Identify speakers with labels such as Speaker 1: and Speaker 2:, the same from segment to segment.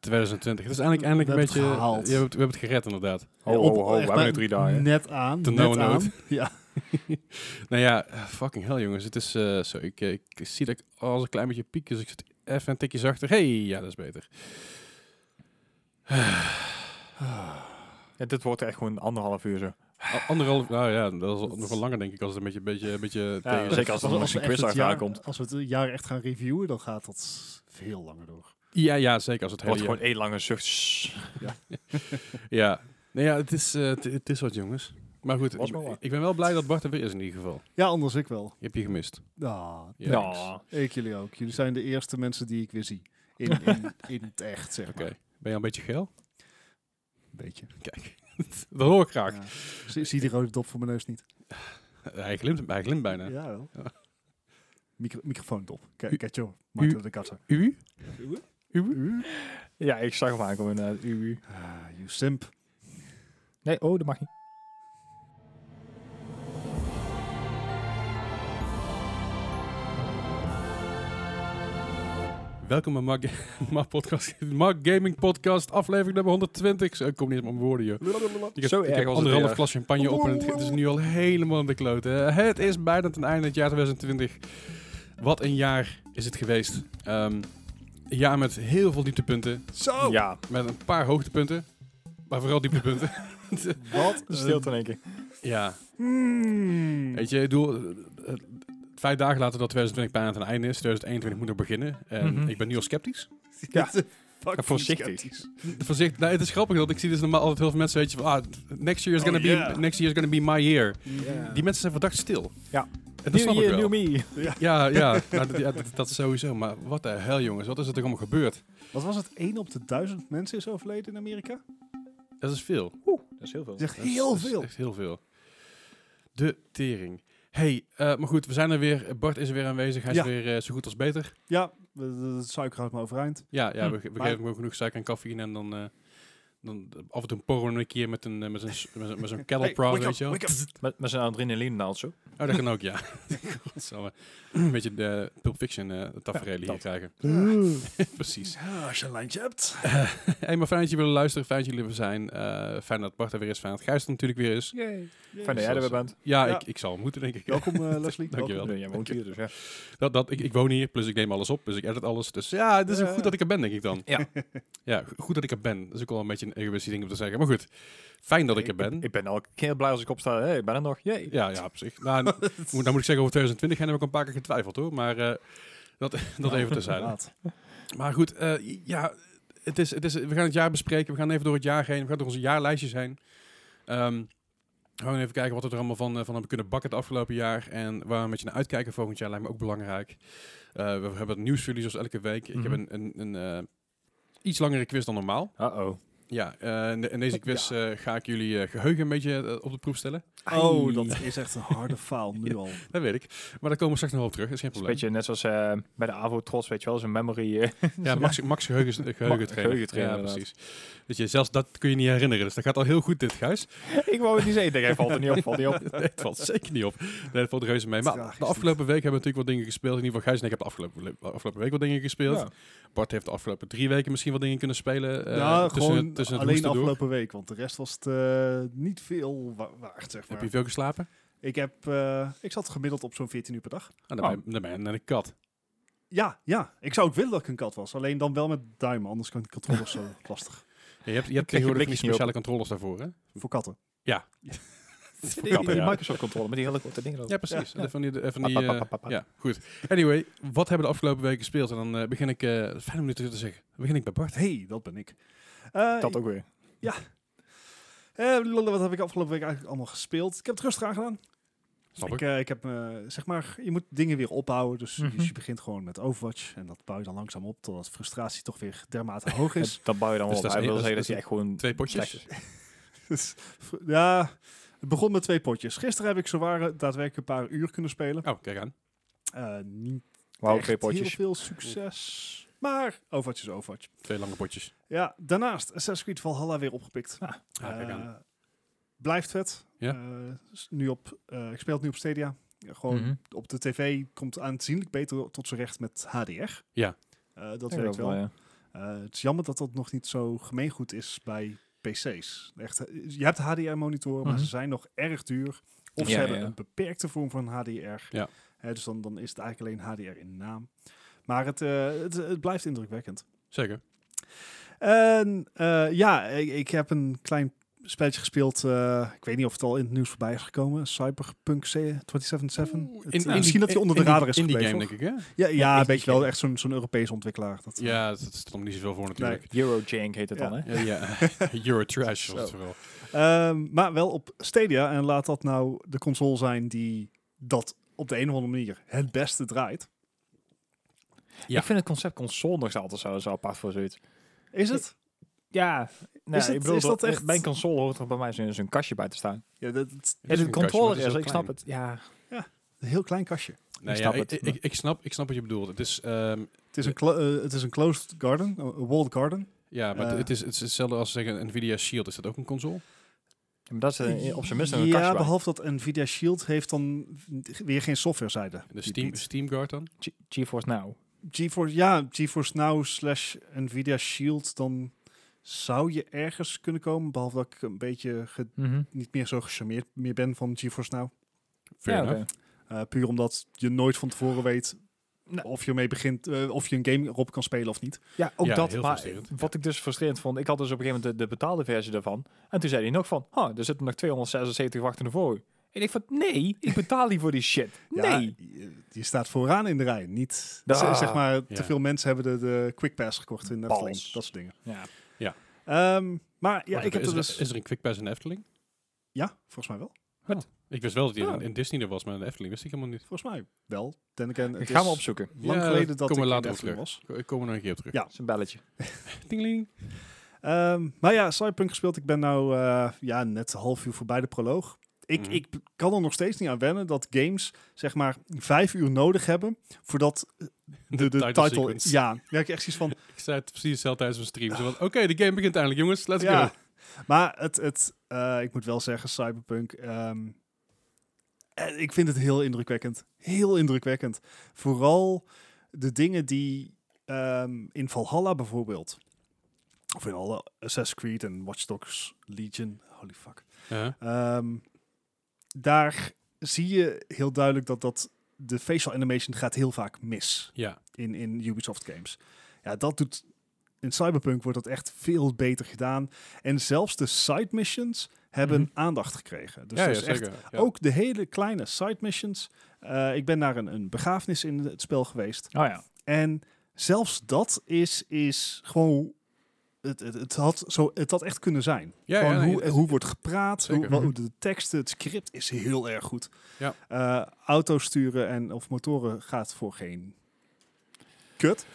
Speaker 1: 2020. Het is eigenlijk eindelijk
Speaker 2: We
Speaker 1: een
Speaker 2: hebben
Speaker 1: beetje...
Speaker 2: het gehaald.
Speaker 1: Je hebt, we hebben het gered, inderdaad.
Speaker 3: Ho,
Speaker 2: Op-
Speaker 3: ho, ho.
Speaker 2: echt
Speaker 3: We hebben
Speaker 2: bij-
Speaker 3: nu drie dagen.
Speaker 2: Net aan.
Speaker 1: Ten
Speaker 2: net
Speaker 1: nauwe
Speaker 2: aan.
Speaker 1: nood.
Speaker 2: Ja.
Speaker 1: Nou ja, eh, fucking hell jongens. Het is eh, zo. Ik, eh, ik zie dat ik als een klein beetje piek, dus ik zit even een tikje zachter. hey, ja, dat is beter.
Speaker 3: Ja, dit wordt echt gewoon anderhalf uur zo.
Speaker 1: A- Anderhalf, nou ja, dat is al- nog wel langer denk ik als het een beetje, beetje, een beetje tegen
Speaker 3: zeker als er nog eens een
Speaker 2: we echt
Speaker 3: quiz
Speaker 2: het jaar-
Speaker 3: aankomt.
Speaker 2: Als we het jaar echt gaan reviewen, dan gaat dat s- veel langer door.
Speaker 1: Ja, ja, zeker als het
Speaker 3: Het wordt
Speaker 1: hele
Speaker 3: gewoon
Speaker 1: jaar-
Speaker 3: één lange zucht. Shh.
Speaker 1: Ja, nou ja, het is, eh, het- het is wat jongens. Maar goed,
Speaker 3: Was
Speaker 1: ik,
Speaker 3: maar waar.
Speaker 1: ik ben wel blij dat Bart er weer is in ieder geval.
Speaker 2: Ja, anders ik wel.
Speaker 1: Je hebt je gemist.
Speaker 2: Ah,
Speaker 1: Ja.
Speaker 3: Ja.
Speaker 2: ik jullie ook. Jullie zijn de eerste mensen die ik weer zie. In, in, in het echt, zeg
Speaker 1: Oké.
Speaker 2: maar.
Speaker 1: Ben je al een beetje geil?
Speaker 2: Beetje.
Speaker 1: Kijk, dat hoor ik graag.
Speaker 2: Ja. Zie, zie die rode dop voor mijn neus niet?
Speaker 1: Hij, glimt, hij glimt bijna.
Speaker 2: Ja, wel.
Speaker 1: Ja.
Speaker 2: Micro, microfoondop. Kijk,
Speaker 1: U-
Speaker 2: kijk joh.
Speaker 1: u-
Speaker 2: Maarten de Kassen.
Speaker 1: U?
Speaker 3: ja, ik zag hem aankomen. eh, u.
Speaker 2: Ah, you simp.
Speaker 3: Nee, oh, dat mag niet.
Speaker 1: Welkom bij Mark, Ga- Mark podcast, Mark Gaming Podcast, aflevering nummer 120. Zo, Ik kom niet eens op mijn woorden, joh. Ik heb,
Speaker 3: Zo
Speaker 1: ik
Speaker 3: erg
Speaker 1: heb
Speaker 3: was het
Speaker 1: anderhalf
Speaker 3: weer.
Speaker 1: glas champagne op en het, het is nu al helemaal in de klote. Het is bijna ten einde het jaar 2020. Wat een jaar is het geweest. Ehm, een jaar met heel veel dieptepunten.
Speaker 2: Zo!
Speaker 3: Oh. Ja,
Speaker 1: Met een paar hoogtepunten. Maar vooral dieptepunten.
Speaker 2: Wat? een-
Speaker 3: stilte in één keer.
Speaker 1: ja,
Speaker 2: Mm.
Speaker 1: Weet je, ik bedoel, eh, eh, vijf dagen later dat 2020 bijna ten einde is, 2021 moet nog beginnen. En
Speaker 3: Mhm.
Speaker 1: ik ben nu al sceptisch.
Speaker 3: Ja.
Speaker 2: Fucking
Speaker 3: Voorzichtig.
Speaker 2: sceptisch.
Speaker 1: Voorzicht, nou, het is grappig dat ik zie dus normaal altijd heel veel mensen, weet je, van, ah, next year is
Speaker 2: Oh,
Speaker 1: gonna
Speaker 2: yeah.
Speaker 1: be, next year is gonna be my year.
Speaker 2: Ja.
Speaker 1: Die mensen zijn verdacht stil.
Speaker 3: Ja.
Speaker 1: En dat
Speaker 3: New
Speaker 1: snap ik
Speaker 3: year,
Speaker 1: wel.
Speaker 3: new me.
Speaker 1: Ja, ja, nou, dat, ja, dat, dat sowieso. Maar wat de hel, jongens, wat is er toch allemaal gebeurd?
Speaker 2: Wat was het? 1 op de duizend mensen is overleden in Amerika?
Speaker 1: Dat is veel.
Speaker 3: Dat is heel veel.
Speaker 2: Dat is echt
Speaker 1: Dat is-
Speaker 2: heel
Speaker 1: dat is
Speaker 2: veel.
Speaker 1: Echt heel veel. De tering. hey, eh, maar goed, we zijn er weer. Bart is er weer aanwezig. Hij
Speaker 2: Ja.
Speaker 1: is weer eh, zo goed als beter.
Speaker 2: Ja, de- de- het suiker houdt me overeind.
Speaker 1: Ja, ja
Speaker 3: Hm.
Speaker 1: we, we
Speaker 2: Maar-
Speaker 1: geven hem ook genoeg suiker en cafeïne en dan, eh, dan af en toe porren we een keer met een eh, met een s- met een- met zo'n kettle
Speaker 2: Hey,
Speaker 1: proud,
Speaker 2: wake
Speaker 1: weet je
Speaker 2: up,
Speaker 1: wel.
Speaker 2: wake up.
Speaker 3: Met, met zijn adrenaline naald zo.
Speaker 1: Oh, dat kan ook, ja. Godsamme. een beetje de Pulp Fiction eh tafereel hier
Speaker 3: dat.
Speaker 1: krijgen. Precies.
Speaker 2: Ja, als je een lijntje hebt.
Speaker 1: Hey, maar fijn dat je willen luisteren, fijn dat jullie er zijn. Eh, fijn dat Bart er weer is, fijn dat Gijs er natuurlijk weer is.
Speaker 3: Fijn dat jij er weer bent.
Speaker 1: Ja,
Speaker 2: Ja.
Speaker 1: Ik, ik zal moeten, denk ik.
Speaker 2: Welkom eh, Leslie.
Speaker 1: Dankjewel.
Speaker 3: Nee, jij woont hier dus, ja.
Speaker 1: Dat, dat, ik, ik woon hier, plus ik neem alles op, dus ik edit alles. Dus ja, het is ook
Speaker 2: Ja.
Speaker 1: goed dat ik er ben, denk ik dan.
Speaker 3: Ja.
Speaker 1: Ja, go- goed dat ik er ben. Dat is ook wel een beetje een egoïstische ding om te zeggen. Maar goed, fijn dat ik er ben.
Speaker 3: Ik ben elke keer blij als ik opsta. Hé, hey, ik ben er nog. Jee.
Speaker 1: Ja, ja, op zich. Nou, moet- dan moet ik zeggen, over 2020 hebben we ook een paar keer getwijfeld hoor. Maar eh, dat, dat even terzijde.
Speaker 2: Inderdaad.
Speaker 1: Maar goed, eh, ja, het is, het is, we gaan het jaar bespreken. We gaan even door het jaar heen. We gaan door onze jaarlijstjes heen. Ehm, we gaan even kijken wat we er allemaal van, eh, van hebben kunnen bakken het afgelopen jaar. En waar we een beetje naar uitkijken volgend jaar lijkt me ook belangrijk. Eh, we hebben het nieuws voor jullie zoals elke week. Ik heb
Speaker 3: Mhm.
Speaker 1: een, een, een eh, iets langere quiz dan normaal.
Speaker 3: Uh-oh.
Speaker 1: Ja, eh, in, de- in deze quiz eh, ga ik jullie eh, geheugen een beetje eh, op de proef stellen.
Speaker 2: Oh, dat is echt een harde faal nu al.
Speaker 1: Dat weet ik. Maar daar komen we straks nog op terug. Dat is geen
Speaker 3: Het is
Speaker 1: probleem.
Speaker 3: een beetje net zoals eh, bij de AVO-trots, weet je wel. Zijn memory... eh,
Speaker 1: Ja, Max, Max geheugen, geheugen
Speaker 3: geheugentrainer,
Speaker 1: Ja,
Speaker 3: inderdaad.
Speaker 1: precies. Weet je, zelfs dat kun je niet herinneren. Dus dat gaat al heel goed dit, Gijs.
Speaker 3: ik wou het niet zeggen. Ik denk, Hij valt er niet op, valt niet op.
Speaker 1: Nee, het valt zeker niet op. Nee, dat valt reuze mee. Maar
Speaker 2: Traag is
Speaker 1: de afgelopen week hebben we natuurlijk wat dingen gespeeld. In ieder geval, Gijs en ik hebben de afgelopen, le- afgelopen week wat dingen gespeeld.
Speaker 3: Ja.
Speaker 1: Bart heeft de afgelopen drie weken misschien wat dingen kunnen spelen. eh,
Speaker 2: ja,
Speaker 1: tussen,
Speaker 2: gewoon
Speaker 1: het- tussen het
Speaker 2: alleen de
Speaker 1: hoesten door.
Speaker 2: afgelopen week, want de rest was het eh, niet veel wa- waard, zeg maar.
Speaker 1: Heb je veel geslapen?
Speaker 2: Ik, heb, eh, ik zat gemiddeld op zo'n 14 uur per dag.
Speaker 1: Ah, dan,
Speaker 3: Oh.
Speaker 1: ben, je- dan ben je net een kat.
Speaker 2: Ja, ja. Ik zou ook willen dat ik een kat was. Alleen dan wel met duimen, anders kan ik controllers zo lastig.
Speaker 1: Ja, je hebt, je hebt
Speaker 3: krijg je
Speaker 1: tegenwoordig die
Speaker 3: blikjes niet op.
Speaker 1: speciale controllers daarvoor, hè?
Speaker 2: Voor katten.
Speaker 3: Die,
Speaker 1: Kappen,
Speaker 3: die
Speaker 1: ja.
Speaker 3: Microsoft-controle met die hele korte dingen.
Speaker 1: Ja, precies.
Speaker 2: Ja.
Speaker 1: En Van die, van
Speaker 3: Pap,
Speaker 1: die,
Speaker 3: pap,
Speaker 1: eh,
Speaker 3: pap, pap, pap.
Speaker 1: ja, goed. Anyway, wat hebben we de afgelopen weken gespeeld? En dan eh, begin ik, eh fijn om dit te zeggen, Dan begin ik bij Bart.
Speaker 2: hey, dat ben ik. Eh,
Speaker 3: Dat ook weer.
Speaker 2: eh, lullen, wat heb ik afgelopen week eigenlijk allemaal gespeeld? Ik heb het rustig aangedaan.
Speaker 1: Snap
Speaker 2: Ik, eh, ik heb, eh, zeg maar, je moet dingen weer ophouden. Dus,
Speaker 3: Mhm.
Speaker 2: dus je begint gewoon met Overwatch. En dat bouw je dan langzaam op, totdat frustratie toch weer dermate hoog is.
Speaker 3: Dat bouw je dan wel
Speaker 1: Dus dat
Speaker 3: op.
Speaker 1: is
Speaker 3: Hij
Speaker 1: een-
Speaker 3: wil
Speaker 1: dat is- dat
Speaker 3: zeggen dat hij echt gewoon...
Speaker 1: Twee
Speaker 3: slecht
Speaker 1: potjes.
Speaker 3: is.
Speaker 2: Dus, v- ja, het begon met twee potjes. Gisteren heb ik zowaar eh, daadwerkelijk een paar uur kunnen spelen.
Speaker 1: Oh, kijk aan.
Speaker 2: Eh, niet
Speaker 3: Wauw,
Speaker 2: echt
Speaker 3: twee potjes.
Speaker 2: heel veel succes. Maar Overwatch is Overwatch.
Speaker 1: Twee lange potjes.
Speaker 2: Ja, daarnaast Assassin's Creed Valhalla weer opgepikt.
Speaker 1: Ah, kijk aan.
Speaker 2: Eh, blijft vet.
Speaker 1: Ja.
Speaker 2: Eh, s- nu op, eh, ik speel het nu op Stadia. Ja, gewoon
Speaker 3: Mhm.
Speaker 2: op de tv komt aanzienlijk beter tot zijn recht met HDR.
Speaker 1: Ja.
Speaker 2: Eh, dat
Speaker 3: Ik
Speaker 2: werkt
Speaker 3: geloof
Speaker 2: wel.
Speaker 3: ja.
Speaker 2: Eh, het is jammer dat dat nog niet zo gemeengoed is bij PC's. Echt, eh, je hebt HDR-monitoren, maar
Speaker 3: Mhm.
Speaker 2: ze zijn nog erg duur. Of ze
Speaker 3: Ja,
Speaker 2: hebben
Speaker 3: ja.
Speaker 2: een beperkte vorm van HDR.
Speaker 1: Ja.
Speaker 2: Hè, dus dan, dan is het eigenlijk alleen HDR in de naam. Maar het, eh, het, het blijft indrukwekkend.
Speaker 1: Zeker.
Speaker 2: En eh, ja, ik, ik heb een klein spelletje gespeeld. eh, ik weet niet of het al in het nieuws voorbij is gekomen. Cyberpunk 277. Het, eh, misschien dat hij onder de radar is
Speaker 1: in die
Speaker 2: gebleven.
Speaker 1: game, denk ik, hè?
Speaker 2: Ja, ja
Speaker 3: indie
Speaker 2: een beetje wel.
Speaker 3: game.
Speaker 2: Echt zo'n zo'n Europese ontwikkelaar. Dat,
Speaker 1: Ja, dat dat stond niet zoveel voor natuurlijk.
Speaker 3: Eurojank heet het
Speaker 2: Ja.
Speaker 3: dan, hè?
Speaker 1: Ja, ja. You're trash was het
Speaker 2: Zo.
Speaker 1: vooral.
Speaker 2: Ehm, maar wel op Stadia. En laat dat nou de console zijn die dat op de een of andere manier het beste draait.
Speaker 1: Ja.
Speaker 3: Ik vind het concept console nog altijd zo, zo apart voor zoiets.
Speaker 2: Is het?
Speaker 3: Ja, nou,
Speaker 2: Is het-
Speaker 3: ik bedoel,
Speaker 2: is dat
Speaker 3: dat-
Speaker 2: echt-
Speaker 3: Mijn console hoort er bij mij zo'n zo'n kastje bij te staan.
Speaker 2: Ja, dat, dat-
Speaker 1: Het is een
Speaker 3: en de
Speaker 1: kastje, maar
Speaker 3: controller
Speaker 1: het is
Speaker 3: is,
Speaker 1: heel
Speaker 3: ik snap
Speaker 1: klein.
Speaker 3: het. Ja,
Speaker 2: een heel klein kastje.
Speaker 1: Nee,
Speaker 3: snap
Speaker 1: ja, ik,
Speaker 3: het,
Speaker 1: ik, ik, snap, ik snap wat je bedoelt. Het is, ehm,
Speaker 2: Het is een, clo- eh, het is een closed garden, een walled garden.
Speaker 1: ja, maar het-
Speaker 2: Eh.
Speaker 1: het, is, het is hetzelfde als zeggen Nvidia Shield. Is dat ook een console?
Speaker 3: maar dat is eh, op zijn minst een
Speaker 2: Ja,
Speaker 3: kastje bij.
Speaker 2: behalve dat Nvidia Shield heeft dan weer geen softwarezijde.
Speaker 1: De Steam, Steam Guard dan?
Speaker 3: Ge- GeForce Now.
Speaker 2: GeForce, ja, GeForce Now slash Nvidia Shield, dan zou je ergens kunnen komen. Behalve dat ik een beetje ge-
Speaker 3: Mhm.
Speaker 2: niet meer zo gecharmeerd meer ben van GeForce Now.
Speaker 1: Fair
Speaker 3: Ja,
Speaker 1: enough.
Speaker 3: oké.
Speaker 2: Eh, puur omdat je nooit van tevoren weet
Speaker 3: Nou.
Speaker 2: of je ermee begint, eh, of je een game erop kan spelen of niet.
Speaker 3: Ja, ook
Speaker 1: Ja,
Speaker 3: dat.
Speaker 1: heel
Speaker 3: Maar
Speaker 1: frustrerend.
Speaker 3: wat ik dus frustrerend vond, ik had dus op een gegeven moment de, de betaalde versie daarvan. En toen zei hij nog van, oh, er zitten nog 276 wachtende voor u. En ik van, nee, ik betaal hier voor die shit.
Speaker 2: Ja,
Speaker 3: Nee.
Speaker 2: je, je staat vooraan in de rij. Niet,
Speaker 3: Ah.
Speaker 2: z- zeg maar,
Speaker 1: Ja.
Speaker 2: te veel mensen hebben de, de Quick Pass gekocht in de
Speaker 3: Balls.
Speaker 2: Efteling. Dat soort dingen.
Speaker 3: Ja.
Speaker 2: Ehm, maar ja,
Speaker 1: Wacht
Speaker 2: ik
Speaker 1: even,
Speaker 2: heb
Speaker 1: is,
Speaker 2: er
Speaker 1: er,
Speaker 2: dus...
Speaker 1: is er een Quick Pass in de Efteling?
Speaker 2: Ja, volgens mij wel.
Speaker 1: Ik wist wel dat die in-
Speaker 2: Oh.
Speaker 1: in Disney er was, maar in de Efteling wist ik helemaal niet.
Speaker 2: Volgens mij wel. Then again, het
Speaker 3: Ik ga
Speaker 2: is
Speaker 3: hem opzoeken.
Speaker 2: lang
Speaker 1: Ja,
Speaker 2: geleden dat
Speaker 1: kom
Speaker 2: ik
Speaker 1: maar
Speaker 2: in
Speaker 1: later
Speaker 2: de
Speaker 1: op
Speaker 2: Efteling was.
Speaker 1: Ik- Ik kom er nog een keer op terug.
Speaker 2: Ja.
Speaker 3: Dat is een belletje.
Speaker 1: Tingling.
Speaker 2: Ehm, maar ja, Cyberpunk gespeeld. Ik ben nou eh, ja, net een half uur voorbij de proloog. Ik,
Speaker 1: Mhm.
Speaker 2: ik kan er nog steeds niet aan wennen dat games zeg maar vijf uur nodig hebben voordat de, de
Speaker 1: title
Speaker 2: title...
Speaker 1: sequence.
Speaker 2: Ja, ja, ik echt zoiets van...
Speaker 1: Ik zei het precies hetzelfde tijdens mijn stream. Zo van, Oké, de game begint eindelijk, jongens. Let's
Speaker 2: ja.
Speaker 1: go.
Speaker 2: Maar het, het, eh, ik moet wel zeggen, Cyberpunk... ehm, eh, ik vind het heel indrukwekkend. Heel indrukwekkend. Vooral de dingen die ehm, in Valhalla bijvoorbeeld... Of in alle Assassin's Creed en Watch Dogs Legion. Holy fuck.
Speaker 1: Uh-huh. Ja.
Speaker 2: Ehm, daar zie je heel duidelijk dat, dat de facial animation gaat heel vaak mis
Speaker 1: Ja,
Speaker 2: in, in Ubisoft games. Ja, dat doet in Cyberpunk wordt dat echt veel beter gedaan. En zelfs de side missions hebben
Speaker 3: Mhm.
Speaker 2: aandacht gekregen. Dus
Speaker 1: ja,
Speaker 2: dat
Speaker 1: ja,
Speaker 2: is echt
Speaker 1: zeker. Ja.
Speaker 2: ook de hele kleine side missions. Eh, ik ben naar een, een begrafenis in het spel geweest.
Speaker 3: Oh ja.
Speaker 2: En zelfs dat is, is gewoon. Het, het, het, had zo, het had echt kunnen zijn.
Speaker 1: Ja,
Speaker 2: Gewoon
Speaker 1: ja, nee,
Speaker 2: hoe,
Speaker 1: het-
Speaker 2: hoe wordt gepraat, hoe,
Speaker 1: Zeker.
Speaker 2: wel- hoe de teksten, het script is heel erg goed.
Speaker 1: Ja.
Speaker 2: Eh, auto sturen en of motoren gaat voor geen kut.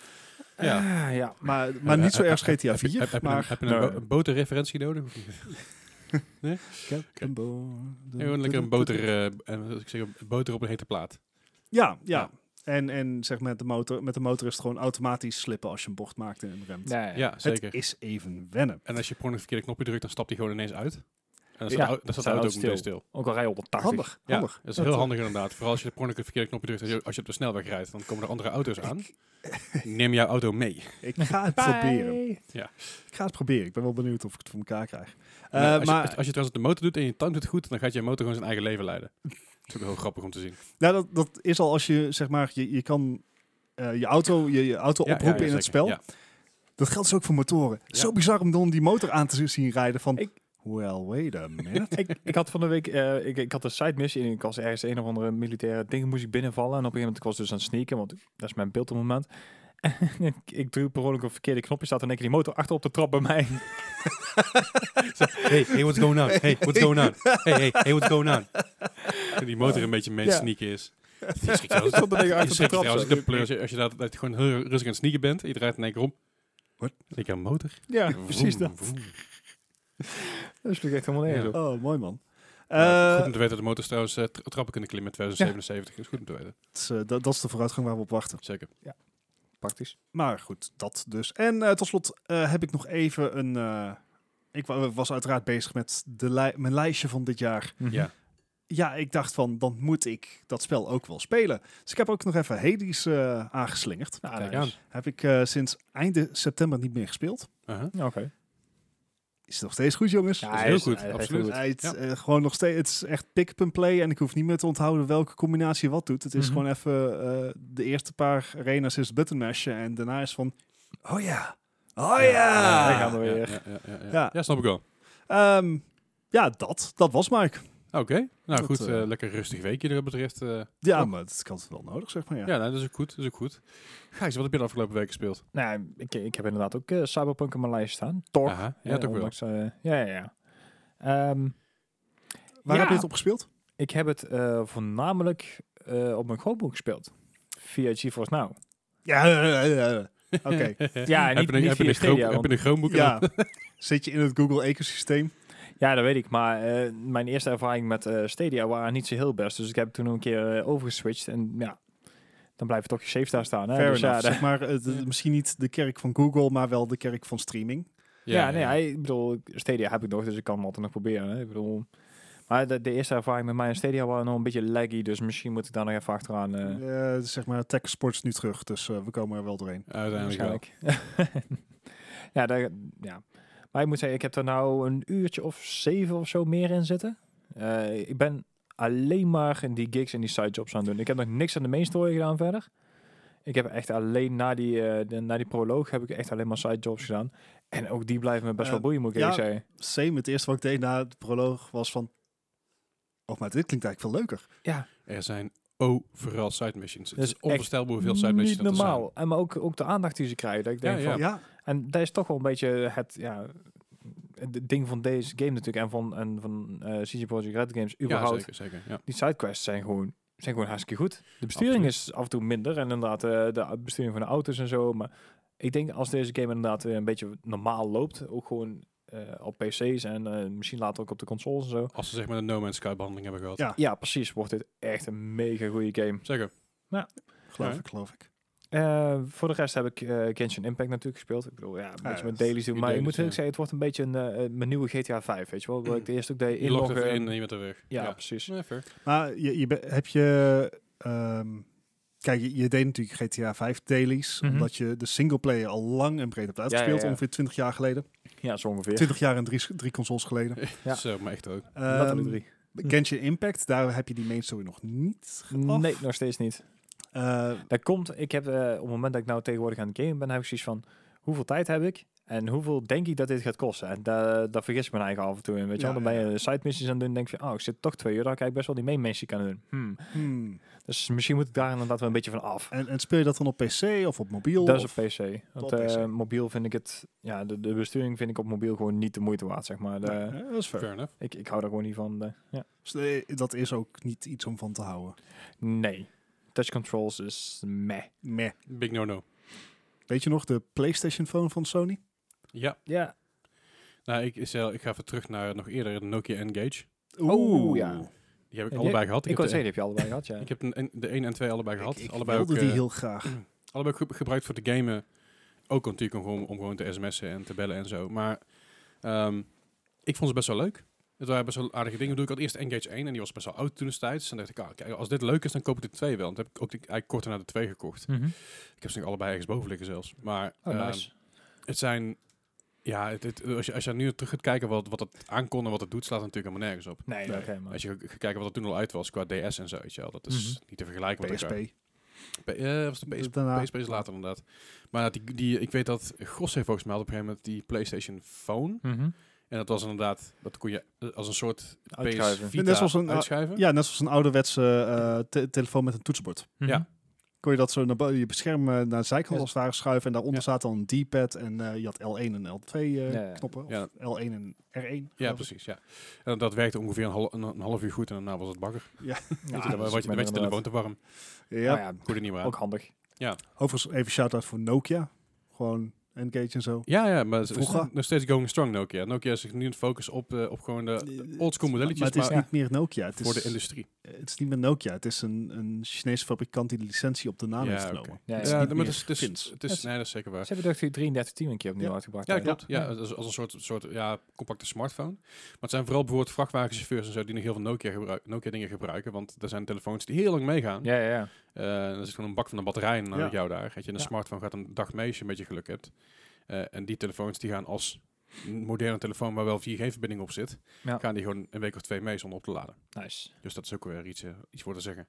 Speaker 1: Ja.
Speaker 3: Ah, ja.
Speaker 2: Maar, maar niet zo erg als GTA
Speaker 1: Eh, Heb je- Heb,
Speaker 2: 4.
Speaker 1: heb, je een-
Speaker 2: maar Nou,
Speaker 1: heb je een,
Speaker 3: Nee.
Speaker 1: bo- een boterreferentie nodig? Of niet?
Speaker 2: een bo-
Speaker 1: Gewoon lekker een boter, eh, en als ik zeg, een boter op een hete plaat.
Speaker 2: Ja, ja.
Speaker 1: Ja.
Speaker 2: En, en zeg met de motor, met de motor is het gewoon automatisch slippen als je een bocht maakt en remt.
Speaker 3: Ja, ja.
Speaker 1: Ja, zeker.
Speaker 2: het is even wennen.
Speaker 1: En als je per ongeluk verkeerde knopje drukt, dan stapt hij gewoon ineens uit. En dan staat,
Speaker 3: Ja,
Speaker 1: de au- dan staat de
Speaker 3: staat
Speaker 1: auto ook
Speaker 3: hij
Speaker 1: meteen stil.
Speaker 3: Ook al rij je 180.
Speaker 2: Handig,
Speaker 1: Ja,
Speaker 2: handig.
Speaker 1: dat is
Speaker 2: Dat,
Speaker 1: heel
Speaker 2: eh,
Speaker 1: handig inderdaad. Vooral als je per ongeluk een verkeerde knopje drukt, als je- als je op de snelweg rijdt, dan komen er andere auto's aan. Neem jouw auto mee.
Speaker 2: Ik ga het proberen.
Speaker 1: Ja.
Speaker 2: Ik ga het proberen. Ik ben wel benieuwd of ik het voor elkaar krijg. Eh,
Speaker 1: Maar Nou, als,
Speaker 2: maar
Speaker 1: je, als je trouwens de motor doet en je timed het goed, dan gaat je motor gewoon zijn eigen leven leiden. Dat is ook heel grappig om te zien.
Speaker 2: Nou, dat, dat is al als je zeg maar, je, je kan eh, je auto, je, je auto
Speaker 1: Ja, ja,
Speaker 2: oproepen
Speaker 1: ja,
Speaker 2: in het
Speaker 1: zeker.
Speaker 2: spel.
Speaker 1: Ja.
Speaker 2: Dat geldt dus ook voor motoren.
Speaker 1: Ja.
Speaker 2: Zo bizar om dan die motor aan te zien rijden van.
Speaker 3: Ik-
Speaker 2: Well, wait a minute.
Speaker 3: ik, ik had van de week, eh, ik, ik had een side missie en ik was ergens een of andere militaire ding moest ik binnenvallen. En op een gegeven moment ik was dus aan het sneaken, want dat is mijn beeld op het moment. En ik, ik druk per ongeluk op verkeerde knopje, staat in één keer die motor achter op de trap bij mij.
Speaker 1: Hey, hey, what's going on? Hey, what's going on? Hey, hey, hey, what's going on? Die motor een beetje mee aan het
Speaker 3: Ja.
Speaker 1: sneaken is. Die schrik je trouwens-
Speaker 3: stond er tegen
Speaker 1: die
Speaker 3: achter de
Speaker 1: schrik je
Speaker 3: trap.
Speaker 1: trouwens
Speaker 3: zo.
Speaker 1: de pleur als je, als je dat, dat je gewoon heel rustig aan het sneaken bent. Je draait in één keer om.
Speaker 2: Wat?
Speaker 1: Ik heb een motor.
Speaker 3: Ja,
Speaker 1: Vroom,
Speaker 3: precies dat.
Speaker 1: vroom.
Speaker 3: Dat is natuurlijk echt helemaal nergens
Speaker 1: Ja.
Speaker 3: op.
Speaker 2: Oh, mooi man.
Speaker 1: Ja,
Speaker 2: Eh,
Speaker 1: goed om te weten dat de motors trouwens eh, tra- trappen kunnen klimmen in 2077. Is goed om te weten.
Speaker 2: het is, eh, dat, dat is de vooruitgang waar we op wachten.
Speaker 1: Zeker.
Speaker 3: Praktisch.
Speaker 2: Maar goed, dat dus. En eh, tot slot eh, heb ik nog even een.
Speaker 3: Mhm.
Speaker 1: Mhm.
Speaker 2: eh, ik wa- was uiteraard bezig met de lij- mijn lijstje van dit jaar.
Speaker 1: Ja.
Speaker 2: ja, ik dacht van, dan moet ik dat spel ook wel spelen. Dus ik heb ook nog even Hades eh, aangeslingerd.
Speaker 3: Nou,
Speaker 1: Kijk
Speaker 3: nice.
Speaker 2: Heb ik eh, sinds einde september niet meer gespeeld.
Speaker 1: Aha.
Speaker 3: Ja, Oké.
Speaker 2: Is nog steeds goed, jongens.
Speaker 1: is
Speaker 3: hij
Speaker 1: heel goed,
Speaker 3: hij is
Speaker 1: absoluut.
Speaker 3: goed.
Speaker 2: Ja, het, is,
Speaker 1: Ja.
Speaker 2: eh, gewoon nog steeds, het is echt pick-up-and-play en ik hoef niet meer te onthouden welke combinatie wat doet. Het is
Speaker 3: Mhm.
Speaker 2: gewoon even eh, de eerste paar arenas is het button mashen en daarna is van, oh ja, oh ja.
Speaker 3: Ja,
Speaker 2: Ja,
Speaker 3: daar gaan we
Speaker 1: ja,
Speaker 3: weer.
Speaker 1: ja, ja, ja, ja.
Speaker 2: Ja.
Speaker 1: Ja, snap ik wel.
Speaker 2: Ehm, ja dat, dat was Mike.
Speaker 1: Oké, nou
Speaker 2: Dat,
Speaker 1: goed,
Speaker 2: eh,
Speaker 1: eh, lekker rustig weekje dat betreft. eh.
Speaker 2: Ja,
Speaker 1: Klopt.
Speaker 2: maar dat kan het wel nodig, zeg maar. Ja.
Speaker 1: ja, nou, dat is ook goed, dat is ook goed. Gijs, wat heb je de afgelopen week gespeeld?
Speaker 3: Nou, ja, ik, ik heb inderdaad ook eh, Cyberpunk op mijn lijst staan. Toch.
Speaker 1: Aha, ja,
Speaker 3: Eh,
Speaker 1: toch wel.
Speaker 3: ondanks, eh, ja, ja, ja. Ehm,
Speaker 2: Waar
Speaker 3: Ja.
Speaker 2: heb je het op gespeeld?
Speaker 3: ik heb het eh, voornamelijk eh, op mijn Chromebook gespeeld. Via GeForce Now.
Speaker 2: Ja, ja, ja, ja.
Speaker 1: Heb
Speaker 2: oké.
Speaker 3: Ja, niet,
Speaker 1: je een-
Speaker 3: niet
Speaker 1: heb je
Speaker 3: via
Speaker 1: een
Speaker 3: Stadia,
Speaker 1: Chrome- heb
Speaker 3: want-
Speaker 1: je een Chromebook?
Speaker 2: ja. Zit je in het Google-ecosysteem?
Speaker 3: Ja, dat weet ik. Maar eh, mijn eerste ervaring met eh Stadia waren niet zo heel best. Dus ik heb toen nog een keer eh, overgeswitcht. En ja, dan blijft toch je safe daar staan. Hè?
Speaker 2: Fair
Speaker 3: Dus ja,
Speaker 2: enough,
Speaker 3: daar-
Speaker 2: zeg maar. eh, de- misschien niet de kerk van Google, maar wel de kerk van streaming.
Speaker 3: Ja, nee, hij- ik bedoel, Stadia heb ik nog, dus ik kan hem altijd nog proberen. Hè? Ik bedoel, maar de, de eerste ervaring met mij en Stadia waren nog een beetje laggy, dus misschien moet ik daar nog even achteraan. eh,
Speaker 2: Eh, zeg maar, tech sports nu terug, dus eh, we komen er wel doorheen.
Speaker 1: Uiteindelijk wel.
Speaker 3: waarschijnlijk. ja, daar, ja, maar ik moet zeggen, ik heb er nou een uurtje of zeven of zo meer in zitten. Eh, ik ben alleen maar die gigs en die sidejobs aan het doen. Ik heb nog niks aan de main story gedaan verder. Ik heb echt alleen na die, eh, de- na die proloog heb ik echt alleen maar sidejobs gedaan. En ook die blijven me best
Speaker 2: Eh,
Speaker 3: wel boeien, moet ik
Speaker 2: ja,
Speaker 3: eerlijk zeggen.
Speaker 2: Same, het eerste wat ik deed na de proloog was van... Oh, maar dit klinkt eigenlijk veel leuker.
Speaker 3: Ja,
Speaker 1: Er zijn overal side missions. Het
Speaker 3: Dat
Speaker 1: is
Speaker 3: is echt
Speaker 1: onvoorstelbaar hoeveel side missions
Speaker 3: niet
Speaker 1: dat er zijn.
Speaker 3: normaal. En maar ook, ook de aandacht die ze krijgen. Dat ik denk
Speaker 1: Ja,
Speaker 3: van,
Speaker 2: Ja,
Speaker 3: En dat is toch wel een beetje het, ja, het ding van deze game natuurlijk. En van, en van eh CG Projekt Red Games
Speaker 1: Ja,
Speaker 3: überhaupt.
Speaker 1: zeker, zeker. Ja.
Speaker 3: die sidequests zijn gewoon, zijn gewoon hartstikke goed. De besturing is af en toe minder. En inderdaad eh, de besturing van de auto's en zo. Maar ik denk als deze game inderdaad weer een beetje normaal loopt. Ook gewoon eh, op PC's en eh, misschien later ook op de consoles en zo.
Speaker 1: Als ze zeg maar de No Man's Sky behandeling hebben gehad.
Speaker 2: Ja.
Speaker 3: Ja, precies. Wordt dit echt een mega goede game.
Speaker 1: Zeker.
Speaker 2: geloof
Speaker 1: Ja.
Speaker 2: ik, geloof ik.
Speaker 3: Eh, voor de rest heb ik eh Genshin Impact natuurlijk gespeeld. Ik bedoel, ja, een beetje met dailies doen.
Speaker 1: die
Speaker 3: Maar ik
Speaker 1: dailies,
Speaker 3: moet eerlijk
Speaker 1: ja.
Speaker 3: zeggen, het wordt een beetje een, eh, eh, mijn nieuwe GTA 5, weet je wel. Wat ik de eerste ook deed,
Speaker 1: Je logt
Speaker 3: inloggen.
Speaker 1: even in eh, en je bent er weg.
Speaker 3: eh, ja, precies.
Speaker 1: Nee, fair.
Speaker 2: Maar je, je be- heb je... ehm, kijk, je, je deed natuurlijk GTA 5 dailies,
Speaker 3: Mhm.
Speaker 2: omdat je de singleplayer al lang en breed hebt uitgespeeld,
Speaker 3: ja.
Speaker 2: ongeveer 20 jaar geleden.
Speaker 3: Ja, zo ongeveer.
Speaker 2: 20 jaar en drie, s- drie consoles geleden.
Speaker 3: Ja.
Speaker 1: Zo, eh, maar echt ook.
Speaker 3: Letterlijk
Speaker 2: Ehm,
Speaker 3: drie.
Speaker 2: Genshin Impact, daar heb je die main story nog niet af.
Speaker 3: Nee, nog steeds niet.
Speaker 2: Eh,
Speaker 3: Dat komt, ik heb eh, op het moment dat ik nou tegenwoordig aan het gamen ben, heb ik zoiets van, hoeveel tijd heb ik? En hoeveel denk ik dat dit gaat kosten? En daar daar vergis ik me eigen af en toe in, weet je
Speaker 2: Ja,
Speaker 3: wel. Dan
Speaker 2: ja,
Speaker 3: ben je side missies aan het doen, denk je van, oh, ik zit toch twee uur, dan kan ik best wel die main missie kunnen doen. Hmm.
Speaker 2: hmm.
Speaker 3: Dus misschien moet ik daar inderdaad wel een beetje van af.
Speaker 2: en, en speel je dat dan op PC of op mobiel?
Speaker 3: Dat is
Speaker 2: of-
Speaker 3: op PC. Want
Speaker 2: op
Speaker 3: eh,
Speaker 2: PC.
Speaker 3: mobiel vind ik het, ja, de, de besturing vind ik op mobiel gewoon niet de moeite waard, zeg maar. De- eh,
Speaker 2: Nee, dat is fair.
Speaker 1: Fair enough.
Speaker 3: ik, ik hou daar gewoon niet van. de- ja.
Speaker 2: Dus, eh, dat is ook niet iets om van te houden.
Speaker 3: Nee. Touch controls is meh.
Speaker 2: Meh.
Speaker 1: Big no-no.
Speaker 2: Weet je nog de PlayStation phone van Sony?
Speaker 1: Ja,
Speaker 3: Ja.
Speaker 1: nou, ik, is, eh, ik ga even terug naar nog eerder de Nokia N-Gage.
Speaker 3: Oeh, Oh, ja.
Speaker 1: Die heb ik
Speaker 3: Ja,
Speaker 1: allebei gehad.
Speaker 3: Ik
Speaker 1: heb
Speaker 3: wou
Speaker 1: de-
Speaker 3: zeggen, die heb je allebei gehad, ja.
Speaker 1: Ik heb een- een- de 1 en 2 allebei gehad.
Speaker 2: Ik, ik
Speaker 1: allebei, ook,
Speaker 2: wilde die
Speaker 1: eh,
Speaker 2: heel graag.
Speaker 1: allebei ge- gebruikt voor de gamen. Ook natuurlijk om gewoon, om gewoon te sms'en en te bellen en zo. Maar ehm, ik vond ze best wel leuk. Het waren best wel aardige dingen. Ik bedoel, Ik had eerst Engage 1 en die was best wel oud toen destijds. En dacht ik, ah, kijk, als dit leuk is, dan koop ik de 2 wel. En toen heb ik ook de, eigenlijk kort daarna de 2 gekocht.
Speaker 3: Mhm.
Speaker 1: Ik heb ze nog allebei ergens boven liggen zelfs. Maar
Speaker 3: Oh,
Speaker 1: ehm,
Speaker 3: nice.
Speaker 1: het zijn... Ja, het, het- als, je, als je nu terug gaat kijken wat, wat het aankon en wat het doet, slaat het natuurlijk helemaal nergens op.
Speaker 3: Nee,
Speaker 2: nee.
Speaker 3: oké, maar...
Speaker 1: Als je gaat kijken wat er toen al uit was qua DS en zo, weet je wel. Dat is
Speaker 3: Mhm.
Speaker 1: niet te vergelijken met
Speaker 2: PSP.
Speaker 1: elkaar. P- eh, was de PSP?
Speaker 2: Daarna.
Speaker 1: PSP is later inderdaad. Maar die, die, ik weet dat Gros heeft volgens mij had op een gegeven moment die PlayStation Phone.
Speaker 3: Mhm.
Speaker 1: En dat was inderdaad, dat kon je eh, als een soort PS
Speaker 3: Uitschuiven.
Speaker 1: Vita
Speaker 2: Net zoals een, uh,
Speaker 1: uitschuiven.
Speaker 2: Ja, net zoals een ouderwetse eh, te- telefoon met een toetsenbord.
Speaker 3: Mhm.
Speaker 1: Ja.
Speaker 2: Kon je dat zo naar bo- je bescherm eh, naar de zijkant als het ware schuiven. En daaronder
Speaker 1: Ja.
Speaker 2: zat dan een D-pad. En eh, je had L1 en L2 eh,
Speaker 3: Ja, ja.
Speaker 2: knoppen. Of
Speaker 1: Ja.
Speaker 2: L1 en R1.
Speaker 1: Ja,
Speaker 2: geloof ik.
Speaker 1: precies. Ja. En dat werkte ongeveer een, hal- een, een half uur goed en daarna was het bakker.
Speaker 3: Ja,
Speaker 1: weet je,
Speaker 3: dat
Speaker 1: dan
Speaker 3: is
Speaker 1: werd je,
Speaker 3: minder
Speaker 1: werd je telefoon
Speaker 3: inderdaad.
Speaker 1: te warm.
Speaker 2: Ja.
Speaker 3: Nou ja,
Speaker 1: Goed er niet meer aan.
Speaker 3: ook handig.
Speaker 2: Overigens even shout-out voor Nokia. Gewoon, eh, Engage en zo.
Speaker 1: Ja, ja, maar het is- het is
Speaker 2: Vroeger.
Speaker 1: nog steeds going strong Nokia. Nokia is zich nu aan het focussen op, eh, op gewoon de oldschool modelletjes,
Speaker 2: Maar
Speaker 1: maar,
Speaker 2: het is niet meer Nokia. Het
Speaker 1: voor de
Speaker 2: is,
Speaker 1: industrie.
Speaker 2: het is niet meer Nokia. Het is een, een Chinese fabrikant die de licentie op de naam
Speaker 1: Ja,
Speaker 2: heeft
Speaker 1: oké.
Speaker 2: genomen.
Speaker 3: Ja,
Speaker 2: Het
Speaker 1: Ja,
Speaker 2: is
Speaker 1: maar
Speaker 2: niet meer
Speaker 1: het is, het is,
Speaker 2: Fins.
Speaker 1: het is, nee, dat is zeker waar.
Speaker 3: Ze hebben dacht ik 3310 een keer opnieuw
Speaker 2: Ja.
Speaker 3: uitgebracht.
Speaker 1: Ja,
Speaker 3: hè?
Speaker 1: klopt. Ja,
Speaker 3: Ja.
Speaker 1: Als, als een soort, soort ja, compacte smartphone. Maar het zijn vooral bijvoorbeeld vrachtwagenchauffeurs en zo die nog heel veel Nokia, gebruik, Nokia dingen gebruiken. Want er zijn telefoons die heel lang meegaan.
Speaker 3: Ja, ja, ja.
Speaker 1: Eh, dan zit gewoon een bak van een batterij naar
Speaker 2: Ja.
Speaker 1: jou daar. Weet je, en een
Speaker 3: Ja.
Speaker 1: smartphone gaat een dag mee als je een beetje geluk hebt. Eh, en die telefoons die gaan als een moderne telefoon waar wel 4G-verbinding op zit,
Speaker 3: Ja.
Speaker 1: gaan die gewoon een week of twee mee zonder op te laden.
Speaker 3: Nice.
Speaker 1: Dus dat is ook weer iets, eh, iets voor te zeggen.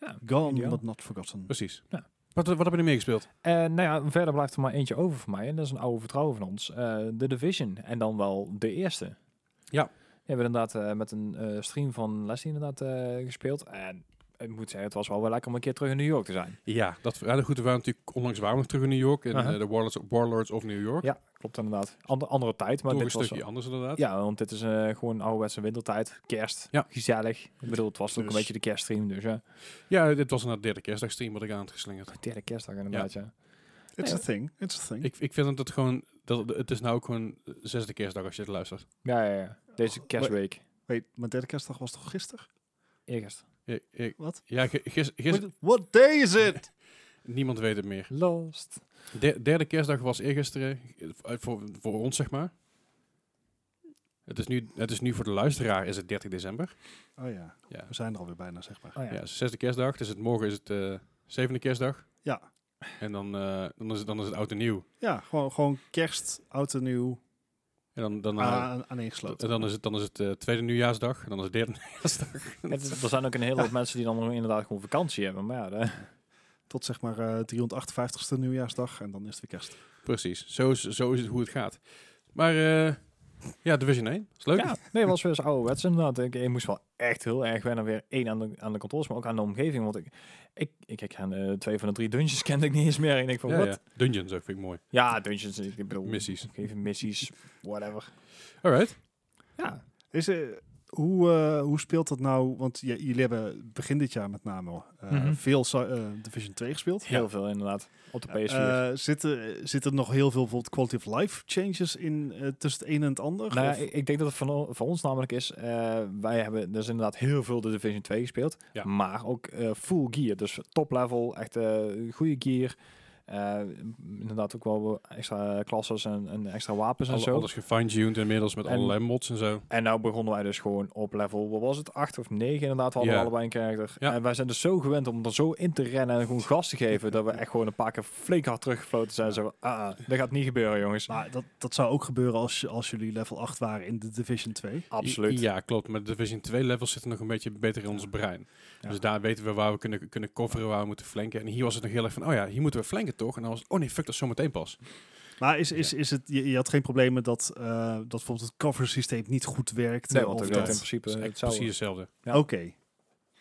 Speaker 3: Ja.
Speaker 2: Gone,
Speaker 3: Ideaal.
Speaker 2: but not forgotten.
Speaker 1: Precies.
Speaker 3: Ja.
Speaker 1: Wat, wat heb je nu meegespeeld?
Speaker 3: En nou ja, verder blijft er maar eentje over voor mij. En dat is een oude vertrouwen van ons. eh The Division. En dan wel de eerste.
Speaker 1: Ja.
Speaker 3: Die hebben we inderdaad eh, met een eh, stream van Leslie inderdaad eh, gespeeld. En ik moet zeggen, het was wel wel lekker om een keer terug in New York te zijn.
Speaker 1: Ja, dat ja, goed, we waren natuurlijk onlangs waren we nog terug in New York. In
Speaker 3: Aha.
Speaker 1: eh, de Warlords, Warlords of New York.
Speaker 3: Ja, klopt inderdaad. Ander, andere tijd, maar
Speaker 1: Toch een
Speaker 3: dit was
Speaker 1: stukje anders inderdaad.
Speaker 3: Ja, want dit is eh, gewoon ouderwetse wintertijd. Kerst.
Speaker 1: Ja.
Speaker 3: Gezellig. Ik bedoel, het was ook
Speaker 2: Dus-
Speaker 3: een beetje de kerststream. Dus ja,
Speaker 1: Ja, dit was een derde kerstdagstream wat ik aan het geslingerd.
Speaker 3: derde kerstdag inderdaad, ja.
Speaker 2: It's
Speaker 3: Ja.
Speaker 2: a thing. It's a thing.
Speaker 1: Ik, ik vind dat het gewoon, dat, het is nou ook gewoon de zesde kerstdag als je het luistert.
Speaker 3: Ja, ja, ja.
Speaker 1: Oh,
Speaker 3: Deze kerstweek.
Speaker 2: Weet, mijn derde kerstdag was toch gisteren?
Speaker 3: Eergisteren.
Speaker 1: Ik, ik-
Speaker 2: Wat?
Speaker 1: Ja, gi- gis- gis-
Speaker 2: What- What day is it?
Speaker 1: niemand weet het meer.
Speaker 3: Lost.
Speaker 1: De, derde kerstdag was eergisteren, eh, voor, voor ons zeg maar. Het is, nu, het is nu voor de luisteraar is het 30 december.
Speaker 2: Oh ja,
Speaker 1: Ja,
Speaker 2: we zijn er alweer bijna, zeg maar.
Speaker 3: Oh ja.
Speaker 1: ja het is de zesde kerstdag, dus het, morgen is het eh, zevende kerstdag.
Speaker 2: Ja,
Speaker 1: En dan, eh, dan, is het, dan is het oud en nieuw.
Speaker 2: ja gewoon, gewoon kerst, oud en nieuw,
Speaker 1: En dan, dan, eh,
Speaker 2: aan,
Speaker 1: en
Speaker 2: aaneengesloten.
Speaker 1: dan is het, dan is het eh, tweede nieuwjaarsdag. En dan is het derde nieuwjaarsdag.
Speaker 3: Het is- er zijn ook een hele hoop mensen die dan nog inderdaad gewoon vakantie hebben. Maar ja, de-
Speaker 2: Tot zeg maar eh 358ste nieuwjaarsdag en dan is het weer kerst.
Speaker 1: Precies, zo is, zo is het hoe het gaat. Maar eh ja, Division 1, is leuk.
Speaker 3: ja, nee, was weer eens ouderwets inderdaad. Ik, ik moest wel echt heel erg wennen weer één aan de, aan de controles, maar ook aan de omgeving. Want ik, ik, ik, ik aan eh, twee van de drie dungeons kende ik niet eens meer. En ik denk van,
Speaker 1: Ja,
Speaker 3: wat?
Speaker 1: ja.
Speaker 3: Ja.
Speaker 1: Dungeons ook vind ik mooi.
Speaker 3: dungeons. Ik bedoel,
Speaker 1: Missies.
Speaker 3: Even missies, whatever.
Speaker 1: Alright.
Speaker 3: Ja,
Speaker 2: Is, eh, hoe, eh, hoe speelt dat nou? Want j- jullie hebben begin dit jaar met name eh,
Speaker 3: Mhm.
Speaker 2: veel Sa- eh, Division 2 gespeeld.
Speaker 3: heel veel inderdaad. Op de PS4.
Speaker 2: Eh, zitten, zitten nog heel veel bijvoorbeeld quality of life changes in eh, tussen het een en het ander?
Speaker 3: Nou ja,
Speaker 2: Of-
Speaker 3: ik, ik denk dat het van, o- van ons namelijk is, eh, wij hebben dus inderdaad heel veel de Division 2 gespeeld,
Speaker 1: Ja.
Speaker 3: maar ook eh, full gear, dus top level, echt eh, goede gear. Eh, m- inderdaad ook wel wel extra klasses en, en extra wapens en
Speaker 1: Alle-
Speaker 3: zo.
Speaker 1: alles gefine-tuned inmiddels met
Speaker 3: En-
Speaker 1: allerlei mods en zo.
Speaker 3: En nou begonnen wij dus gewoon op level, wat was het, 8 of 9 inderdaad, we hadden
Speaker 1: Ja.
Speaker 3: allebei een karakter.
Speaker 1: Ja.
Speaker 3: En wij zijn dus zo gewend om er zo in te rennen en gewoon gas te geven, dat we echt gewoon een paar keer flink hard teruggefloten zijn. Zo, van, ah, dat gaat niet gebeuren jongens.
Speaker 2: Maar dat, dat zou ook gebeuren als, je- als jullie level 8 waren in de Division 2.
Speaker 3: Absoluut.
Speaker 1: Ja, klopt. Maar de Division 2 levels zitten nog een beetje beter in ons brein.
Speaker 3: Ja.
Speaker 1: Dus daar weten we waar we kunnen, kunnen coveren, waar we moeten flanken. En hier was het nog heel erg van, oh ja, hier moeten we flanken toch? En dan was het, oh nee, fuck, dat is zometeen pas.
Speaker 2: Maar is, is, is het, je, je had geen problemen dat, eh, dat bijvoorbeeld het cover systeem niet goed werkt?
Speaker 3: Nee, want
Speaker 2: of
Speaker 3: dat
Speaker 1: dat-
Speaker 3: werkt in principe
Speaker 1: Dat is
Speaker 3: het
Speaker 1: eigenlijk
Speaker 3: zou.
Speaker 1: precies hetzelfde.
Speaker 3: ja.
Speaker 2: Oké.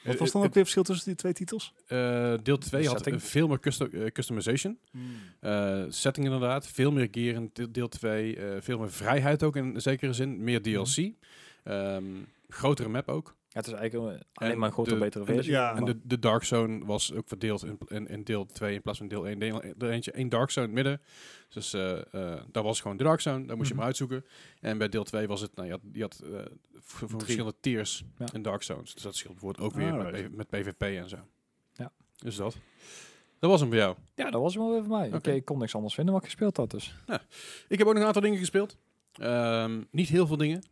Speaker 2: Wat
Speaker 1: Eh,
Speaker 2: was dan ook
Speaker 1: het-
Speaker 2: weer het verschil tussen die twee titels?
Speaker 1: eh, deel 2 had
Speaker 3: setting?
Speaker 1: eh, veel meer custo- eh, customization. Eh, setting inderdaad, veel meer gear in de- deel 2, eh, veel meer vrijheid ook in zekere zin, meer
Speaker 3: Mhm.
Speaker 1: DLC, Ehm, grotere map ook.
Speaker 3: Ja, het is eigenlijk eh,
Speaker 1: En
Speaker 3: alleen maar een grote
Speaker 1: de-
Speaker 3: betere
Speaker 2: en de-
Speaker 3: versie.
Speaker 2: ja.
Speaker 1: En de, de Dark Zone was ook verdeeld in, in, in deel 2 in plaats van deel 1. Deel, er eentje één Dark Zone in het midden. Dus eh eh, dat was gewoon de Dark Zone. Daar moest je
Speaker 3: Mhm.
Speaker 1: hem uitzoeken. En bij deel 2 was het, nou, je had, je had eh, v- voor verschillende tiers
Speaker 3: Ja. Ah,
Speaker 1: in Dark Zones. Dus dat scheelt bijvoorbeeld ook weer met,
Speaker 2: Alright.
Speaker 1: P- met PvP en zo.
Speaker 3: Ja.
Speaker 1: Dus dat. Dat was hem voor jou.
Speaker 3: Ja, dat was hem wel weer voor mij. Oké,
Speaker 1: Oké.
Speaker 3: ik eh, kon niks anders vinden wat ik gespeeld had dus.
Speaker 1: Ik heb ook nog een aantal dingen gespeeld. Ehm, niet heel veel dingen.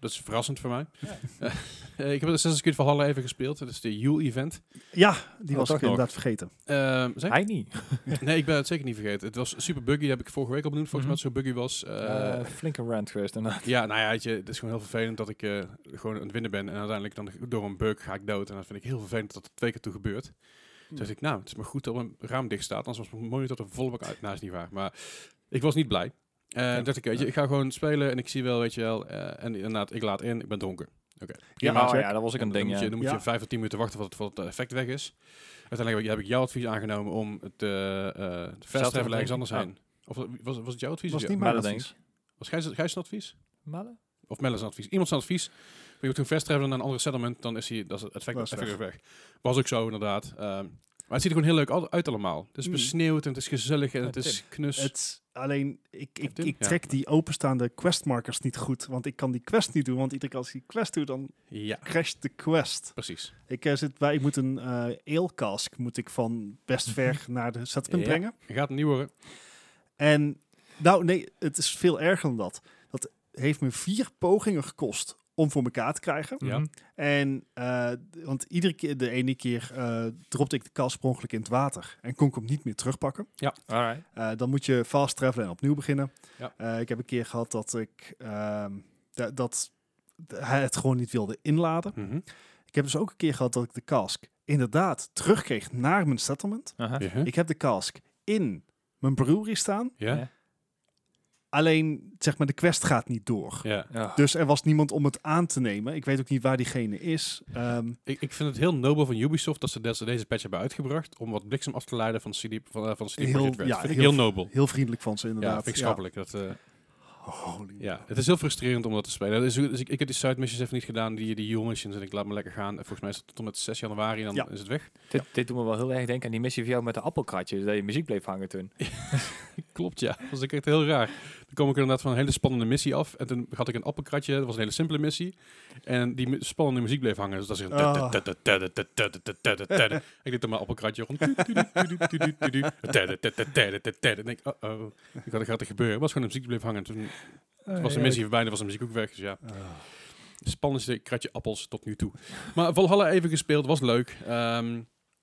Speaker 1: Dat is verrassend voor mij. Eh, ik heb de Assassin's Creed Valhalla even gespeeld. Dat is de Yule-event.
Speaker 2: Ja, die
Speaker 3: Oh,
Speaker 2: was
Speaker 3: toch
Speaker 2: ik
Speaker 1: nog.
Speaker 2: inderdaad vergeten.
Speaker 1: Ehm zeg?
Speaker 3: Hij niet.
Speaker 1: Nee, ik ben het zeker niet vergeten. Het was super buggy, heb ik vorige week al benoemd, volgens mij dat het zo buggy was. Eh,
Speaker 3: Eh, flinke rant geweest daarna.
Speaker 1: ja, nou ja, weet je, het is gewoon heel vervelend dat ik eh, gewoon aan het winnen ben en uiteindelijk dan door een bug ga ik dood. En dat vind ik heel vervelend dat dat twee keer toe gebeurt. Toen dacht ik, nou, het is maar goed dat mijn raam dicht staat, anders was mijn monitor er volle bak uit. Nou, is niet waar, maar ik was niet blij. Eh
Speaker 2: Ja.
Speaker 1: dacht ik, weet je, ik ga gewoon spelen en ik zie wel, weet je wel, eh, en inderdaad, ik laat in, ik ben dronken. Oké.
Speaker 2: Ja,
Speaker 1: prima.
Speaker 3: oh,
Speaker 2: check.
Speaker 3: ja, dat was ook een
Speaker 1: En dan
Speaker 3: ding.
Speaker 1: moet je,
Speaker 3: ja.
Speaker 1: dan moet je
Speaker 2: eh, Ja.
Speaker 1: vijf of tien minuten wachten voordat het, het effect weg is. Uiteindelijk heb ik- heb ik jouw advies aangenomen om het eh eh, de fast
Speaker 3: te
Speaker 1: travel ergens
Speaker 3: verdenken.
Speaker 1: anders
Speaker 3: Ja.
Speaker 1: heen. Of was, was het jouw advies?
Speaker 2: Ah.
Speaker 1: of
Speaker 2: Was
Speaker 1: jou?
Speaker 2: niet mijn
Speaker 3: Maar dat
Speaker 2: advies.
Speaker 1: was Gijs, Gijs zijn advies?
Speaker 3: Malen?
Speaker 1: Of Melle zijn advies? Iemand zijn advies. Maar je moet toen fast travelen naar een andere settlement, dan is hij, dat is het effect,
Speaker 2: Dat is
Speaker 1: effect weer weg. Was ook zo inderdaad. Ehm, Maar het ziet er gewoon heel leuk al- uit allemaal. Het is
Speaker 2: Mm.
Speaker 1: besneeuwd en het is gezellig en Hmm. het is knus.
Speaker 2: Het, is- alleen, ik, ik,
Speaker 1: Tim?
Speaker 2: ik
Speaker 1: Dus- Ja.
Speaker 2: trek die openstaande questmarkers niet goed. Want ik kan die quest niet doen. Want iedere keer als ik die quest doe, dan
Speaker 1: Ja,
Speaker 2: crasht de quest.
Speaker 1: precies.
Speaker 2: Ik, eh, zit bij, ik moet een eh eelkask moet ik van best ver naar de settlement
Speaker 1: Mhm. Ja.
Speaker 2: brengen.
Speaker 1: Je gaat het niet horen.
Speaker 2: En nou nee, het is veel erger dan dat. Dat heeft me vier pogingen gekost om voor elkaar te krijgen.
Speaker 1: Ja.
Speaker 3: Mhm.
Speaker 2: En, eh, d- want iedere keer, de ene keer eh dropte ik de kast per ongeluk in het water. En kon ik hem niet meer terugpakken.
Speaker 3: Alright.
Speaker 2: Eh, dan moet je fast travelen en opnieuw beginnen.
Speaker 1: Ja.
Speaker 2: Eh, ik heb een keer gehad dat ik ehm, da- dat hij het gewoon niet wilde inladen.
Speaker 1: Mhm.
Speaker 2: Ik heb dus ook een keer gehad dat ik de kask inderdaad terugkreeg naar mijn settlement.
Speaker 3: Aha.
Speaker 1: Ja.
Speaker 2: Ik heb de kask in mijn brewery staan.
Speaker 1: Ja.
Speaker 2: Alleen zeg maar de quest gaat niet door.
Speaker 1: ja.
Speaker 3: Ja.
Speaker 2: Dus er was niemand om het aan te nemen. Ik weet ook niet waar diegene is. Ehm,
Speaker 1: Ik, ik vind het heel nobel van Ubisoft dat ze des- deze patch hebben uitgebracht om wat bliksem af te leiden van CD, van, eh, van CD
Speaker 2: Heel-
Speaker 1: Projekt Red.
Speaker 2: ja,
Speaker 1: Vind ik
Speaker 2: heel-
Speaker 1: heel, nobel.
Speaker 2: heel vriendelijk van ze
Speaker 1: Ja,
Speaker 2: inderdaad.
Speaker 1: vind ik schappelijk. Dat, eh,
Speaker 2: Holy
Speaker 1: ja. Het is heel frustrerend om dat te spelen. Dus, dus ik, ik heb die side missions even niet gedaan, die, die heel missions, en ik laat me lekker gaan. En volgens mij is het tot en met 6 januari en dan
Speaker 2: Ja.
Speaker 1: is het weg.
Speaker 3: Dit, dit doet me wel heel erg denken aan die missie van jou met de appelkratjes, dat je muziek bleef hangen toen.
Speaker 1: Klopt, ja. Dat was ik echt heel raar. Dan kwam ik inderdaad van een hele spannende missie af. En toen had ik een appelkratje. Dat was een hele simpele missie. En die mu- spannende muziek bleef hangen. Dus dat is
Speaker 2: Ah.
Speaker 1: een... Ik deed dan mijn appelkratje rond. En ik, oh-oh. Ik had gaat er gebeuren. Het was gewoon de muziek die bleef hangen. Toen was de missie voorbij en toen was de muziek ook weg. Dus ja,
Speaker 2: Oh, Ah.
Speaker 1: spannendste kratje appels tot nu toe. Maar Valhalla even gespeeld, was leuk. Ehm,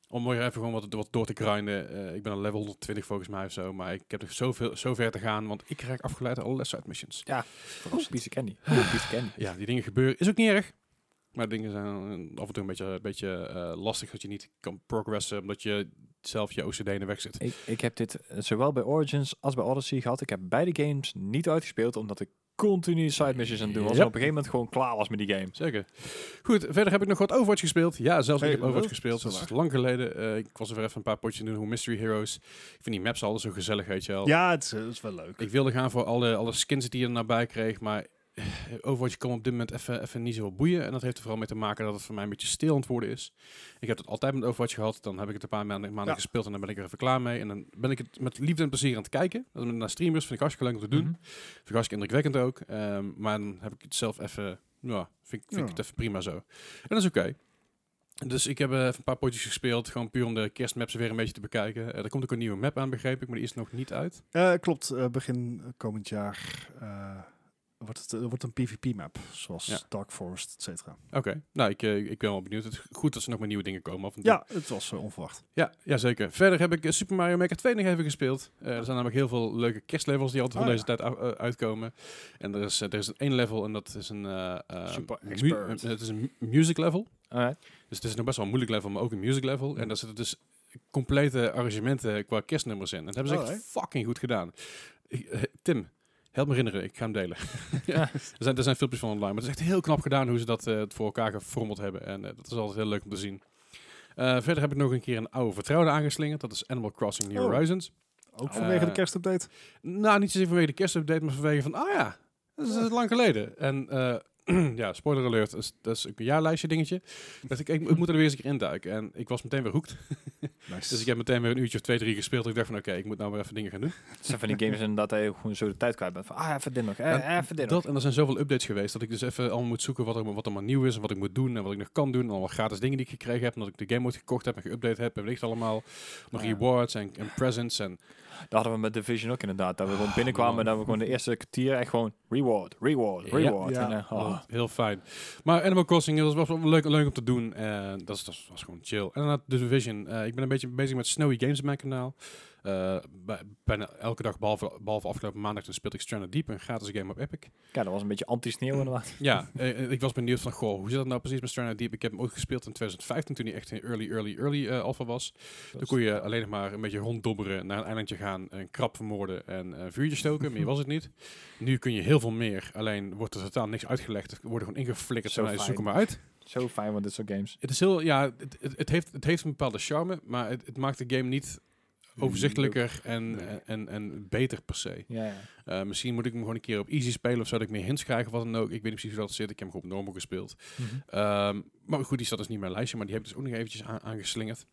Speaker 1: om weer even gewoon wat, wat door te grinden. Eh, ik ben al level 120 volgens mij of zo. Maar ik heb er zoveel, zo ver te gaan, want ik krijg afgeleid uit alle side missions.
Speaker 3: Verrassend. Oh, Piece of candy. Oeh, piece of candy.
Speaker 1: Ja, die dingen gebeuren. Is ook niet erg. Maar dingen zijn af en toe een beetje, een beetje eh, lastig dat je niet kan progressen. Omdat je zelf je OCD in de weg zit.
Speaker 3: Ik, ik heb dit eh, zowel bij Origins als bij Odyssey gehad. Ik heb beide games niet uitgespeeld, omdat ik continu side missions aan het doen was.
Speaker 1: Yep.
Speaker 3: En op een gegeven moment gewoon klaar was met die game.
Speaker 1: Zeker. Goed, verder heb ik nog wat Overwatch gespeeld. Ja, zelfs
Speaker 2: Hey,
Speaker 1: ik heb Overwatch
Speaker 2: wat?
Speaker 1: gespeeld.
Speaker 2: Zo
Speaker 1: Dat is lang geleden. Eh, ik was er weer even een paar potjes in doen. Hoe Mystery Heroes. Ik vind die maps altijd zo gezellig, weet je wel.
Speaker 2: Ja, het is, het is wel leuk.
Speaker 1: Ik wilde gaan voor alle, alle skins die je er nabij kreeg, maar eh, Overwatch kwam op dit moment even, even niet zo boeien. En dat heeft er vooral mee te maken dat het voor mij een beetje stil aan het worden is. Ik heb het altijd met Overwatch gehad, dan heb ik het een paar maanden, maanden
Speaker 2: Ja.
Speaker 1: gespeeld en dan ben ik er even klaar mee. En dan ben ik het met liefde en plezier aan het kijken. Dat met naar streamers vind ik hartstikke leuk om te doen.
Speaker 3: Mhm.
Speaker 1: Vind ik hartstikke indrukwekkend ook. Ehm, maar dan heb ik het zelf even... Ja, vind, ik- vind
Speaker 2: Ja.
Speaker 1: ik het even prima zo. En dat is oké. Dus ik heb eh, even een paar potjes gespeeld. Gewoon puur om de kerstmaps weer een beetje te bekijken. Eh, er komt ook een nieuwe map aan, begreep ik. Maar die is er nog niet uit.
Speaker 2: Eh, klopt, eh, begin komend jaar eh, wordt het eh, wordt een PvP-map, zoals
Speaker 1: Ja.
Speaker 2: Dark Forest, et cetera.
Speaker 1: Oké, nou, ik, eh, ik ben wel benieuwd. Het is goed dat ze nog met nieuwe dingen komen. af en toe.
Speaker 2: Ja, het was eh, onverwacht.
Speaker 1: ja, ja, zeker. Verder heb ik eh, Super Mario Maker 2 nog even gespeeld. Eh, er zijn namelijk heel veel leuke kerstlevels die altijd
Speaker 3: Oh
Speaker 2: Ah,
Speaker 1: van deze tijd af- eh, uitkomen. En er is, eh, er is één level en dat is een... eh, eh,
Speaker 3: Super
Speaker 1: mu-
Speaker 3: expert.
Speaker 1: eh, het is een mu- music level.
Speaker 3: Alright.
Speaker 1: Dus het is nog best wel een moeilijk level, maar ook een music level. En daar zitten dus complete arrangementen qua kerstnummers in. En dat hebben ze echt
Speaker 2: Alright.
Speaker 1: fucking goed gedaan. Ik- eh, Tim, help me herinneren. Ik ga hem delen. ja. er, zijn, er zijn filmpjes van online, maar het is echt heel knap gedaan hoe ze dat eh, voor elkaar gefrommeld hebben. En eh, dat is altijd heel leuk om te zien. Eh, verder heb ik nog een keer een oude vertrouwde aangeslingerd. Dat is Animal Crossing New
Speaker 2: Oh.
Speaker 1: Horizons.
Speaker 2: Ook
Speaker 1: Eh,
Speaker 2: vanwege de kerstupdate.
Speaker 1: Nou, niet zozeer vanwege de kerstupdate, maar vanwege van, ah ja, dat is eh, lang geleden. En eh, ja, spoiler alert, dat is, dat is ook een jaarlijstje dingetje. Dat ik, ik, ik moet er weer eens een keer induiken. En ik was meteen weer hoekt.
Speaker 2: Nice.
Speaker 1: Dus ik heb meteen weer een uurtje of twee, drie gespeeld. Ik dacht van, oké, ik moet nou weer even dingen gaan doen.
Speaker 3: Het zijn van die games inderdaad dat je gewoon zo de tijd kwijt bent. Van, ah, even dit nog, eh,
Speaker 1: Ja,
Speaker 3: even dit nog.
Speaker 1: Dat, en er zijn zoveel updates geweest dat ik dus even allemaal moet zoeken wat er, wat er maar nieuw is en wat ik moet doen en wat ik nog kan doen. En allemaal gratis dingen die ik gekregen heb, omdat ik de game ooit gekocht heb en geüpdate heb en weet ik het allemaal. Maar
Speaker 3: Ja.
Speaker 1: rewards en, en presents en
Speaker 3: Dat hadden we met Division ook inderdaad. Dat we gewoon
Speaker 1: man.
Speaker 3: binnenkwamen en dat we gewoon de eerste kwartier echt gewoon reward, reward,
Speaker 1: Ja.
Speaker 3: reward.
Speaker 2: Ja.
Speaker 3: En, eh, oh.
Speaker 1: Oh, heel fijn. Maar Animal Crossing dat was wel leuk, leuk om te doen. En dat, is, dat was gewoon chill. En dan The Division. Eh, ik ben een beetje bezig met Snowy Games op mijn kanaal. Eh, bij- bijna elke dag, behalve, behalve afgelopen maandag, dan speelde ik Stranded Deep, een gratis game op Epic.
Speaker 3: Ja, dat was een beetje anti-sneeuw inderdaad.
Speaker 1: ja, eh, ik was benieuwd van, goh, hoe zit dat nou precies met Stranded Deep? Ik heb hem ook gespeeld in 2015, toen hij echt in early, early, early eh, alpha was. Dan kon je alleen nog maar een beetje ronddobberen, naar een eilandje gaan, een krab vermoorden en eh vuurtje stoken. Meer was het niet. Nu kun je heel veel meer, alleen wordt er totaal niks uitgelegd. Er worden gewoon ingeflikkerd,
Speaker 3: Zo
Speaker 1: van, hey,
Speaker 3: fijn.
Speaker 1: zoek hem maar uit.
Speaker 3: Zo fijn van dit soort games.
Speaker 1: Het is heel, ja, het, het, het heeft, het heeft een bepaalde charme, maar het, het maakt de game niet overzichtelijker en,
Speaker 3: Mm, Nee.
Speaker 1: en, en, beter per se.
Speaker 3: Ja, ja.
Speaker 1: Eh, misschien moet ik hem gewoon een keer op easy spelen of zou ik meer hints krijgen of wat dan ook. Ik weet niet precies hoe dat zit. Ik heb hem gewoon op normal
Speaker 3: Mhm.
Speaker 1: gespeeld. Ehm, maar goed, die staat dus niet in mijn lijstje, maar die heb ik dus ook nog eventjes aan- aangeslingerd.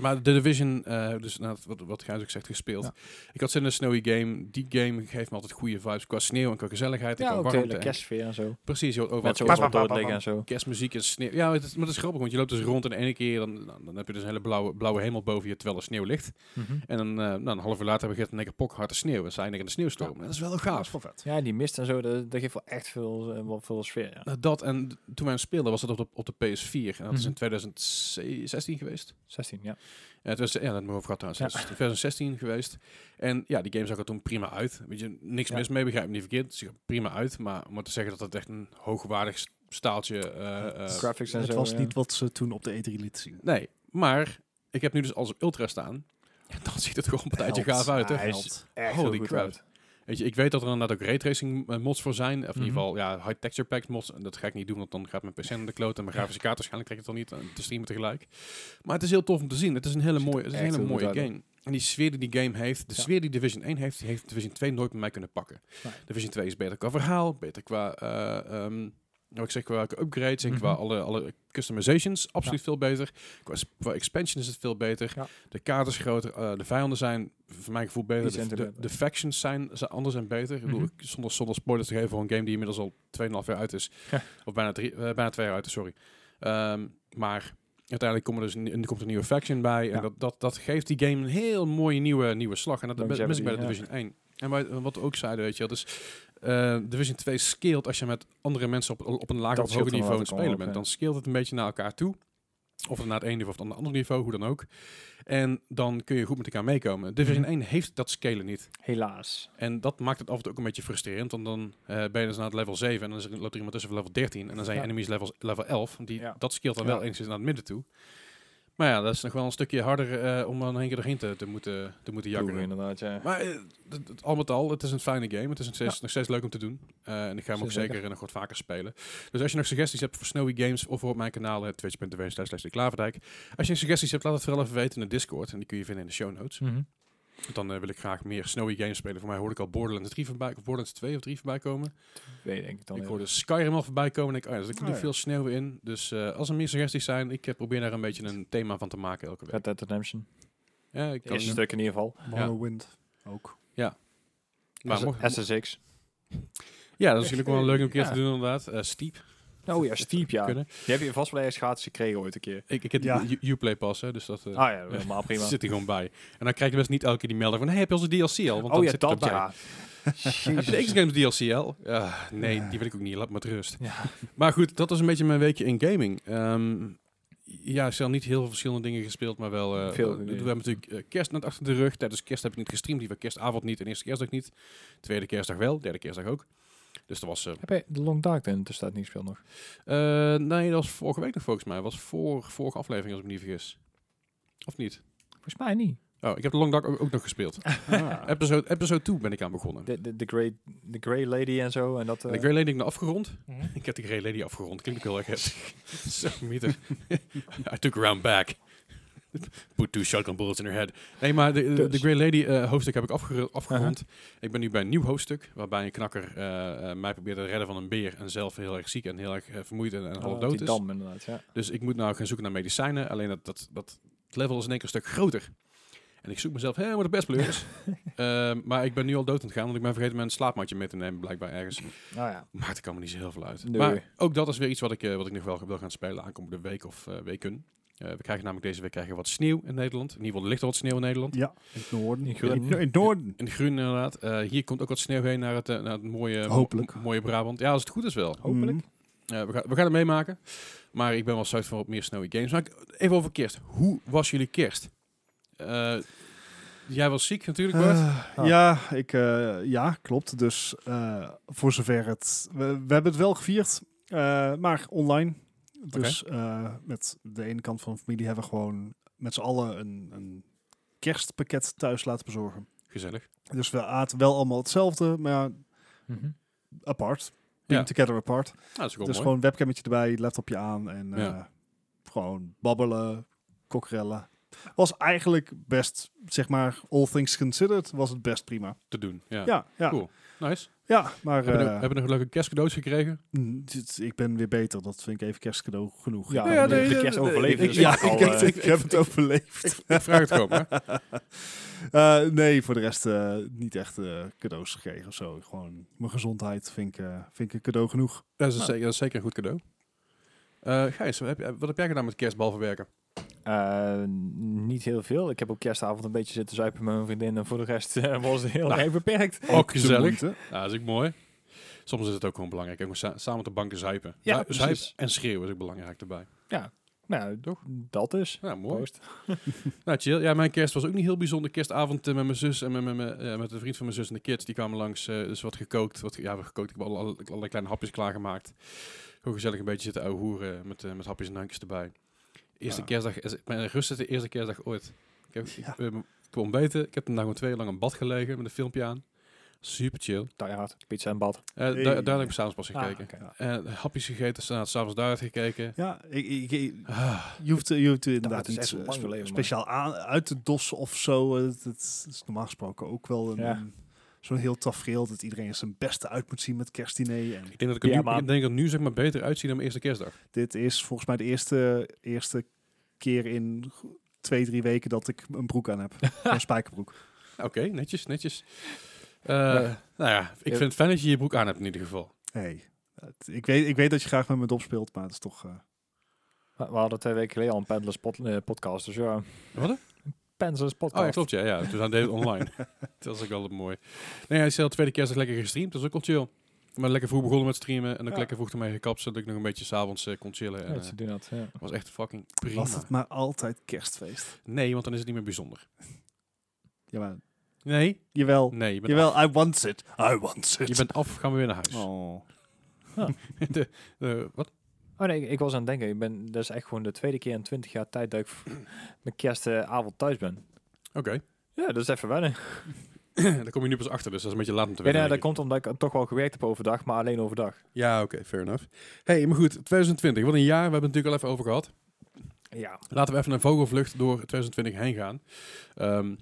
Speaker 1: Maar The Division, eh, dus nou, wat, wat Gijs ook zegt, gespeeld.
Speaker 3: Ja.
Speaker 1: Ik had zin in een snowy game. Die game geeft me altijd goede vibes qua sneeuw en qua gezelligheid en
Speaker 3: Ja,
Speaker 1: qua
Speaker 3: ook de
Speaker 1: warmte.
Speaker 3: hele
Speaker 1: en-
Speaker 3: kerstsfeer en zo.
Speaker 1: Precies, je hoort overal
Speaker 3: Met
Speaker 1: kerst-
Speaker 3: zo'n
Speaker 2: pa,
Speaker 3: op
Speaker 2: pa, pa,
Speaker 3: dood
Speaker 2: pa,
Speaker 3: liggen
Speaker 2: pa.
Speaker 3: en zo.
Speaker 1: kerstmuziek en sneeuw. Ja, het is, maar het is grappig, want je loopt dus rond en de ene keer dan, dan, dan heb je dus een hele blauwe, blauwe hemel boven je terwijl er sneeuw ligt. En dan eh, nou, een half uur later begint in één keer pokharde sneeuw en zijn in één keer de sneeuwstorm. En dat is wel
Speaker 2: Dat is
Speaker 1: gaaf.
Speaker 2: wel vet.
Speaker 3: Ja, die mist en zo, dat, dat geeft wel echt veel, eh, wel veel sfeer. Ja.
Speaker 1: Nou, dat en d- toen wij hem speelden was dat op de, op de PS4 en dat is
Speaker 3: Mhm.
Speaker 1: in 2016 geweest.
Speaker 3: 16, ja.
Speaker 1: Ja, het was, ja, dat hebben we over gehad trouwens.
Speaker 3: Ja.
Speaker 1: Het is 2016 geweest. En ja, die game zag er toen prima uit. Weet je, niks
Speaker 3: Ja.
Speaker 1: mis mee, begrijp me niet verkeerd. Het ziet er prima uit. Maar om maar te zeggen dat het echt een hoogwaardig s- staaltje... eh, eh,
Speaker 3: Graphics en
Speaker 2: het
Speaker 3: zo.
Speaker 2: was
Speaker 3: ja.
Speaker 2: niet wat ze toen op de E3 lieten zien.
Speaker 1: nee, maar ik heb nu dus alles op Ultra staan. En dan ziet het gewoon een partijtje
Speaker 2: Held.
Speaker 1: gaaf uit, hè?
Speaker 2: Ah,
Speaker 3: Hij
Speaker 2: held.
Speaker 3: is echt
Speaker 1: Holy
Speaker 3: heel goed
Speaker 1: crap.
Speaker 3: uit.
Speaker 1: Weet je, ik weet dat er inderdaad ook raytracing eh, mods voor zijn. Of in ieder
Speaker 3: Mhm.
Speaker 1: geval, ja, high texture packs mods. En dat ga ik niet doen, want dan gaat mijn PC naar de kloot. En mijn grafische kaart waarschijnlijk trekt het dan niet. En te streamen tegelijk. Maar het is heel tof om te zien. Het is een hele
Speaker 3: Ziet er
Speaker 1: mooie, het is een
Speaker 3: echt
Speaker 1: hele
Speaker 3: heel goed
Speaker 1: mooie
Speaker 3: uit,
Speaker 1: game. En die sfeer die die game heeft, de
Speaker 3: Ja.
Speaker 1: sfeer die Division 1 heeft, die heeft Division 2 nooit met mij kunnen pakken.
Speaker 3: Nee.
Speaker 1: Division 2 is beter qua verhaal, beter qua, eh ehm, nou, ik zeg, qua upgrades en qua
Speaker 3: Mhm.
Speaker 1: alle, alle customizations. Absoluut veel beter. Qua, s- qua expansion is het veel beter.
Speaker 3: Ja.
Speaker 1: De kaart is groter, eh, de vijanden zijn, voor mijn gevoel, beter.
Speaker 3: Iets
Speaker 1: De, de,
Speaker 3: intimater.
Speaker 1: de factions zijn, zijn anders en beter. Ik bedoel,
Speaker 3: Mhm.
Speaker 1: ik- zonder, zonder spoilers te geven voor een game die inmiddels al 2,5 jaar uit is.
Speaker 3: Ja.
Speaker 1: Of bijna, drie, eh, bijna twee jaar uit is, sorry. Ehm, maar uiteindelijk komt er dus een, komt een nieuwe faction bij. En
Speaker 3: Ja.
Speaker 1: dat, dat, dat geeft die game een heel mooie nieuwe, nieuwe slag. En dat mis- mis ik bij de
Speaker 3: Longevity, ja.
Speaker 1: Division 1. En wij- wat we ook zeiden, weet je, dat is eh, Division 2 scaleert als je met andere mensen op, op een lager
Speaker 3: Dat
Speaker 1: of hoger
Speaker 3: scheelt
Speaker 1: niveau aan het
Speaker 3: inderdaad ook
Speaker 1: spelen
Speaker 3: wel,
Speaker 1: bent.
Speaker 3: ja.
Speaker 1: Dan scaleert het een beetje naar elkaar toe. Of naar het ene niveau of naar het andere niveau, hoe dan ook. En dan kun je goed met elkaar meekomen. Division
Speaker 3: Mhm.
Speaker 1: 1 heeft dat scalen niet.
Speaker 3: Helaas.
Speaker 1: En dat maakt het af en toe ook een beetje frustrerend. Want dan eh, ben je dus naar het level 7 en dan is er, loopt er iemand tussen voor level 13. En dan zijn je
Speaker 3: Ja.
Speaker 1: enemies levels, level 11. Die,
Speaker 3: Ja.
Speaker 1: Dat scheelt dan
Speaker 3: Ja.
Speaker 1: wel enigszins naar het midden toe. Maar ja, dat is nog wel een stukje harder eh, om dan een keer doorheen te, te moeten, te moeten
Speaker 3: Jakker
Speaker 1: jakkeren.
Speaker 3: inderdaad, ja.
Speaker 1: Maar eh, het- het- al met al, het is een fijne game. Het is nog steeds, nog steeds leuk om te doen. Eh, en ik ga hem ook
Speaker 3: Zeker.
Speaker 1: zeker eh, nog wat vaker spelen. Dus als je nog suggesties hebt voor Snowy Games of voor op mijn kanaal eh, twitch.tv slash de Klaverdijk. Als je suggesties hebt, laat het vooral even weten in de Discord. En die kun je vinden in de show notes.
Speaker 3: Mhm.
Speaker 1: Want dan eh, wil ik graag meer Snowy Games spelen. Voor mij hoorde ik al Borderlands 3 voorbij, of Borderlands 2 of 3 voorbij komen.
Speaker 3: Weet ik dan
Speaker 1: ik
Speaker 3: even.
Speaker 1: hoorde Skyrim al voorbij komen. En ik, oh ja, er zit
Speaker 2: eh, Oh
Speaker 1: nu
Speaker 2: ja.
Speaker 1: veel sneeuw in. Dus eh, als er meer suggesties zijn, ik eh, probeer daar een beetje een thema van te maken elke week.
Speaker 3: Red Dead Redemption.
Speaker 1: Ja, ik kan,
Speaker 3: Eerste stuk in ieder geval.
Speaker 2: Morrowind ook.
Speaker 1: maar, mocht-
Speaker 3: SSX.
Speaker 1: ja, dat is natuurlijk wel leuk om een keer
Speaker 3: Ja.
Speaker 1: te doen inderdaad. Eh, Steep.
Speaker 3: Oh ja, Steep, ja.
Speaker 1: Kunnen.
Speaker 3: Die heb je vast wel ergens gratis gekregen ooit een keer.
Speaker 1: Ik, ik heb
Speaker 2: Ja.
Speaker 1: die U- Uplay pas, hè, dus dat eh,
Speaker 3: Ah ja, helemaal prima.
Speaker 1: zit er gewoon bij. En dan krijg je best niet elke keer die melding van, hey, heb je onze DLC al? Want
Speaker 3: oh
Speaker 1: dan
Speaker 3: ja,
Speaker 1: zit
Speaker 3: dat
Speaker 1: erbij.
Speaker 3: ja.
Speaker 1: Heb je de X-Games DLC al? Ah, nee,
Speaker 2: Ja.
Speaker 1: die wil ik ook niet. Laat me met rust.
Speaker 3: Ja.
Speaker 1: Maar goed, dat was een beetje mijn weekje in gaming. Ehm, ja, ik heb niet heel veel verschillende dingen gespeeld, maar wel... eh,
Speaker 3: Veel
Speaker 1: we, we
Speaker 3: dingen.
Speaker 1: hebben natuurlijk eh, kerst net achter de rug. Tijdens kerst heb ik niet gestreamd. Die was kerstavond niet en eerste kerstdag niet. Tweede kerstdag wel, derde kerstdag ook. Dus dat was... eh,
Speaker 3: Heb je de Long Dark in de staat niet gespeeld nog?
Speaker 1: eh, nee, dat was vorige week nog volgens mij. Dat was voor, vorige aflevering, als ik me niet vergis. Of niet?
Speaker 3: Volgens mij niet.
Speaker 1: Oh, ik heb de Long Dark ook, ook nog gespeeld.
Speaker 2: Ah.
Speaker 1: Episode, episode 2 ben ik aan begonnen.
Speaker 3: De, de, de, grey, de Grey Lady en zo. En dat,
Speaker 1: En
Speaker 3: eh,
Speaker 1: de Grey Lady heb ik nog afgerond.
Speaker 3: Mhm.
Speaker 1: Ik heb de Grey Lady afgerond. Klinkt ook heel erg heftig. Zo, meter. I took a round back. Put two shotgun bullets in her head. Nee, maar de, de,
Speaker 3: Dus. Uh-huh.
Speaker 1: de Grey Lady eh, hoofdstuk heb ik afger- afgerond. Ik ben nu bij een nieuw hoofdstuk, waarbij een knakker eh, eh, mij probeert te redden van een beer. En zelf heel erg ziek en heel erg eh, vermoeid en, en
Speaker 3: oh,
Speaker 1: half
Speaker 3: die
Speaker 1: dood is.
Speaker 3: dam inderdaad, ja.
Speaker 1: Dus ik moet nou gaan zoeken naar medicijnen. Alleen dat, dat, dat het level is in één keer een stuk groter. En ik zoek mezelf helemaal de best pleurs. Ehm, maar ik ben nu al dood aan het gaan, want ik ben vergeten mijn slaapmatje mee te nemen, blijkbaar ergens.
Speaker 3: Nou ja.
Speaker 1: Maakt er allemaal niet zo heel veel uit.
Speaker 3: Nee.
Speaker 1: Maar ook dat is weer iets wat ik, eh, wat ik nog wel wil gaan spelen aankomende week of eh, weken. Eh, we krijgen namelijk deze week krijgen we wat sneeuw in Nederland. In ieder geval er ligt al wat sneeuw in Nederland.
Speaker 2: Ja, in het noorden.
Speaker 3: In
Speaker 2: In,
Speaker 3: Groen-
Speaker 2: in het noorden.
Speaker 1: In groen inderdaad. Eh, hier komt ook wat sneeuw heen naar het, eh, naar het mooie,
Speaker 2: Hopelijk.
Speaker 1: mo- mooie Brabant. Ja, als het goed is wel.
Speaker 3: Hopelijk.
Speaker 2: Mhm.
Speaker 1: Eh, we, gaan, we gaan het meemaken. Maar ik ben wel zuid voor wat meer snowy games. Maar ik- even over kerst. Hoe was jullie kerst? Eh, jij was ziek natuurlijk, Bart. Ah.
Speaker 2: Eh, ja, ik, eh, ja, klopt. Dus eh, voor zover het... We, we hebben het wel gevierd, eh, maar online. Dus eh, met de ene kant van de familie hebben we gewoon met z'n allen een, een kerstpakket thuis laten bezorgen.
Speaker 1: Gezellig.
Speaker 2: Dus we aten wel allemaal hetzelfde, maar
Speaker 3: Mhm.
Speaker 2: apart. Being
Speaker 1: Ja.
Speaker 2: together apart.
Speaker 1: Nou, dat is ook wel
Speaker 2: Dus
Speaker 1: mooi.
Speaker 2: gewoon een webcammetje erbij, laptopje aan en
Speaker 1: Ja.
Speaker 2: eh, gewoon babbelen, kokrellen. Was eigenlijk best, zeg maar, all things considered, was het best prima.
Speaker 1: te doen. Ja,
Speaker 2: Ja, ja.
Speaker 1: Cool. nice.
Speaker 2: Ja, maar
Speaker 1: Hebben we
Speaker 2: eh,
Speaker 1: hebben we nog leuke kerstcadeaus gekregen?
Speaker 2: mm, dit- ik ben weer beter. Dat vind ik even kerstcadeau genoeg.
Speaker 3: Ja,
Speaker 2: Ik
Speaker 3: ja,
Speaker 2: ben-
Speaker 3: de- nee, de kerst overleven
Speaker 1: ik-
Speaker 3: is
Speaker 2: ja,
Speaker 3: echt al,
Speaker 2: dus ik,
Speaker 3: eh,
Speaker 2: ik- ik heb het overleefd.
Speaker 1: Ik vraag het gewoon, hè?
Speaker 2: Eh, nee, voor de rest eh, niet echt eh, cadeaus gekregen of zo. Gewoon mijn gezondheid vind ik, eh, vind ik een cadeau genoeg.
Speaker 1: Dat is,
Speaker 2: Nou.
Speaker 1: zeker, dat is zeker een goed cadeau. Eh Gijs, wat heb, je- wat heb jij gedaan met kerstbal verwerken?
Speaker 3: Eh, niet heel veel. Ik heb op kerstavond een beetje zitten zuipen met mijn vriendin. En voor de rest eh, was het heel
Speaker 1: Nou.
Speaker 3: erg beperkt.
Speaker 1: Ook
Speaker 2: de
Speaker 1: gezellig.
Speaker 2: moeite.
Speaker 1: Ja, dat is ook mooi. Soms is het ook gewoon belangrijk. Ook sa- samen op de bank te zuipen.
Speaker 3: Ja,
Speaker 1: Zu- zuipen
Speaker 3: precies.
Speaker 1: en schreeuwen is ook belangrijk erbij.
Speaker 3: Nou, toch? Dat dus.
Speaker 1: Nou, mooi.
Speaker 3: Proost.
Speaker 1: Nou, chill. Ja, mijn kerst was ook niet heel bijzonder. Kerstavond eh, met mijn zus en met, met, met, eh, met een vriend van mijn zus en de kids. Die kwamen langs. eh, dus wat gekookt. Wat, ge- ja, we gekookt. Ik heb alle- alle- allerlei kleine hapjes klaargemaakt. Gewoon gezellig een beetje zitten ouwehoeren met, eh, met hapjes en drankjes erbij. Eerste
Speaker 2: Ja.
Speaker 3: Ah.
Speaker 1: kerstdag. is- Mijn rust is de eerste kerstdag ooit. Ik heb
Speaker 2: Ja.
Speaker 1: ik, eh, ik kon ontbeten. Ik heb toen gewoon twee uur lang in bad gelegen met een filmpje aan. Super chill.
Speaker 3: Die hard. Pizza en bad.
Speaker 1: Eh,
Speaker 2: Hey.
Speaker 1: da- daar heb ik s'avonds pas
Speaker 3: Ah,
Speaker 1: gekeken.
Speaker 3: oké.
Speaker 1: Eh, hapjes gegeten, s- nou, s'avonds daaruit gekeken.
Speaker 2: Ja, ik, ik- ik-
Speaker 1: Ah,
Speaker 2: je hoeft, je hoeft inderdaad
Speaker 3: het is
Speaker 2: iets
Speaker 3: echt lang
Speaker 2: eh,
Speaker 3: geleden, man.
Speaker 2: speciaal aan, uit te dossen of zo. Eh, Dat, dat is normaal gesproken ook wel een,
Speaker 3: Ja.
Speaker 2: een- zo'n heel tafereel dat iedereen zijn beste uit moet zien met kerstdiner. En
Speaker 1: ik denk dat ik er
Speaker 3: Ja,
Speaker 1: nu,
Speaker 3: maar-
Speaker 1: ik denk dat het nu zeg maar beter uitziet dan mijn eerste kerstdag.
Speaker 2: dit is volgens mij de eerste, eerste keer in go- twee, drie weken dat ik een broek aan heb. een spijkerbroek.
Speaker 1: Oké, netjes, netjes. Eh,
Speaker 3: Ja.
Speaker 1: Nou ja, ik vind het fijn dat je je broek aan hebt in ieder geval.
Speaker 2: Hey, het- ik, weet, ik weet dat je graag met me dop speelt, maar het is toch... eh,
Speaker 3: We we hadden twee weken geleden al een Pendlers pod- eh, podcast. Dus ja.
Speaker 1: Wat?
Speaker 3: Pendlers
Speaker 1: Oh
Speaker 3: podcast.
Speaker 1: ja, klopt. Ja, ja. Toen zijn we online. dat is ook altijd mooi. Nee, hij is de tweede kerstdag lekker gestreamd. Dat is ook wel chill. Maar lekker vroeg begonnen met streamen. En ook
Speaker 3: Ja.
Speaker 1: lekker vroeg ermee gekapt. Zodat ik nog een beetje s'avonds eh kon chillen. En,
Speaker 3: Ja,
Speaker 1: eh,
Speaker 3: ze doen dat. Ja.
Speaker 1: was echt fucking prima.
Speaker 2: Was het maar altijd kerstfeest?
Speaker 1: Nee, want dan is het niet meer bijzonder.
Speaker 2: Ja, maar,
Speaker 1: Nee?
Speaker 2: jawel.
Speaker 1: Nee, je bent,
Speaker 2: Jawel, I want it. I want
Speaker 1: af.
Speaker 2: it.
Speaker 1: Je bent af, gaan we weer naar huis.
Speaker 2: Oh.
Speaker 1: De- de- wat?
Speaker 3: Oh nee, ik, ik was aan het denken. Ik ben, dat is echt gewoon de tweede keer in 20 jaar tijd dat ik v- mijn kerstavond eh, thuis ben.
Speaker 1: Oké.
Speaker 3: Ja, dat is even wennen.
Speaker 1: Daar kom je nu pas achter, dus dat is een beetje laat om te
Speaker 3: Ja,
Speaker 1: weten.
Speaker 3: nee, dat
Speaker 1: denk ik.
Speaker 3: komt omdat ik toch wel gewerkt heb overdag, maar alleen overdag.
Speaker 1: Ja, oké, fair enough. hey, maar goed, 2020, wat een jaar. We hebben het natuurlijk al even over gehad.
Speaker 3: Ja.
Speaker 1: Laten we even een vogelvlucht door 2020 heen gaan. Ehm,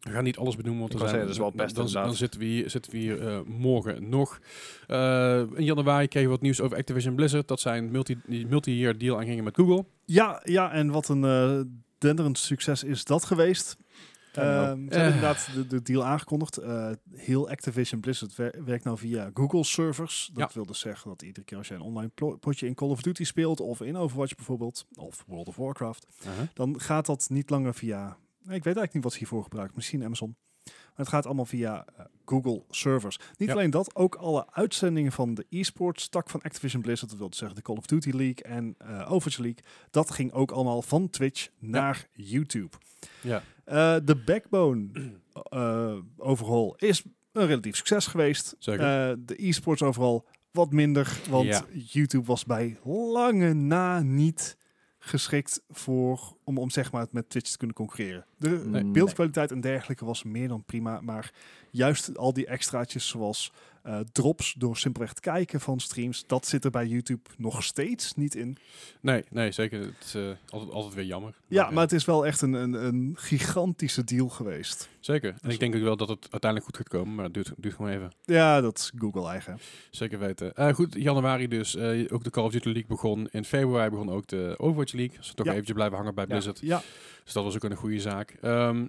Speaker 1: we gaan niet alles benoemen, want
Speaker 3: Ik
Speaker 1: dan,
Speaker 3: wou
Speaker 1: zijn,
Speaker 3: zeggen, dat is wel best
Speaker 1: dan, dan,
Speaker 3: inderdaad.
Speaker 1: zitten we hier, zitten we hier eh, morgen nog. Eh, in januari kregen we wat nieuws over Activision Blizzard. Dat zij een multi- die multi-year deal aangingen met Google.
Speaker 2: Ja, ja, en wat een eh denderend succes is dat geweest.
Speaker 3: Kan
Speaker 2: Ehm,
Speaker 3: wel.
Speaker 2: ze hebben
Speaker 1: Eh.
Speaker 2: inderdaad de, de deal aangekondigd. Eh, heel Activision Blizzard wer- werkt nou via Google servers. Dat
Speaker 1: Ja.
Speaker 2: wil dus zeggen dat iedere keer als jij een online plo- potje in Call of Duty speelt, of in Overwatch bijvoorbeeld, of World of Warcraft,
Speaker 3: Uh-huh.
Speaker 2: dan gaat dat niet langer via. Ik weet eigenlijk niet wat ze hiervoor gebruikt. Misschien Amazon. Maar het gaat allemaal via eh, Google servers. Niet
Speaker 1: Ja.
Speaker 2: alleen dat, ook alle uitzendingen van de e-sports tak van Activision Blizzard, dat wil zeggen de Call of Duty League en eh, Overwatch League, dat ging ook allemaal van Twitch naar YouTube.
Speaker 1: Ja.
Speaker 2: Eh, de backbone eh, overhaul is een relatief succes geweest.
Speaker 1: Zeker.
Speaker 2: Eh, de e-sports overal wat minder, want
Speaker 1: Ja.
Speaker 2: YouTube was bij lange na niet geschikt voor om, om zeg maar het met Twitch te kunnen concurreren. De
Speaker 3: Mm, Nee.
Speaker 2: beeldkwaliteit en dergelijke was meer dan prima, maar juist al die extraatjes zoals eh, drops door simpelweg het kijken van streams, dat zit er bij YouTube nog steeds niet in.
Speaker 1: Nee, nee, zeker. Het is eh, altijd, altijd weer jammer.
Speaker 2: Ja,
Speaker 1: eh,
Speaker 2: maar het is wel echt een, een, een gigantische deal geweest.
Speaker 1: Zeker. En ik denk ook wel dat het uiteindelijk goed gaat komen, maar dat duurt, duurt gewoon even.
Speaker 2: Ja, dat is Google eigen.
Speaker 1: Zeker weten. Eh, goed, januari dus. eh, ook de Call of Duty League begon. In februari begon ook de Overwatch League. Ze toch
Speaker 2: Ja.
Speaker 1: eventjes blijven hangen bij
Speaker 3: Ja.
Speaker 1: Blizzard.
Speaker 2: Ja,
Speaker 1: Dus dat was ook een goede zaak. Ehm,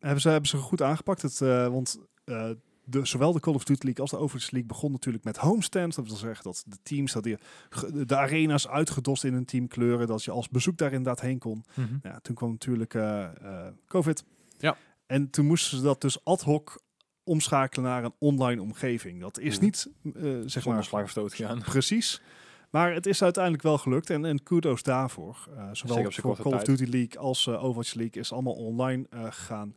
Speaker 2: Hebben ze, hebben ze goed aangepakt. Het, eh, want eh, de, zowel de Call of Duty League als de Overwatch League begon natuurlijk met homestands. Dat wil zeggen dat de teams, dat die, ge- de arena's uitgedost in een teamkleuren. Dat je als bezoek daar inderdaad heen kon.
Speaker 3: Mhm.
Speaker 2: Nou Ja, toen kwam natuurlijk eh, eh, COVID.
Speaker 1: Ja.
Speaker 2: En toen moesten ze dat dus ad hoc omschakelen naar een online omgeving. Dat is
Speaker 1: Mhm.
Speaker 2: niet, eh, zeg
Speaker 3: Zonder
Speaker 2: maar,
Speaker 3: slag of stoot gaan.
Speaker 2: Precies. Maar het is uiteindelijk wel gelukt en, en kudos daarvoor. Eh, zowel
Speaker 3: Zeker op zo'n
Speaker 2: voor
Speaker 3: korte
Speaker 2: Call of
Speaker 3: tijd.
Speaker 2: Duty League als eh, Overwatch League is allemaal online eh, gegaan.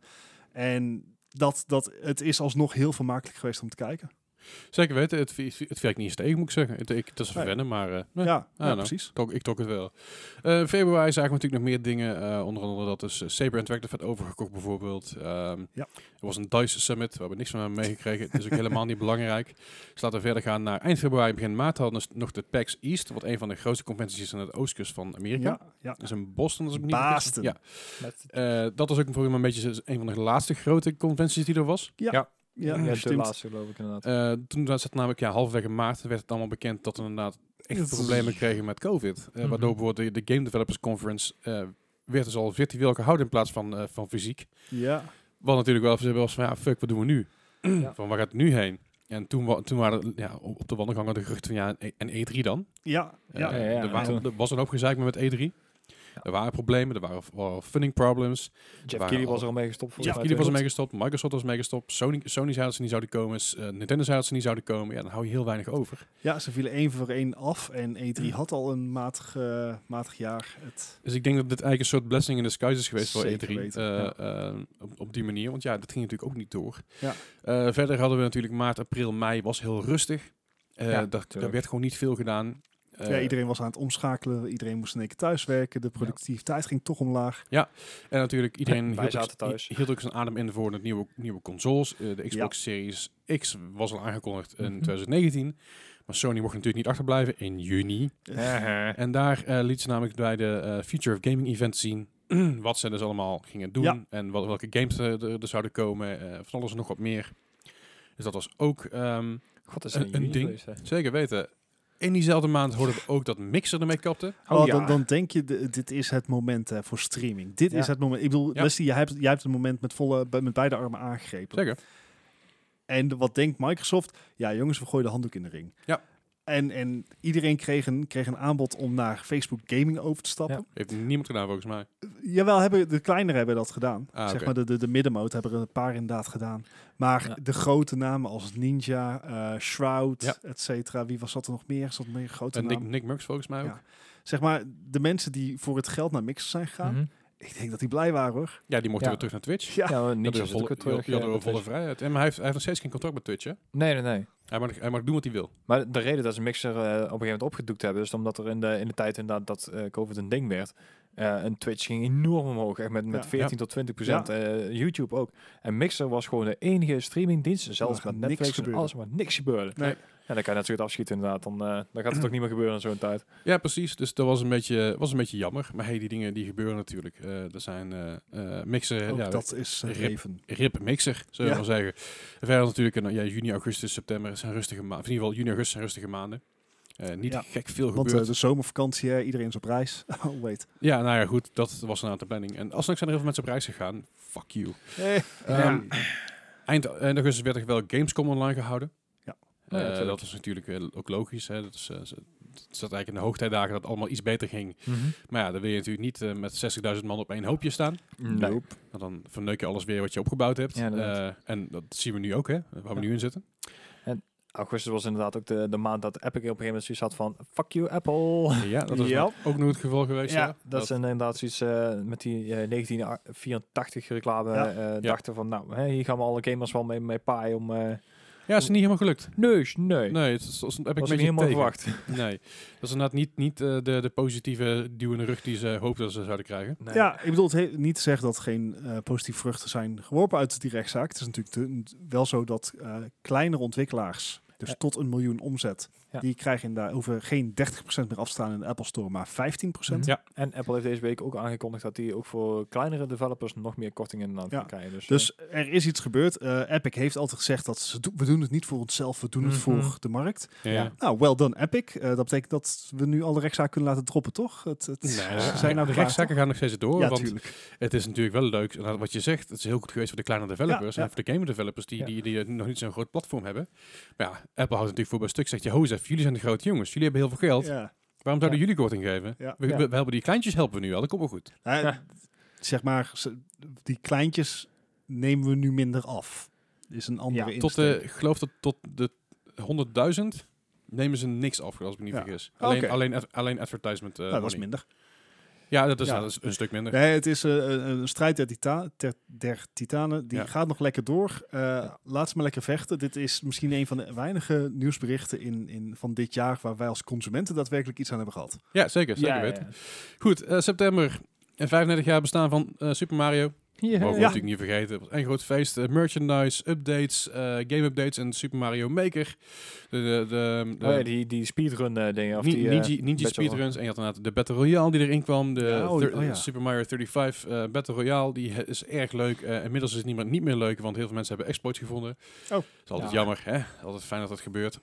Speaker 2: En dat, dat, het is alsnog heel vermakelijk geweest om te kijken.
Speaker 1: Zeker weten, het, vi- het werkt niet eens tegen, moet ik zeggen. Het, ik, het is
Speaker 2: Nee.
Speaker 1: verwennen, maar eh, nee,
Speaker 3: Ah,
Speaker 2: Ja, ja,
Speaker 1: nou.
Speaker 2: precies.
Speaker 1: tok- ik tok het wel. Eh, februari zagen we natuurlijk nog meer dingen. eh, onder andere dat is eh, Saber Interactive werd overgekocht bijvoorbeeld. Ehm,
Speaker 2: Ja.
Speaker 1: Er was een DICE Summit, waar we niks van hebben meegekregen. het is ook helemaal niet belangrijk. Dus laten we verder gaan naar eind februari, begin maart hadden we nog de PAX East. Wat een van de grootste conventies is aan de oostkust van Amerika.
Speaker 2: Ja, ja.
Speaker 3: Dus
Speaker 1: Dat is in Boston, als ik me niet vergis.
Speaker 2: Boston.
Speaker 1: Ja. Eh, dat was ook volgens mij een beetje een van de laatste grote conventies die er was.
Speaker 2: Ja,
Speaker 3: ja, de
Speaker 2: stimmt.
Speaker 3: laatste geloof ik inderdaad.
Speaker 1: Eh, toen was het namelijk, ja, halverwege maart werd het allemaal bekend dat we inderdaad echt
Speaker 2: Dat is-
Speaker 1: problemen kregen met COVID. Eh,
Speaker 3: Mhm.
Speaker 1: Waardoor bijvoorbeeld de, de Game Developers Conference eh, werd dus al virtueel gehouden in plaats van, eh, van fysiek.
Speaker 2: Ja,
Speaker 1: Wat natuurlijk wel even was van, ja, fuck, wat doen we nu?
Speaker 3: Ja.
Speaker 1: Van, waar gaat het nu heen? En toen, wa- toen waren ja, op op de wandelgangen de geruchten van, ja, en E- en E3 dan?
Speaker 2: ja, ja.
Speaker 1: Eh,
Speaker 3: ja, ja.
Speaker 1: er, waren,
Speaker 3: Toen-
Speaker 1: er was een hoop gezeik met E3. Er waren problemen, er waren, waren funding problems.
Speaker 3: Jeff
Speaker 1: waren
Speaker 3: Keighley
Speaker 1: al-
Speaker 3: was er al mee gestopt. volgens
Speaker 1: Ja,
Speaker 3: mij,
Speaker 1: jullie was
Speaker 3: toch?
Speaker 1: ermee gestopt, Microsoft was mee gestopt, Sony, Sony zei dat ze niet zouden komen, s- eh, Nintendo zei dat ze niet zouden komen. Ja, dan hou je heel weinig over.
Speaker 2: ja, ze vielen één voor één af en E3 had al een matig, eh, matig jaar. Het,
Speaker 1: Dus ik denk dat dit eigenlijk een soort blessing in disguise is geweest voor
Speaker 2: Zeker
Speaker 1: E3.
Speaker 2: weten,
Speaker 1: eh,
Speaker 2: ja.
Speaker 1: eh, op, op die manier, want ja, dat ging natuurlijk ook niet door.
Speaker 2: Ja.
Speaker 1: Eh, verder hadden we natuurlijk maart, april, mei was heel rustig. Eh
Speaker 3: Ja,
Speaker 1: daar, daar
Speaker 3: tuurlijk.
Speaker 1: werd gewoon niet veel gedaan. Eh,
Speaker 2: ja, iedereen was aan het omschakelen, iedereen moest in één keer thuiswerken, de productiviteit ging toch omlaag.
Speaker 1: En natuurlijk, iedereen
Speaker 3: Wij
Speaker 1: hield, ook-
Speaker 3: zaten thuis.
Speaker 1: hield ook zijn adem in voor de nieuwe, nieuwe consoles. Eh, de Xbox Series X was al aangekondigd in
Speaker 3: Mhm.
Speaker 1: 2019. Maar Sony mocht natuurlijk niet achterblijven in juni. En daar eh, liet ze namelijk bij de eh, Future of Gaming Event zien wat ze dus allemaal gingen doen.
Speaker 2: Ja.
Speaker 1: En wat, welke games eh, er, er zouden komen. eh, van alles en nog wat meer. Dus dat was ook ehm,
Speaker 3: God, dat is
Speaker 1: Een-
Speaker 3: in
Speaker 1: een
Speaker 3: juni
Speaker 1: ding.
Speaker 3: geweest, hè.
Speaker 1: zeker weten. In diezelfde maand hoorden we ook dat Mixer ermee kapte.
Speaker 2: Oh,
Speaker 3: Oh, ja.
Speaker 2: dan, dan denk je, de- dit is het moment hè, voor streaming. Dit
Speaker 3: Ja.
Speaker 2: is het moment. Ik bedoel,
Speaker 1: Ja.
Speaker 2: Leslie, jij hebt, jij hebt het moment met, volle, be- met beide armen aangegrepen.
Speaker 1: Zeker.
Speaker 2: En wat denkt Microsoft? Ja, jongens, we gooien de handdoek in de ring.
Speaker 1: Ja.
Speaker 2: En, en iedereen kreeg een, kreeg een aanbod om naar Facebook Gaming over te stappen.
Speaker 1: Heeft niemand gedaan volgens mij.
Speaker 2: Jawel, hebben, de kleinere hebben dat gedaan.
Speaker 1: Ah,
Speaker 2: zeg
Speaker 1: oké.
Speaker 2: maar, de, de, de middenmoot hebben er een paar inderdaad gedaan. Maar
Speaker 3: Ja.
Speaker 2: de grote namen als Ninja, eh, Shroud,
Speaker 1: Ja.
Speaker 2: et cetera. Wie was dat er nog meer? Zat meer grote
Speaker 1: En Nick,
Speaker 2: naam?
Speaker 1: Nick Mux volgens mij ook.
Speaker 2: Ja.
Speaker 1: Ja,
Speaker 2: Zeg maar, de mensen die voor het geld naar Mixer zijn gegaan.
Speaker 3: Mhm.
Speaker 2: Ik denk dat die blij waren, hoor.
Speaker 1: die mochten
Speaker 3: Ja.
Speaker 1: weer terug naar Twitch.
Speaker 2: Ja.
Speaker 3: Ja,
Speaker 1: Die
Speaker 3: niks
Speaker 1: hadden
Speaker 3: is
Speaker 1: volle,
Speaker 3: ook weer
Speaker 1: die hadden-
Speaker 3: terug.
Speaker 1: die hadden
Speaker 3: eh,
Speaker 1: we volle
Speaker 3: met-
Speaker 1: vrijheid. En hij heeft, hij heeft nog steeds geen contract met Twitch, hè?
Speaker 3: Nee, nee, nee.
Speaker 1: Hij mag, hij mag doen wat hij wil.
Speaker 3: Maar de reden dat ze Mixer eh, op een gegeven moment opgedoekt hebben, is omdat er in de, in de tijd inderdaad dat eh, COVID een ding werd. eh een Twitch ging enorm omhoog, echt met, met
Speaker 2: Ja.
Speaker 3: 14 tot 20 procent. eh, YouTube ook. En Mixer was gewoon de enige streamingdienst, zelfs
Speaker 2: Waar niks
Speaker 3: met Netflix en
Speaker 2: gebeurde.
Speaker 3: alles, maar niks gebeurde.
Speaker 1: Nee.
Speaker 3: En dan kan je natuurlijk afschieten inderdaad, dan, eh, dan gaat het ook niet meer gebeuren in zo'n tijd.
Speaker 1: Ja, precies. Dus dat was een beetje, was een beetje jammer. Maar hey, die dingen die gebeuren natuurlijk. Eh, er zijn eh eh, Mixer.
Speaker 2: Ook
Speaker 1: ja,
Speaker 2: dat is eh,
Speaker 1: Rip.
Speaker 2: Reven.
Speaker 1: Rip Mixer, zullen we
Speaker 2: Ja.
Speaker 1: wel zeggen. En verder natuurlijk, een, ja, juni, augustus, september zijn rustige maanden. In ieder geval, juni, augustus zijn rustige maanden. Eh, niet
Speaker 2: Ja.
Speaker 1: gek veel
Speaker 2: Want
Speaker 1: gebeurd.
Speaker 2: eh, de zomervakantie, eh, iedereen is op reis. Oh, wait.
Speaker 1: ja, nou ja, goed, dat was een aantal planning. En alsnog zijn er heel veel mensen op reis gegaan. Fuck you. Ehm, Eind, eind augustus werd er wel Gamescom online gehouden.
Speaker 2: Ja.
Speaker 1: Eh,
Speaker 3: Ja, natuurlijk.
Speaker 1: dat is natuurlijk eh, ook logisch. Hè. Dat, is, eh, z- het zat eigenlijk in de hoogtijdagen dat het allemaal iets beter ging.
Speaker 3: Mhm.
Speaker 1: Maar ja, dan wil je natuurlijk niet eh, met 60.000 man op één hoopje staan.
Speaker 3: Nee.
Speaker 2: Nope.
Speaker 1: Want dan verneuk je alles weer wat je opgebouwd hebt.
Speaker 3: Ja, inderdaad.
Speaker 1: Eh, en dat zien we nu ook, hè, waar we
Speaker 3: Ja.
Speaker 1: nu in zitten.
Speaker 3: Augustus was inderdaad ook de, de maand dat Epic op een gegeven moment zoiets had van, fuck you Apple.
Speaker 1: Ja, dat is
Speaker 2: Ja.
Speaker 1: nog- ook nog het geval geweest. Ja,
Speaker 3: Ja, dat is inderdaad zoiets eh, met die eh, 1984 reclame.
Speaker 2: Ja.
Speaker 3: eh, Dachten van, nou, hè, hier gaan we alle gamers wel mee, mee paaien om... eh
Speaker 1: ja, het is niet helemaal gelukt.
Speaker 3: neus, nee.
Speaker 1: Nee, het is, het is- heb ik
Speaker 3: was
Speaker 1: een
Speaker 3: ik
Speaker 1: beetje
Speaker 3: niet helemaal
Speaker 1: tegen.
Speaker 3: verwacht.
Speaker 1: Nee, dat is inderdaad niet, niet eh, de, de positieve duw in de rug die ze hoopten dat ze zouden krijgen.
Speaker 3: Nee.
Speaker 2: Ja, ik bedoel het he- niet te zeggen dat er geen eh, positieve vruchten zijn geworpen uit die rechtszaak. Het is natuurlijk de- wel zo dat eh, kleinere ontwikkelaars, dus
Speaker 3: Ja.
Speaker 2: tot een miljoen omzet,
Speaker 3: Ja.
Speaker 2: die krijgen in daar over geen 30% meer afstaan in de Apple Store, maar 15%.
Speaker 3: Mhm.
Speaker 1: Ja.
Speaker 3: En Apple heeft deze week ook aangekondigd dat die ook voor kleinere developers nog meer kortingen in
Speaker 2: Ja.
Speaker 3: kan krijgen. Dus,
Speaker 2: Dus er is iets gebeurd. Eh, Epic heeft altijd gezegd dat ze do- we doen het niet voor onszelf, we doen het
Speaker 3: Mhm.
Speaker 2: voor de markt.
Speaker 1: Ja.
Speaker 3: eh, Ja.
Speaker 2: Nou, well done Epic. Eh, dat betekent dat we nu alle rechtszaken kunnen laten droppen, toch? Het, het,
Speaker 1: Nee,
Speaker 2: ze
Speaker 1: de-
Speaker 2: zijn nou
Speaker 1: de
Speaker 2: klaar,
Speaker 1: rechtszaken gaan nog steeds
Speaker 2: toch?
Speaker 1: door.
Speaker 2: Ja,
Speaker 1: want
Speaker 2: natuurlijk.
Speaker 1: het is natuurlijk wel leuk. inderdaad, Wat je zegt, het is heel goed geweest voor de kleine developers.
Speaker 2: Ja, ja.
Speaker 1: En voor de game developers die,
Speaker 3: Ja.
Speaker 1: die, die eh, nog niet zo'n groot platform hebben. Maar ja, Apple houdt natuurlijk voor bij stuk. Zegt je, Jozef, jullie zijn de grote jongens. Jullie hebben heel veel geld.
Speaker 2: Ja.
Speaker 1: Waarom zouden
Speaker 3: Ja.
Speaker 1: jullie korting geven?
Speaker 2: Ja.
Speaker 1: We,
Speaker 3: Ja.
Speaker 1: we- we helpen die kleintjes helpen we nu al. Dat komt wel goed.
Speaker 2: Nou,
Speaker 3: Ja.
Speaker 2: Zeg maar, ze- die kleintjes nemen we nu minder af. Is een andere
Speaker 3: Ja,
Speaker 1: Tot
Speaker 2: insteek.
Speaker 1: de, eh, ik geloof dat tot de 100.000 nemen ze niks af, als ik me niet
Speaker 2: Ja. Oh,
Speaker 1: vergis.
Speaker 2: Oké.
Speaker 1: Alleen, alleen, ad- alleen advertisement. eh,
Speaker 2: nou, dat is
Speaker 1: money.
Speaker 2: minder.
Speaker 1: Ja, dat is,
Speaker 2: Ja.
Speaker 1: nou, dat is een stuk minder.
Speaker 2: Nee, het is eh, een, een strijd der, tita- ter- der titanen. Die
Speaker 1: Ja.
Speaker 2: gaat nog lekker door. Eh, Laat ze maar lekker vechten. Dit is misschien een van de weinige nieuwsberichten in, in, van dit jaar... waar wij als consumenten daadwerkelijk iets aan hebben gehad.
Speaker 1: Ja, zeker. zeker
Speaker 3: ja,
Speaker 1: weten. Goed, eh, september. En 35 jaar bestaan van eh, Super Mario.
Speaker 3: ja.
Speaker 1: Mogen we
Speaker 2: Ja.
Speaker 1: natuurlijk niet vergeten. Het was Een groot feest. eh, merchandise, updates, eh, game updates en Super Mario Maker. De, de, de, de-
Speaker 3: Oh ja, die, die speedrun eh, dingen. Of
Speaker 1: Ni-
Speaker 3: die, eh,
Speaker 1: Ninja, Ninja
Speaker 3: Battle
Speaker 1: Speedruns. En je had inderdaad de Battle Royale die erin kwam. De
Speaker 2: Ja, oh,
Speaker 1: thir-
Speaker 2: oh ja.
Speaker 1: Super Mario 35 eh, Battle Royale. Die he- is erg leuk. Eh, inmiddels is het niet meer, niet meer leuk, want heel veel mensen hebben exploits gevonden.
Speaker 2: Oh.
Speaker 1: is altijd
Speaker 3: Ja.
Speaker 1: jammer. Hè? Altijd fijn dat dat gebeurt.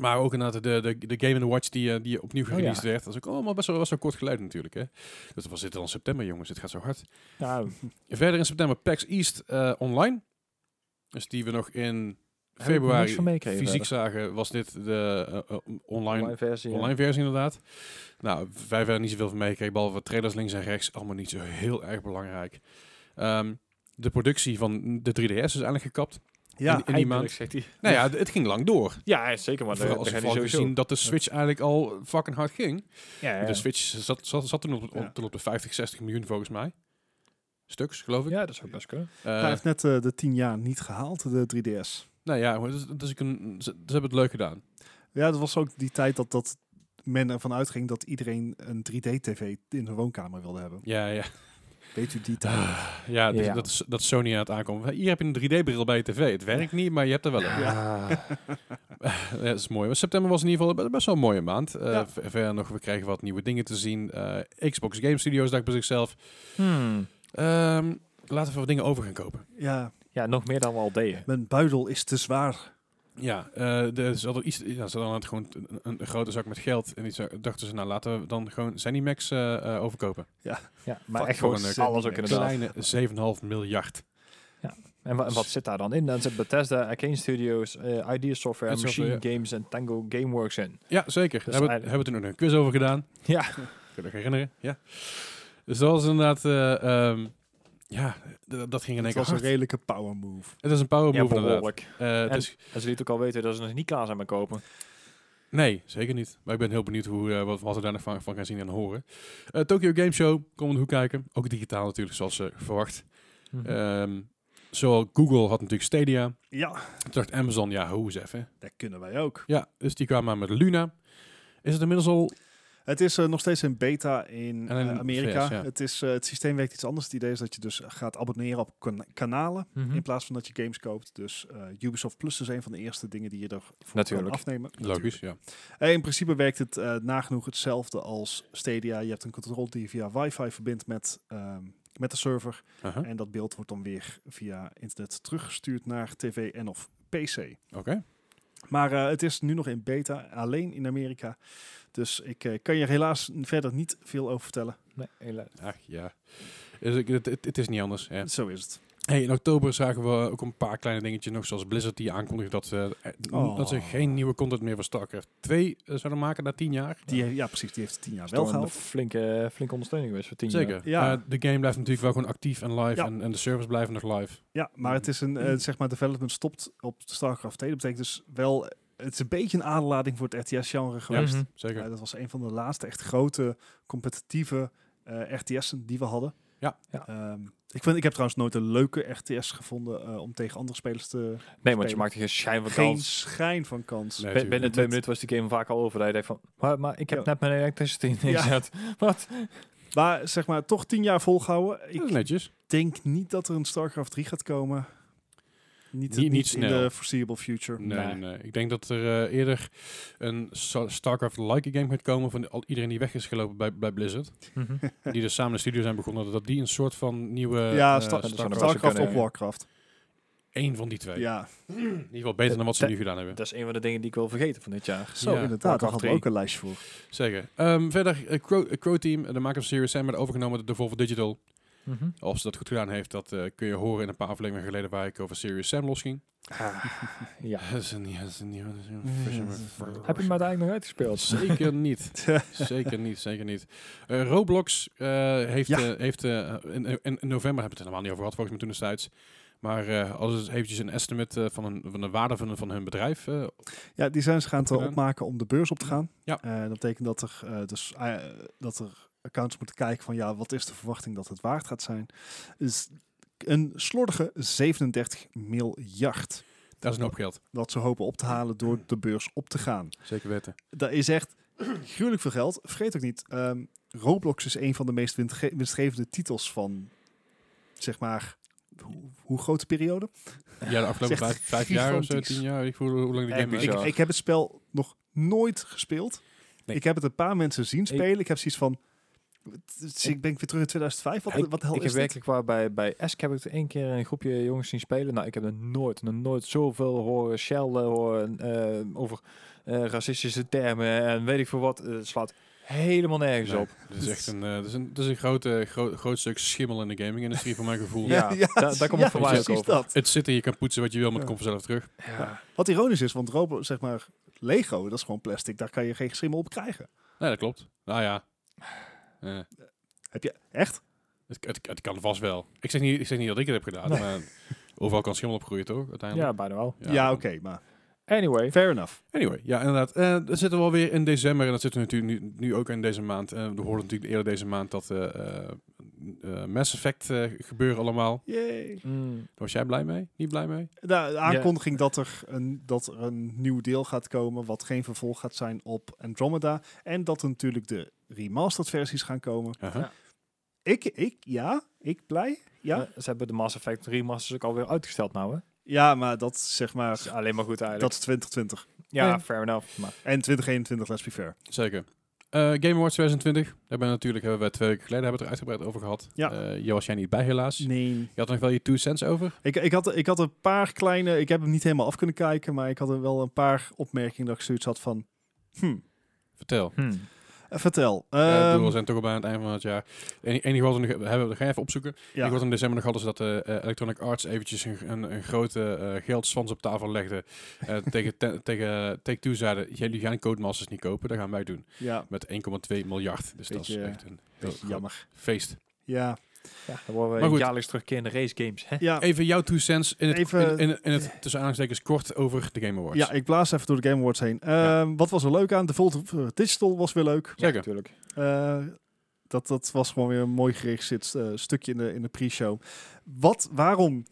Speaker 1: Maar ook inderdaad de, de, de Game Watch die, eh, die opnieuw
Speaker 3: Oh, ja.
Speaker 1: gereleased werd. Dat is ook allemaal best wel, best wel kort geluid natuurlijk. Hè? Dus we zitten dan september, jongens. Het gaat zo hard.
Speaker 3: Nou,
Speaker 1: Verder in september PAX East eh, online. Dus die we nog in
Speaker 3: ik nog niks
Speaker 1: februari
Speaker 3: van
Speaker 1: fysiek
Speaker 3: meegekregen
Speaker 1: zagen, was dit de eh, eh, online,
Speaker 3: online versie. ja.
Speaker 1: online versie inderdaad. Nou, wij verder niet zoveel van meegekregen, behalve wat trailers links en rechts. Allemaal niet zo heel erg belangrijk. Ehm, de productie van de 3DS is eigenlijk gekapt.
Speaker 2: Ja,
Speaker 1: in die maand.
Speaker 3: Eindelijk, zegt hij.
Speaker 1: Nou ja, het ging lang door.
Speaker 3: Ja, zeker. Maar
Speaker 1: Vooral
Speaker 3: dat
Speaker 1: als
Speaker 3: dat
Speaker 1: we vooral
Speaker 3: gaat hij sowieso.
Speaker 1: gezien dat de Switch eigenlijk al fucking hard ging.
Speaker 3: Ja,
Speaker 1: De
Speaker 3: ja.
Speaker 1: Switch zat, zat, zat toen, op, op-
Speaker 2: Ja.
Speaker 1: toen op de 50, 60 miljoen volgens mij. Stuks, geloof ik.
Speaker 3: ja, dat zou best kunnen.
Speaker 1: Eh,
Speaker 2: hij heeft net eh, de 10 jaar niet gehaald, de 3DS.
Speaker 1: Nou ja, maar dus, dus ik een, ze, ze hebben het leuk gedaan.
Speaker 2: Ja, dat was ook die tijd dat, dat men ervan uitging... dat iedereen een 3D-tv in hun woonkamer wilde hebben.
Speaker 1: Ja, ja.
Speaker 2: Weet u die tijd?
Speaker 1: Ja, dus
Speaker 3: Ja.
Speaker 1: dat, is, dat Sony aan het aankomen. Hier heb je een 3D-bril bij je tv. Het werkt niet, maar je hebt er wel een.
Speaker 3: Ja.
Speaker 1: Ja, dat is mooi. Maar september was in ieder geval be- best wel een mooie maand. Eh,
Speaker 2: Ja.
Speaker 1: ver- Verder nog, we kregen wat nieuwe dingen te zien. Eh, Xbox Game Studios dacht bij zichzelf.
Speaker 3: Hmm.
Speaker 1: ehm, laten we wat dingen over gaan kopen.
Speaker 2: Ja,
Speaker 3: Ja, nog meer dan we al deden.
Speaker 2: mijn buidel is te zwaar.
Speaker 1: Ja, eh de, ze hadden iets, ja, ze hadden inderdaad gewoon een, een- een grote zak met geld. En die za- dachten ze, nou laten we dan gewoon Zenimax eh eh, overkopen.
Speaker 3: Ja, maar
Speaker 2: Fuck,
Speaker 3: echt
Speaker 1: voor
Speaker 3: gewoon
Speaker 1: een, eh,
Speaker 3: alles ook
Speaker 2: Cinemax.
Speaker 3: inderdaad.
Speaker 1: Kleine 7,5 miljard.
Speaker 3: En, wa- en wat zit daar dan in? Dan zit Bethesda, Arcane Studios, eh Idea Software,
Speaker 1: Idea
Speaker 3: Machine
Speaker 1: Software,
Speaker 3: Games en Tango Gameworks in.
Speaker 1: Ja, zeker. Daar hebben,
Speaker 3: eigenlijk-
Speaker 1: hebben we toen ook nog een quiz over gedaan.
Speaker 3: Ja.
Speaker 1: Kun je nog herinneren? Ja. Dus dat was inderdaad... eh, ehm, ja, d- dat ging in één
Speaker 2: Het
Speaker 1: keer
Speaker 2: was een
Speaker 1: hard.
Speaker 2: redelijke power move.
Speaker 1: Het is een power
Speaker 3: Ja,
Speaker 1: move inderdaad.
Speaker 3: behoorlijk.
Speaker 1: Eh, het
Speaker 3: En-
Speaker 1: is-
Speaker 3: En ze liet ook al weten dat ze nog niet klaar zijn met kopen.
Speaker 1: nee, zeker niet. Maar ik ben heel benieuwd hoe, eh, wat, wat we daar nog van, van gaan zien en horen. Eh, Tokyo Game Show, kom hoe kijken. Ook digitaal natuurlijk, zoals ze verwacht.
Speaker 3: Mhm, Eh,
Speaker 1: Ehm zowel Google had natuurlijk Stadia.
Speaker 2: Ja,
Speaker 1: Toen dacht Amazon, ja, hoe eens even.
Speaker 2: dat kunnen wij ook.
Speaker 1: Ja, dus die kwamen aan met Luna. Is het inmiddels al...
Speaker 2: Het is eh, nog steeds in beta in
Speaker 1: En in
Speaker 2: eh, Amerika.
Speaker 1: VS, ja.
Speaker 2: het, is, eh, het systeem werkt iets anders. Het idee is dat je dus gaat abonneren op kan- kanalen
Speaker 3: Mhm.
Speaker 2: in plaats van dat je games koopt. Dus eh, Ubisoft Plus is een van de eerste dingen die je ervoor
Speaker 3: Natuurlijk.
Speaker 2: kan afnemen.
Speaker 1: Logisch, ja.
Speaker 2: En in principe werkt het eh, nagenoeg hetzelfde als Stadia. Je hebt een controle die je via wifi verbindt met, ehm, met de server.
Speaker 1: Aha,
Speaker 2: En dat beeld wordt dan weer via internet teruggestuurd naar tv en of pc.
Speaker 1: Oké.
Speaker 2: Maar eh, het is nu nog in beta, alleen in Amerika. Dus ik eh, kan je er helaas verder niet veel over vertellen.
Speaker 3: Nee, helaas.
Speaker 1: Ach ja. Dus ik, het, het, het is niet anders. Hè.
Speaker 2: Zo is het.
Speaker 1: Hey, in oktober zagen we ook een paar kleine dingetjes nog, zoals Blizzard die aankondigde dat ze, eh, n-
Speaker 2: Oh.
Speaker 1: dat ze geen nieuwe content meer voor StarCraft 2 eh, zouden maken na 10 jaar.
Speaker 2: Die, ja, precies. Die heeft tien jaar wel
Speaker 3: Wel een
Speaker 2: gehaald.
Speaker 3: flinke, flinke ondersteuning geweest voor tien jaar.
Speaker 1: Zeker.
Speaker 2: Ja.
Speaker 1: Eh, de game blijft natuurlijk wel gewoon actief en live
Speaker 2: Ja.
Speaker 1: en, en de servers blijven nog live.
Speaker 2: Ja, maar het is een, eh, zeg maar, development stopt op StarCraft 2. Dat betekent dus wel, het is een beetje een aderlading voor het RTS-genre geweest.
Speaker 3: Mhm.
Speaker 1: Zeker.
Speaker 2: Eh, dat was een van de laatste echt grote competitieve eh, RTS'en die we hadden.
Speaker 1: Ja.
Speaker 3: Ja.
Speaker 2: Ehm, ik, vind, ik heb trouwens nooit een leuke RTS gevonden eh, om tegen andere spelers te...
Speaker 3: Nee, want je
Speaker 2: Mhm. Spelen.
Speaker 3: maakt er geen schijn van
Speaker 2: Geen
Speaker 3: kans.
Speaker 2: schijn van kans.
Speaker 1: Nee,
Speaker 3: Bin-
Speaker 1: tuurlijk.
Speaker 3: Binnen twee
Speaker 2: Met-
Speaker 3: minuten was die game vaak al over. Dat je denkt van, maar, maar ik heb
Speaker 2: Ja.
Speaker 3: net mijn elektriciteit ingezet. Wat?
Speaker 2: Maar zeg maar, toch tien jaar volgehouden.
Speaker 1: Dat is
Speaker 2: Ik
Speaker 1: netjes.
Speaker 2: denk niet dat er een StarCraft 3 gaat komen. Niet,
Speaker 1: Niet-
Speaker 2: niet,
Speaker 1: niet
Speaker 2: in
Speaker 1: snel.
Speaker 2: de foreseeable future.
Speaker 1: Nee, nee, nee. Ik denk dat er eh, eerder een Sa- StarCraft-like game gaat komen van al iedereen die weg is gelopen bij, bij Blizzard.
Speaker 2: Mhm.
Speaker 1: die dus samen in de studio zijn begonnen. Dat die een soort van nieuwe...
Speaker 2: Ja,
Speaker 1: eh,
Speaker 2: Sta- dat
Speaker 3: zou nog wel eens
Speaker 2: StarCraft
Speaker 3: kunnen,
Speaker 2: of
Speaker 3: ja.
Speaker 2: Warcraft.
Speaker 1: Eén van die twee.
Speaker 2: Ja,
Speaker 1: In ieder geval beter dan wat ze
Speaker 3: Dat-
Speaker 1: nu gedaan hebben.
Speaker 3: Dat is een van de dingen die ik wil vergeten van dit jaar.
Speaker 2: zo
Speaker 1: Ja,
Speaker 2: inderdaad.
Speaker 3: Warcraft
Speaker 2: Daar hadden we
Speaker 3: 3.
Speaker 2: ook een lijstje voor.
Speaker 1: Zeker. Ehm, verder, eh, Crow, eh, Crow Team, eh, de maker van Series M, werd overgenomen door Volvo Digital.
Speaker 2: Mhm.
Speaker 1: Of ze dat goed gedaan heeft, dat eh, kun je horen in een paar afleveringen geleden waar ik over Serious Sam losging.
Speaker 3: Ja.
Speaker 1: Dat is een dat is een- dat is een-
Speaker 3: Heb je hem uiteindelijk nog uitgespeeld?
Speaker 1: Zeker niet. zeker niet, zeker niet. Eh, Roblox eh, heeft,
Speaker 2: Ja.
Speaker 1: eh, heeft eh, in, in, in november, hebben we het er helemaal niet over gehad, volgens mij toen destijds. Maar eh als het eventjes een estimate eh, van, een, van de waarde van, van hun bedrijf. eh,
Speaker 2: Ja, die zijn ze gaan te
Speaker 1: Gedaan.
Speaker 2: opmaken om de beurs op te gaan.
Speaker 1: Ja.
Speaker 2: ah, Eh, dat betekent dat er, eh, dus, eh, dat er accounts moeten kijken van ja, wat is de verwachting dat het waard gaat zijn. Is een slordige 37 miljard
Speaker 1: Dat is een hoop geld.
Speaker 2: dat ze hopen op te halen door de beurs op te gaan.
Speaker 1: Zeker weten.
Speaker 2: Dat is echt gruwelijk veel geld. Vergeet ook niet, ehm, Roblox is een van de meest windge- winstgevende titels van, zeg maar, hoe, hoe grote periode?
Speaker 1: Ja, de afgelopen
Speaker 2: Zegt
Speaker 1: vijf, vijf jaar of zo,
Speaker 2: gigantisch.
Speaker 1: tien jaar. Ik voel hoe lang de
Speaker 3: Echt
Speaker 1: game is.
Speaker 2: Eh, Ik,
Speaker 3: bizar.
Speaker 2: ik heb het spel nog nooit gespeeld.
Speaker 1: Nee.
Speaker 2: Ik heb het een paar mensen zien spelen. Ik, heb zoiets van, het is- ik ben weer terug in 2005. Wat, wat de hel is
Speaker 3: ik heb
Speaker 2: dit?
Speaker 3: werkelijk waar bij, bij Esk heb ik het één keer een groepje jongens zien spelen. Nou, ik heb nog nooit, nog nooit zoveel horen schelden, horen eh, over eh, racistische termen en weet ik veel wat. Eh, Het slaat helemaal nergens
Speaker 1: Nee,
Speaker 3: op.
Speaker 1: Het is echt een, eh, het is een, het is een groot, eh, gro- groot stuk schimmel in de gaming-industrie, voor mijn gevoel.
Speaker 3: Ja, da- daar komt het voor mij ook
Speaker 2: precies
Speaker 3: over.
Speaker 2: dat.
Speaker 1: Het zit en je kan poetsen wat je wil, maar het
Speaker 2: Ja.
Speaker 1: komt vanzelf terug.
Speaker 3: Ja.
Speaker 2: Wat ironisch is, want Roblox, zeg maar, Lego, dat is gewoon plastic. Daar kan je geen schimmel op krijgen.
Speaker 1: Nee, dat klopt. Nou ja. Eh,
Speaker 2: Heb je echt?
Speaker 1: het, het, het kan vast wel. Ik zeg, niet, ik zeg niet dat ik het heb gedaan, maar overal kan schimmel opgroeien, toch? Uiteindelijk.
Speaker 3: ja, bijna wel.
Speaker 2: Ja, oké, maar
Speaker 3: Anyway,
Speaker 2: fair enough.
Speaker 1: Anyway, ja, inderdaad. Eh dan zitten we alweer in december. En dat zitten we natuurlijk nu, nu ook in deze maand. Eh we hoorden natuurlijk eerder deze maand dat eh eh, eh, Mass Effect eh, gebeuren allemaal.
Speaker 2: Yay.
Speaker 3: mm,
Speaker 1: Was jij blij mee? Niet blij mee?
Speaker 2: Nou, de aankondiging dat, er een, dat er een nieuw deel gaat komen, wat geen vervolg gaat zijn op Andromeda. En dat er natuurlijk de remastered versies gaan komen.
Speaker 1: Aha.
Speaker 3: Ja.
Speaker 2: Ik, ik, ja, ik blij. Ja,
Speaker 3: eh, ze hebben de Mass Effect remasters ook alweer uitgesteld nou, hè?
Speaker 2: ja maar dat is zeg
Speaker 3: Dat
Speaker 2: maar,
Speaker 3: is alleen maar goed
Speaker 2: dat
Speaker 3: eigenlijk.
Speaker 2: is 2020.
Speaker 3: ja,
Speaker 2: Ja.
Speaker 3: fair enough. Maar
Speaker 2: En 2021, let's be fair.
Speaker 1: Zeker. Eh, Game Awards 2020. Daar hebben we natuurlijk hebben we twee weken geleden hebben we het er uitgebreid over gehad.
Speaker 2: Ja.
Speaker 1: Eh, jij was jij niet bij helaas.
Speaker 2: Nee.
Speaker 1: Je had er nog wel je two cents over.
Speaker 2: Ik, ik, had, ik had een paar kleine, ik heb hem niet helemaal af kunnen kijken, maar ik had er wel een paar opmerkingen dat ik zoiets had van, hmm,
Speaker 1: Vertel.
Speaker 3: hmm.
Speaker 2: eh, vertel.
Speaker 1: Eh, ik bedoel, we
Speaker 2: Ehm,
Speaker 1: zijn toch al bij aan het einde van het jaar. En enige wat we nog hebben, we gaan even opzoeken.
Speaker 2: ja.
Speaker 1: Ik wat in december nog hadden ze dat eh, eh, Electronic Arts eventjes een, een, een grote eh geldswans op tafel legde. Eh, tegen te- tegen Take-Two zeiden, jullie gaan Codemasters niet kopen, dat gaan wij doen.
Speaker 2: ja,
Speaker 1: Met 1,2 miljard. Dus dat is
Speaker 2: Beetje-
Speaker 1: echt een heel
Speaker 2: beetje
Speaker 1: groot
Speaker 2: jammer.
Speaker 1: feest.
Speaker 2: Ja,
Speaker 3: Ja, dan worden
Speaker 1: Maar
Speaker 3: we
Speaker 1: goed.
Speaker 3: jaarlijks terugkerende race games, hè?
Speaker 2: ja.
Speaker 1: Even jouw two cents in het,
Speaker 2: Even-
Speaker 1: in, in, in het tussen aanhalingstekens kort over de Game Awards.
Speaker 2: Ja, ik blaas even door de Game Awards heen. Ehm,
Speaker 1: Ja.
Speaker 2: Wat was er leuk aan? De Volt eh, Digital was weer leuk.
Speaker 1: Zeker.
Speaker 3: natuurlijk.
Speaker 2: Eh, dat, dat was gewoon weer een mooi geregisseerd eh, stukje in de, in de pre-show. Wat, waarom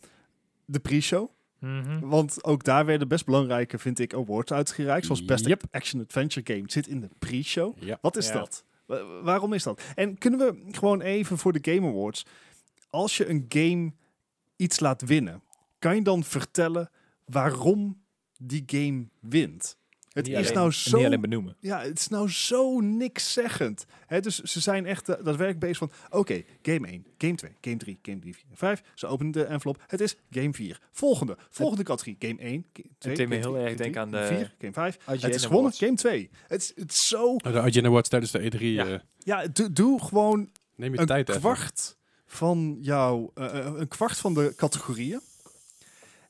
Speaker 2: de pre-show?
Speaker 3: Mhm.
Speaker 2: Want ook daar werden best belangrijke, vind ik, awards uitgereikt. Zoals Best
Speaker 1: Yep.
Speaker 2: Action-Adventure Game zit in de pre-show.
Speaker 1: Ja.
Speaker 2: Wat is
Speaker 3: Ja.
Speaker 2: dat? Wa- waarom is dat? En kunnen we gewoon even voor de Game Awards... Als je een game iets laat winnen... kan je dan vertellen waarom die game wint? Het
Speaker 3: Niet
Speaker 2: is
Speaker 3: alleen-
Speaker 2: nou zo...
Speaker 3: Niet alleen benoemen.
Speaker 2: Ja, het is nou zo niks zeggend. Hè, dus ze zijn echt eh, daadwerkelijk bezig van... Oké, game 1, game 2, game 3, game 3, 4, 5. Ze openen de envelop. Het is game 4. Volgende, volgende categorie. Game 1, game 2,
Speaker 3: deed me
Speaker 2: game 3,
Speaker 3: heel erg
Speaker 2: game
Speaker 3: denken
Speaker 2: 4,
Speaker 3: aan de-
Speaker 2: game 4, game 5.
Speaker 3: IGN
Speaker 2: Het is gewonnen,
Speaker 3: Awards.
Speaker 2: game 2. Het is, het is zo...
Speaker 1: De Agenda Awards tijdens de E3.
Speaker 3: Ja.
Speaker 1: eh,
Speaker 2: Ja, doe, doe gewoon
Speaker 1: neem je
Speaker 2: een
Speaker 1: tijd even.
Speaker 2: kwart van jouw... eh, eh, een kwart van de categorieën.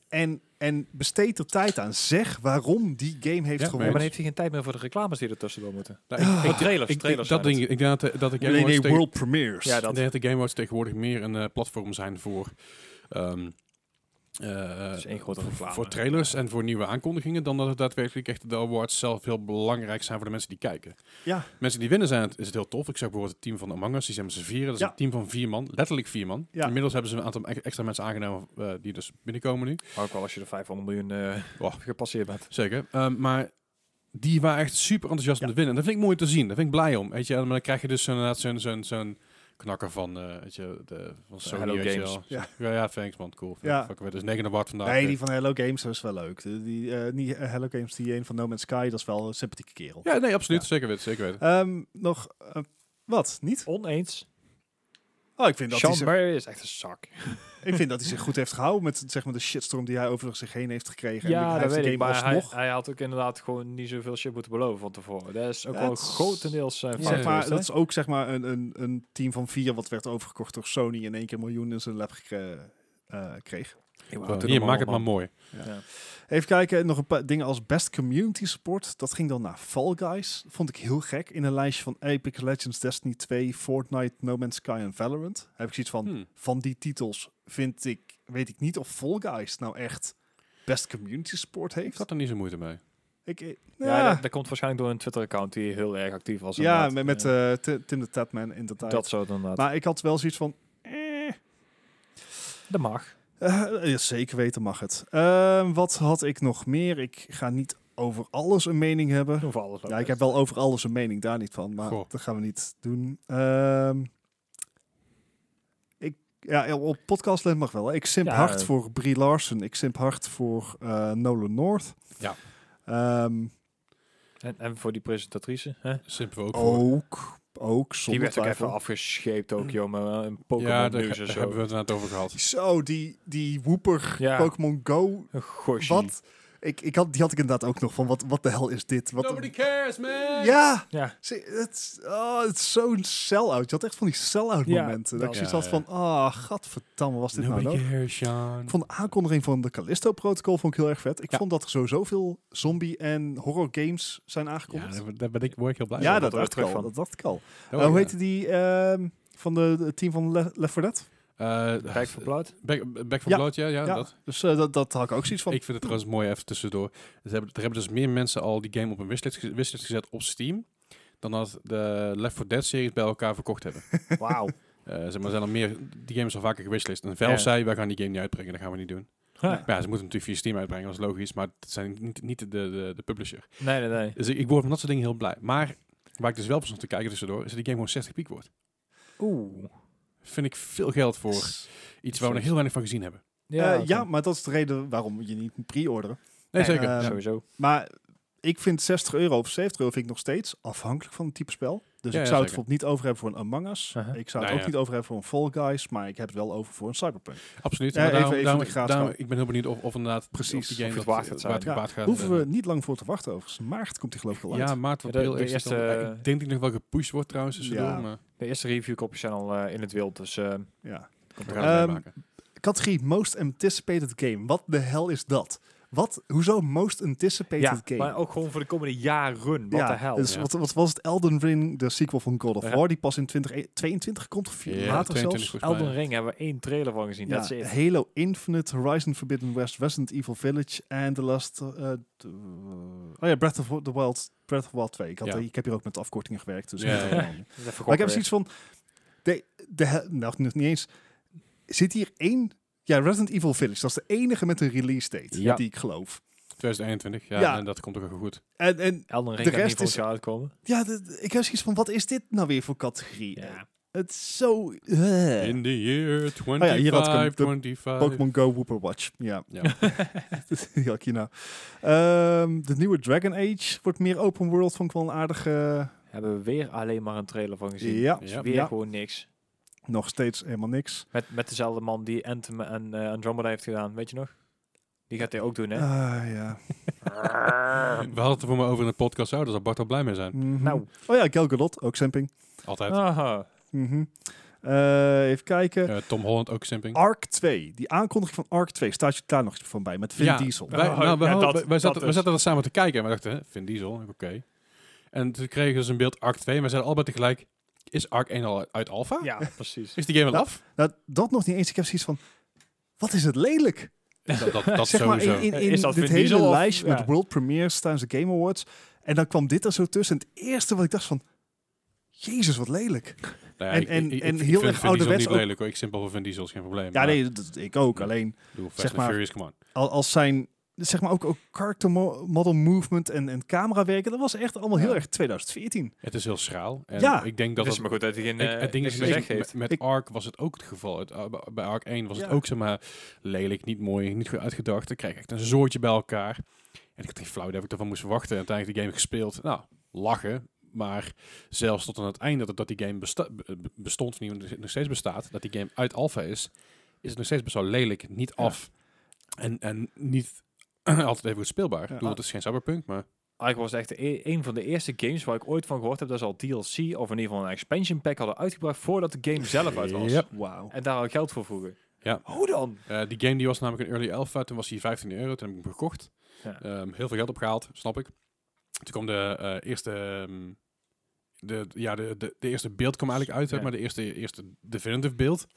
Speaker 2: En, en besteed er tijd aan. Zeg waarom die game heeft
Speaker 1: Ja,
Speaker 3: Ja,
Speaker 2: gewonnen.
Speaker 3: maar dan heeft hij geen tijd meer voor de reclames die er tussendoor moeten.
Speaker 1: Nou, ik- ik-
Speaker 3: Oh, trailers,
Speaker 1: ik-
Speaker 3: trailers
Speaker 1: dat
Speaker 3: zijn
Speaker 1: ding, ik denk dat, de- dat de Game
Speaker 2: nee,
Speaker 1: Awards
Speaker 2: nee,
Speaker 1: tegen-
Speaker 2: world premieres.
Speaker 3: Ja, dat-
Speaker 1: Ik denk dat de Game Awards tegenwoordig meer een eh, platform zijn voor... ehm, eh,
Speaker 3: Dat is één grote
Speaker 1: voor-
Speaker 3: reclame.
Speaker 1: Voor trailers en voor nieuwe aankondigingen... dan dat het daadwerkelijk echt de awards zelf heel belangrijk zijn... voor de mensen die kijken.
Speaker 2: Ja.
Speaker 1: Mensen die winnen zijn het, is het heel tof. Ik zag bijvoorbeeld het team van Among Us. Die zijn met z'n vieren. Dat is
Speaker 2: Ja.
Speaker 1: een team van vier man. Letterlijk vier man.
Speaker 2: Ja.
Speaker 1: Inmiddels hebben ze een aantal e- extra mensen aangenomen... eh, die dus binnenkomen nu.
Speaker 3: Maar ook wel als je de 500 miljoen eh,
Speaker 1: Oh.
Speaker 3: gepasseerd bent.
Speaker 1: Zeker. Ehm, maar die waren echt super enthousiast om
Speaker 2: Ja.
Speaker 1: te winnen. En dat vind ik mooi te zien. Daar vind ik blij om. Weet je? En dan krijg je dus zo'n- inderdaad zo'n zo'n zo'n knakker van, eh weet je, de, van Sony.
Speaker 3: Hello
Speaker 1: weet je
Speaker 3: Games.
Speaker 1: wel.
Speaker 2: Ja.
Speaker 1: Ja, ja, thanks man. Cool.
Speaker 2: Ja.
Speaker 1: Ja. Fuck, we dus 9 watt vandaag.
Speaker 2: Nee, die van Hello Games dat is wel leuk. De- Die, eh, niet eh, Hello Games, die een van No Man's Sky, dat is wel een sympathieke kerel.
Speaker 1: Ja, nee, absoluut.
Speaker 2: Ja.
Speaker 1: Zeker weten. Zeker weten.
Speaker 2: Ehm, nog eh, wat? Niet?
Speaker 3: Oneens.
Speaker 2: Oh, ik vind, dat hij
Speaker 3: Sean
Speaker 2: zich,
Speaker 3: Murray is echt een zak.
Speaker 2: ik vind dat hij zich goed heeft gehouden met zeg maar, de shitstorm die hij over zich heen heeft gekregen. en
Speaker 3: Ja,
Speaker 2: hij
Speaker 3: dat
Speaker 2: heeft de
Speaker 3: weet ik.
Speaker 2: game
Speaker 3: Maar hij,
Speaker 2: alsnog.
Speaker 3: hij had ook inderdaad gewoon niet zoveel shit moeten beloven van tevoren. Dat is ook
Speaker 2: Ja,
Speaker 3: wel
Speaker 2: het is-
Speaker 3: grotendeels zijn
Speaker 1: Ja.
Speaker 3: fout
Speaker 2: zeg maar,
Speaker 3: geweest, hè?
Speaker 2: dat is ook zeg maar, een, een, een team van vier wat werd overgekocht door Sony in één keer miljoen in zijn lab gekre- eh, kreeg.
Speaker 3: Ik wou
Speaker 1: Zo,
Speaker 3: toen
Speaker 1: Hier,
Speaker 3: nog
Speaker 1: maak het maar
Speaker 3: allemaal-
Speaker 1: mooi.
Speaker 2: Even kijken, nog een paar dingen als best community support. Dat ging dan naar Fall Guys. Vond ik heel gek. In een lijstje van Epic Legends, Destiny 2, Fortnite, No Man's Sky en Valorant. Heb ik zoiets van,
Speaker 3: Hmm.
Speaker 1: Hm.
Speaker 2: van die titels vind ik, weet ik niet of Fall Guys nou echt best community support
Speaker 1: Ik
Speaker 2: heeft.
Speaker 1: had er niet zo moeite mee.
Speaker 2: Ik, eh,
Speaker 3: Ja,
Speaker 2: ja,
Speaker 3: Dat, dat komt waarschijnlijk door een Twitter-account die heel erg actief was.
Speaker 2: ja, met,
Speaker 3: inderdaad.
Speaker 2: met
Speaker 3: Eh,
Speaker 2: eh, Ti- Tim de Tapman inderdaad.
Speaker 3: dat zo inderdaad.
Speaker 2: maar ik had wel zoiets van... eh,
Speaker 3: dat mag.
Speaker 2: Eh, ja, zeker weten mag het. Ehm, wat had ik nog meer? Ik ga niet over alles een mening hebben.
Speaker 3: Doen we alles ook
Speaker 2: Ja, ik heb
Speaker 3: best.
Speaker 2: wel over alles een mening, daar niet van. Maar
Speaker 1: Goh.
Speaker 2: dat gaan we niet doen. Ehm, ik, ja, op podcastland mag wel. hè. Ik simp
Speaker 3: Ja,
Speaker 2: hard
Speaker 3: eh.
Speaker 2: voor Brie Larson. Ik simp hard voor eh, Nolan North.
Speaker 1: Ja.
Speaker 2: Ehm,
Speaker 3: En, en voor die presentatrice. Hè?
Speaker 1: Simpel ook
Speaker 2: Oh,
Speaker 1: voor.
Speaker 2: ook, ook
Speaker 3: Die
Speaker 2: zonder Mm.
Speaker 3: werd ook
Speaker 2: twijfel.
Speaker 3: even afgescheept ook, joh. Maar wel een
Speaker 1: Ja,
Speaker 3: Pokémon
Speaker 1: daar,
Speaker 3: nieuws
Speaker 1: daar
Speaker 3: en
Speaker 1: hebben we
Speaker 3: zo.
Speaker 1: het net over gehad.
Speaker 2: Zo, die, die woeper
Speaker 3: Ja,
Speaker 2: Pokémon Go
Speaker 3: een gosje.
Speaker 2: Wat? Ik, ik had, die had ik inderdaad ook nog van, wat, wat de hel is dit? Wat,
Speaker 1: cares, man!
Speaker 2: ja!
Speaker 3: Ja.
Speaker 2: Zie, Het, is- oh, het is zo'n sell-out. Je had echt van die sell-out
Speaker 3: Ja,
Speaker 2: momenten.
Speaker 3: dat-
Speaker 2: dat ik zoiets
Speaker 1: Ja,
Speaker 2: had
Speaker 1: ja.
Speaker 2: van, ah, gadverdamme, was dit nou
Speaker 1: Nobody
Speaker 2: nodig?
Speaker 1: cares, Sean.
Speaker 2: Ik vond de aankondiging van de Callisto-protocol vond ik heel erg vet. Ik
Speaker 3: Ja.
Speaker 2: vond dat er sowieso veel zombie- en horror games zijn
Speaker 1: Ja,
Speaker 2: aangekondigd. Ja,
Speaker 1: daar- daar ben ik, word ik heel blij
Speaker 2: dat,
Speaker 1: van.
Speaker 3: dat hoor ik
Speaker 2: dacht ik
Speaker 3: terug
Speaker 2: al.
Speaker 3: van.
Speaker 2: Dat dacht ik al.
Speaker 1: Oh,
Speaker 2: Eh, hoe
Speaker 1: ja.
Speaker 2: heette die ehm, van de, de team van Le- Left 4 Dead?
Speaker 1: Eh,
Speaker 3: Kijk voor Blood.
Speaker 1: Back, back from
Speaker 2: Ja.
Speaker 1: Blood, ja, ja,
Speaker 2: Ja.
Speaker 1: dat.
Speaker 2: Dus eh, dat, dat had ik ook zoiets van.
Speaker 1: Ik vind het trouwens mooi even tussendoor. Ze hebben, er hebben dus meer mensen al die game op een wishlist, ge- wishlist gezet op Steam. Dan dat de Left 4 Dead series bij elkaar verkocht hebben.
Speaker 3: Wauw.
Speaker 1: Eh, zeg maar, er zijn al meer, die game is al vaker gewishlist. En Valve
Speaker 3: Ja.
Speaker 1: zei, wij gaan die game niet uitbrengen, dat gaan we niet doen.
Speaker 3: Ja.
Speaker 1: Maar ja, ze moeten hem natuurlijk via Steam uitbrengen, dat is logisch. Maar het zijn niet, niet de, de, de publisher.
Speaker 3: Nee, nee, nee.
Speaker 1: Dus ik, ik word van dat soort dingen heel blij. Maar waar ik dus wel op stond te kijken tussendoor, is dat die game gewoon 60 piek wordt.
Speaker 3: Oeh.
Speaker 1: Vind ik veel geld voor iets waar we nog heel weinig van gezien hebben.
Speaker 2: ja,
Speaker 3: oké.
Speaker 2: Eh, ja, maar dat is de reden waarom je niet moet pre-orderen.
Speaker 1: Nee,
Speaker 3: Nee,
Speaker 1: zeker. Ja.
Speaker 2: eh,
Speaker 3: Sowieso.
Speaker 2: Maar ik vind 60 euro of 70 euro vind ik nog steeds afhankelijk van het type spel. Dus
Speaker 1: Ja,
Speaker 2: ik
Speaker 1: ja,
Speaker 2: zou het
Speaker 1: zeker.
Speaker 2: bijvoorbeeld niet over hebben voor een Among Us.
Speaker 3: Uh-huh.
Speaker 2: Ik zou
Speaker 1: Nou
Speaker 2: het ook
Speaker 1: ja.
Speaker 2: niet over hebben voor een Fall Guys. Maar ik heb het wel over voor een Cyberpunk.
Speaker 1: Absoluut.
Speaker 2: Ja,
Speaker 1: maar
Speaker 2: even-
Speaker 1: daarom,
Speaker 2: even
Speaker 1: daarom-
Speaker 2: de graadschap.
Speaker 1: daarom- ik ben heel benieuwd of, of inderdaad
Speaker 2: Precies,
Speaker 1: of die game
Speaker 3: of het
Speaker 1: dat,
Speaker 3: waard gaat zijn.
Speaker 1: waar het
Speaker 2: Ja,
Speaker 1: waard gaat.
Speaker 2: Hoeven
Speaker 1: eh,
Speaker 2: we niet lang voor te wachten overigens. Maart komt die geloof ik al uit.
Speaker 1: Ja, maart
Speaker 3: Ja,
Speaker 1: wordt
Speaker 3: de-
Speaker 1: heel
Speaker 3: de
Speaker 1: eerst.
Speaker 3: eerste- eh,
Speaker 1: dan- Ik denk dat ik nog wel gepusht wordt trouwens tussendoor.
Speaker 2: Ja.
Speaker 1: Maar
Speaker 3: De eerste reviewkopjes zijn al eh, in het wild, dus... eh,
Speaker 2: Ja.
Speaker 1: we gaan het
Speaker 2: Ehm,
Speaker 1: meemaken.
Speaker 2: Categorie Most Anticipated Game. Wat de hel is dat? Wat? Hoezo Most Anticipated
Speaker 3: ja,
Speaker 2: Game?
Speaker 3: maar ook gewoon voor de komende jaren. Wat
Speaker 2: ja,
Speaker 3: de hel.
Speaker 2: Dus
Speaker 1: ja.
Speaker 2: Wat, wat was het? Elden Ring, de sequel van God of
Speaker 3: Ja.
Speaker 2: War, die pas in 2022 komt of vier
Speaker 1: Ja,
Speaker 2: later
Speaker 1: 22
Speaker 2: zelfs.
Speaker 1: volgens mij,
Speaker 3: Elden
Speaker 1: ja.
Speaker 3: Ring hebben we één trailer van gezien.
Speaker 2: Ja,
Speaker 3: Dat is it.
Speaker 2: Halo Infinite, Horizon Forbidden West, Resident Evil Village en The Last... eh, eh, t- eh, oh ja, Breath of the Wild, Breath of the Wild 2. Ik, had,
Speaker 1: Ja.
Speaker 2: eh, ik heb hier ook met afkortingen gewerkt. Dus
Speaker 1: Ja,
Speaker 2: niet
Speaker 1: ja.
Speaker 2: helemaal.
Speaker 3: Dat is even
Speaker 2: maar ik heb
Speaker 3: gokken
Speaker 2: zoiets van... De, de, he- nou, nog niet eens. Zit hier één... Ja, Resident Evil Village. Dat is de enige met een release date
Speaker 3: Ja.
Speaker 2: die ik geloof.
Speaker 1: 2021, ja,
Speaker 2: ja.
Speaker 1: en dat komt ook wel goed.
Speaker 2: En, en
Speaker 3: weer. Elden
Speaker 2: de
Speaker 3: Ring gaat
Speaker 2: rest
Speaker 3: niet volgend
Speaker 2: is-
Speaker 3: jaar uitkomen.
Speaker 2: ja, de- de- ik heb zoiets van... Wat is dit nou weer voor categorie?
Speaker 3: Ja.
Speaker 2: Het is zo... eh. Oh
Speaker 1: In the year 25,
Speaker 2: ja, hier had ik hem. De
Speaker 1: 25.
Speaker 2: Pokémon Go Whooper Watch. Ja.
Speaker 1: Ja.
Speaker 2: Die had ik hierna. Ehm, de nieuwe Dragon Age wordt meer open world, vond ik wel een aardige...
Speaker 3: Hebben we weer alleen maar een trailer van gezien.
Speaker 2: Ja,
Speaker 3: Dus
Speaker 1: Ja.
Speaker 3: weer
Speaker 2: Ja.
Speaker 3: gewoon niks.
Speaker 2: nog steeds helemaal niks.
Speaker 3: Met, met dezelfde man die Anthem en eh, Andromeda heeft gedaan, weet je nog? Die gaat hij ook doen, hè?
Speaker 2: Ah, ja.
Speaker 1: We hadden het er voor me over in de podcast, oh, daar zou Bart al blij mee zijn.
Speaker 2: Mhm.
Speaker 3: Nou.
Speaker 2: Oh ja, Gal Gadot, ook simping.
Speaker 1: Altijd.
Speaker 2: Ah.
Speaker 3: Aha.
Speaker 2: Mhm. Eh, even kijken.
Speaker 1: Eh, Tom Holland ook simping.
Speaker 2: Ark 2. Die aankondiging van Ark 2. Staat je daar nog iets van bij? Met Vin
Speaker 1: Ja,
Speaker 2: Diesel. Ah.
Speaker 1: Wij,
Speaker 3: Oh,
Speaker 1: nou, wij,
Speaker 3: ja,
Speaker 1: hadden-
Speaker 3: dat-
Speaker 1: wij- wij
Speaker 3: dat
Speaker 1: zaten, wij
Speaker 3: dus.
Speaker 1: zaten dat samen te kijken en we dachten, hè, Vin Diesel, oké. En toen kregen we dus een beeld Arc 2 en we zeiden allebei tegelijk, is Arc 1 al uit Alpha?
Speaker 3: Ja, precies.
Speaker 1: Is die game al
Speaker 2: Nou,
Speaker 1: af?
Speaker 2: Nou, dat nog niet eens. Ik heb zoiets van... Wat is het lelijk?
Speaker 1: Dat, dat, dat
Speaker 2: zeg
Speaker 1: sowieso.
Speaker 2: maar, in, in,
Speaker 3: Eh,
Speaker 2: in
Speaker 3: is dat
Speaker 2: dit
Speaker 3: Vin
Speaker 2: hele
Speaker 3: Diesel of-
Speaker 2: lijstje
Speaker 3: ja.
Speaker 2: met World Premiers tijdens de Game Awards. En dan kwam dit er zo tussen. En het eerste wat ik dacht van... Jezus, wat lelijk.
Speaker 1: Nou
Speaker 2: En-
Speaker 1: ik-
Speaker 2: en-
Speaker 1: ik- ik
Speaker 2: en
Speaker 1: vind- ik
Speaker 2: heel
Speaker 1: vind
Speaker 2: erg
Speaker 1: Vin Diesel
Speaker 2: ouderwets
Speaker 1: niet
Speaker 2: ook.
Speaker 1: lelijk hoor, ik simpel voor Vin Diesel is geen probleem.
Speaker 2: Ja,
Speaker 1: maar
Speaker 2: nee, dat, ik ook.
Speaker 1: Ja.
Speaker 2: Alleen
Speaker 1: Doe Fast
Speaker 2: zeg
Speaker 1: and
Speaker 2: maar-
Speaker 1: Furious, come on.
Speaker 2: al, als zijn, zeg maar ook, ook character mo- model movement en, en camerawerken, dat was echt allemaal heel
Speaker 3: Ja.
Speaker 2: erg 2014.
Speaker 1: Het is heel schraal. En
Speaker 2: Ja.
Speaker 1: ik denk dat
Speaker 3: Dat is
Speaker 1: het,
Speaker 3: maar goed dat hij geen eh,
Speaker 1: het ding
Speaker 3: niks
Speaker 1: is
Speaker 3: meer
Speaker 1: met,
Speaker 3: weg
Speaker 1: met,
Speaker 3: heeft.
Speaker 1: met
Speaker 2: Ik-
Speaker 1: Ark was het ook het geval. Het, uh, bij Ark 1 was
Speaker 2: Ja.
Speaker 1: het ook zeg maar lelijk, niet mooi, niet goed uitgedacht. Dan krijg je echt een zoortje bij elkaar. En ik had geen flauw idee of ik ervan moest verwachten. En uiteindelijk de game gespeeld. Nou, lachen. Maar zelfs tot aan het einde dat, dat die game besta- be- be- bestond, of niet, nog steeds bestaat, dat die game uit alpha is, is het nog steeds best wel lelijk, niet
Speaker 2: Ja.
Speaker 1: af. En, en niet altijd even goed speelbaar. Ik
Speaker 2: Ja.
Speaker 1: bedoel, het is geen cyberpunk, maar...
Speaker 3: Eigenlijk was het echt e- een van de eerste games waar ik ooit van gehoord heb dat ze al DLC of in ieder geval een expansion pack hadden uitgebracht voordat de game zelf uit was.
Speaker 1: Yep.
Speaker 2: Wauw.
Speaker 3: En daar al geld voor vroegen.
Speaker 1: Ja.
Speaker 3: Hoe dan?
Speaker 1: Eh, die game die was namelijk een early alpha. Toen was hij 15 euro. Toen heb ik hem gekocht.
Speaker 3: Ja.
Speaker 1: Ehm, heel veel geld opgehaald, snap ik. Toen kwam de eh, eerste, ehm, de, ja, de, de, de eerste beeld kwam eigenlijk uit, hè,
Speaker 3: Ja.
Speaker 1: maar de eerste, eerste definitive beeld. Daar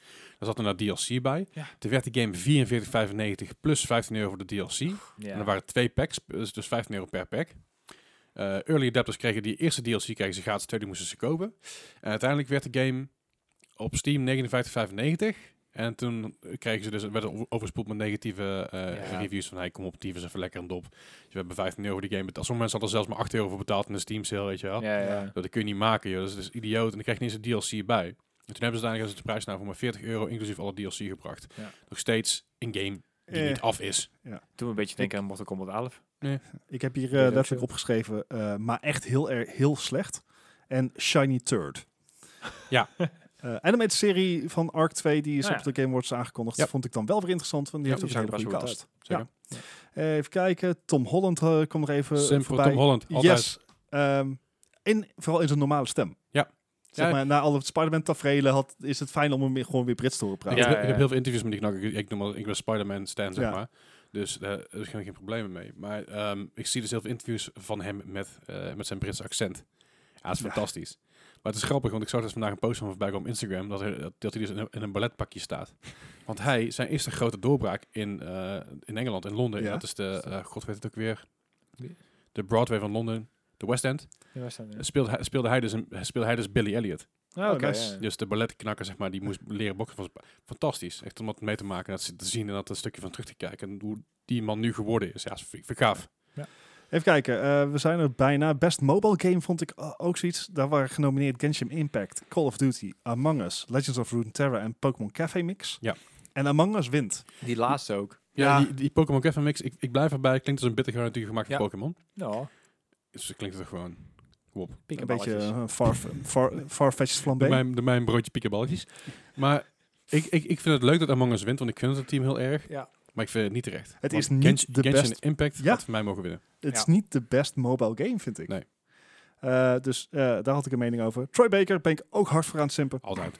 Speaker 1: zat eh, inderdaad DLC bij.
Speaker 3: Ja.
Speaker 1: Toen werd de game 44,95 plus 15 euro voor de DLC. En er waren twee packs, dus dus 15 euro per pack. Eh, early adapters kregen die eerste DLC kregen ze gratis, tweede moesten ze kopen. En uiteindelijk werd de game op Steam 59,95. En toen kregen ze dus, werd er over- overspoeld met negatieve eh,
Speaker 3: Ja.
Speaker 1: reviews van, hey, kom op, tyfus even lekker en dop. Dus we hebben 15 euro voor die game. betaald. Sommige mensen hadden er zelfs maar 8 euro voor betaald in de Steam sale, weet je wel.
Speaker 3: Ja, ja.
Speaker 1: Dat kun je niet maken, joh. Dat is, dat is idioot. En dan krijg je niet eens een DLC bij. En toen hebben ze uiteindelijk de prijs naar voor maar 40 euro, inclusief alle DLC gebracht.
Speaker 3: Ja.
Speaker 1: Nog steeds een game die
Speaker 2: Eh.
Speaker 1: niet af is.
Speaker 3: Toen een beetje denken aan Mortal Kombat 11.
Speaker 2: Ik heb hier eh,
Speaker 3: dat
Speaker 2: letterlijk
Speaker 3: veel?
Speaker 2: opgeschreven, eh, maar echt heel, erg heel slecht. En Shiny Turd.
Speaker 1: Ja.
Speaker 2: Eh animated serie van Arc 2, die is
Speaker 3: Nou
Speaker 2: op
Speaker 3: ja.
Speaker 2: de Game Awards aangekondigd.
Speaker 1: Ja.
Speaker 2: Vond ik dan wel weer interessant, want die
Speaker 1: Ja,
Speaker 2: heeft ook
Speaker 1: die
Speaker 2: een hele
Speaker 1: zag
Speaker 2: goede
Speaker 1: er best
Speaker 2: cast.
Speaker 1: Zeker.
Speaker 2: Eh, even kijken, Tom Holland eh komt er even
Speaker 1: Sam voor
Speaker 2: voorbij.
Speaker 1: Tom Holland. Altijd.
Speaker 2: Yes. Ehm, in, vooral in zijn normale stem.
Speaker 1: Ja.
Speaker 2: Zeg
Speaker 1: Ja.
Speaker 2: maar, na alle Spider-Man tafereelen had, is het fijn om hem weer- gewoon weer Brits te horen
Speaker 1: Ik,
Speaker 2: praten.
Speaker 1: heb,
Speaker 3: Ja,
Speaker 1: ik
Speaker 3: ja.
Speaker 1: heb heel veel interviews met die knakker. Ik, ik noem al, ik ben Spider-Man Stan, zeg
Speaker 2: Ja.
Speaker 1: maar. Dus eh, daar is geen, geen problemen mee. Maar ehm, ik zie dus heel veel interviews van hem met, eh, met zijn Britse accent. Ja, dat is
Speaker 2: Ja.
Speaker 1: fantastisch. Maar het is grappig, want ik zag dus vandaag een post van hem voorbij komen op Instagram. Dat hij, dat, dat hij dus in een, in een balletpakje staat. Want hij, zijn eerste grote doorbraak in, eh, in Engeland, in Londen.
Speaker 2: Ja.
Speaker 1: En dat is de, eh god weet het ook weer, de Broadway van Londen, de West End.
Speaker 3: Ja, waar staat die?
Speaker 1: Speelde, hij- speelde, hij dus, een- speelde hij dus Billy Elliot.
Speaker 3: Ah, oké,
Speaker 2: nice.
Speaker 3: ja, ja.
Speaker 1: Dus de balletknakker, zeg maar, die moest leren boksen. Van zijn pa- Fantastisch. Echt om dat mee te maken, dat ze- te zien en dat een stukje van terug te kijken. En hoe die man nu geworden is. Ja, is- vind ik gaaf.
Speaker 2: Even kijken, eh, we zijn er bijna. Best Mobile Game vond ik eh, ook zoiets. Daar waren genomineerd Genshin Impact, Call of Duty, Among Us, Legends of Runeterra en Pokémon Café Mix.
Speaker 1: Ja.
Speaker 2: En Among Us wint.
Speaker 3: Die laatste ook.
Speaker 1: Ja,
Speaker 2: Ja.
Speaker 1: die, die Pokémon Kevin Mix, ik, ik blijf erbij. Klinkt als een bitter natuurlijk gemaakt van
Speaker 3: Ja.
Speaker 1: Pokémon.
Speaker 3: Ja,
Speaker 1: Dus dat klinkt toch gewoon... Kom op.
Speaker 2: Een beetje
Speaker 3: piekenballetjes.
Speaker 2: eh, far, far, farfetched
Speaker 1: Doe
Speaker 2: flambé.
Speaker 1: mij, doe mij een broodje piekenballetjes. maar ik, ik, ik vind het leuk dat Among Us wint, want ik gun het team heel erg.
Speaker 3: Ja.
Speaker 1: Maar ik vind het niet terecht.
Speaker 2: Het
Speaker 1: Want
Speaker 2: is niet
Speaker 1: Genshin-
Speaker 2: de
Speaker 1: Genshin
Speaker 2: best-
Speaker 1: Impact
Speaker 2: Ja.
Speaker 1: had voor mij mogen winnen.
Speaker 2: Het is
Speaker 3: Ja.
Speaker 2: niet de best mobile game, vind ik.
Speaker 1: Nee.
Speaker 2: Eh, dus eh, daar had ik een mening over. Troy Baker ben ik ook hard voor aan het simpen.
Speaker 1: Altijd.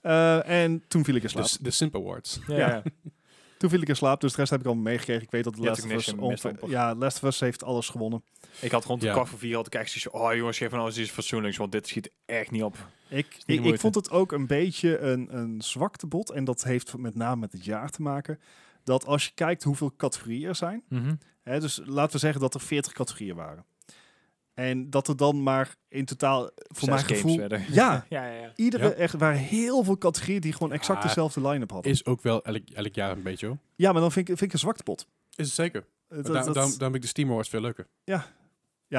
Speaker 2: Eh, en toen viel ik in Ah, slaap.
Speaker 1: De, de Simp Awards.
Speaker 3: Dus, Ja,
Speaker 2: Ja.
Speaker 3: ja.
Speaker 2: Toen viel ik in slaap, dus de rest heb ik al meegekregen. Ik weet dat The
Speaker 3: Je
Speaker 2: Last
Speaker 3: hebt
Speaker 2: of
Speaker 3: ook
Speaker 2: Us...
Speaker 3: niks
Speaker 2: onge-
Speaker 3: gemist, amper.
Speaker 2: Ja, Last of Us heeft alles gewonnen.
Speaker 3: Ik had rond de
Speaker 1: Ja.
Speaker 3: kwart voor vier had ik echt zoiets van, oh jongens, geef nou eens iets fatsoenlijks, want dit schiet echt niet op.
Speaker 2: Ik,
Speaker 3: de
Speaker 2: ik, ik
Speaker 3: moeite.
Speaker 2: vond het ook een beetje een, een zwaktebod. En dat heeft met name met het jaar te maken. Dat als je kijkt hoeveel categorieën er zijn.
Speaker 3: Mhm.
Speaker 2: Hè, dus laten we zeggen dat er 40 categorieën waren. En dat er dan maar in totaal, voor
Speaker 3: Zes
Speaker 2: mijn
Speaker 3: games
Speaker 2: gevoel...
Speaker 3: werden.
Speaker 2: Ja,
Speaker 3: Ja, ja, ja.
Speaker 2: iedere,
Speaker 1: Ja.
Speaker 2: echt, er waren heel veel categorieën die gewoon exact
Speaker 1: Ah,
Speaker 2: dezelfde line-up hadden.
Speaker 1: Is ook wel elk, elk jaar een beetje, hoor.
Speaker 2: Ja, maar dan vind ik, vind ik een zwaktebod.
Speaker 1: Is het zeker.
Speaker 2: Dat-
Speaker 1: Daar
Speaker 2: dat-
Speaker 1: daarom heb ik de Steam Awards veel leuker.
Speaker 2: ja,
Speaker 3: maar
Speaker 2: want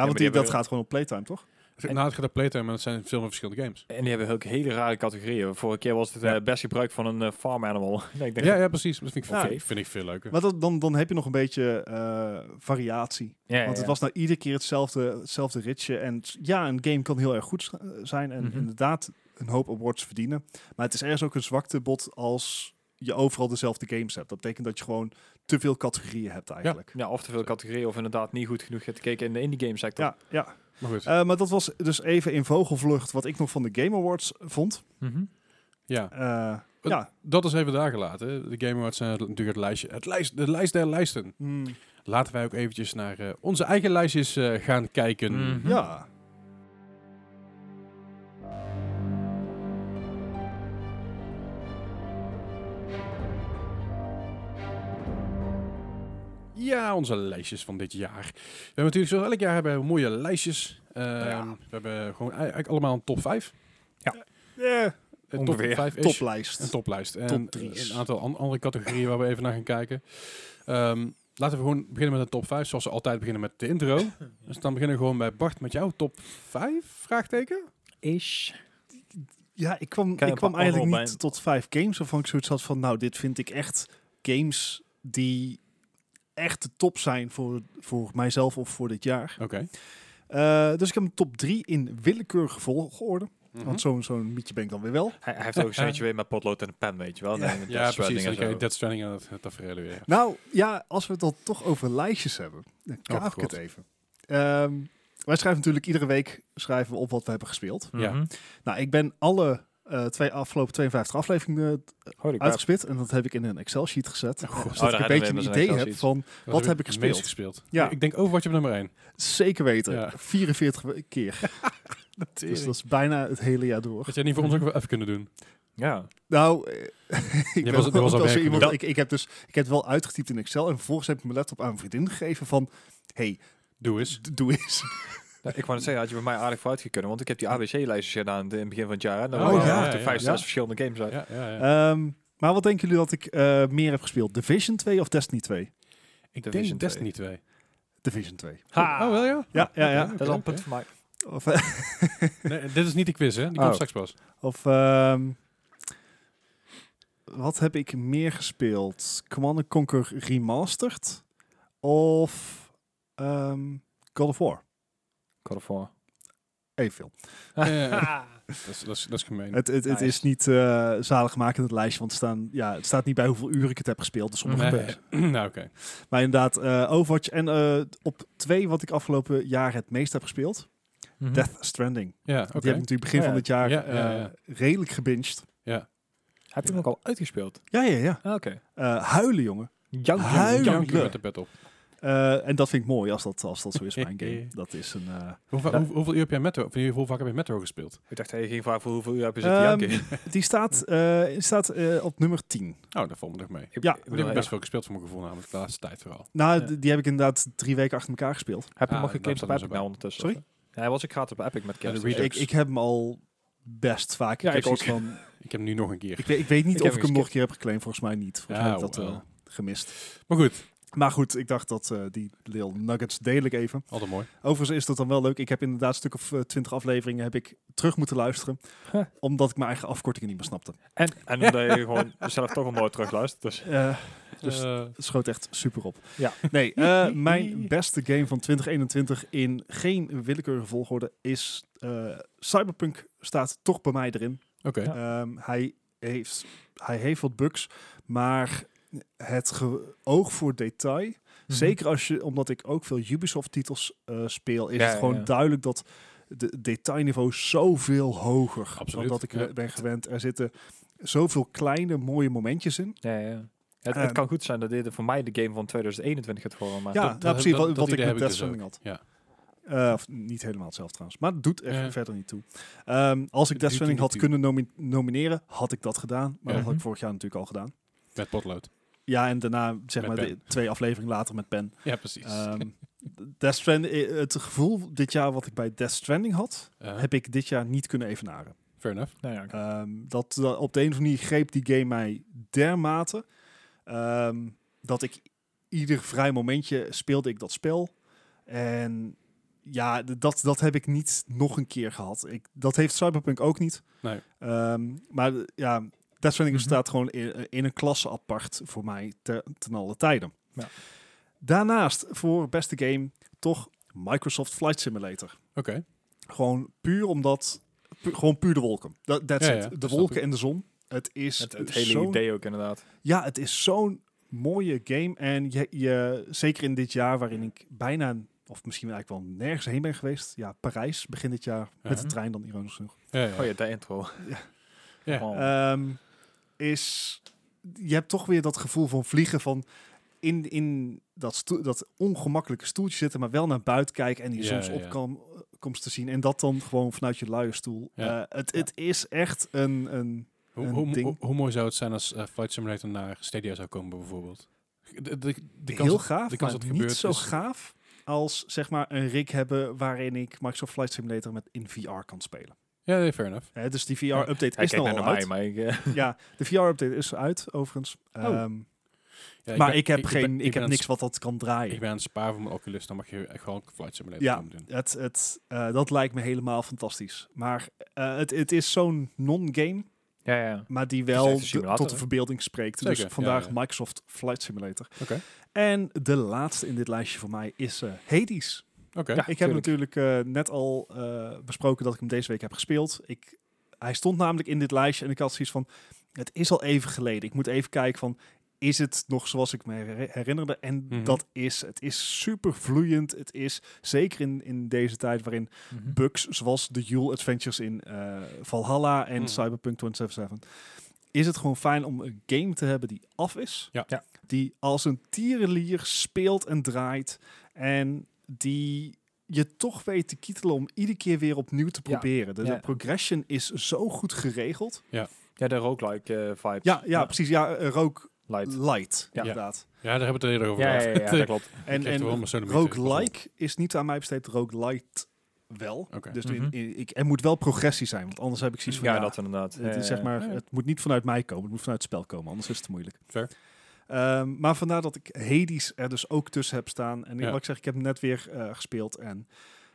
Speaker 3: die
Speaker 2: die, dat
Speaker 3: hebben-
Speaker 2: gaat gewoon op playtime, toch?
Speaker 1: En, nou, het gaat op playtime, maar het zijn veel meer verschillende games.
Speaker 3: En die hebben ook hele rare categorieën. Vorige keer was het eh, best gebruik van een eh, farm animal. En ik denk,
Speaker 1: Ja, ja, precies. Dat vind ik,
Speaker 3: Ja.
Speaker 1: vind ik- vind ik veel leuker.
Speaker 2: Maar dat, dan, dan heb je nog een beetje eh, variatie.
Speaker 3: ja, ja,
Speaker 2: Want het
Speaker 3: ja.
Speaker 2: was nou iedere keer hetzelfde, hetzelfde ritje. En s- ja, een game kan heel erg goed s- eh, zijn en
Speaker 3: Mhm.
Speaker 2: inderdaad een hoop awards verdienen. Maar het is ergens ook een zwaktebod als je overal dezelfde games hebt. Dat betekent dat je gewoon te veel categorieën hebt eigenlijk.
Speaker 3: Ja, of te veel categorieën, of inderdaad niet goed genoeg hebt gekeken in de indie game sector.
Speaker 2: Ja, ja.
Speaker 1: Maar goed,
Speaker 2: Eh, maar dat was dus even in vogelvlucht wat ik nog van de Game Awards vond.
Speaker 3: Mhm.
Speaker 1: ja.
Speaker 2: Eh, ja,
Speaker 1: Dat is even daar gelaten. De Game Awards zijn natuurlijk het lijstje. Het lijst, de lijst der lijsten.
Speaker 3: Mm-hmm.
Speaker 2: Hmm,
Speaker 1: Laten wij ook eventjes naar eh, onze eigen lijstjes eh, gaan kijken.
Speaker 3: Mhm.
Speaker 2: ja.
Speaker 1: Ja, onze lijstjes van dit jaar. We hebben natuurlijk zoals elk jaar hebben we mooie lijstjes. Ehm,
Speaker 3: Ja.
Speaker 1: We hebben gewoon ei- eigenlijk allemaal een top 5.
Speaker 2: Eh,
Speaker 3: Ongeveer.
Speaker 1: Top 5 -ish.
Speaker 2: toplijst.
Speaker 1: Een toplijst. En
Speaker 2: Top drie's.
Speaker 1: een aantal an- andere categorieën waar we even naar gaan kijken. Ehm, laten we gewoon beginnen met de top 5, zoals we altijd beginnen met de intro. Dus dan beginnen we gewoon bij Bart met jouw top 5? Vraagteken?
Speaker 3: Ish.
Speaker 2: Ja, ik kwam,
Speaker 3: Kan
Speaker 2: ik
Speaker 3: je
Speaker 2: kwam
Speaker 3: een paar
Speaker 2: eigenlijk
Speaker 3: honorable
Speaker 2: niet tot vijf games waarvan ik zoiets had van... nou, dit vind ik echt games die echt de top zijn voor, voor mijzelf of voor dit jaar.
Speaker 1: Oké.
Speaker 2: Eh, dus ik heb een top drie in willekeurige volgorde.
Speaker 3: Mhm.
Speaker 2: Want zo'n zo'n mietje ben ik dan weer wel.
Speaker 3: Hij, hij heeft ook zoiets weer met potlood en een pen, weet je wel.
Speaker 2: Ja.
Speaker 3: Nee, met
Speaker 1: Ja,
Speaker 3: dat soort
Speaker 1: precies. Dan
Speaker 3: dingen
Speaker 1: krijg je
Speaker 3: zo.
Speaker 1: Dead Stranding aan het, het tafereel weer.
Speaker 2: Nou, ja, als we het dan toch over lijstjes hebben...
Speaker 3: Oh,
Speaker 2: dan kaap ik
Speaker 1: God.
Speaker 2: het even. Ehm, wij schrijven natuurlijk iedere week schrijven we op wat we hebben gespeeld.
Speaker 1: Ja.
Speaker 3: Mhm.
Speaker 2: Nou, ik ben alle eh, twee, afgelopen 52 afleveringen
Speaker 3: Holy crap.
Speaker 2: uitgespit. En dat heb ik in een Excel-sheet gezet. zodat
Speaker 3: daar
Speaker 2: ik een
Speaker 3: hebben we
Speaker 2: beetje een
Speaker 3: dus een
Speaker 2: idee heb
Speaker 3: Excel-sheet.
Speaker 2: van
Speaker 1: Dat
Speaker 2: Wat heb ik
Speaker 1: het
Speaker 2: gespeeld?
Speaker 1: meest gespeeld?
Speaker 2: Ja.
Speaker 1: Ik denk Overwatch op nummer 1.
Speaker 2: zeker weten,
Speaker 1: Ja.
Speaker 2: 44 keer. dus dat is bijna het hele jaar door.
Speaker 1: Had jij niet voor ons ook wel even kunnen doen?
Speaker 3: Ja.
Speaker 2: Nou, eh, ik, ben
Speaker 1: was- je was
Speaker 2: ook
Speaker 1: al
Speaker 2: wel zo
Speaker 1: werkelijk.
Speaker 2: iemand,
Speaker 1: Dat-
Speaker 2: ik, ik heb dus ik heb het wel uitgetypt in Excel en vervolgens heb ik mijn laptop aan een vriendin gegeven van, hey,
Speaker 1: Doe
Speaker 3: Dus?
Speaker 1: eens.
Speaker 2: d- doe eens.
Speaker 3: Nou, ik wou net zeggen, had je bij mij aardig vooruit gekund, want ik heb die ABC-lijstjes gedaan in het begin van het jaar. En dan
Speaker 1: Oh,
Speaker 3: waren
Speaker 1: ja,
Speaker 3: er
Speaker 1: ja,
Speaker 3: vijf,
Speaker 2: ja.
Speaker 3: zes verschillende games uit.
Speaker 1: Ja, ja, ja.
Speaker 2: Ehm, maar wat denken jullie dat ik eh, meer heb gespeeld? Division 2 of Destiny 2?
Speaker 1: ik
Speaker 3: Division
Speaker 1: denk Destiny 2.
Speaker 2: Division 2.
Speaker 3: Ha!
Speaker 1: Oh, wel ja?
Speaker 2: Ja, ja, ja.
Speaker 3: Dat is al een punt voor mij.
Speaker 2: Of, eh,
Speaker 1: Nee, dit is niet de quiz, hè? Die
Speaker 3: Oh.
Speaker 1: komt straks pas.
Speaker 2: of ehm, wat heb ik meer gespeeld? Command and Conquer Remastered of ehm God of War?
Speaker 3: God of War.
Speaker 2: Evenveel.
Speaker 1: Ja. Dat is, dat is, dat is gemeen.
Speaker 2: Het, het, het
Speaker 3: Nice.
Speaker 2: is niet eh, zalig zaligmakend het lijstje, want het, staan, ja, het staat niet bij hoeveel uur ik het heb gespeeld. Dus sommige
Speaker 1: Nee.
Speaker 2: punten.
Speaker 1: nou, oké.
Speaker 2: Maar inderdaad, eh, Overwatch en eh, op twee wat ik afgelopen jaar het meest heb gespeeld. Death Stranding.
Speaker 1: Ja, Mhm. oké. Oh
Speaker 2: Die heb ik natuurlijk begin
Speaker 3: Ja.
Speaker 2: van dit jaar
Speaker 1: Ja, ja,
Speaker 2: eh,
Speaker 1: ja.
Speaker 2: redelijk gebinged.
Speaker 3: Heb je hem ook al uitgespeeld?
Speaker 2: Ja, ja, ja.
Speaker 3: Ah, Oké.
Speaker 2: Eh, huilen, jongen.
Speaker 3: Jank,
Speaker 2: Hij-
Speaker 3: jank, jank.
Speaker 1: Jank
Speaker 2: Jank.
Speaker 1: met de pet op.
Speaker 2: Eh, en dat vind ik mooi als dat, als dat zo is bij een game. Dat is een... eh,
Speaker 1: Hoe, va-
Speaker 3: Ja.
Speaker 1: hoe- hoeveel uur heb jij Metro, of hoe vaak heb je Metro gespeeld?
Speaker 3: Ik dacht, hij ging vragen voor hoeveel uur heb je zitten
Speaker 2: Ehm,
Speaker 3: janken.
Speaker 2: die staat, eh, die staat eh, op nummer 10.
Speaker 1: Oh, daar valt me nog mee.
Speaker 3: Ik-
Speaker 2: Nou, ja,
Speaker 3: ik
Speaker 1: Ik
Speaker 3: bedoel,
Speaker 1: heb best
Speaker 3: heb
Speaker 1: veel gespeeld voor mijn gevoel, namelijk de laatste tijd vooral.
Speaker 2: Nou,
Speaker 3: Ja.
Speaker 2: d- die heb ik inderdaad drie weken achter elkaar gespeeld.
Speaker 3: heb je
Speaker 1: Ah,
Speaker 3: hem al geclaimd
Speaker 1: dat
Speaker 3: op
Speaker 1: was
Speaker 3: Epic
Speaker 1: erbij.
Speaker 3: nou ondertussen?
Speaker 2: Sorry?
Speaker 3: Ja, hij was ik gratis op Epic met kerst. Dus
Speaker 1: de Redux.
Speaker 2: Ik, ik heb hem al best vaak.
Speaker 3: Ja,
Speaker 2: ik heb
Speaker 3: ik ook.
Speaker 2: zoiets van...
Speaker 1: Ik heb hem nu nog een keer.
Speaker 2: Ik weet, ik weet niet
Speaker 3: Ik
Speaker 2: of
Speaker 3: heb
Speaker 2: ik
Speaker 3: hem
Speaker 2: hem nog een keer heb geclaimd. Volgens mij niet. Volgens mij heb ik
Speaker 1: Ja,
Speaker 2: dat
Speaker 1: wel.
Speaker 2: eh, gemist.
Speaker 1: Maar goed,
Speaker 2: Maar goed, ik dacht dat eh, die Lil Nuggets deel ik even.
Speaker 1: altijd mooi.
Speaker 2: Overigens is dat dan wel leuk. Ik heb inderdaad een stuk of eh, twintig afleveringen heb ik terug moeten luisteren.
Speaker 3: Huh.
Speaker 2: Omdat ik mijn eigen afkortingen niet meer snapte.
Speaker 3: En, en omdat je gewoon zelf toch al nooit terugluistert. Dus.
Speaker 2: Eh, Dus-
Speaker 1: Eh,
Speaker 2: het schoot echt super op.
Speaker 3: Ja.
Speaker 2: Nee, eh, mijn beste game van 2021 in geen willekeurige volgorde is... eh, Cyberpunk staat toch bij mij erin.
Speaker 1: oké.
Speaker 3: Ja.
Speaker 2: Ehm, hij, heeft, hij heeft wat bugs, maar het ge- oog voor
Speaker 3: Mhm.
Speaker 2: detail... Zeker als je, omdat ik ook veel Ubisoft-titels eh, speel, is
Speaker 3: Ja,
Speaker 2: het gewoon
Speaker 3: ja, ja.
Speaker 2: duidelijk dat de detailniveau zoveel hoger
Speaker 1: Absoluut,
Speaker 2: dan dat ik
Speaker 1: ja.
Speaker 2: ben gewend. Er zitten zoveel kleine mooie momentjes in.
Speaker 3: Ja, ja, ja. Het,
Speaker 2: Ehm.
Speaker 3: het kan goed zijn dat dit voor mij de game van 2021 gaat worden. Maar
Speaker 2: ja,
Speaker 1: dat-
Speaker 2: nou,
Speaker 1: dat-
Speaker 2: precies
Speaker 1: dat-
Speaker 2: wat,
Speaker 1: dat
Speaker 2: wat ik
Speaker 1: idee
Speaker 2: met
Speaker 1: heb ik
Speaker 2: Death
Speaker 1: dus
Speaker 2: Stranding
Speaker 1: ook.
Speaker 2: had.
Speaker 1: Ja.
Speaker 2: Eh, of niet helemaal hetzelfde trouwens, maar het doet echt
Speaker 1: Ja.
Speaker 2: verder niet toe. Ehm, als ik
Speaker 1: doet
Speaker 2: Death Stranding
Speaker 1: er niet
Speaker 2: had
Speaker 1: toe.
Speaker 2: kunnen nomi- nomineren, had ik dat gedaan. Maar
Speaker 1: Ja.
Speaker 2: dat had ik
Speaker 3: Mhm.
Speaker 2: vorig jaar natuurlijk al gedaan.
Speaker 1: Met potlood.
Speaker 2: Ja, en daarna zeg
Speaker 1: Met
Speaker 2: maar de-
Speaker 1: pen.
Speaker 2: twee afleveringen later met Pen.
Speaker 1: Ja, precies.
Speaker 2: Ehm, Death Stranding, eh, het gevoel dit jaar wat ik bij Death Stranding had,
Speaker 1: Eh,
Speaker 2: heb ik dit jaar niet kunnen evenaren.
Speaker 1: fair enough.
Speaker 3: Nou ja, oké.
Speaker 2: Ehm, dat, dat- op de een of andere manier greep die game mij dermate ehm, dat ik ieder vrij momentje speelde ik dat spel. En ja, d- dat, dat heb ik niet nog een keer gehad. Ik, dat heeft Cyberpunk ook niet.
Speaker 1: Nee.
Speaker 2: Ehm, maar d- ja, Death Stranding
Speaker 3: Mhm.
Speaker 2: staat gewoon in, in een klasse apart voor mij te, ten alle tijden.
Speaker 3: Ja.
Speaker 2: Daarnaast voor beste game toch Microsoft Flight Simulator.
Speaker 1: Oké.
Speaker 2: Gewoon puur omdat... pu- gewoon puur de wolken. Dat that's
Speaker 1: Ja,
Speaker 2: it.
Speaker 1: ja,
Speaker 2: De
Speaker 1: snap
Speaker 2: wolken
Speaker 1: ik.
Speaker 2: en de zon. Het is
Speaker 3: het, het hele
Speaker 2: zo'n-
Speaker 3: idee ook inderdaad.
Speaker 2: Ja, het is zo'n mooie game. En je, je, zeker in dit jaar waarin ik bijna... Of misschien eigenlijk wel nergens heen ben geweest. Ja, Parijs begin dit jaar. Met de
Speaker 1: Ja.
Speaker 2: trein dan, ironisch genoeg.
Speaker 1: Ja, ja.
Speaker 3: Oh ja, Eh, de intro.
Speaker 1: Ja.
Speaker 3: Gewoon.
Speaker 2: Ehm, is... Je hebt toch weer dat gevoel van vliegen van... In, in dat, stoel- dat ongemakkelijke stoeltje zitten, maar wel naar buiten kijken en die
Speaker 1: Ja, ja.
Speaker 2: zonsopkomst te zien. En dat dan gewoon vanuit je luie stoel.
Speaker 1: Ja.
Speaker 2: Eh, het, het is echt een, een
Speaker 1: Hoe,
Speaker 2: een
Speaker 1: hoe,
Speaker 2: ding.
Speaker 1: hoe, hoe mooi zou het zijn als eh, Flight Simulator naar Stadia zou komen, bijvoorbeeld? De, de, de kans
Speaker 2: heel
Speaker 1: dat-
Speaker 2: gaaf,
Speaker 1: de kans dat
Speaker 2: maar
Speaker 1: het
Speaker 2: niet
Speaker 1: gebeurt
Speaker 2: zo
Speaker 1: is-
Speaker 2: gaaf als zeg maar een rig hebben waarin ik Microsoft Flight Simulator met in VR kan spelen.
Speaker 1: Ja, nee, fair enough.
Speaker 2: Hè, dus die
Speaker 3: Hij
Speaker 2: VR-update
Speaker 3: Hij
Speaker 2: is
Speaker 3: kijkt
Speaker 2: nou
Speaker 3: naar
Speaker 2: al
Speaker 3: mij,
Speaker 2: uit.
Speaker 3: maar ik... eh,
Speaker 2: Ja, de VR-update is uit overigens. Ehm,
Speaker 1: Ja,
Speaker 2: maar
Speaker 1: Oh. ben-
Speaker 2: ik heb,
Speaker 1: ben-
Speaker 2: geen, ik
Speaker 1: ben aan
Speaker 2: heb
Speaker 1: het
Speaker 2: niks wat dat kan draaien.
Speaker 1: Ik ben aan het sparen van mijn Oculus, dan mag je echt gewoon Flight Simulator
Speaker 2: Ja.
Speaker 1: komen doen.
Speaker 2: Het, het, eh, dat lijkt me helemaal fantastisch. Maar eh, het, het is zo'n non-game,
Speaker 3: ja, ja.
Speaker 2: maar die
Speaker 3: Het is
Speaker 2: wel
Speaker 3: echt een
Speaker 2: de-
Speaker 3: simulator,
Speaker 2: tot de
Speaker 3: hè?
Speaker 2: verbeelding spreekt.
Speaker 1: Zeker,
Speaker 2: Dus vandaag
Speaker 1: ja, ja.
Speaker 2: Microsoft Flight Simulator.
Speaker 1: Oké.
Speaker 2: En de laatste in dit lijstje voor mij is eh Hades.
Speaker 1: Oké.
Speaker 3: Ja.
Speaker 2: ik heb natuurlijk eh, net al eh, besproken dat ik hem deze week heb gespeeld. Ik, hij stond namelijk in dit lijstje en ik had zoiets van, het is al even geleden. Ik moet even kijken van, is het nog zoals ik me her- herinnerde. En
Speaker 1: Mhm.
Speaker 2: dat is, het is super vloeiend. Het is zeker in, in deze tijd waarin
Speaker 3: Mhm.
Speaker 2: bugs zoals de Yule Adventures in eh, Valhalla en
Speaker 1: Mhm.
Speaker 2: Cyberpunk 2077. Is het gewoon fijn om een game te hebben die af is.
Speaker 1: Ja.
Speaker 3: Ja.
Speaker 2: Die als een tierenlier speelt en draait. En die je toch weet te kietelen om iedere keer weer opnieuw te
Speaker 3: Ja.
Speaker 2: proberen. De, de
Speaker 3: Ja.
Speaker 2: progression is zo goed geregeld.
Speaker 3: Ja, de roguelike eh, vibes.
Speaker 2: Ja, ja, precies. Ja, eh, rook
Speaker 3: Light.
Speaker 2: light,
Speaker 3: Ja.
Speaker 2: inderdaad.
Speaker 1: Ja, daar hebben we het eerder over
Speaker 3: Ja, ja, ja,
Speaker 1: gehad.
Speaker 3: ja, dat klopt.
Speaker 2: En,
Speaker 1: krijgt er wel
Speaker 2: en
Speaker 1: maar zo'n beetje
Speaker 2: roguelike is niet aan mij besteed, roguelite wel.
Speaker 1: Oké.
Speaker 2: Dus in-
Speaker 3: Mhm.
Speaker 2: in- ik, er moet wel progressie zijn, want anders heb ik zoiets van...
Speaker 3: Ja, dat inderdaad.
Speaker 2: Het, is
Speaker 3: Eh,
Speaker 2: zeg maar,
Speaker 1: ja.
Speaker 2: het moet niet vanuit mij komen, het moet vanuit het spel komen, anders is het te moeilijk.
Speaker 1: Fair.
Speaker 2: Ehm, maar vandaar dat ik Hades er dus ook tussen heb staan. En
Speaker 1: Ja.
Speaker 2: wat ik zeg, ik heb hem net weer eh, gespeeld. En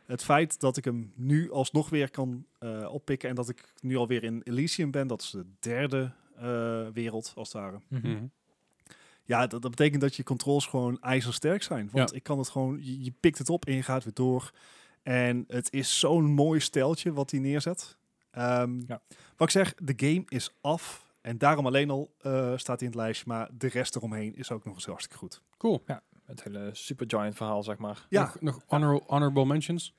Speaker 2: het feit dat ik hem nu alsnog weer kan eh, oppikken en dat ik nu alweer in Elysium ben, dat is de derde eh, wereld als het ware.
Speaker 3: mhm.
Speaker 1: Mhm.
Speaker 2: Ja, dat, dat betekent dat je controls gewoon ijzersterk zijn. Want ik kan het gewoon, je, je pikt het op en je gaat weer door. En het is zo'n mooi steltje wat hij neerzet. Ehm,
Speaker 3: Ja.
Speaker 2: Wat ik zeg, de game is af. En daarom alleen al eh, staat hij in het lijstje. Maar de rest eromheen is ook nog eens hartstikke goed.
Speaker 1: Cool.
Speaker 3: Het hele supergiant verhaal, zeg maar.
Speaker 2: Ja.
Speaker 1: Nog, nog honor- honorable mentions?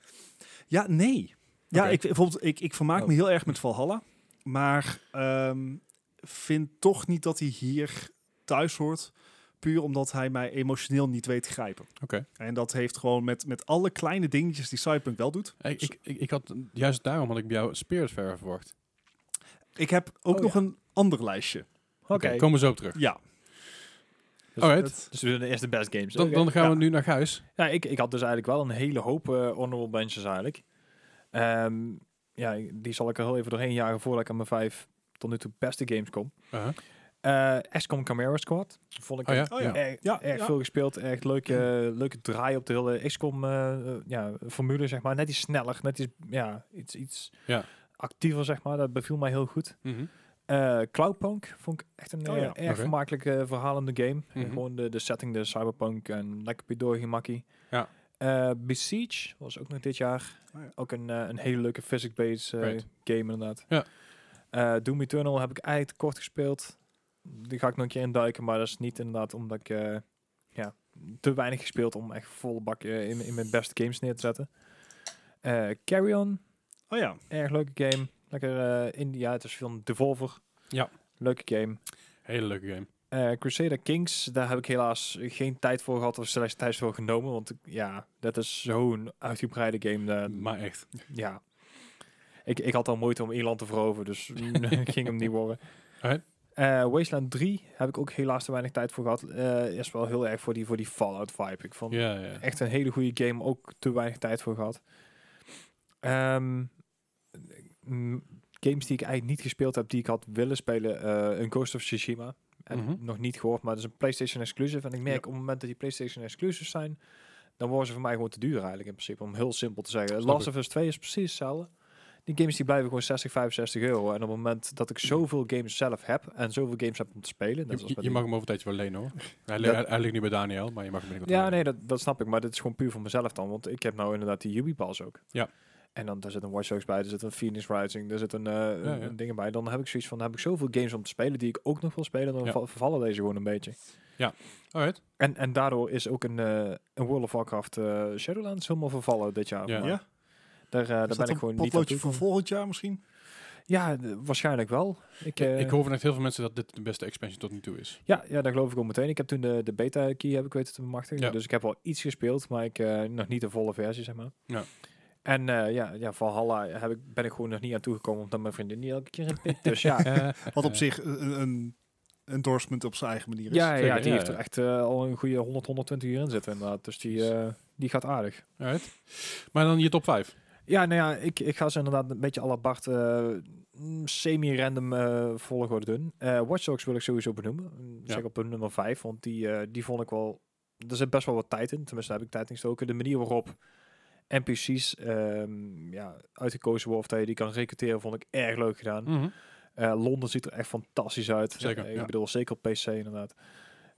Speaker 2: Ja, nee. Ja,
Speaker 1: Oké.
Speaker 2: ik, bijvoorbeeld, ik, ik vermaak
Speaker 1: Oh.
Speaker 2: me heel erg met Valhalla. Maar ehm, vind toch niet dat hij hier thuis hoort. Puur omdat hij mij emotioneel niet weet te grijpen.
Speaker 1: Oké.
Speaker 2: En dat heeft gewoon met, met alle kleine dingetjes die Cyberpunk wel doet.
Speaker 1: Ik, ik, ik, ik had, juist daarom had ik bij jou Spiritfarer verwacht.
Speaker 2: Ik heb ook
Speaker 3: Oh,
Speaker 2: nog een ander lijstje.
Speaker 3: Oké.
Speaker 1: Komen we zo op terug.
Speaker 2: Ja.
Speaker 3: Dus
Speaker 1: Alright.
Speaker 2: dat-
Speaker 3: Dus we doen de eerste best games.
Speaker 1: Dan,
Speaker 3: Oké.
Speaker 1: dan gaan we
Speaker 2: Ja.
Speaker 1: nu naar Gijs.
Speaker 3: Ja, ik, ik had dus eigenlijk wel een hele hoop eh, honorable mentions eigenlijk. Ehm, ja, ik- die zal ik er heel even doorheen jagen voordat ik aan mijn vijf tot nu toe beste games kom.
Speaker 1: Uh-huh.
Speaker 3: Eh XCOM Chimera Squad. Vond ik
Speaker 1: Oh ja?
Speaker 3: echt,
Speaker 2: Oh ja.
Speaker 3: erg,
Speaker 2: Ja,
Speaker 3: erg
Speaker 2: ja.
Speaker 3: veel gespeeld. Echt leuke, leuke draai op de hele XCOM eh, eh, ja, formule, zeg maar. Net iets sneller, net iets, ja, iets, iets
Speaker 1: Ja.
Speaker 3: actiever, zeg maar. Dat beviel mij heel goed.
Speaker 1: Mhm.
Speaker 3: Eh, Cloudpunk vond ik echt een
Speaker 2: Oh
Speaker 3: eh,
Speaker 2: ja.
Speaker 3: erg
Speaker 1: Oké.
Speaker 3: vermakelijk eh, verhalende game. Eh,
Speaker 1: Mhm.
Speaker 3: Gewoon de, de setting, de cyberpunk en lekker pidoorie makkie.
Speaker 1: Ja.
Speaker 3: Eh, Besiege was ook nog dit jaar.
Speaker 2: Oh ja.
Speaker 3: Ook een, eh, een hele leuke physics-based eh,
Speaker 1: Great.
Speaker 3: game inderdaad.
Speaker 1: Ja.
Speaker 3: Eh, Doom Eternal heb ik eigenlijk kort gespeeld. Die ga ik nog een keer induiken, maar dat is niet inderdaad omdat ik eh, ja, te weinig gespeeld om echt volle bak eh, in, in mijn beste games neer te zetten. Eh, Carry On
Speaker 2: Oh ja.
Speaker 3: Erg leuke game. Lekker eh India. Het is van Devolver.
Speaker 1: Ja.
Speaker 3: Leuke game.
Speaker 1: Hele leuke game.
Speaker 3: Eh, Crusader Kings, daar heb ik helaas geen tijd voor gehad of slechts tijd voor genomen. Want ik- ja, dat is zo'n uitgebreide game. daar-
Speaker 1: Maar echt.
Speaker 3: ja. Ik, ik had al moeite om Ierland te veroveren, dus ging hem niet worden.
Speaker 1: Alright.
Speaker 3: Eh, Wasteland 3 heb ik ook helaas te weinig tijd voor gehad. Eh is wel heel erg voor die, voor die Fallout vibe. Ik vond
Speaker 1: Ja, ja.
Speaker 3: echt een hele goede game. Ook te weinig tijd voor gehad. Ehm, m- games die ik eigenlijk niet gespeeld heb, die ik had willen spelen. eh, een Ghost of Tsushima. En
Speaker 1: Mhm.
Speaker 3: nog niet gehoord, maar dat is een PlayStation exclusive. En ik merk op het moment dat die PlayStation exclusives zijn, dan worden ze voor mij gewoon te duur eigenlijk in principe. Om heel simpel te zeggen.
Speaker 1: Snap
Speaker 3: Last
Speaker 1: ik.
Speaker 3: of Us 2 is precies hetzelfde. Die games die blijven gewoon 60, 65 euro. En op het moment dat ik zoveel games zelf heb en zoveel games heb om te spelen. net
Speaker 1: Je,
Speaker 3: zoals
Speaker 1: je-
Speaker 3: bij
Speaker 1: je
Speaker 3: die-
Speaker 1: mag hem over een tijdje wel lenen hoor. Hij, li-
Speaker 3: Dat-
Speaker 1: hij- hij ligt nu bij Daniel, maar je mag hem binnenkort
Speaker 3: Ja,
Speaker 1: lenen.
Speaker 3: nee, dat, dat snap ik. Maar dit is gewoon puur voor mezelf dan. Want ik heb nou inderdaad die Ubipass ook.
Speaker 1: Ja.
Speaker 3: En dan daar zit een Watch Dogs bij, er zit een Phoenix Rising, er zit een, eh, een-
Speaker 1: ja.
Speaker 3: een dingen bij. Dan heb ik zoiets van, dan heb ik zoveel games om te spelen die ik ook nog wil spelen. Dan
Speaker 1: Ja.
Speaker 3: val- vervallen deze gewoon een beetje.
Speaker 1: Alright.
Speaker 3: En, en daardoor is ook een, eh, een World of Warcraft eh, Shadowlands helemaal vervallen dit jaar.
Speaker 1: Ja.
Speaker 2: Ja.
Speaker 3: Maar Daar, eh, daar
Speaker 2: Is
Speaker 3: ben
Speaker 2: dat
Speaker 3: ik
Speaker 2: een
Speaker 3: gewoon niet
Speaker 2: potloodje
Speaker 3: aan
Speaker 2: voor
Speaker 3: toe.
Speaker 2: volgend jaar misschien?
Speaker 3: Ja, d- waarschijnlijk wel. Ik, eh,
Speaker 1: ik hoor vanuit heel veel mensen dat dit de beste expansion tot nu toe is.
Speaker 3: ja, ja, daar geloof ik ook meteen. Ik heb toen de, de beta key heb ik weten te bemachtigen.
Speaker 1: Ja.
Speaker 3: Dus ik heb wel iets gespeeld, maar ik eh, nog niet de volle versie, zeg maar.
Speaker 1: Ja.
Speaker 3: En eh, ja, ja, Valhalla heb ik, ben ik gewoon nog niet aan toegekomen, omdat mijn vriendin niet elke keer een pik. Dus ja, ja,
Speaker 1: Eh,
Speaker 2: Wat op zich een, een endorsement op zijn eigen manier is.
Speaker 3: ja, ja,
Speaker 1: dus Zeker,
Speaker 3: die
Speaker 1: ja,
Speaker 3: heeft er
Speaker 1: ja.
Speaker 3: echt eh, al een goede 100, 120 uur in zitten inderdaad. Dus die, eh, die gaat aardig.
Speaker 1: Alright. Maar dan je top 5.
Speaker 3: Ja, nou ja, ik, ik ga ze inderdaad een beetje à la Bart eh, mm, semi-random eh, volgorde doen. Eh Watch Dogs wil ik sowieso benoemen. Mm,
Speaker 1: Ja.
Speaker 3: Zeg op de nummer 5, want die, eh, die vond ik wel... Er zit best wel wat tijd in, tenminste daar heb ik tijd in gestoken. De manier waarop NPC's ehm, ja, uitgekozen worden of dat je die kan recruteren, vond ik erg leuk gedaan. Eh, Londen ziet er echt fantastisch uit.
Speaker 1: Mm. Zeker,
Speaker 3: Eh,
Speaker 1: ja.
Speaker 3: Ik bedoel, zeker op PC inderdaad.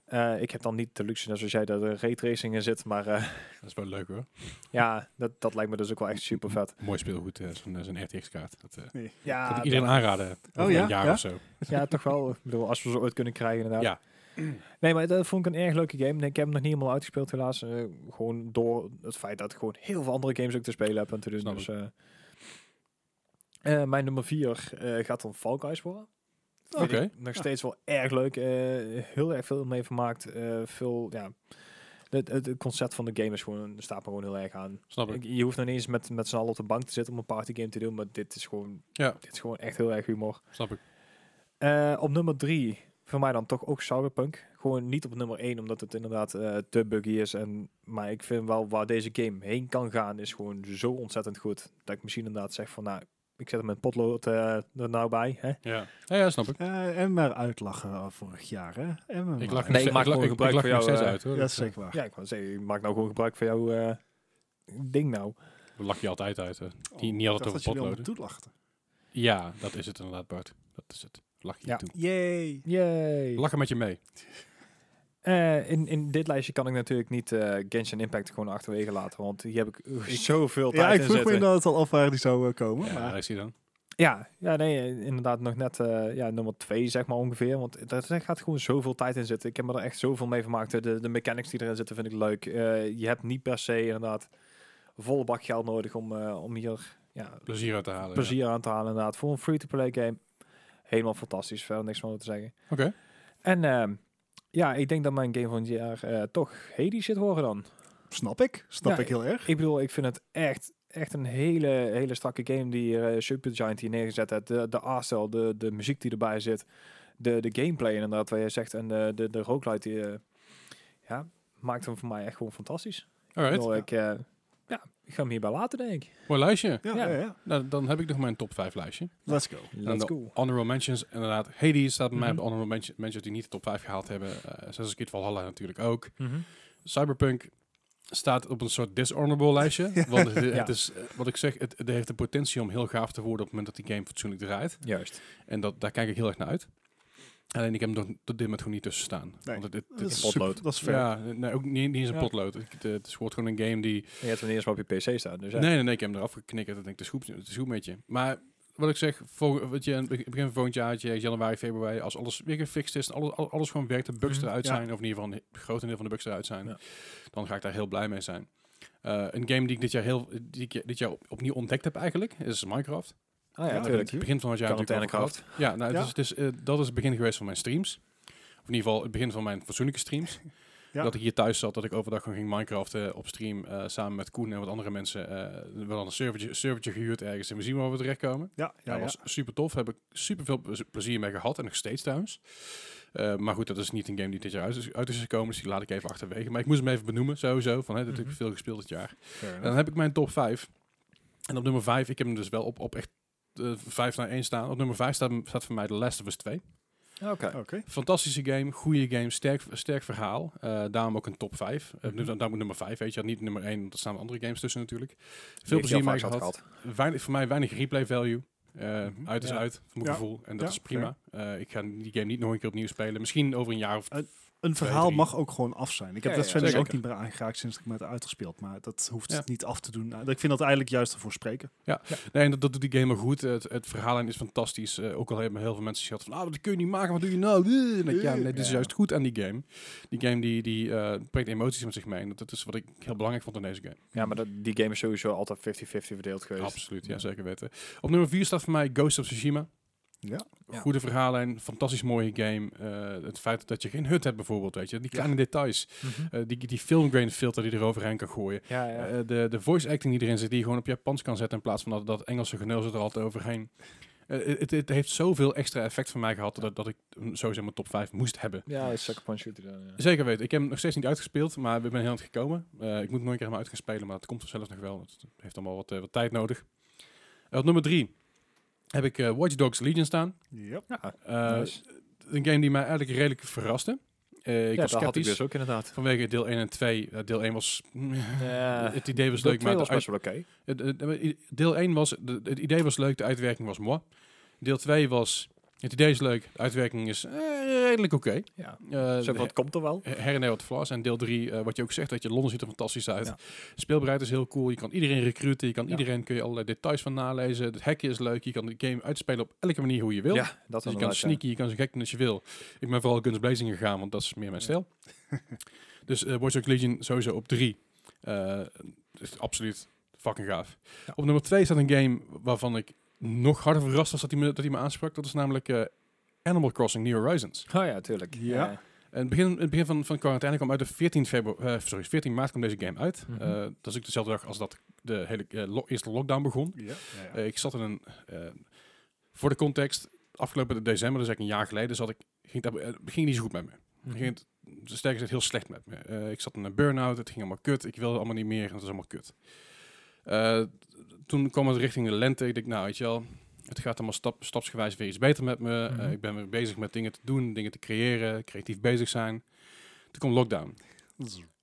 Speaker 3: Eh, ik heb dan niet de luxe, net zoals jij, dat er raytracing in zit. Maar eh,
Speaker 1: Dat is wel leuk hoor.
Speaker 3: ja, dat, dat lijkt me dus ook wel echt super vet.
Speaker 1: Mooi speelgoed, eh, zo'n zo'n RTX kaart. Dat, eh,
Speaker 3: Ja, Ah,
Speaker 1: kan ik iedereen aanraden. Over
Speaker 2: ja?
Speaker 3: Oh
Speaker 1: een jaar
Speaker 2: Ja?
Speaker 1: of zo.
Speaker 3: Ja, toch wel. Ik bedoel, als we ze ooit kunnen krijgen inderdaad.
Speaker 1: Ja.
Speaker 3: Nee, maar dat vond ik een erg leuke game. Nee, Ik heb hem nog niet helemaal uitgespeeld helaas. Eh, gewoon door het feit dat ik gewoon heel veel andere games ook te spelen heb. En te doen.
Speaker 1: Snap
Speaker 3: Dus, eh, eh, mijn nummer 4 gaat dan Fall Guys worden. Vind
Speaker 1: Oké.
Speaker 3: ik Nog steeds wel erg leuk. eh, heel erg veel mee vermaakt. eh, veel, ja. Het, het, het concept van de game is gewoon, staat me gewoon heel erg aan.
Speaker 1: Snap ik.
Speaker 3: Ik- Je hoeft nog niet eens met, met z'n allen op de bank te zitten om een partygame te doen. Maar dit is gewoon,
Speaker 1: Ja.
Speaker 3: dit is gewoon echt heel erg humor.
Speaker 1: Snap ik.
Speaker 3: Eh, op nummer drie, voor mij dan toch ook Cyberpunk. Gewoon niet op nummer één, omdat het inderdaad eh, te buggy is. En, maar ik vind wel waar deze game heen kan gaan, is gewoon zo ontzettend goed. Dat ik misschien inderdaad zeg van, nou, ik zet hem in potlood eh, er nou bij. Hè?
Speaker 1: Ja. Ja, ja, snap ik.
Speaker 2: Eh, en maar uitlachen eh, vorig jaar, hè? En maar
Speaker 1: Ik lach
Speaker 3: Nee, ik
Speaker 1: nog
Speaker 3: maak
Speaker 1: steeds-
Speaker 3: gewoon
Speaker 1: ik- ik
Speaker 3: gebruik
Speaker 1: lach
Speaker 3: van
Speaker 1: nog
Speaker 3: jou,
Speaker 1: steeds
Speaker 3: eh,
Speaker 1: uit. Hoor.
Speaker 2: Dat is zeker waar.
Speaker 3: Ja, ik wou zeggen, ik maak nou gewoon gebruik van jouw eh, ding nou.
Speaker 1: We eh, lach je altijd uit. hè. Die-
Speaker 2: Oh,
Speaker 1: niet altijd
Speaker 2: ik dacht
Speaker 1: over
Speaker 2: dat jullie
Speaker 1: potloden.
Speaker 2: allemaal toelachten.
Speaker 1: Ja, dat is het inderdaad, Bart. Dat is het. Lach je
Speaker 3: Ja.
Speaker 1: toe.
Speaker 2: Yay.
Speaker 3: Yay!
Speaker 1: Lachen met je mee.
Speaker 3: Eh, in, in dit lijstje kan ik natuurlijk niet eh, Genshin Impact gewoon achterwege laten, want hier heb ik, eh, zoveel tijd
Speaker 2: Ja, ik
Speaker 3: in
Speaker 2: vroeg me
Speaker 3: zitten.
Speaker 2: inderdaad al af waar die zou eh, komen.
Speaker 1: Ja,
Speaker 2: maar
Speaker 1: daar is hij dan.
Speaker 3: Ja, ja, nee, eh, inderdaad nog net eh, ja, nummer twee, zeg maar ongeveer. Want daar daar gaat gewoon zoveel tijd in zitten. Ik heb me er echt zoveel mee vermaakt. De, de mechanics die erin zitten vind ik leuk. Eh, je hebt niet per se inderdaad volle bak geld nodig om, eh, om hier ja,
Speaker 1: Plezier uit te halen. ja.
Speaker 3: plezier aan te halen inderdaad. Voor een free-to-play game. Helemaal fantastisch, verder niks van te zeggen.
Speaker 1: Oké.
Speaker 3: En ehm, ja, ik denk dat mijn game van het jaar eh, toch Hades zit horen dan.
Speaker 2: snap ik. Snap
Speaker 3: Ja,
Speaker 2: ik heel erg.
Speaker 3: Ik bedoel, ik vind het echt, echt een hele, hele strakke game die hier, eh, Supergiant hier neergezet heeft. De, de artstyle, de, de muziek die erbij zit. De, de gameplay inderdaad, wat jij zegt. En de, de, de roguelite die... eh, ja, maakt hem voor mij echt gewoon fantastisch. Ik
Speaker 1: Alright.
Speaker 3: bedoel, ik, eh, ja, ik ga hem hierbij laten, denk ik.
Speaker 1: Mooi lijstje.
Speaker 2: Ja,
Speaker 3: Ja.
Speaker 2: ja. ja.
Speaker 1: Nou, dan heb ik nog mijn top 5 lijstje.
Speaker 2: Let's go.
Speaker 1: En
Speaker 3: Let's
Speaker 1: de
Speaker 3: go.
Speaker 1: Honorable mentions, inderdaad. Hades staat bij mij op
Speaker 3: Mhm.
Speaker 1: de honorable mention- mentions die niet de top 5 gehaald hebben. Eh Assassin's Creed Valhalla natuurlijk ook. Cyberpunk staat op een soort dishonorable lijstje. Want het, het
Speaker 3: Ja.
Speaker 1: is, eh, wat ik zeg, het, het heeft de potentie om heel gaaf te worden op het moment dat die game fatsoenlijk draait.
Speaker 3: Juist.
Speaker 1: En dat, daar kijk ik heel erg naar uit. Alleen ik heb hem er tot dit moment gewoon niet tussen staan.
Speaker 2: Nee,
Speaker 1: Want het, het-
Speaker 2: Dat
Speaker 1: het-
Speaker 2: is
Speaker 3: potlood.
Speaker 2: super. Dat is fair.
Speaker 1: ja, nee, ook niet, niet eens een
Speaker 3: Ja.
Speaker 1: potlood. Het, het is wordt gewoon een game die
Speaker 3: En je hebt hem eerst maar op je PC staan. Dus ja.
Speaker 1: Nee, nee, nee, ik heb hem eraf geknikkerd. Dat denk ik, het is goed, het is goed met je. Maar wat ik zeg, vol, wat je in het begin van volgend jaar had je januari, februari, als alles weer gefixt is, en alles, al- alles gewoon werkt, de bugs
Speaker 3: Mhm,
Speaker 1: eruit
Speaker 2: ja.
Speaker 1: zijn, of in ieder geval een groot deel van de bugs eruit zijn,
Speaker 3: Ja.
Speaker 1: dan ga ik daar heel blij mee zijn. Eh, een game die ik dit jaar heel, die ik dit jaar op- opnieuw ontdekt heb eigenlijk, is Minecraft.
Speaker 3: Ah, ja,
Speaker 2: Ja,
Speaker 3: natuurlijk.
Speaker 1: Het begin van het jaar natuurlijk
Speaker 3: Quarantaine
Speaker 1: over gehad.
Speaker 3: kracht.
Speaker 1: Ja, nou,
Speaker 2: Ja.
Speaker 1: het is- het is, eh, dat is het begin geweest van mijn streams. Of in ieder geval het begin van mijn fatsoenlijke streams.
Speaker 2: Ja.
Speaker 1: Dat ik hier thuis zat, dat ik overdag gewoon ging Minecraften op stream eh, samen met Koen en wat andere mensen. eh we hadden een servertje, servertje gehuurd ergens en we zien waar we terechtkomen.
Speaker 2: Ja, ja,
Speaker 1: Ja,
Speaker 2: ja.
Speaker 1: was super tof. Heb ik super veel plezier mee gehad en nog steeds trouwens. Eh, maar goed, dat is niet een game die dit jaar uit is, uit is gekomen, dus die laat ik even achterwege. Maar ik moest hem even benoemen, sowieso. Van, hè, dat heb
Speaker 3: Mhm.
Speaker 1: ik veel gespeeld dit jaar. En dan heb ik mijn top 5. En op nummer 5, ik heb hem dus wel op, op echt eh, 5 naar 1 staan. Op nummer 5 staat, staat voor mij The Last of Us 2.
Speaker 3: Ah, Oké.
Speaker 2: Eh, Oké.
Speaker 1: Fantastische game, goede game, sterk, sterk verhaal. Eh, daarom ook een top 5. Eh,
Speaker 2: Mhm.
Speaker 1: nu- Daarom ook nummer 5, weet je. Niet nummer 1, want er staan andere games tussen natuurlijk. Veel plezier mee gehad. Weinig, voor mij weinig replay value. Eh,
Speaker 2: Mhm.
Speaker 1: Uit is
Speaker 3: Ja.
Speaker 1: uit, voor mijn
Speaker 2: Ja.
Speaker 1: gevoel. En dat
Speaker 2: Ja,
Speaker 1: is prima. Eh, ik ga die game niet nog een keer opnieuw spelen. Misschien over een jaar of...
Speaker 2: Eh, Een
Speaker 1: Twee,
Speaker 2: verhaal
Speaker 1: drie.
Speaker 2: mag ook gewoon af zijn. Ik heb
Speaker 3: Ja,
Speaker 2: dat
Speaker 3: ja,
Speaker 2: verder
Speaker 1: zeker.
Speaker 2: ook niet meer aangeraakt sinds ik me het uitgespeeld. Maar dat hoeft
Speaker 1: Ja.
Speaker 2: het niet af te doen. Nou, Ik vind dat eigenlijk juist ervoor spreken.
Speaker 1: Nee, en dat, dat doet die game ook goed. Het, het verhaallijn is fantastisch. Eh, ook al hebben heel veel mensen gehad van... Ah, dat kun je niet maken, wat doe je nou? Eh, en dat- ja, nee, dit is
Speaker 3: Ja.
Speaker 1: juist goed aan die game. Die game die, die eh, brengt emoties met zich mee. En dat, dat is wat ik heel belangrijk vond aan deze game.
Speaker 3: Ja, maar dat, die game is sowieso altijd 50-50 verdeeld geweest.
Speaker 1: Absoluut, ja,
Speaker 3: Ja.
Speaker 1: zeker weten. Op nummer 4 staat voor mij Ghost of Tsushima.
Speaker 2: Ja.
Speaker 3: Ja.
Speaker 1: Goede verhaallijn, fantastisch mooie game. Eh, het feit dat je geen hut hebt bijvoorbeeld, weet je. Die kleine details. Eh, die, die filmgrain filter die er overheen kan gooien.
Speaker 3: Mhm. Ja, ja.
Speaker 1: Eh, de, de voice acting die erin zit, die je gewoon op Japans kan zetten in plaats van dat, dat Engelse genul zit er altijd overheen. Eh, het, het heeft zoveel extra effect van mij gehad dat, dat ik hem sowieso in mijn top 5 moest hebben.
Speaker 3: Ja, is Sucker Punch Shooter dan, ja.
Speaker 1: Zeker weten. Ik heb hem nog steeds niet uitgespeeld, maar ik ben heel aan het gekomen. Eh, ik moet nog een keer helemaal uit gaan spelen, maar dat komt vanzelf nog wel. Het heeft allemaal wat, eh, wat tijd nodig. Eh, op nummer drie heb ik eh, Watch Dogs Legion staan.
Speaker 2: Yep.
Speaker 3: Ja,
Speaker 1: Eh,
Speaker 3: nice.
Speaker 1: Een game die mij eigenlijk redelijk verraste. Eh, ik
Speaker 3: ja
Speaker 1: was
Speaker 3: dat had ik
Speaker 1: sceptisch
Speaker 3: dus ook inderdaad.
Speaker 1: vanwege deel 1 en 2. Eh, deel 1 was...
Speaker 3: Ja.
Speaker 1: het idee was
Speaker 3: Deel
Speaker 1: leuk,
Speaker 3: twee
Speaker 1: maar de
Speaker 3: was
Speaker 1: uit-
Speaker 3: best wel oké.
Speaker 1: het- het- Deel 1 was... de- Het idee was leuk, de uitwerking was mooi. Deel 2 was... Het idee is leuk. De uitwerking is eh, redelijk oké.
Speaker 3: Ja.
Speaker 1: Eh,
Speaker 3: Zo, wat komt er wel?
Speaker 1: her en der wat flaws. En deel 3, wat je ook zegt, dat je Londen ziet er fantastisch uit.
Speaker 3: Ja.
Speaker 1: Speelbaarheid is heel cool. Je kan iedereen recruiten. Je kan
Speaker 3: Ja.
Speaker 1: iedereen, kun je allerlei details van nalezen. Het hekje is leuk. Je kan de game uitspelen op elke manier hoe je wil.
Speaker 3: Ja, dat
Speaker 1: Dus
Speaker 3: is
Speaker 1: je kan
Speaker 3: sneaky.
Speaker 1: sneaky, je kan zo gek doen als je wil. Ik ben vooral Guns Blazing gegaan, want dat is meer mijn
Speaker 3: Ja.
Speaker 1: stijl. dus eh Watch Dogs Legion sowieso op drie. Eh, is absoluut fucking gaaf.
Speaker 3: Ja.
Speaker 1: Op nummer twee staat een game waarvan ik nog harder verrast was dat hij me, dat hij me aansprak. Dat is namelijk eh, Animal Crossing New Horizons.
Speaker 3: Oh ja, tuurlijk.
Speaker 2: Ja.
Speaker 3: Eh,
Speaker 1: En het begin, het begin van, van quarantaine kwam uit de 14, febru- eh, sorry, 14 maart kwam deze game uit.
Speaker 3: Mhm.
Speaker 1: Eh, dat is ook dezelfde dag als dat de hele eh, lo- eerste lockdown begon.
Speaker 2: Ja. ja.
Speaker 1: Eh, ik zat in een. eh, voor de context, afgelopen december, dus eigenlijk een jaar geleden, zat ik, ging, het, eh, ging niet zo goed met me.
Speaker 3: mhm.
Speaker 1: Ging het, sterker gezegd, heel slecht met me. Eh, ik zat in een burn-out, het ging allemaal kut. Ik wilde allemaal niet meer en het was allemaal kut. Eh, toen kwam het richting de lente. Ik dacht, nou weet je wel, het gaat allemaal stap, stapsgewijs weer iets beter met me.
Speaker 3: Mhm.
Speaker 1: Eh, ik ben weer bezig met dingen te doen, dingen te creëren, creatief bezig zijn. Toen kwam lockdown.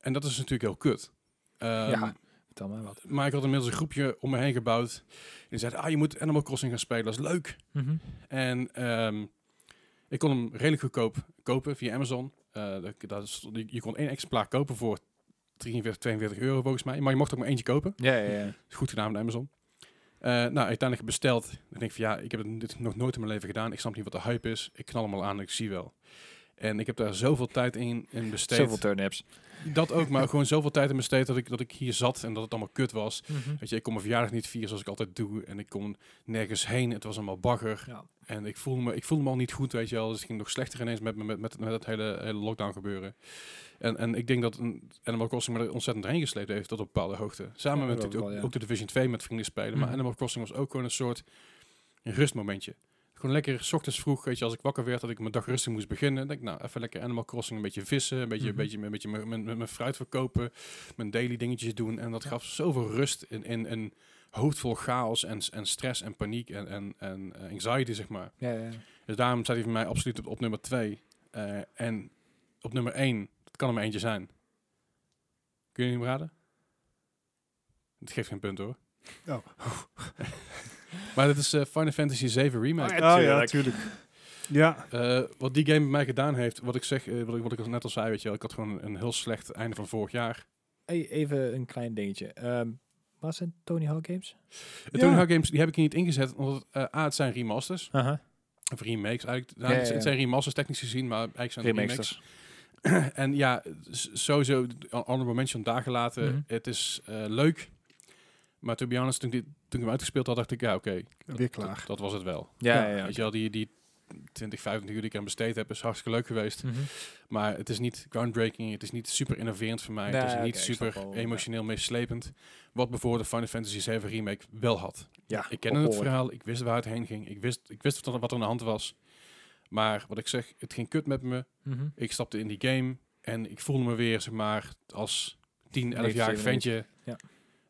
Speaker 1: En dat is natuurlijk heel kut. Ehm,
Speaker 3: Ja. Vertel mij wat.
Speaker 1: Maar ik had inmiddels een groepje om me heen gebouwd. Die zeiden, ah, je moet Animal Crossing gaan spelen, dat is leuk.
Speaker 3: Mhm.
Speaker 1: En ehm, ik kon hem redelijk goedkoop kopen via Amazon. Eh, dat, dat is- je- je kon één exemplaar kopen voor 43, 42 euro volgens mij. Maar je mocht ook maar eentje kopen.
Speaker 3: Ja, ja, ja.
Speaker 1: Is Goed gedaan van Amazon. Eh, nou, uiteindelijk besteld. Dan denk ik van ja, ik heb het- dit nog nooit in mijn leven gedaan. Ik snap niet wat de hype is. Ik knal hem al aan en ik zie wel. En ik heb daar zoveel tijd in, in besteed.
Speaker 3: Zoveel turnips.
Speaker 1: dat ook, maar ook gewoon zoveel tijd in besteed dat ik, dat ik hier zat en dat het allemaal kut was.
Speaker 3: Mhm.
Speaker 1: Weet je, ik kon mijn verjaardag niet vieren zoals ik altijd doe. En ik kon nergens heen. Het was allemaal bagger.
Speaker 3: Ja.
Speaker 1: En ik voelde, me, ik voelde me al niet goed, weet je wel. Dus het ging nog slechter ineens met, me- met, met, met dat hele, hele lockdown gebeuren. En, en ik denk dat een Animal Crossing me er ontzettend heen gesleept heeft tot op bepaalde hoogte. Samen
Speaker 3: Ja,
Speaker 1: met
Speaker 3: dat
Speaker 1: natuurlijk ook,
Speaker 3: wel, ja.
Speaker 1: ook de Division 2 met vrienden spelen. Maar
Speaker 3: Mhm.
Speaker 1: Animal Crossing was ook gewoon een soort rustmomentje. Gewoon lekker, s ochtends vroeg, weet je, als ik wakker werd, dat ik mijn dag rustig moest beginnen. Denk ik, nou, even lekker Animal Crossing, een beetje vissen, een beetje,
Speaker 3: Mhm.
Speaker 1: een beetje, een beetje mijn, mijn, mijn- mijn fruit verkopen, mijn daily dingetjes doen. En dat gaf zoveel rust in, in, in hoofd vol chaos en, en stress en paniek en, en, en eh, anxiety, zeg maar.
Speaker 3: Ja, ja. ja.
Speaker 1: Dus daarom staat hij voor mij absoluut op, op nummer 2. en op nummer 1, dat kan er maar eentje zijn. Kun je hem raden? Het geeft geen punt hoor.
Speaker 2: Oh.
Speaker 1: maar dat is eh, Final Fantasy 7 Remake.
Speaker 2: Oh ja, natuurlijk. Ja.
Speaker 1: Eh, wat die game bij mij gedaan heeft, wat ik zeg, eh, wat, ik, wat ik net al zei, weet je wel, ik had gewoon een heel slecht einde van vorig jaar.
Speaker 3: Hey, E-, even een klein dingetje. Ehm wat zijn Tony Hawk games?
Speaker 1: De
Speaker 2: Ja.
Speaker 1: Tony Hawk games, die heb ik hier niet ingezet, omdat het, eh, A, het zijn remasters,
Speaker 3: Uh-huh.
Speaker 1: of remakes eigenlijk. Nou,
Speaker 3: Ja, ja,
Speaker 1: het-
Speaker 3: ja.
Speaker 1: Het zijn remasters technisch gezien, maar eigenlijk zijn het remakes.
Speaker 3: Remasters.
Speaker 1: En ja, s- sowieso, honorable mention daar gelaten.
Speaker 3: Mhm.
Speaker 1: Het is eh, leuk. Maar to be honest, toen ik, dit- toen ik hem uitgespeeld had, dacht ik, ja, oké. dat-
Speaker 2: Weer klaar.
Speaker 1: Dat, dat was het wel.
Speaker 3: Ja,
Speaker 2: Ja,
Speaker 3: ja, ja.
Speaker 1: Weet je wel, die, die 20, 25 uur die ik aan besteed heb, is hartstikke leuk geweest.
Speaker 3: Mhm.
Speaker 1: Maar het is niet groundbreaking, het is niet super innoverend voor mij.
Speaker 3: Nee,
Speaker 1: het is
Speaker 3: oké,
Speaker 1: niet
Speaker 3: ik
Speaker 1: super
Speaker 3: snap wel, ja.
Speaker 1: emotioneel meeslepend. Wat bijvoorbeeld de Final Fantasy 7 remake wel had.
Speaker 3: Ja,
Speaker 1: Ik kende het
Speaker 3: behoorlijk.
Speaker 1: verhaal, ik wist waar het heen ging. Ik wist, ik wist wat er- wat er aan de hand was. Maar wat ik zeg, het ging kut met me.
Speaker 3: Mhm.
Speaker 1: Ik stapte in die game en ik voelde me weer, zeg maar, als 10, 11
Speaker 3: Leeftijd,
Speaker 1: jaar
Speaker 3: weet
Speaker 1: ventje
Speaker 3: Ja.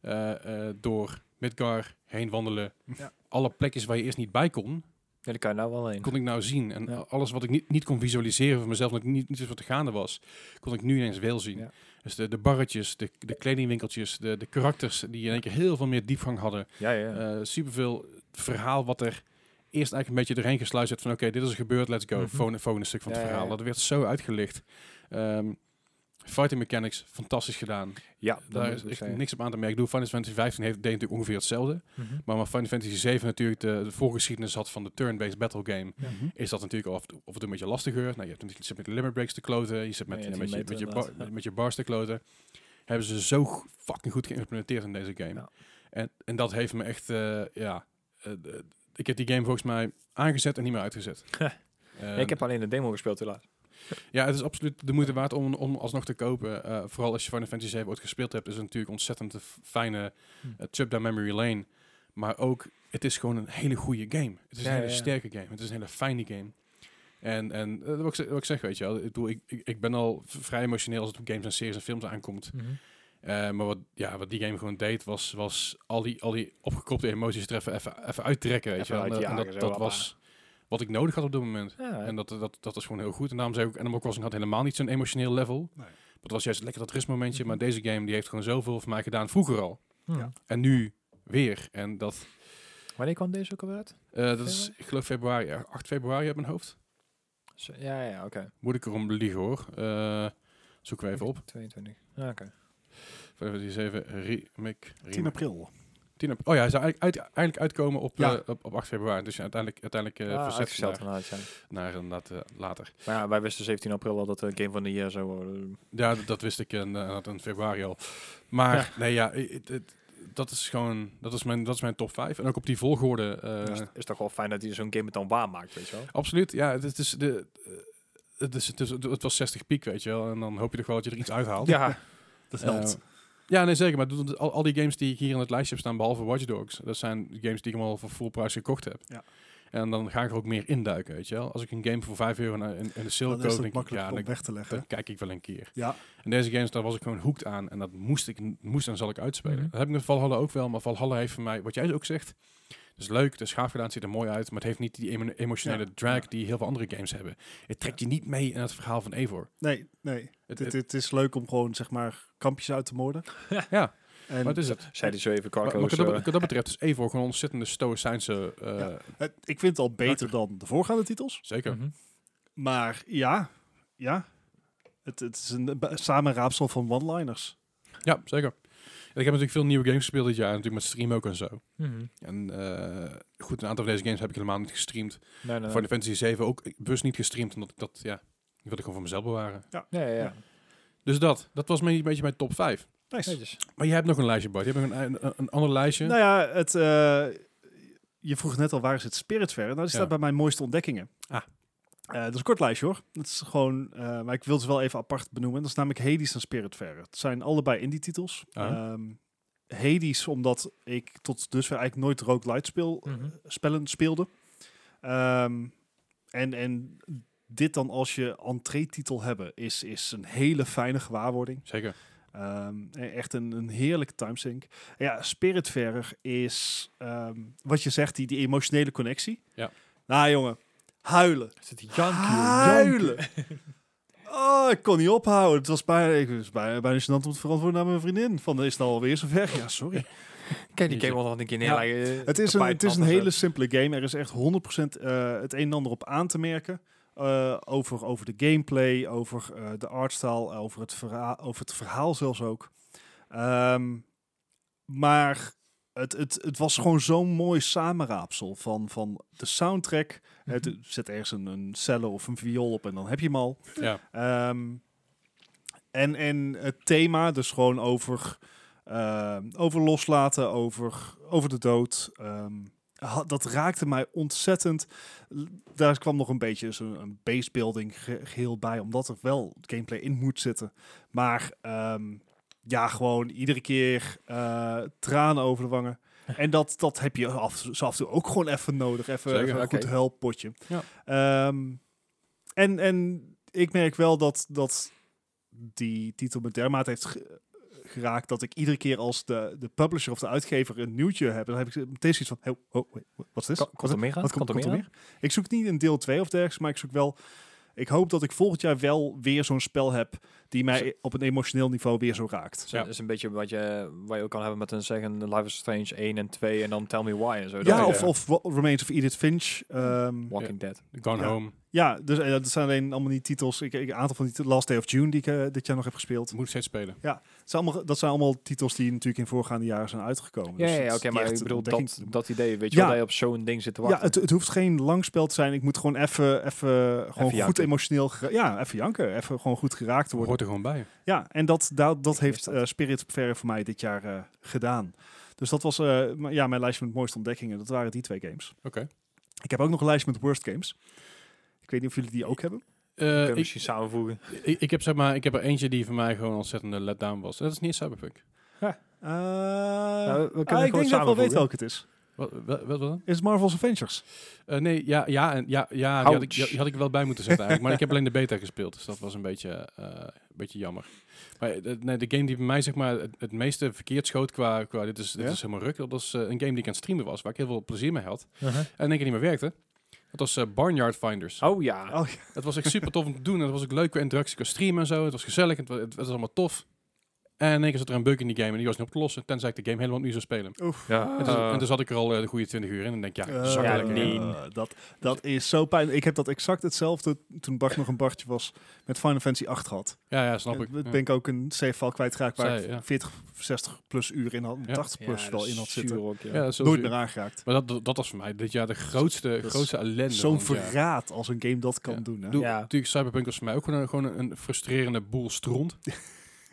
Speaker 1: eh, eh, door Midgar heen wandelen.
Speaker 2: Ja.
Speaker 1: Alle plekjes waar je eerst niet bij kon,
Speaker 3: Ja, die kan je nou wel heen.
Speaker 1: kon ik nou zien. En
Speaker 3: Ja.
Speaker 1: alles wat ik niet, niet kon visualiseren van mezelf, dat ik niet, niet wist wat er gaande was, kon ik nu ineens wel zien.
Speaker 3: Ja.
Speaker 1: Dus de, de barretjes, de, de kledingwinkeltjes, de, de karakters die in één keer heel veel meer diepgang hadden.
Speaker 3: Ja, ja. ja.
Speaker 1: Eh, superveel verhaal wat er eerst eigenlijk een beetje doorheen gesluist werd van oké, dit is gebeurd, let's go.
Speaker 3: Mhm.
Speaker 1: Volgende, volgende stuk van het
Speaker 3: Ja, ja,
Speaker 1: verhaal.
Speaker 3: ja.
Speaker 1: Dat werd zo uitgelicht. Ehm, fighting mechanics, fantastisch gedaan.
Speaker 3: ja, dat
Speaker 1: Daar
Speaker 3: moet
Speaker 1: is
Speaker 3: ik
Speaker 1: echt
Speaker 3: zeggen.
Speaker 1: niks op aan te merken. Ik bedoel, Final Fantasy 15 heeft, deed natuurlijk ongeveer hetzelfde.
Speaker 3: Mhm.
Speaker 1: Maar waar Final Fantasy 7 natuurlijk de, de voorgeschiedenis had van de turn-based battle game,
Speaker 3: Ja.
Speaker 2: Mhm.
Speaker 1: is dat natuurlijk al af, of het een beetje lastiger. Nou, je hebt natuurlijk je zit met de limit breaks te kloten, je zit met,
Speaker 3: Ja, ja,
Speaker 1: met, je,
Speaker 3: die
Speaker 1: met, je,
Speaker 3: meter
Speaker 1: bar-
Speaker 3: inderdaad, ja.
Speaker 1: met je bars te kloten. Hebben ze zo go- fucking goed geïmplementeerd in deze game.
Speaker 3: Ja.
Speaker 1: En, en dat heeft me echt, eh, ja, eh, d- ik heb die game volgens mij aangezet en niet meer uitgezet. Eh,
Speaker 3: Ja,
Speaker 1: En-
Speaker 3: ik heb alleen de demo gespeeld helaas.
Speaker 1: ja, het is absoluut de moeite waard om, om alsnog te kopen. Eh, vooral als je Final Fantasy 7 ooit gespeeld hebt, is het natuurlijk ontzettend een f- fijne
Speaker 3: Hm.
Speaker 1: eh, trip down memory lane. Maar ook, het is gewoon een hele goede game. Het is
Speaker 3: Ja,
Speaker 1: een
Speaker 3: ja,
Speaker 1: hele
Speaker 3: ja.
Speaker 1: sterke game. Het is een hele fijne game. En, en eh, wat, ik, ze- wat ik zeg, weet je wel. Ik, bedoel, ik, ik, ik ben al v- vrij emotioneel als het op games en series en films aankomt.
Speaker 3: Mhm.
Speaker 1: Eh, maar wat, ja, wat die game gewoon deed, was, was al, die, al die opgekropte emoties er even, even, even uittrekken, weet
Speaker 3: Even
Speaker 1: je wel. En, en
Speaker 3: uitjagen,
Speaker 1: dat,
Speaker 3: zo
Speaker 1: dat
Speaker 3: wat
Speaker 1: was wat ik nodig had op dat moment.
Speaker 3: Ah, Ja,
Speaker 1: En dat, dat, dat is gewoon heel goed. En daarom zei ik ook, Animal Crossing had helemaal niet zo'n emotioneel level.
Speaker 2: Nee.
Speaker 1: Dat was juist lekker dat
Speaker 3: Mhm.
Speaker 1: rustmomentje. Maar deze game die heeft gewoon zoveel voor mij gedaan vroeger al.
Speaker 3: Mhm.
Speaker 2: Ja.
Speaker 1: En nu weer. En dat,
Speaker 3: Wanneer kwam deze ook alweer uit?
Speaker 1: Eh, dat is, ik geloof februari, ja, 8 februari uit mijn hoofd.
Speaker 3: Zo- Ja, ja, oké.
Speaker 1: Moet ik erom liegen hoor. Eh zoeken we even op.
Speaker 3: 22. Ja, Ah, oké.
Speaker 1: even remake.
Speaker 2: 10
Speaker 1: remake.
Speaker 2: april.
Speaker 1: 10 april. Oh ja, hij zou eigenlijk, uit, eigenlijk uitkomen op,
Speaker 2: Ja.
Speaker 1: eh, op, op 8 februari. Dus ja, uiteindelijk, uiteindelijk eh
Speaker 3: Ah,
Speaker 1: verzet
Speaker 3: uitgesteld
Speaker 1: naar,
Speaker 3: inderdaad, ja.
Speaker 1: naar inderdaad eh, later.
Speaker 3: Maar ja, wij wisten 17 april al dat de Game van de Year zou worden. Dus
Speaker 1: Ja, dat, dat wist ik in, eh, in februari al. Maar nee, ja, i- het- het- dat is gewoon, dat is, mijn, dat is mijn top 5. En ook op die volgorde. eh,
Speaker 3: Dus het is toch wel fijn dat hij zo'n game het dan waarmaakt, weet je wel?
Speaker 1: Absoluut, ja, het, is- het is de... eh, Het, is, het, is, het was 60 piek, weet je wel. En dan hoop je toch wel dat je er iets
Speaker 2: Oh,
Speaker 1: uithaalt.
Speaker 3: Ja,
Speaker 2: Dat
Speaker 1: Eh,
Speaker 2: helpt.
Speaker 1: ja, nee, zeker. Maar doe- doe- al, al die games die ik hier in het lijstje heb staan, behalve Watch Dogs, dat zijn de games die ik hem al voor full prijs gekocht heb.
Speaker 2: Ja.
Speaker 1: En dan ga ik er ook meer induiken, weet je wel. Als ik een game voor 5 euro naar- in, in de sale
Speaker 2: dan
Speaker 1: koop,
Speaker 2: is het
Speaker 1: denk ik,
Speaker 2: makkelijk
Speaker 1: ja,
Speaker 2: om
Speaker 1: dan,
Speaker 2: weg te leggen.
Speaker 1: dan kijk ik wel een keer.
Speaker 2: ja,
Speaker 1: En deze games, daar was ik gewoon hoekt aan. En dat moest, ik, moest en zal ik uitspelen.
Speaker 3: Mhm.
Speaker 1: Dat heb ik met Valhalla ook wel. Maar Valhalla heeft voor mij, wat jij ook zegt... Het is leuk, het is gaaf gedaan, het ziet er mooi uit. Maar het heeft niet die emo- emotionele
Speaker 2: Ja,
Speaker 1: drag
Speaker 2: ja.
Speaker 1: die heel veel andere games hebben. Het trekt je niet mee in het verhaal van Eivor.
Speaker 2: nee, nee.
Speaker 1: Het,
Speaker 2: Dit,
Speaker 1: het-
Speaker 2: dit is leuk om gewoon, zeg maar, kampjes uit te moorden.
Speaker 1: Ja,
Speaker 2: En
Speaker 1: wat is het?
Speaker 3: zei hij zo even,
Speaker 1: Maar, maar
Speaker 3: Carco's.
Speaker 1: wat, dat,
Speaker 3: eh,
Speaker 1: wat dat betreft is Eivor gewoon een ontzettende stoïcijnse... eh,
Speaker 2: Ja. het- ik vind het al beter dan de voorgaande titels.
Speaker 1: Zeker.
Speaker 3: mhm.
Speaker 2: Maar ja, ja. Het, het is een ba- samenraapsel van one-liners.
Speaker 1: Ja, zeker. En Ik heb natuurlijk veel nieuwe games gespeeld dit jaar. Natuurlijk met stream ook en zo.
Speaker 3: Mhm.
Speaker 1: En eh, goed, een aantal van deze games heb ik helemaal niet gestreamd.
Speaker 3: Nee, nee,
Speaker 1: Final Fantasy 7 ook bewust niet gestreamd. Omdat ik dat, ja, die wilde ik gewoon voor mezelf bewaren.
Speaker 3: nee. Nee, ja.
Speaker 1: Dus dat, dat was mijn, een beetje mijn top 5.
Speaker 2: Nice.
Speaker 3: Netjes.
Speaker 1: Maar jij hebt nog een lijstje, Bart. Je hebt nog een, een, een ander lijstje.
Speaker 2: Nou ja, het, eh, je vroeg net al waar is het Spiritfarer. Nou, die staat
Speaker 1: Ja.
Speaker 2: bij mijn mooiste ontdekkingen.
Speaker 1: Ah.
Speaker 2: Eh, dat is een kort lijstje hoor. Dat is gewoon, eh, maar ik wil ze wel even apart benoemen. Dat is namelijk Hades en Spiritfarer. Het zijn allebei indie titels.
Speaker 1: Ah.
Speaker 2: Ehm, Hades, omdat ik tot dusver eigenlijk nooit roguelite speel,
Speaker 3: Mhm.
Speaker 2: spellen speelde. Ehm, en, en dit dan als je entree-titel hebben, is, is een hele fijne gewaarwording.
Speaker 1: Zeker.
Speaker 2: Ehm, e- echt een, een heerlijke timesync. Ja, Spiritfarer is ehm, wat je zegt, die, die emotionele connectie.
Speaker 1: Ja.
Speaker 2: Nou jongen, huilen.
Speaker 3: Zit die jankie,
Speaker 2: huilen. Oh, ik kon niet ophouden. Het was bijna, ik was bijna, bijna gênant om te verantwoorden naar mijn vriendin. Van, is het nou alweer zover? Ja, sorry.
Speaker 3: Kijk, die game wel nog een keer
Speaker 2: Ja.
Speaker 3: neerleggen. eh,
Speaker 2: Het is een,
Speaker 3: tapijt
Speaker 2: het is een
Speaker 3: nat of zo.
Speaker 2: hele simpele game. Er is echt 100% eh, het een en ander op aan te merken. eh, over, over de gameplay, over eh, de artstyle, over het, verhaal, over het verhaal zelfs ook. Ehm, maar het, het, het was gewoon zo'n mooi samenraapsel van, van de soundtrack. Het
Speaker 3: Mhm.
Speaker 2: zet ergens een, een cello of een viool op en dan heb je hem al.
Speaker 1: Ja.
Speaker 2: Ehm, en, en het thema, dus gewoon over, ehm, over loslaten, over, over de dood. ehm, ha- dat raakte mij ontzettend. L- Daar kwam nog een beetje zo'n een basebuilding ge- geheel bij, omdat er wel gameplay in moet zitten. Maar ehm, ja, gewoon iedere keer eh, tranen over de wangen. En dat, dat heb je af, zo af en toe ook gewoon even nodig. Even,
Speaker 1: Zeker,
Speaker 2: even een
Speaker 3: oké.
Speaker 2: goed helppotje.
Speaker 1: Ja.
Speaker 2: Ehm, en, en ik merk wel dat, dat die titel me dermate heeft ge- geraakt dat ik iedere keer als de, de publisher of de uitgever een nieuwtje heb, dan heb ik meteen zoiets van, hey, oh, wait, wat is dit?
Speaker 3: Ko-
Speaker 2: Wat-
Speaker 3: Komt er meer aan?
Speaker 2: wat komt, komt er
Speaker 3: aan?
Speaker 2: meer? Ik zoek niet een deel 2 of dergelijks, maar ik zoek wel. Ik hoop dat ik volgend jaar wel weer zo'n spel heb die mij op een emotioneel niveau weer zo raakt.
Speaker 3: Het is een-
Speaker 1: Ja.
Speaker 3: is een beetje wat je, wat je ook kan hebben met een zeggen Life is Strange 1 en 2 en dan Tell Me Why en zo. Dat
Speaker 2: Ja,
Speaker 3: je-
Speaker 2: of, of Wa- Remains of Edith Finch. ehm,
Speaker 3: Walking Dead.
Speaker 1: Gone
Speaker 2: Ja.
Speaker 1: Home.
Speaker 2: ja, dus eh, dat zijn alleen allemaal niet titels. Ik, ik, een aantal van die titels- Last Day of June die ik eh, dit jaar nog heb gespeeld.
Speaker 1: Moet steeds spelen.
Speaker 2: Het zijn allemaal, dat zijn allemaal titels die natuurlijk in voorgaande jaren zijn uitgekomen.
Speaker 3: Ja,
Speaker 2: Dus
Speaker 3: ja,
Speaker 2: het
Speaker 3: ja,
Speaker 2: is
Speaker 3: oké,
Speaker 2: niet
Speaker 3: maar
Speaker 2: echt
Speaker 3: ik
Speaker 2: een
Speaker 3: bedoel
Speaker 2: ontdekking.
Speaker 3: dat, dat idee, weet je
Speaker 2: Ja.
Speaker 3: wel, dat je op zo'n ding zit te
Speaker 2: Ja,
Speaker 3: wachten.
Speaker 2: het, het hoeft geen lang spel te zijn. Ik moet gewoon even, even gewoon goed
Speaker 3: janken.
Speaker 2: emotioneel... gera- Ja, even janken. Even gewoon goed geraakt worden.
Speaker 1: Hoort er gewoon bij.
Speaker 2: Ja, en dat, dat, dat heeft
Speaker 3: dat.
Speaker 2: eh Spirit Fair voor mij dit jaar eh, gedaan. Dus dat was eh, m- ja, mijn lijstje met mooiste ontdekkingen. Dat waren die twee games.
Speaker 1: Oké.
Speaker 2: Ik heb ook nog een lijstje met worst games. Ik weet niet of jullie die ook hebben.
Speaker 1: Eh,
Speaker 3: Kun je
Speaker 1: ik,
Speaker 3: misschien samenvoegen.
Speaker 1: ik, ik heb, zeg maar, ik heb er eentje die voor mij gewoon een ontzettende letdown was. En Dat is niet Cyberpunk.
Speaker 2: Eh,
Speaker 3: Nou, we kunnen
Speaker 2: ah, ik denk dat
Speaker 3: gewoon
Speaker 2: ik wel
Speaker 3: samenvoegen.
Speaker 2: weet welke het is.
Speaker 1: Wat, wat, wat dan?
Speaker 2: Is het Marvel's Avengers?
Speaker 1: Eh, nee, ja, ja, en, ja, ja die, had ik, die,
Speaker 3: Ouch.
Speaker 1: die had ik er wel bij moeten zetten eigenlijk. Maar ik heb alleen de beta gespeeld. Dus dat was een beetje, eh, een beetje jammer. Maar eh, de- nee, de game die bij mij zeg maar, het, het meeste verkeerd schoot qua, qua dit, is, dit
Speaker 2: Ja?
Speaker 1: is helemaal ruk. Dat was eh, een game die ik aan het streamen was. Waar ik heel veel plezier mee had. En in één keer niet meer werkte. Dat was eh, Barnyard Finders.
Speaker 3: Oh ja.
Speaker 2: Oh,
Speaker 1: Het was echt super tof om te doen. En dat was ook leuk qua interactie qua streamen en zo. Het was gezellig. Het, wa- het, het was allemaal tof. En in één keer zat er een bug in die game en die was niet op te lossen. Tenzij ik de game helemaal opnieuw zou spelen.
Speaker 2: Oef.
Speaker 3: Ja,
Speaker 1: en, dus, en dus had ik er al eh, de goede 20 uur in. En denk ik, ja,
Speaker 2: Eh,
Speaker 1: zak er
Speaker 3: ja,
Speaker 1: lekker in.
Speaker 3: nee.
Speaker 2: eh, dat, dat is zo pijnlijk. Ik heb dat exact hetzelfde toen Bart nog een Bartje was met Final Fantasy 8 gehad.
Speaker 1: Ja, ja, snap ik.
Speaker 2: En ben
Speaker 1: Ja.
Speaker 2: ik ook een save-file kwijtgeraakt waar
Speaker 1: Zij,
Speaker 2: ik
Speaker 1: ja.
Speaker 2: 40, 60 plus uur in had,
Speaker 1: Ja.
Speaker 2: 80
Speaker 3: Ja,
Speaker 2: plus
Speaker 3: dat
Speaker 2: wel
Speaker 3: is
Speaker 2: in had
Speaker 3: zuur
Speaker 2: zitten.
Speaker 3: ook, ja.
Speaker 1: Ja, dat is heel
Speaker 2: Nooit
Speaker 1: zuur.
Speaker 2: meer aangeraakt.
Speaker 1: Maar dat- dat, dat was voor mij dit jaar de grootste,
Speaker 2: is
Speaker 1: grootste ellende.
Speaker 2: Zo'n
Speaker 1: van het jaar.
Speaker 2: verraad als een game dat kan
Speaker 1: Ja.
Speaker 2: doen. Hè?
Speaker 1: Doe,
Speaker 3: Ja.
Speaker 1: Natuurlijk, Cyberpunk was voor mij ook gewoon een, gewoon een frustrerende boel stront.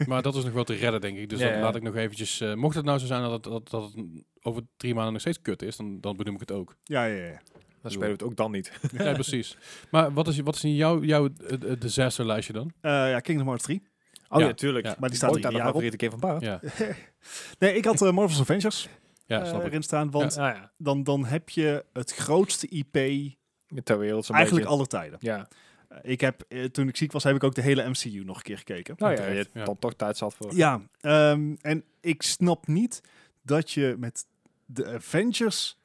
Speaker 1: maar dat is nog wel te redden, denk ik. Dus
Speaker 3: Ja,
Speaker 1: dat
Speaker 3: ja.
Speaker 1: laat ik nog eventjes... eh, mocht het nou zo zijn dat, het- dat, dat het over drie maanden nog steeds kut is, dan, dan benoem ik het ook.
Speaker 2: Ja, ja, ja.
Speaker 3: Dan spelen we het ook dan niet.
Speaker 1: ja, precies. Maar wat is, wat is in jouw, jouw eh, eh, disasterlijstje dan?
Speaker 2: Eh, ja, Kingdom Hearts 3.
Speaker 3: Oh
Speaker 1: Ja.
Speaker 3: ja, tuurlijk.
Speaker 1: Ja.
Speaker 2: Maar die staat
Speaker 3: Ook
Speaker 2: er
Speaker 3: daar de
Speaker 2: jaar op.
Speaker 3: favoriete keer van Bart.
Speaker 1: Ja,
Speaker 2: Nee, ik had eh, Marvel's Avengers
Speaker 1: ja
Speaker 2: eh,
Speaker 1: snap ik.
Speaker 2: erin staan. Want
Speaker 3: Ah, ja.
Speaker 2: dan, dan heb je het grootste IP
Speaker 3: Ter wereld zo'n
Speaker 2: eigenlijk
Speaker 3: beetje.
Speaker 2: alle tijden.
Speaker 3: Ja.
Speaker 2: Eh, ik heb, eh, toen ik ziek was, heb ik ook de hele MCU nog een keer gekeken.
Speaker 3: Nou ja, E
Speaker 1: terecht,
Speaker 3: je hebt
Speaker 1: ja.
Speaker 3: dan toch tijd zat voor.
Speaker 2: Ja, ehm, en ik snap niet dat je met de Avengers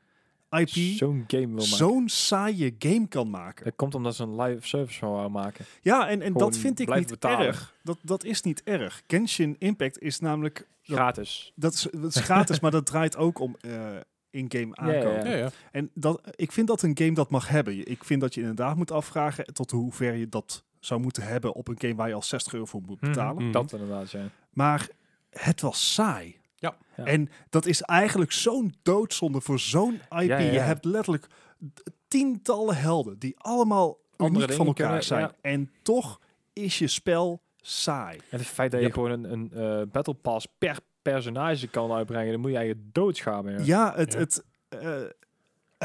Speaker 2: IP
Speaker 3: Zo'n game wil maken.
Speaker 2: zo'n saaie game kan maken.
Speaker 3: Dat komt omdat ze een live service van wou maken.
Speaker 2: Ja, en, en
Speaker 3: Gewoon
Speaker 2: dat vind ik
Speaker 3: blijven
Speaker 2: niet
Speaker 3: betalen.
Speaker 2: erg. Dat, dat is niet erg. Genshin Impact is namelijk... Dat,
Speaker 3: Gratis.
Speaker 2: dat, is, dat is gratis, maar dat draait ook om eh, in-game
Speaker 3: Ja, ja,
Speaker 2: aankopen.
Speaker 1: Ja, ja.
Speaker 2: En dat, ik vind dat een game dat mag hebben. Je- Ik vind dat je inderdaad moet afvragen tot hoe ver je dat zou moeten hebben op een game waar je al 60 euro voor moet betalen.
Speaker 1: Mhm.
Speaker 3: Dat inderdaad, ja.
Speaker 2: Maar het was saai.
Speaker 1: Ja.
Speaker 3: Ja.
Speaker 2: En dat is eigenlijk zo'n doodzonde voor zo'n IP.
Speaker 3: ja,
Speaker 2: Je
Speaker 3: ja.
Speaker 2: hebt letterlijk d- tientallen helden die allemaal
Speaker 3: Andere
Speaker 2: uniek van
Speaker 3: dingen
Speaker 2: elkaar
Speaker 3: kunnen,
Speaker 2: zijn. En toch is je spel saai.
Speaker 3: En het feit dat je
Speaker 1: Yep.
Speaker 3: gewoon een, een eh, battle pass per personage kan uitbrengen, dan moet je eigenlijk Uh-huh. doodschaam. Ja.
Speaker 2: Ja, het,
Speaker 1: Ja.
Speaker 2: Het, eh,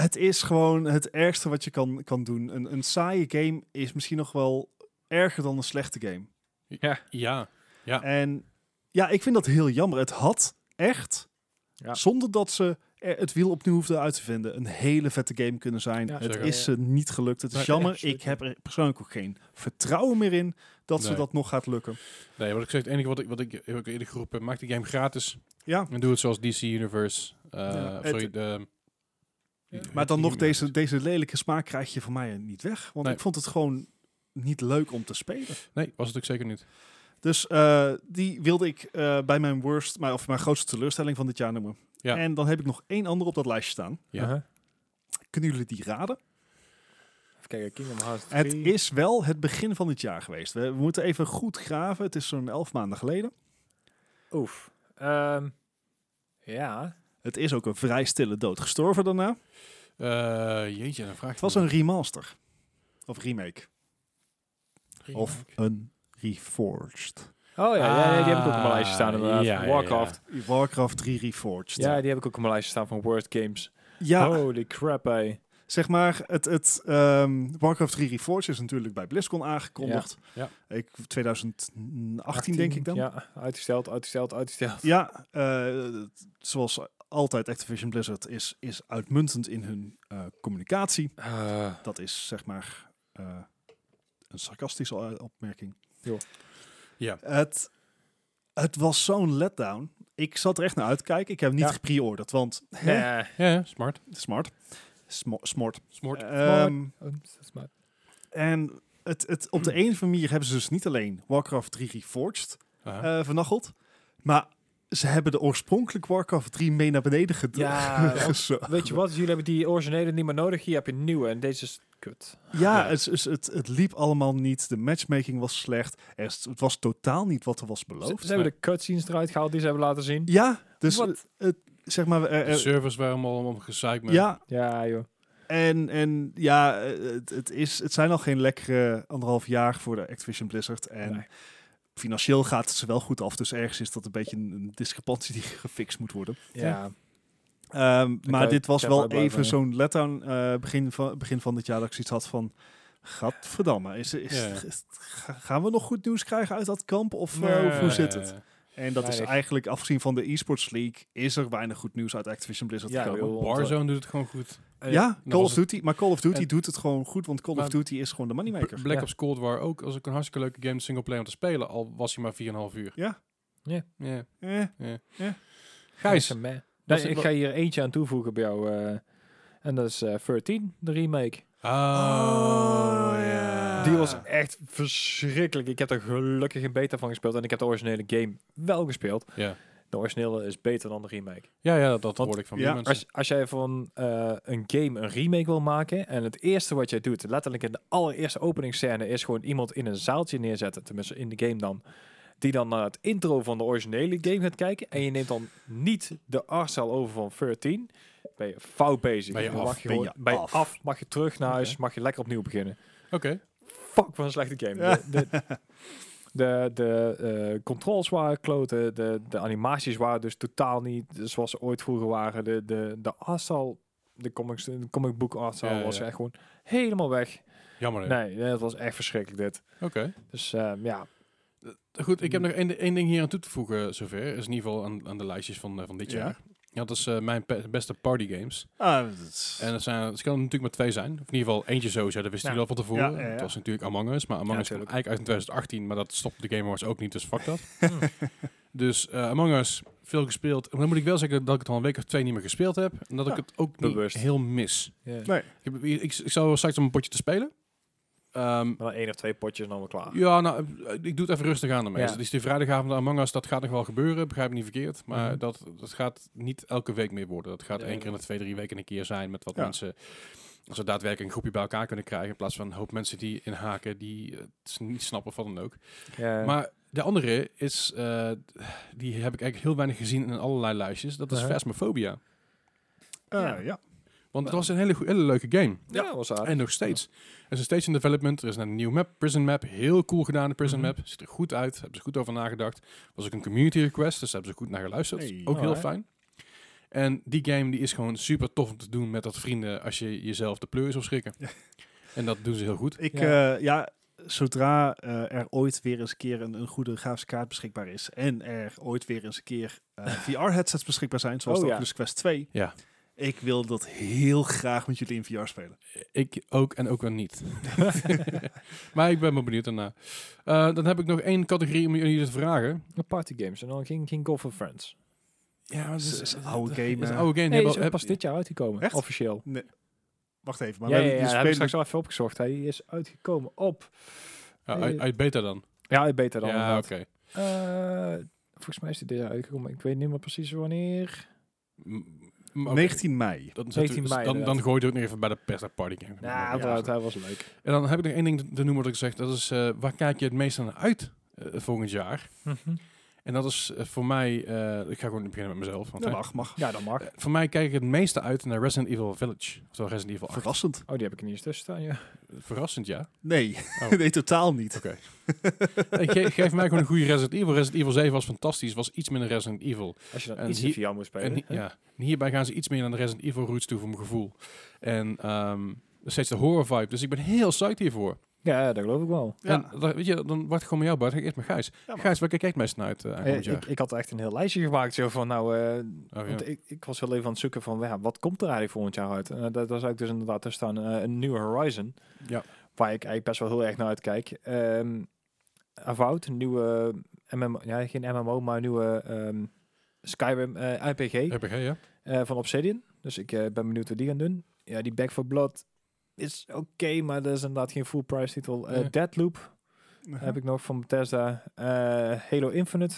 Speaker 2: het is gewoon het ergste wat je kan, kan doen. Een, een saaie game is misschien nog wel erger dan een slechte game.
Speaker 1: Ja. Ja.
Speaker 2: En ja, ik vind dat heel jammer. Het had echt,
Speaker 3: Ja.
Speaker 2: zonder dat ze er het wiel opnieuw hoefden uit te vinden, een hele vette game kunnen zijn.
Speaker 3: Ja,
Speaker 2: het
Speaker 1: zeker.
Speaker 2: is ze niet gelukt. Het is
Speaker 1: Nee,
Speaker 2: jammer.
Speaker 1: absoluut
Speaker 2: Ik heb er persoonlijk ook geen vertrouwen meer in dat ze
Speaker 1: Nee.
Speaker 2: dat nog gaat lukken.
Speaker 1: Nee, wat ik zeg, het enige wat ik, wat ik heb ik eerder geroepen, maak die game gratis.
Speaker 2: Ja,
Speaker 1: En doe het zoals DC Universe. eh,
Speaker 2: Ja,
Speaker 1: sorry,
Speaker 2: het-
Speaker 1: de-
Speaker 2: maar dan
Speaker 1: die-
Speaker 2: nog deze, deze lelijke smaak krijg je van mij niet weg. Want
Speaker 1: Nee.
Speaker 2: ik vond het gewoon niet leuk om te spelen.
Speaker 1: Nee, was het ook zeker niet.
Speaker 2: Dus eh, die wilde ik eh, bij mijn worst, maar, of mijn grootste teleurstelling van dit jaar noemen.
Speaker 1: Ja.
Speaker 2: En dan heb ik nog één ander op dat lijstje staan.
Speaker 1: Ja.
Speaker 3: Uh-huh.
Speaker 2: Kunnen jullie die raden?
Speaker 3: Even kijken, Kingdom Hearts 3.
Speaker 2: Het is wel het begin van dit jaar geweest. We, we moeten even goed graven. Het is zo'n elf maanden geleden.
Speaker 3: Oef. Ehm, ja.
Speaker 2: Het is ook een vrij stille dood gestorven daarna.
Speaker 1: Eh, jeetje, dan vraag je
Speaker 2: Het was
Speaker 1: me.
Speaker 2: een remaster. Of remake. Of een reforged.
Speaker 3: Oh ja, ja, ja, die heb ik ook op mijn
Speaker 1: Ah,
Speaker 3: lijstje staan inderdaad.
Speaker 1: ja, ja,
Speaker 3: Warcraft.
Speaker 2: Warcraft 3 reforged.
Speaker 3: Ja, die heb ik ook op mijn lijstje staan van Worst Games.
Speaker 2: Ja,
Speaker 1: Oh.
Speaker 3: Holy crap, hé.
Speaker 2: zeg maar, het, het ehm, Warcraft 3 reforged is natuurlijk bij BlizzCon aangekondigd.
Speaker 1: Ja.
Speaker 2: Ik, 2018 denk ik dan.
Speaker 3: Ja, uitgesteld, uitgesteld, uitgesteld.
Speaker 2: Ja, eh, zoals altijd Activision Blizzard is, is uitmuntend in hun eh, communicatie.
Speaker 3: Eh,
Speaker 2: Dat is zeg maar eh, een sarcastische o- opmerking.
Speaker 3: Joh.
Speaker 1: Ja.
Speaker 2: Het, het was zo'n letdown. Ik zat er echt naar uit te kijken. Ik heb hem niet
Speaker 3: Ja.
Speaker 2: gepreorderd, want hè,
Speaker 3: nee.
Speaker 1: Ja, ja, smart.
Speaker 2: smart. Smo- smart.
Speaker 1: Smart.
Speaker 2: Ehm,
Speaker 3: Oeps, dat is maar-
Speaker 2: en het, het, op de een of andere manier hebben ze dus niet alleen Warcraft 3 Reforged
Speaker 1: Aha.
Speaker 2: eh vernacheld, maar ze hebben de oorspronkelijk Warcraft 3 mee naar beneden gedrukt.
Speaker 3: Ja,
Speaker 2: Gezo-
Speaker 3: Weet je wat? Jullie hebben die originele niet meer nodig. Hier heb je een nieuwe. En deze is kut.
Speaker 2: Ja,
Speaker 1: Ja.
Speaker 2: Het, het, het, het liep allemaal niet. De matchmaking was slecht. Er is- het was totaal niet wat er was
Speaker 3: Ze,
Speaker 2: beloofd.
Speaker 3: ze hebben de cutscenes eruit gehaald die ze hebben laten zien.
Speaker 2: Ja, dus
Speaker 3: Wat?
Speaker 2: het, het- zeg maar... er-
Speaker 1: de
Speaker 2: er-
Speaker 1: servers waren allemaal allemaal gezeik met.
Speaker 2: eh, ja,
Speaker 3: Ja, joh.
Speaker 2: en, en ja, het, het, is, het zijn al geen lekkere anderhalf jaar voor de Activision Blizzard. En
Speaker 3: Nee.
Speaker 2: financieel gaat het ze wel goed af. Dus ergens is dat een beetje een, een discrepantie die gefixt moet worden.
Speaker 3: Ja.
Speaker 2: Ehm, maar
Speaker 3: kan-
Speaker 2: dit was
Speaker 3: kan
Speaker 2: wel
Speaker 3: blijkbaar,
Speaker 2: even
Speaker 3: ja.
Speaker 2: zo'n letdown eh, begin, van, begin van dit jaar dat ik zoiets had van... Gadverdamme, is, is,
Speaker 1: Ja, ja.
Speaker 2: is- ga- gaan we nog goed nieuws krijgen uit dat kamp? Of eh,
Speaker 1: Nee.
Speaker 2: of hoe zit het? En dat is
Speaker 3: Weinig.
Speaker 2: eigenlijk, afgezien van de esports league, is er weinig goed nieuws uit Activision Blizzard
Speaker 3: Ja,
Speaker 2: gekomen.
Speaker 3: joh.
Speaker 1: Warzone doet het gewoon goed.
Speaker 3: Eh,
Speaker 2: ja, Call
Speaker 1: was
Speaker 2: of
Speaker 1: het-
Speaker 2: Duty. Maar Call of Duty
Speaker 1: en-
Speaker 2: doet het gewoon goed, want Call of
Speaker 1: Maar-
Speaker 2: Duty is gewoon de moneymaker.
Speaker 1: B- Black
Speaker 3: Ja.
Speaker 1: Ops Cold War ook. Als ik een hartstikke leuke game singleplayer om te spelen, al was hij maar 4,5 uur.
Speaker 2: Ja.
Speaker 3: Ja.
Speaker 1: Ja.
Speaker 2: Eh,
Speaker 1: Gijs.
Speaker 3: Nee, meh.
Speaker 1: Wat
Speaker 3: Nee,
Speaker 1: is-
Speaker 3: ik ga hier eentje aan toevoegen bij jou. eh, en dat is eh 13, de remake.
Speaker 1: Oh,
Speaker 2: Oh, ja.
Speaker 3: Die was echt verschrikkelijk. Ik heb er gelukkig een beta van gespeeld. En ik heb de originele game wel gespeeld.
Speaker 1: Ja,
Speaker 3: De originele is beter dan de remake.
Speaker 1: ja, ja dat, dat hoorde ik van meer
Speaker 2: ja,
Speaker 1: mensen.
Speaker 3: Als, als jij van eh, een game een remake wil maken. En het eerste wat jij doet, letterlijk in de allereerste openingsscène, is gewoon iemand in een zaaltje neerzetten. Tenminste, in de game dan. Die dan naar het intro van de originele game gaat kijken. En je neemt dan niet de artstijl over van 13. Ben je fout bezig.
Speaker 1: Ben je
Speaker 3: Dan
Speaker 1: af,
Speaker 3: mag je,
Speaker 2: ben
Speaker 3: gewoon-
Speaker 2: je
Speaker 3: ben je
Speaker 2: af.
Speaker 3: af. Mag je terug naar huis. Mag je lekker opnieuw beginnen.
Speaker 1: Oké.
Speaker 3: Fuck, wat een slechte game. De, de, de, de eh, controls waren kloten, de, de animaties waren dus totaal niet zoals ze ooit vroeger waren. De, de, de artstyle, de, comics, de comic book artstyle
Speaker 1: Ja,
Speaker 3: was
Speaker 1: ja.
Speaker 3: echt gewoon helemaal weg.
Speaker 1: Jammer. hè.
Speaker 3: Nee, nee, het was echt verschrikkelijk dit.
Speaker 1: Oké.
Speaker 3: Dus ehm, ja,
Speaker 1: Goed, ik heb nog één, één ding hier aan toe te voegen eh, zover. Is in ieder geval aan, aan de lijstjes van, eh, van dit
Speaker 2: Ja.
Speaker 1: jaar. Ja, dat is eh, mijn pe- beste party games.
Speaker 2: Ah, dat is-
Speaker 1: En het, zijn, het kan natuurlijk maar twee zijn. Of in ieder geval eentje sowieso, dat wist
Speaker 3: Ja.
Speaker 1: jullie al van tevoren.
Speaker 2: Ja, ja, ja.
Speaker 1: Het was natuurlijk Among Us, maar Among
Speaker 3: Ja,
Speaker 1: Us kwam
Speaker 3: tuurlijk.
Speaker 1: eigenlijk uit in 2018. Maar dat stopte de Game Awards ook niet, dus fuck dat.
Speaker 3: Hmm.
Speaker 1: dus eh, Among Us, veel gespeeld. Maar dan moet ik wel zeggen dat ik het al een week of twee niet meer gespeeld heb. En dat ik
Speaker 2: Ja,
Speaker 1: het ook niet
Speaker 3: bewust.
Speaker 1: heel mis.
Speaker 3: ja.
Speaker 2: nee.
Speaker 1: Ik, heb- ik, ik, ik zal wel straks om een potje te spelen. Ehm,
Speaker 3: maar dan één of twee potjes en dan weer klaar.
Speaker 1: ja, nou, ik doe het even rustig aan ermee.
Speaker 3: Ja.
Speaker 1: Dus die- die vrijdagavond Among Us, dat gaat nog wel gebeuren, begrijp me niet verkeerd. Maar
Speaker 3: Mhm.
Speaker 1: dat, dat gaat niet elke week meer worden. Dat gaat
Speaker 3: Nee,
Speaker 1: één keer in de
Speaker 3: inderdaad.
Speaker 1: twee, drie weken een keer zijn met wat
Speaker 2: Ja.
Speaker 1: mensen... Als we daadwerkelijk een groepje bij elkaar kunnen krijgen, in plaats van een hoop mensen die inhaken, die eh, het s- niet snappen of wat dan ook.
Speaker 3: Ja.
Speaker 1: Maar de andere is, eh, die heb ik eigenlijk heel weinig gezien in allerlei lijstjes, dat is
Speaker 3: Uh-huh.
Speaker 1: Phasmophobia.
Speaker 2: Ah,
Speaker 3: Ja.
Speaker 2: ja.
Speaker 1: Want het was een hele, goe- hele leuke game.
Speaker 3: ja, was aardig.
Speaker 1: En nog steeds. Er is nog steeds in development. Er is een nieuwe map, Prison Map. Heel cool gedaan, de Prison
Speaker 3: Mhm.
Speaker 1: Map. Ziet er goed uit. Hebben ze goed over nagedacht. Was ook een community request, dus daar hebben ze goed naar geluisterd.
Speaker 2: Hey.
Speaker 1: Ook heel
Speaker 3: Alright.
Speaker 1: fijn. En die game die is gewoon super tof om te doen met dat vrienden als je jezelf de pleur is of schrikken. en dat doen ze heel goed.
Speaker 2: Ik,
Speaker 3: Ja.
Speaker 2: ja, ja zodra eh, er ooit weer eens een keer een, een goede grafische kaart beschikbaar is en er ooit weer eens een keer VR-headsets beschikbaar zijn, zoals
Speaker 3: Oh,
Speaker 2: de
Speaker 3: ja.
Speaker 2: Oculus Quest 2,
Speaker 1: Ja.
Speaker 2: ik wil dat heel graag met jullie in VR spelen.
Speaker 1: Ik ook en ook wel niet. maar ik ben wel benieuwd daarna. Eh, dan heb ik nog één categorie om jullie te vragen.
Speaker 3: Party games en dan ging, ging Golf of Friends.
Speaker 1: Ja, maar
Speaker 2: Is- is een oude game,
Speaker 1: Is een
Speaker 2: eh.
Speaker 1: oude game.
Speaker 3: Nee,
Speaker 1: Heb-
Speaker 3: is ook
Speaker 1: heb-
Speaker 3: pas dit jaar uitgekomen,
Speaker 2: Echt?
Speaker 3: officieel.
Speaker 2: Wacht even, maar
Speaker 3: Maar
Speaker 2: wij-
Speaker 3: ja, ja, ja,
Speaker 2: die
Speaker 3: daar heb ik
Speaker 2: spelen-
Speaker 3: straks wel even opgezocht. Hij is uitgekomen op...
Speaker 1: Ja, uit, uit beta dan.
Speaker 3: Ja, beter dan.
Speaker 1: Ja,
Speaker 3: inderdaad.
Speaker 1: oké.
Speaker 3: Eh, volgens mij is dit dit jaar uitgekomen. maar Ik weet niet meer precies wanneer.
Speaker 1: M- oké.
Speaker 2: 19 mei.
Speaker 1: Dan,
Speaker 3: 19
Speaker 1: zetten we-
Speaker 3: mei
Speaker 1: dan, dan
Speaker 3: inderdaad.
Speaker 1: gooi je het ook nog even bij de pers naar party game.
Speaker 3: Nou, uiteraard, hij was leuk.
Speaker 1: En dan heb ik nog één ding te- te noemen wat ik zeg. Dat is, eh, waar kijk je het meest naar uit eh, volgend jaar?
Speaker 3: Mhm.
Speaker 1: En dat is eh, voor mij, eh, ik ga gewoon beginnen met mezelf. Want,
Speaker 2: Ja,
Speaker 1: hè.
Speaker 2: mag, mag.
Speaker 3: Ja, dat mag.
Speaker 1: Eh, voor mij kijk ik het meeste uit naar Resident Evil Village. Oftewel Resident Evil 8.
Speaker 2: Verrassend.
Speaker 3: Oh, die heb ik er niet eens tussen staan, ja.
Speaker 1: Verrassend, ja.
Speaker 2: Nee,
Speaker 1: Oh.
Speaker 2: nee, totaal niet.
Speaker 1: Oké. Eh, ge- geef mij gewoon een goede Resident Evil. Resident Evil 7 was fantastisch, was iets minder Resident Evil.
Speaker 3: Als je dan
Speaker 1: En
Speaker 3: iets
Speaker 1: hier-
Speaker 3: in VR moet
Speaker 1: En,
Speaker 3: spelen.
Speaker 1: hi- ja, en hierbij gaan ze iets meer naar de Resident Evil roots toe, voor mijn gevoel. En ehm, steeds de horror vibe. Dus ik ben heel psyched hiervoor.
Speaker 3: ja, dat geloof ik wel.
Speaker 2: Ja.
Speaker 1: En dan- weet je, dan wacht ik gewoon met jou, Bart. Ga ik eerst met Gijs.
Speaker 2: maar-
Speaker 1: Gijs, waar kijk jij het meest naar uit eh,
Speaker 3: Eh,
Speaker 1: aankomend
Speaker 3: ik,
Speaker 1: jaar?
Speaker 3: ik had echt een heel lijstje gemaakt, zo van nou... eh,
Speaker 1: Oh, ja.
Speaker 3: want ik, ik was wel even aan het zoeken van, ja, wat komt er eigenlijk volgend jaar uit? En daar, daar zou ik dus inderdaad tussen staan, eh, een nieuwe Horizon.
Speaker 1: Ja.
Speaker 3: Waar ik eigenlijk best wel heel erg naar uitkijk. Ehm Avowed, een nieuwe MMO, ja, geen MMO, maar een nieuwe ehm, Skyrim eh, RPG.
Speaker 1: RPG, ja?
Speaker 3: eh, van Obsidian. Dus ik eh, ben benieuwd wat die gaan doen. Ja, die Back for Blood is oké, maar dat is inderdaad geen full price titel. Eh,
Speaker 1: Nee.
Speaker 3: Deadloop heb ik nog van Bethesda. Eh, Halo Infinite.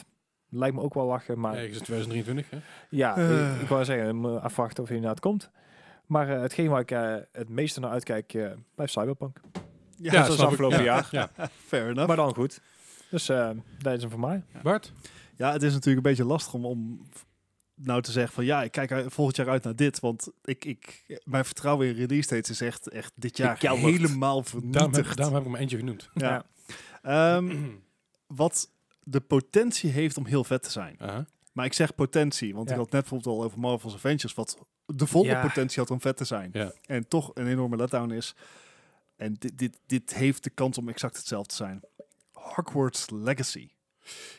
Speaker 3: Lijkt me ook wel lachen, maar
Speaker 1: Ergens in 2023, hè?
Speaker 3: ja,
Speaker 2: Eh.
Speaker 3: ik, ik wou zeggen, moet afwachten of hij inderdaad komt. Maar eh, hetgeen waar ik eh, het meeste naar uitkijk, eh blijft Cyberpunk.
Speaker 2: Ja,
Speaker 3: dat
Speaker 1: snap
Speaker 3: is
Speaker 1: ik.
Speaker 3: afgelopen
Speaker 1: Ja,
Speaker 3: jaar.
Speaker 1: Ja.
Speaker 2: fair enough.
Speaker 3: Maar dan goed. Dus eh, dat is hem voor mij.
Speaker 1: Bart?
Speaker 2: Ja, het is natuurlijk een beetje lastig om, om nou te zeggen van ja, ik kijk uit- volgend jaar uit naar dit. Want ik, ik, mijn vertrouwen in release dates is echt, echt dit jaar
Speaker 3: Gekeld.
Speaker 2: helemaal
Speaker 1: Daarom heb,
Speaker 2: vernietigd.
Speaker 1: daarom heb ik hem eentje genoemd.
Speaker 2: Ja. Ehm, wat de potentie heeft om heel vet te zijn.
Speaker 1: Aha.
Speaker 2: Maar ik zeg potentie, want
Speaker 3: Ja.
Speaker 2: ik had net bijvoorbeeld al over Marvel's Avengers, wat de volle
Speaker 3: Ja.
Speaker 2: potentie had om vet te zijn.
Speaker 1: Ja.
Speaker 2: En toch een enorme letdown is. En dit, dit, dit heeft de kans om exact hetzelfde te zijn. Hogwarts Legacy,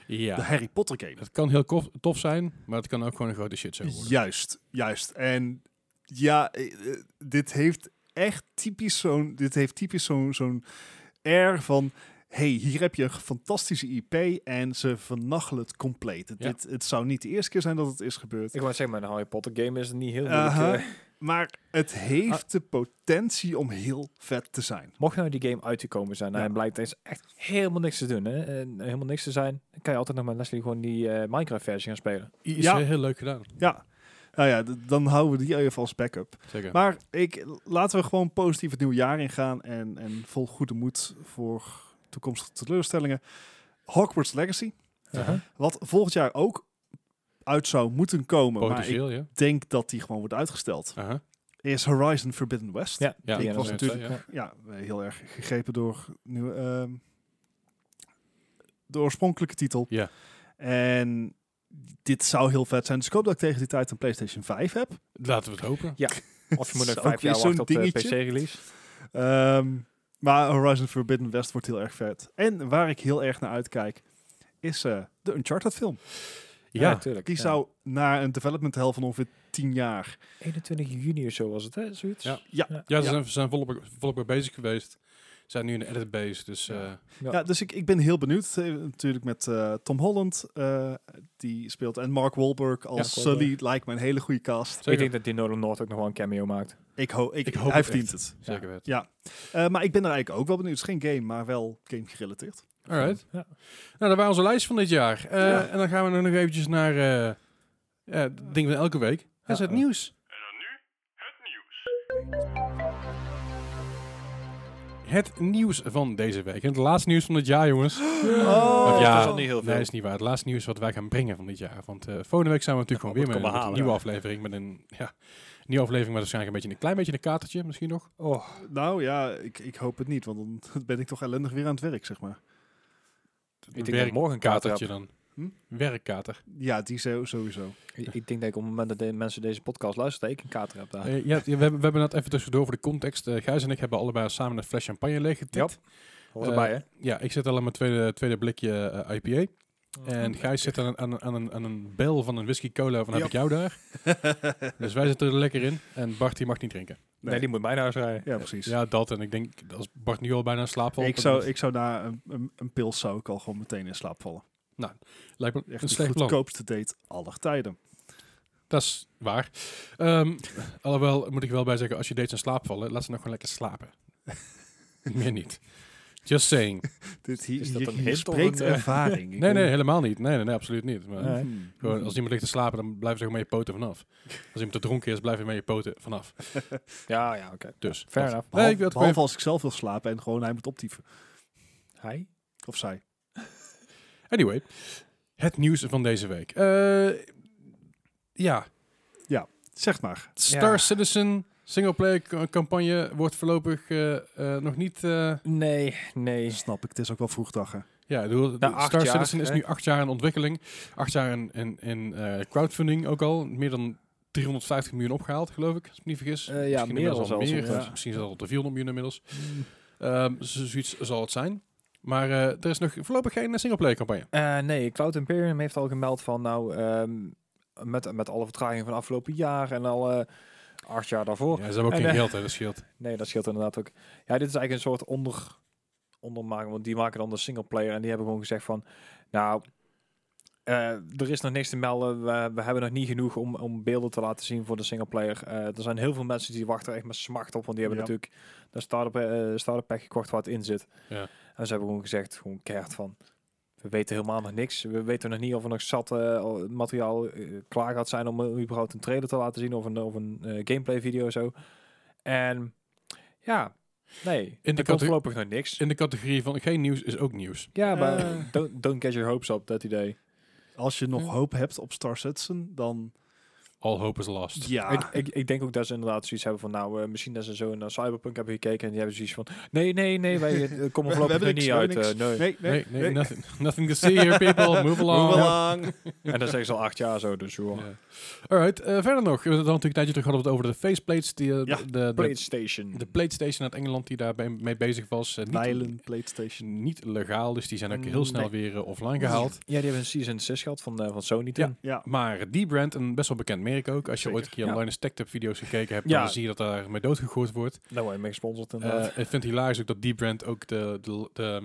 Speaker 2: de
Speaker 1: ja.
Speaker 2: Harry Potter game.
Speaker 1: Het kan heel kof- tof zijn, maar het kan ook gewoon een grote shit zijn worden.
Speaker 2: Juist, juist. En ja, eh, eh, dit heeft echt typisch zo'n, dit heeft typisch zo'n, zo'n air van, hey, hier heb je een fantastische IP en ze vernachelen het compleet. Het,
Speaker 1: Ja.
Speaker 2: dit, het zou niet de eerste keer zijn dat het is gebeurd.
Speaker 3: Ik wou zeggen, maar een Harry Potter game is niet heel
Speaker 2: Aha.
Speaker 3: moeilijk. eh,
Speaker 2: Maar
Speaker 1: Ah,
Speaker 2: het heeft de potentie om heel vet te zijn.
Speaker 3: Mocht nou die game uitgekomen zijn
Speaker 2: Ja.
Speaker 3: en blijkt er is echt helemaal niks te doen, hè? en helemaal niks te zijn, dan kan je altijd nog met Leslie gewoon die eh, Minecraft-versie gaan spelen.
Speaker 1: Is eh,
Speaker 2: Ja.
Speaker 1: heel leuk gedaan.
Speaker 2: Ja. Nou ja, d- dan houden we die even als backup.
Speaker 1: Zeker.
Speaker 2: Maar ik, laten we gewoon positief het nieuwe jaar ingaan en, en vol goede moed voor toekomstige teleurstellingen. Hogwarts Legacy,
Speaker 3: Uh-huh.
Speaker 2: wat volgend jaar ook uit zou moeten komen, maar ik
Speaker 1: Potentieel, ja.
Speaker 2: denk dat die gewoon wordt uitgesteld,
Speaker 1: Aha.
Speaker 2: is Horizon Forbidden West.
Speaker 3: Ja,
Speaker 1: Ja,
Speaker 2: Ik
Speaker 3: die
Speaker 2: was
Speaker 1: dat is
Speaker 2: natuurlijk-
Speaker 1: het, ja.
Speaker 2: Ja, heel erg gegrepen door nieuwe, ehm, de oorspronkelijke titel.
Speaker 1: Ja.
Speaker 2: En dit zou heel vet zijn. Dus ik hoop dat ik tegen die tijd een PlayStation 5 heb.
Speaker 1: Laten we het hopen.
Speaker 3: Of je moet
Speaker 2: Is
Speaker 3: nog
Speaker 2: ook
Speaker 3: vijf
Speaker 2: weer
Speaker 3: jaar wachten
Speaker 2: zo'n
Speaker 3: op de
Speaker 2: dingetje.
Speaker 3: PC-release.
Speaker 2: Ehm, maar Horizon Forbidden West wordt heel erg vet. En waar ik heel erg naar uitkijk, is eh, de Uncharted film.
Speaker 1: Ja,
Speaker 3: natuurlijk.
Speaker 2: Die zou na een development hell van ongeveer 10 jaar...
Speaker 3: 21 juni of zo was het, hè? Zoiets.
Speaker 1: Ja.
Speaker 2: Ja.
Speaker 1: ja ze
Speaker 2: Ja.
Speaker 1: zijn, ze zijn volop, volop mee bezig geweest. Ze zijn nu in de edit bezig, dus... eh,
Speaker 2: Ja, dus ik, ik ben heel benieuwd. Eh, natuurlijk met eh, Tom Holland, eh, die speelt. En Mark Wahlberg als
Speaker 3: Ja, Wahlberg.
Speaker 2: Sully lijkt me een hele goede cast.
Speaker 1: zeker,
Speaker 3: Ik denk dat die Nolan North ook nog wel een cameo maakt.
Speaker 2: Ik, ho ik,
Speaker 1: Ik hoop
Speaker 2: hoop hij
Speaker 1: het
Speaker 2: verdient
Speaker 1: echt.
Speaker 2: het.
Speaker 1: zeker weten.
Speaker 2: Eh, maar ik ben er eigenlijk ook wel benieuwd. Het is geen game, maar wel game gerelateerd.
Speaker 1: Alright.
Speaker 3: Ja.
Speaker 1: Nou, dat waren onze lijst van dit jaar. Eh,
Speaker 2: Ja.
Speaker 1: En dan gaan we nog eventjes naar eh ja, het ding van elke week. Dat is het
Speaker 3: Ja.
Speaker 1: nieuws. Het nieuws van deze week. En het laatste nieuws van dit jaar, jongens.
Speaker 2: Oh,
Speaker 1: ja,
Speaker 2: dat
Speaker 3: is al niet heel veel.
Speaker 1: Nee, is niet waar. Het laatste nieuws wat wij gaan brengen van dit jaar. Want eh volgende week zijn we natuurlijk
Speaker 3: Nou,
Speaker 1: gewoon weer met,
Speaker 3: moet
Speaker 1: met
Speaker 3: ik
Speaker 1: een
Speaker 3: komen
Speaker 1: nieuwe aflevering. Met een ja, nieuwe aflevering met waarschijnlijk een, beetje, een klein beetje een katertje misschien nog.
Speaker 3: Oh,
Speaker 2: Nou ja, ik, ik hoop het niet, want dan ben ik toch ellendig weer aan het werk, zeg maar.
Speaker 3: ik denk dat ik morgen een kater
Speaker 1: Katertje
Speaker 3: heb.
Speaker 1: dan.
Speaker 2: Hm?
Speaker 1: Werkkater.
Speaker 2: Ja, die zo- sowieso.
Speaker 3: Ik ik denk dat ik op het moment dat de mensen deze podcast luisteren, dat ik een kater heb daar.
Speaker 1: Eh, ja, we, hebben, we hebben dat even tussendoor voor de context. Eh, Gijs en ik hebben allebei samen een fles champagne leeggetikt.
Speaker 3: Hoort
Speaker 1: Eh,
Speaker 3: erbij, hè?
Speaker 1: Ja, ik zit al aan mijn tweede, tweede blikje eh, IPA. En Gijs zit aan, een- aan, een- aan, een, aan een bel van een whisky cola van heb
Speaker 2: Ja.
Speaker 1: ik jou daar. dus wij zitten er lekker in. En Bart die mag niet drinken.
Speaker 3: Nee, die moet mij naar huis rijden.
Speaker 2: Ja, precies.
Speaker 1: Ja, dat. En ik denk, als Bart nu al bijna in slaap valt...
Speaker 2: ik,
Speaker 1: dan
Speaker 2: zou,
Speaker 1: is-
Speaker 2: ik zou na een, een, een pils zou ik al gewoon meteen in slaap vallen.
Speaker 1: lijkt me
Speaker 2: Echt
Speaker 1: een
Speaker 2: de
Speaker 1: slecht plan.
Speaker 2: goedkoopste date aller tijden.
Speaker 1: Dat is waar. Ehm, alhoewel, moet ik wel bij zeggen, als je dates in slaap vallen, laat ze nog gewoon lekker slapen. Meer niet. Just saying.
Speaker 2: Dit hier,
Speaker 3: Is dat
Speaker 2: hier-
Speaker 3: een
Speaker 2: hier
Speaker 3: hint of
Speaker 2: spreekt
Speaker 3: een, eh?
Speaker 2: ervaring.
Speaker 1: Nee,
Speaker 2: Ik weet-
Speaker 1: nee, helemaal niet. Nee, nee, nee absoluut niet. Maar
Speaker 3: Nee.
Speaker 2: Hmm.
Speaker 1: gewoon,
Speaker 3: Mhm.
Speaker 1: als iemand ligt te slapen, dan blijven ze gewoon met je poten vanaf. Als iemand te dronken is, blijf je met je poten vanaf.
Speaker 3: Ja, ja, oké.
Speaker 1: Dus.
Speaker 3: Fair
Speaker 1: dat.
Speaker 3: enough.
Speaker 1: Nee,
Speaker 2: Behal-
Speaker 1: ik wil het gewoon
Speaker 2: behalve als ik zelf wil slapen en gewoon hij moet optieven.
Speaker 3: Hi.
Speaker 2: Of zij.
Speaker 1: Anyway, het nieuws van deze week. Eh, ja,
Speaker 2: Zeg maar.
Speaker 1: Star
Speaker 3: Ja.
Speaker 1: Citizen singleplayer ca- campagne wordt voorlopig eh, eh, nog niet... eh,
Speaker 3: Nee, nee.
Speaker 2: Snap ik, het is ook wel vroegdag. hè.
Speaker 1: ja, ik bedoel, de-
Speaker 3: acht
Speaker 1: Star
Speaker 3: jaar,
Speaker 1: Citizen is
Speaker 3: hè?
Speaker 1: nu acht jaar in ontwikkeling. Acht jaar in, in, in eh, crowdfunding ook al. Meer dan 350 miljoen opgehaald, geloof ik, als ik me niet vergis.
Speaker 3: Eh, ja,
Speaker 1: Misschien
Speaker 3: meer
Speaker 1: inmiddels
Speaker 3: dan
Speaker 1: al
Speaker 3: zelfs,
Speaker 1: meer.
Speaker 3: ja.
Speaker 1: eh, Misschien is dat al de 400 miljoen inmiddels.
Speaker 3: Hmm.
Speaker 1: Ehm, z- zoiets zal het zijn. Maar eh, er is nog voorlopig geen eh, singleplayer campagne.
Speaker 3: Eh, nee, Cloud Imperium heeft al gemeld van nou, ehm, met, met alle vertragingen van afgelopen jaar en al eh, acht jaar daarvoor.
Speaker 1: Ja, ze hebben ook
Speaker 3: En,
Speaker 1: geen
Speaker 3: eh,
Speaker 1: geld, hè, dat scheelt.
Speaker 3: Nee, dat scheelt inderdaad ook. Ja, dit is eigenlijk een soort onder, ondermaking, want die maken dan de singleplayer en die hebben gewoon gezegd van, nou, eh, er is nog niks te melden, we, we hebben nog niet genoeg om, om beelden te laten zien voor de singleplayer. Eh er zijn heel veel mensen die wachten echt met smacht op, want die hebben
Speaker 2: Ja.
Speaker 3: natuurlijk de startup, eh startup pack gekocht waar het in zit.
Speaker 1: Ja.
Speaker 3: En ze hebben gewoon gezegd, gewoon keihard van, we weten helemaal nog niks. We weten nog niet of er nog zat eh, materiaal eh, klaar gaat zijn om eh, überhaupt een trailer te laten zien of een, of een eh, gameplay video zo. En ja, nee,
Speaker 1: de
Speaker 3: in er komt
Speaker 1: categorie-
Speaker 3: voorlopig nog niks.
Speaker 1: In de categorie van geen nieuws is ook nieuws.
Speaker 3: ja, maar
Speaker 2: Eh.
Speaker 3: don't, don't get your hopes up, dat idee.
Speaker 2: Als je nog
Speaker 1: Ja.
Speaker 2: hoop hebt op Star Citizen, dan
Speaker 1: All hope is lost.
Speaker 2: ja.
Speaker 3: Ik, ik, ik denk ook dat ze inderdaad zoiets hebben van, nou, eh, misschien dat ze zo naar Cyberpunk hebben gekeken en die hebben zoiets van, nee, nee, nee, wij eh, komen
Speaker 2: We
Speaker 3: voorlopig
Speaker 2: hebben
Speaker 3: nog
Speaker 2: niks,
Speaker 3: niet
Speaker 2: we
Speaker 3: uit.
Speaker 2: hebben
Speaker 3: eh, nee.
Speaker 2: nee, nee,
Speaker 1: Nee, nee,
Speaker 2: nee.
Speaker 1: Nothing, nothing to see here, people. Move along.
Speaker 2: Move along.
Speaker 3: En dat zeggen ze al acht jaar zo, dus joh.
Speaker 1: Ja. Alright, eh, verder nog. We hadden het natuurlijk een tijdje terug hadden we het over de faceplates. Die, eh,
Speaker 2: Ja,
Speaker 1: de, de, de,
Speaker 3: PlayStation.
Speaker 1: de PlayStation uit Engeland die daar bij- mee bezig was. eh, niet,
Speaker 2: Nylon PlayStation.
Speaker 1: niet legaal, dus die zijn ook heel
Speaker 3: Nee.
Speaker 1: snel weer eh, offline gehaald.
Speaker 3: Ja, die hebben een Season 6 gehad van, eh, van Sony toen.
Speaker 2: Ja.
Speaker 1: Maar die brand, een best wel bekend merk ook. Als je
Speaker 2: Zeker,
Speaker 1: ooit een keer
Speaker 3: ja.
Speaker 1: online eens Tech Tip video's gekeken hebt,
Speaker 3: Ja.
Speaker 1: dan zie je dat daar mee doodgegooid wordt.
Speaker 3: Nou, wij mee gesponsord
Speaker 1: Eh,
Speaker 3: inderdaad.
Speaker 1: ik vind het hilarisch ook dat die brand ook de... de, de-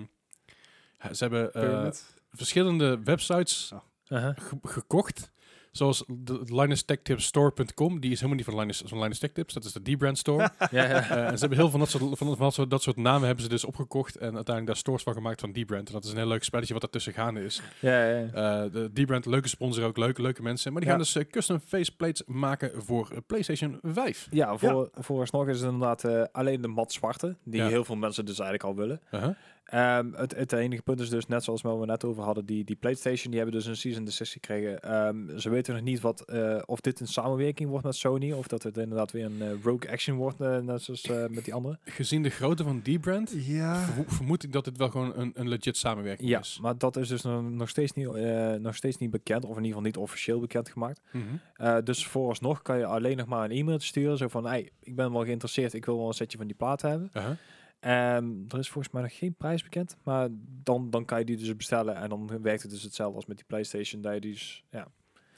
Speaker 1: ze hebben eh,
Speaker 2: Pyramid.
Speaker 1: verschillende websites
Speaker 2: Eh.
Speaker 3: Uh-huh.
Speaker 1: ge- gekocht Zoals de linustechtips.store.com. Die is helemaal niet van Linus, van Linus Tech Tips. Dat is de D-brand store.
Speaker 3: ja, ja.
Speaker 1: Eh, en ze hebben heel veel van dat, soort, van, van dat, soort, dat soort namen hebben ze dus opgekocht. En uiteindelijk daar stores van gemaakt van D-brand. En dat is een heel leuk spelletje wat daartussen gaande is.
Speaker 3: ja, ja.
Speaker 1: Eh, de D-brand, leuke sponsor ook. Leuke, leuke mensen. Maar die
Speaker 3: Ja.
Speaker 1: gaan dus eh, custom faceplates maken voor eh, PlayStation 5.
Speaker 3: Ja, voor, vooralsnog is het inderdaad eh, alleen de mat zwarte, die
Speaker 1: Ja.
Speaker 3: heel veel mensen dus eigenlijk al willen.
Speaker 1: Uh-huh.
Speaker 3: Ehm, het, het enige punt is dus, net zoals we net over hadden, die, die PlayStation, die hebben dus een season desist gekregen. Ehm, ze weten nog niet wat, eh, of dit een samenwerking wordt met Sony, of dat het inderdaad weer een eh, rogue action wordt, eh, net zoals eh, met die andere.
Speaker 1: Gezien de grootte van D-brand,
Speaker 2: Ja.
Speaker 1: vermo- vermoed ik dat dit wel gewoon een, een legit samenwerking
Speaker 3: Ja,
Speaker 1: is.
Speaker 3: maar dat is dus nog, nog steeds niet, eh, nog steeds niet bekend, of in ieder geval niet officieel bekendgemaakt.
Speaker 1: Mhm.
Speaker 3: Eh, dus vooralsnog kan je alleen nog maar een e-mail sturen, zo van, hey, ik ben wel geïnteresseerd, ik wil wel een setje van die plaat hebben.
Speaker 1: Uh-huh.
Speaker 3: Ehm, er is volgens mij nog geen prijs bekend, maar dan, dan kan je die dus bestellen en dan werkt het dus hetzelfde als met die PlayStation, dat je die dus, ja,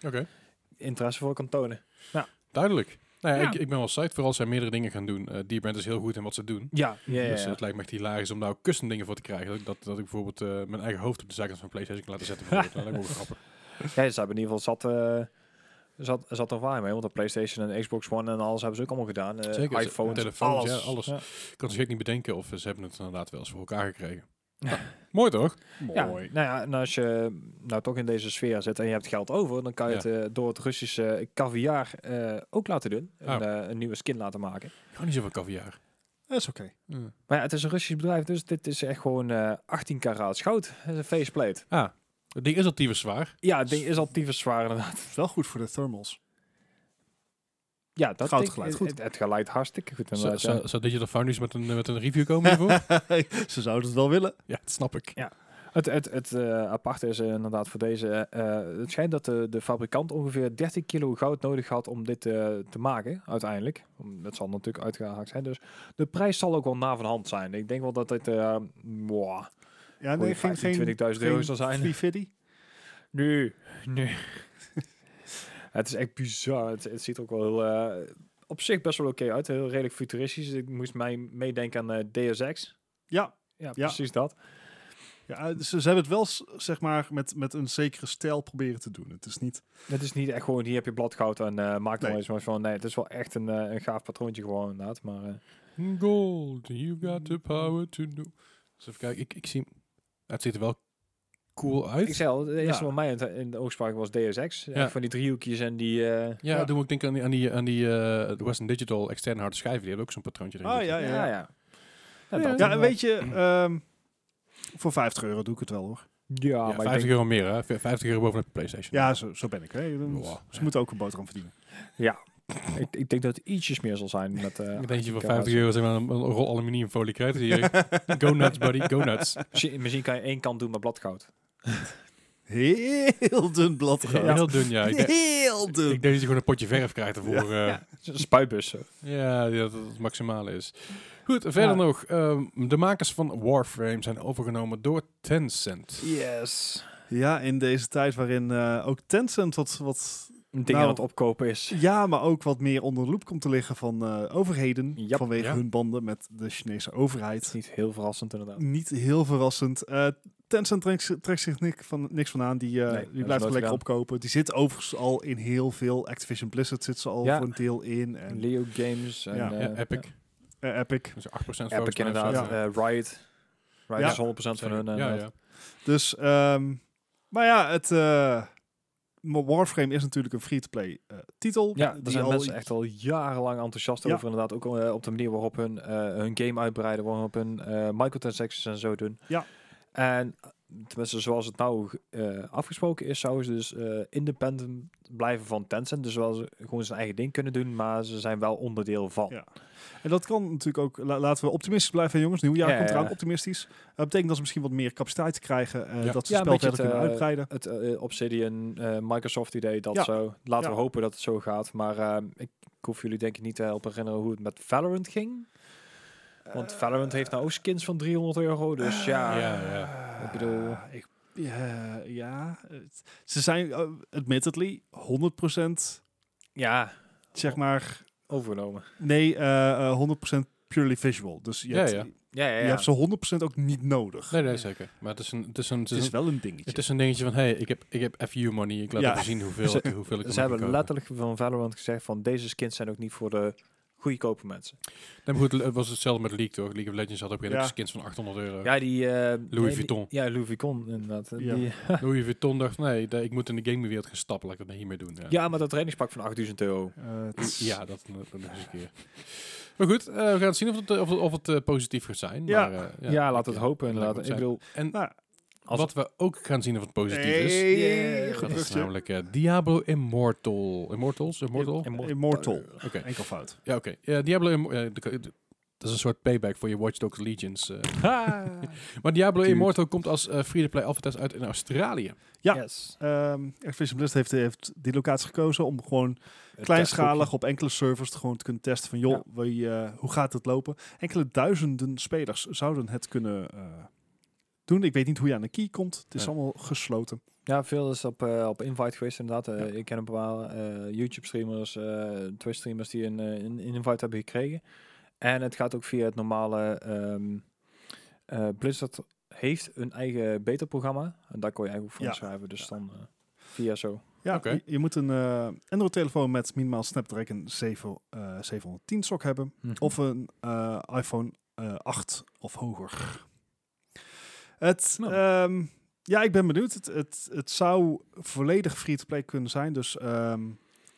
Speaker 1: Oké.
Speaker 3: interesse voor kan tonen.
Speaker 1: Duidelijk. Nou ja,
Speaker 3: Ja.
Speaker 1: Ik, ik ben wel psyched. Vooral als zij meerdere dingen gaan doen. Eh D-Brand is heel goed in wat ze doen.
Speaker 3: Ja, ja,
Speaker 1: Dus het lijkt me echt hilarisch om daar ook custom dingen voor te krijgen. Dat, ik- dat, dat ik bijvoorbeeld eh, mijn eigen hoofd op de zijkant van PlayStation kan laten zetten. bijvoorbeeld. dat lijkt me ook wel grappig.
Speaker 3: eh, Ja, ze hebben in ieder geval zat, eh zat, zat er waar mee, want de PlayStation en Xbox One en alles hebben ze ook allemaal gedaan. Eh,
Speaker 1: Zeker, ze-
Speaker 3: iPhones,
Speaker 1: telefoons,
Speaker 3: alles.
Speaker 1: ja, alles.
Speaker 3: Ja.
Speaker 1: Ik kan het zeker niet bedenken of eh, ze hebben het inderdaad wel eens voor elkaar gekregen. Nou, mooi toch?
Speaker 3: Ja, nou ja, en als je nou toch in deze sfeer zit en je hebt geld over, dan kan je
Speaker 1: Ja.
Speaker 3: het eh, door het Russische caviar eh, ook laten doen.
Speaker 1: Oh.
Speaker 3: Een, eh, een nieuwe skin laten maken.
Speaker 1: Ik hou niet zoveel caviar.
Speaker 2: Dat is oké.
Speaker 1: Ja.
Speaker 3: Maar ja, het is een Russisch bedrijf, dus dit is echt gewoon eh, 18 karaat goud. Het is een faceplate.
Speaker 1: Ah, het ding is al tyfus zwaar.
Speaker 3: Ja, het ding is al tyfus zwaar inderdaad.
Speaker 2: Het is wel goed voor de thermals.
Speaker 3: Ja, dat
Speaker 2: Goud
Speaker 3: ding-
Speaker 2: geluid,
Speaker 3: het-
Speaker 2: goed.
Speaker 3: Het, het geluid hartstikke goed
Speaker 1: Zou
Speaker 3: inderdaad. ja.
Speaker 1: zou- zou Digital Foundries met een, met een review komen hiervoor?
Speaker 2: Ze zouden het wel willen.
Speaker 1: ja, dat snap ik.
Speaker 3: Het, het, het eh, aparte is eh, inderdaad voor deze. eh, het schijnt dat de, de fabrikant ongeveer 30 kilo goud nodig had om dit eh, te maken, uiteindelijk. Om- Dat zal natuurlijk uitgehaakt zijn. Dus de prijs zal ook wel na van hand zijn. Ik denk wel dat dit. eh wow,
Speaker 2: Ja,
Speaker 3: Goeie
Speaker 2: nee, geen,
Speaker 3: 15,
Speaker 2: geen
Speaker 3: 20.000 euro zal zijn.
Speaker 2: 350.
Speaker 3: nu, nu. het is echt bizar. Het, het ziet er ook wel heel, eh, op zich best wel oké uit. Heel redelijk futuristisch. Ik moest mij meedenken aan eh, Deus Ex.
Speaker 2: Ja.
Speaker 3: Ja, precies dat.
Speaker 2: Ja, eh, ze, ze hebben het wel, s- zeg maar, met, met een zekere stijl proberen te doen. Het is niet...
Speaker 3: Het is niet echt gewoon, hier heb je bladgoud en eh maak er
Speaker 2: Nee.
Speaker 3: maar eens maar van. Nee, het is wel echt een, eh, een gaaf patroontje gewoon inderdaad. Maar eh,
Speaker 1: Gold, you got the power to do. Dus even kijken, ik, ik zie... Het ziet er wel cool uit.
Speaker 3: ik zei al, de eerste
Speaker 2: Ja.
Speaker 3: wat mij in, de- in de oog sprak was Deus Ex.
Speaker 1: Ja.
Speaker 3: Eh, Van die driehoekjes en die... eh,
Speaker 1: Ja,
Speaker 2: Ja.
Speaker 1: toen moet ik denken aan die, aan die, aan die eh, de Western Digital externe harde schijven. Die hebben ook zo'n patroontje erin.
Speaker 2: Ah,
Speaker 1: zitten.
Speaker 2: ja, ja. ja.
Speaker 3: Ja,
Speaker 1: Ja,
Speaker 3: dat
Speaker 2: Ja, en
Speaker 3: inderdaad.
Speaker 2: weet je, ehm, voor 50 euro doe ik het wel, hoor.
Speaker 3: Ja,
Speaker 1: Ja,
Speaker 3: maar
Speaker 1: 50
Speaker 3: ik denk,
Speaker 1: euro meer, hè? V- 50 euro bovenop de PlayStation.
Speaker 2: Ja, zo, zo ben ik. Hè. Dan-
Speaker 1: Wow.
Speaker 2: Ze moeten ook een boterham verdienen.
Speaker 3: ik, ik denk dat het ietsjes meer zal zijn. Met, eh,
Speaker 1: Ik denk dat je voor
Speaker 3: 18
Speaker 1: 50 euro zeg maar, een, een rol aluminiumfolie krijgt. Hier. go nuts, buddy, go nuts.
Speaker 3: Misschien, misschien kan je één kant doen met bladgoud.
Speaker 2: Heel dun blad.
Speaker 1: Ja, heel dun, ja. Ik, denk-
Speaker 2: Heel dun.
Speaker 1: ik denk dat je gewoon een potje verf krijgt ervoor. eh, Ja,
Speaker 3: Het is Een spuitbus. zo.
Speaker 1: dat dat het maximale is. Goed, verder
Speaker 3: Ja.
Speaker 1: nog. ehm, de makers van Warframe zijn overgenomen door Tencent.
Speaker 3: Yes.
Speaker 2: Ja, in deze tijd waarin eh, ook Tencent wat, wat...
Speaker 3: Een ding
Speaker 2: Nou.
Speaker 3: aan het opkopen is.
Speaker 2: Ja, maar ook wat meer onder de loep komt te liggen van eh, overheden.
Speaker 3: Yep.
Speaker 2: vanwege
Speaker 1: Ja.
Speaker 2: hun banden met de Chinese overheid.
Speaker 3: Niet heel verrassend inderdaad.
Speaker 2: Niet heel verrassend. Eh, Tencent trekt, zi- trekt zich niks van, niks van aan. Die, eh,
Speaker 3: Nee,
Speaker 2: die
Speaker 3: hebben ze nooit
Speaker 2: blijft gewoon lekker
Speaker 3: gedaan.
Speaker 2: opkopen. Die zit overigens al in heel veel. Activision Blizzard zit ze al
Speaker 3: Ja.
Speaker 2: voor een deel in. En
Speaker 3: Leo Games en...
Speaker 2: Ja.
Speaker 3: eh,
Speaker 1: ja, Epic.
Speaker 2: eh, Epic.
Speaker 1: Dus 8% volgens mij.
Speaker 3: Epic inderdaad.
Speaker 1: Ja.
Speaker 3: eh, Riot. Riot
Speaker 2: Ja.
Speaker 3: is 100% van hun. eh,
Speaker 1: ja,
Speaker 3: inderdaad.
Speaker 1: ja.
Speaker 2: Dus, ehm, maar ja, het... eh, maar Warframe is natuurlijk een free-to-play eh, titel.
Speaker 3: Ja, daar
Speaker 2: die
Speaker 3: zijn
Speaker 2: al-
Speaker 3: mensen echt al jarenlang enthousiast
Speaker 2: Ja.
Speaker 3: over. Inderdaad, ook eh, op de manier waarop hun, eh, hun game uitbreiden, waarop hun eh microtransactions en zo doen.
Speaker 2: Ja.
Speaker 3: En eh, tenminste, zoals het nou eh, afgesproken is, zouden ze dus eh, independent blijven van Tencent. Dus wel ze gewoon zijn eigen ding kunnen doen, maar ze zijn wel onderdeel van.
Speaker 2: Ja. En dat kan natuurlijk ook, la- laten we optimistisch blijven jongens, nieuwjaar
Speaker 3: Ja,
Speaker 2: komt
Speaker 3: ja,
Speaker 2: eraan,
Speaker 3: ja.
Speaker 2: optimistisch. Eh, Dat betekent dat ze misschien wat meer capaciteit krijgen, eh,
Speaker 1: Ja.
Speaker 2: dat ze
Speaker 3: Ja,
Speaker 2: het
Speaker 3: een
Speaker 2: spel verder
Speaker 3: beetje
Speaker 2: kunnen
Speaker 3: het, eh,
Speaker 2: uitbreiden.
Speaker 3: Het eh, Obsidian, eh, Microsoft idee, dat
Speaker 2: Ja.
Speaker 3: zo. Laten
Speaker 2: Ja.
Speaker 3: we hopen dat het zo gaat. Maar eh, ik, ik hoef jullie denk ik niet te helpen herinneren hoe het met Valorant ging.
Speaker 2: Eh,
Speaker 3: Want Valorant heeft nou ook skins van 300 euro, dus ja.
Speaker 1: Ja, ja.
Speaker 3: Ik bedoel-
Speaker 2: Ik- ja, ja, het- ze zijn, eh, admittedly, 100%
Speaker 3: Ja,
Speaker 2: zeg maar,
Speaker 3: overgenomen.
Speaker 2: nee, eh, eh, 100% purely visual. Dus je,
Speaker 1: Ja,
Speaker 2: hebt,
Speaker 1: ja.
Speaker 3: Ja, ja,
Speaker 2: je hebt ze 100% ook niet nodig.
Speaker 1: Nee, nee, zeker. Maar het is een, het is een, het
Speaker 2: Het
Speaker 1: is
Speaker 2: is
Speaker 1: een,
Speaker 2: wel een dingetje.
Speaker 1: het is een dingetje van, hey, ik heb, ik heb FU money. Ik laat
Speaker 2: Ja.
Speaker 1: even zien hoeveel,
Speaker 3: Ze-
Speaker 1: ik- hoeveel ik
Speaker 3: Ze
Speaker 1: ervan kan
Speaker 3: hebben
Speaker 1: kopen.
Speaker 3: letterlijk van Valorant gezegd van deze skins zijn ook niet voor de goedkope mensen.
Speaker 1: Nee, maar goed, het was hetzelfde met League, toch? League of Legends had ook weer
Speaker 2: Ja.
Speaker 1: skins van 800 euro.
Speaker 3: Ja, die... eh, nee, die-
Speaker 1: Vuitton.
Speaker 3: Ja, Louis Vuitton inderdaad.
Speaker 2: Ja.
Speaker 3: Die,
Speaker 1: Louis Vuitton dacht, nee, de- ik moet in de gamingwereld gaan stappen. Laat ik dat niet meer doen. Ja,
Speaker 3: ja, maar dat trainingspak van 8000 euro.
Speaker 2: Eh, het is-
Speaker 1: Ja, dat, dat nog eens een keer. Maar goed, eh, we gaan zien of het, eh, of het, of het eh, positief gaat zijn.
Speaker 2: Ja.
Speaker 1: maar, eh,
Speaker 3: Ja, laat het
Speaker 1: ja,
Speaker 3: hopen
Speaker 1: dat
Speaker 3: inderdaad.
Speaker 1: moet
Speaker 3: Ik
Speaker 1: zijn.
Speaker 3: bedoel,
Speaker 1: En
Speaker 2: Nou,
Speaker 3: als-
Speaker 1: wat we ook gaan zien of het positief is,
Speaker 2: Hey,
Speaker 3: Yeah.
Speaker 2: goed
Speaker 1: dat is
Speaker 2: bruggetje.
Speaker 1: namelijk eh, Diablo Immortal. Immortals? Immortal?
Speaker 3: Im- Immortal.
Speaker 2: Immortal.
Speaker 1: Oké.
Speaker 2: Enkel fout.
Speaker 1: Ja, oké. Ja, Diablo Immortal. dat is een soort payback voor je Watch Dogs Legions. eh. Maar Diablo
Speaker 2: Dude.
Speaker 1: Immortal komt als eh, free-to-play alpha-test uit in Australië.
Speaker 2: Ja.
Speaker 3: Yes.
Speaker 2: Ehm Activision Blizzard heeft, heeft die locatie gekozen om gewoon kleinschalig op enkele servers te gewoon te kunnen testen van joh, wie, eh, hoe gaat het lopen? Enkele duizenden spelers zouden het kunnen eh, doen. Ik weet niet hoe je aan de key komt. Het is
Speaker 1: Nee.
Speaker 2: allemaal gesloten.
Speaker 3: Ja, veel is op, eh, op invite geweest inderdaad. Eh,
Speaker 2: Ja.
Speaker 3: Ik ken een paar eh, YouTube-streamers, eh Twitch-streamers die een, eh, een een invite hebben gekregen. En het gaat ook via het normale... ehm, eh, Blizzard heeft een eigen beta-programma. En daar kon je eigenlijk ook voor
Speaker 2: Ja.
Speaker 3: schrijven. Dus dan eh, via zo.
Speaker 2: Ja,
Speaker 1: Oké.
Speaker 2: je, je moet een eh, Android-telefoon met minimaal Snapdragon 7, eh, 710 sok hebben. Of een eh, iPhone eh, 8 of hoger. Het,
Speaker 3: Nou.
Speaker 2: ehm, ja, ik ben benieuwd. Het, het, het zou volledig free-to-play kunnen zijn. Dus ehm,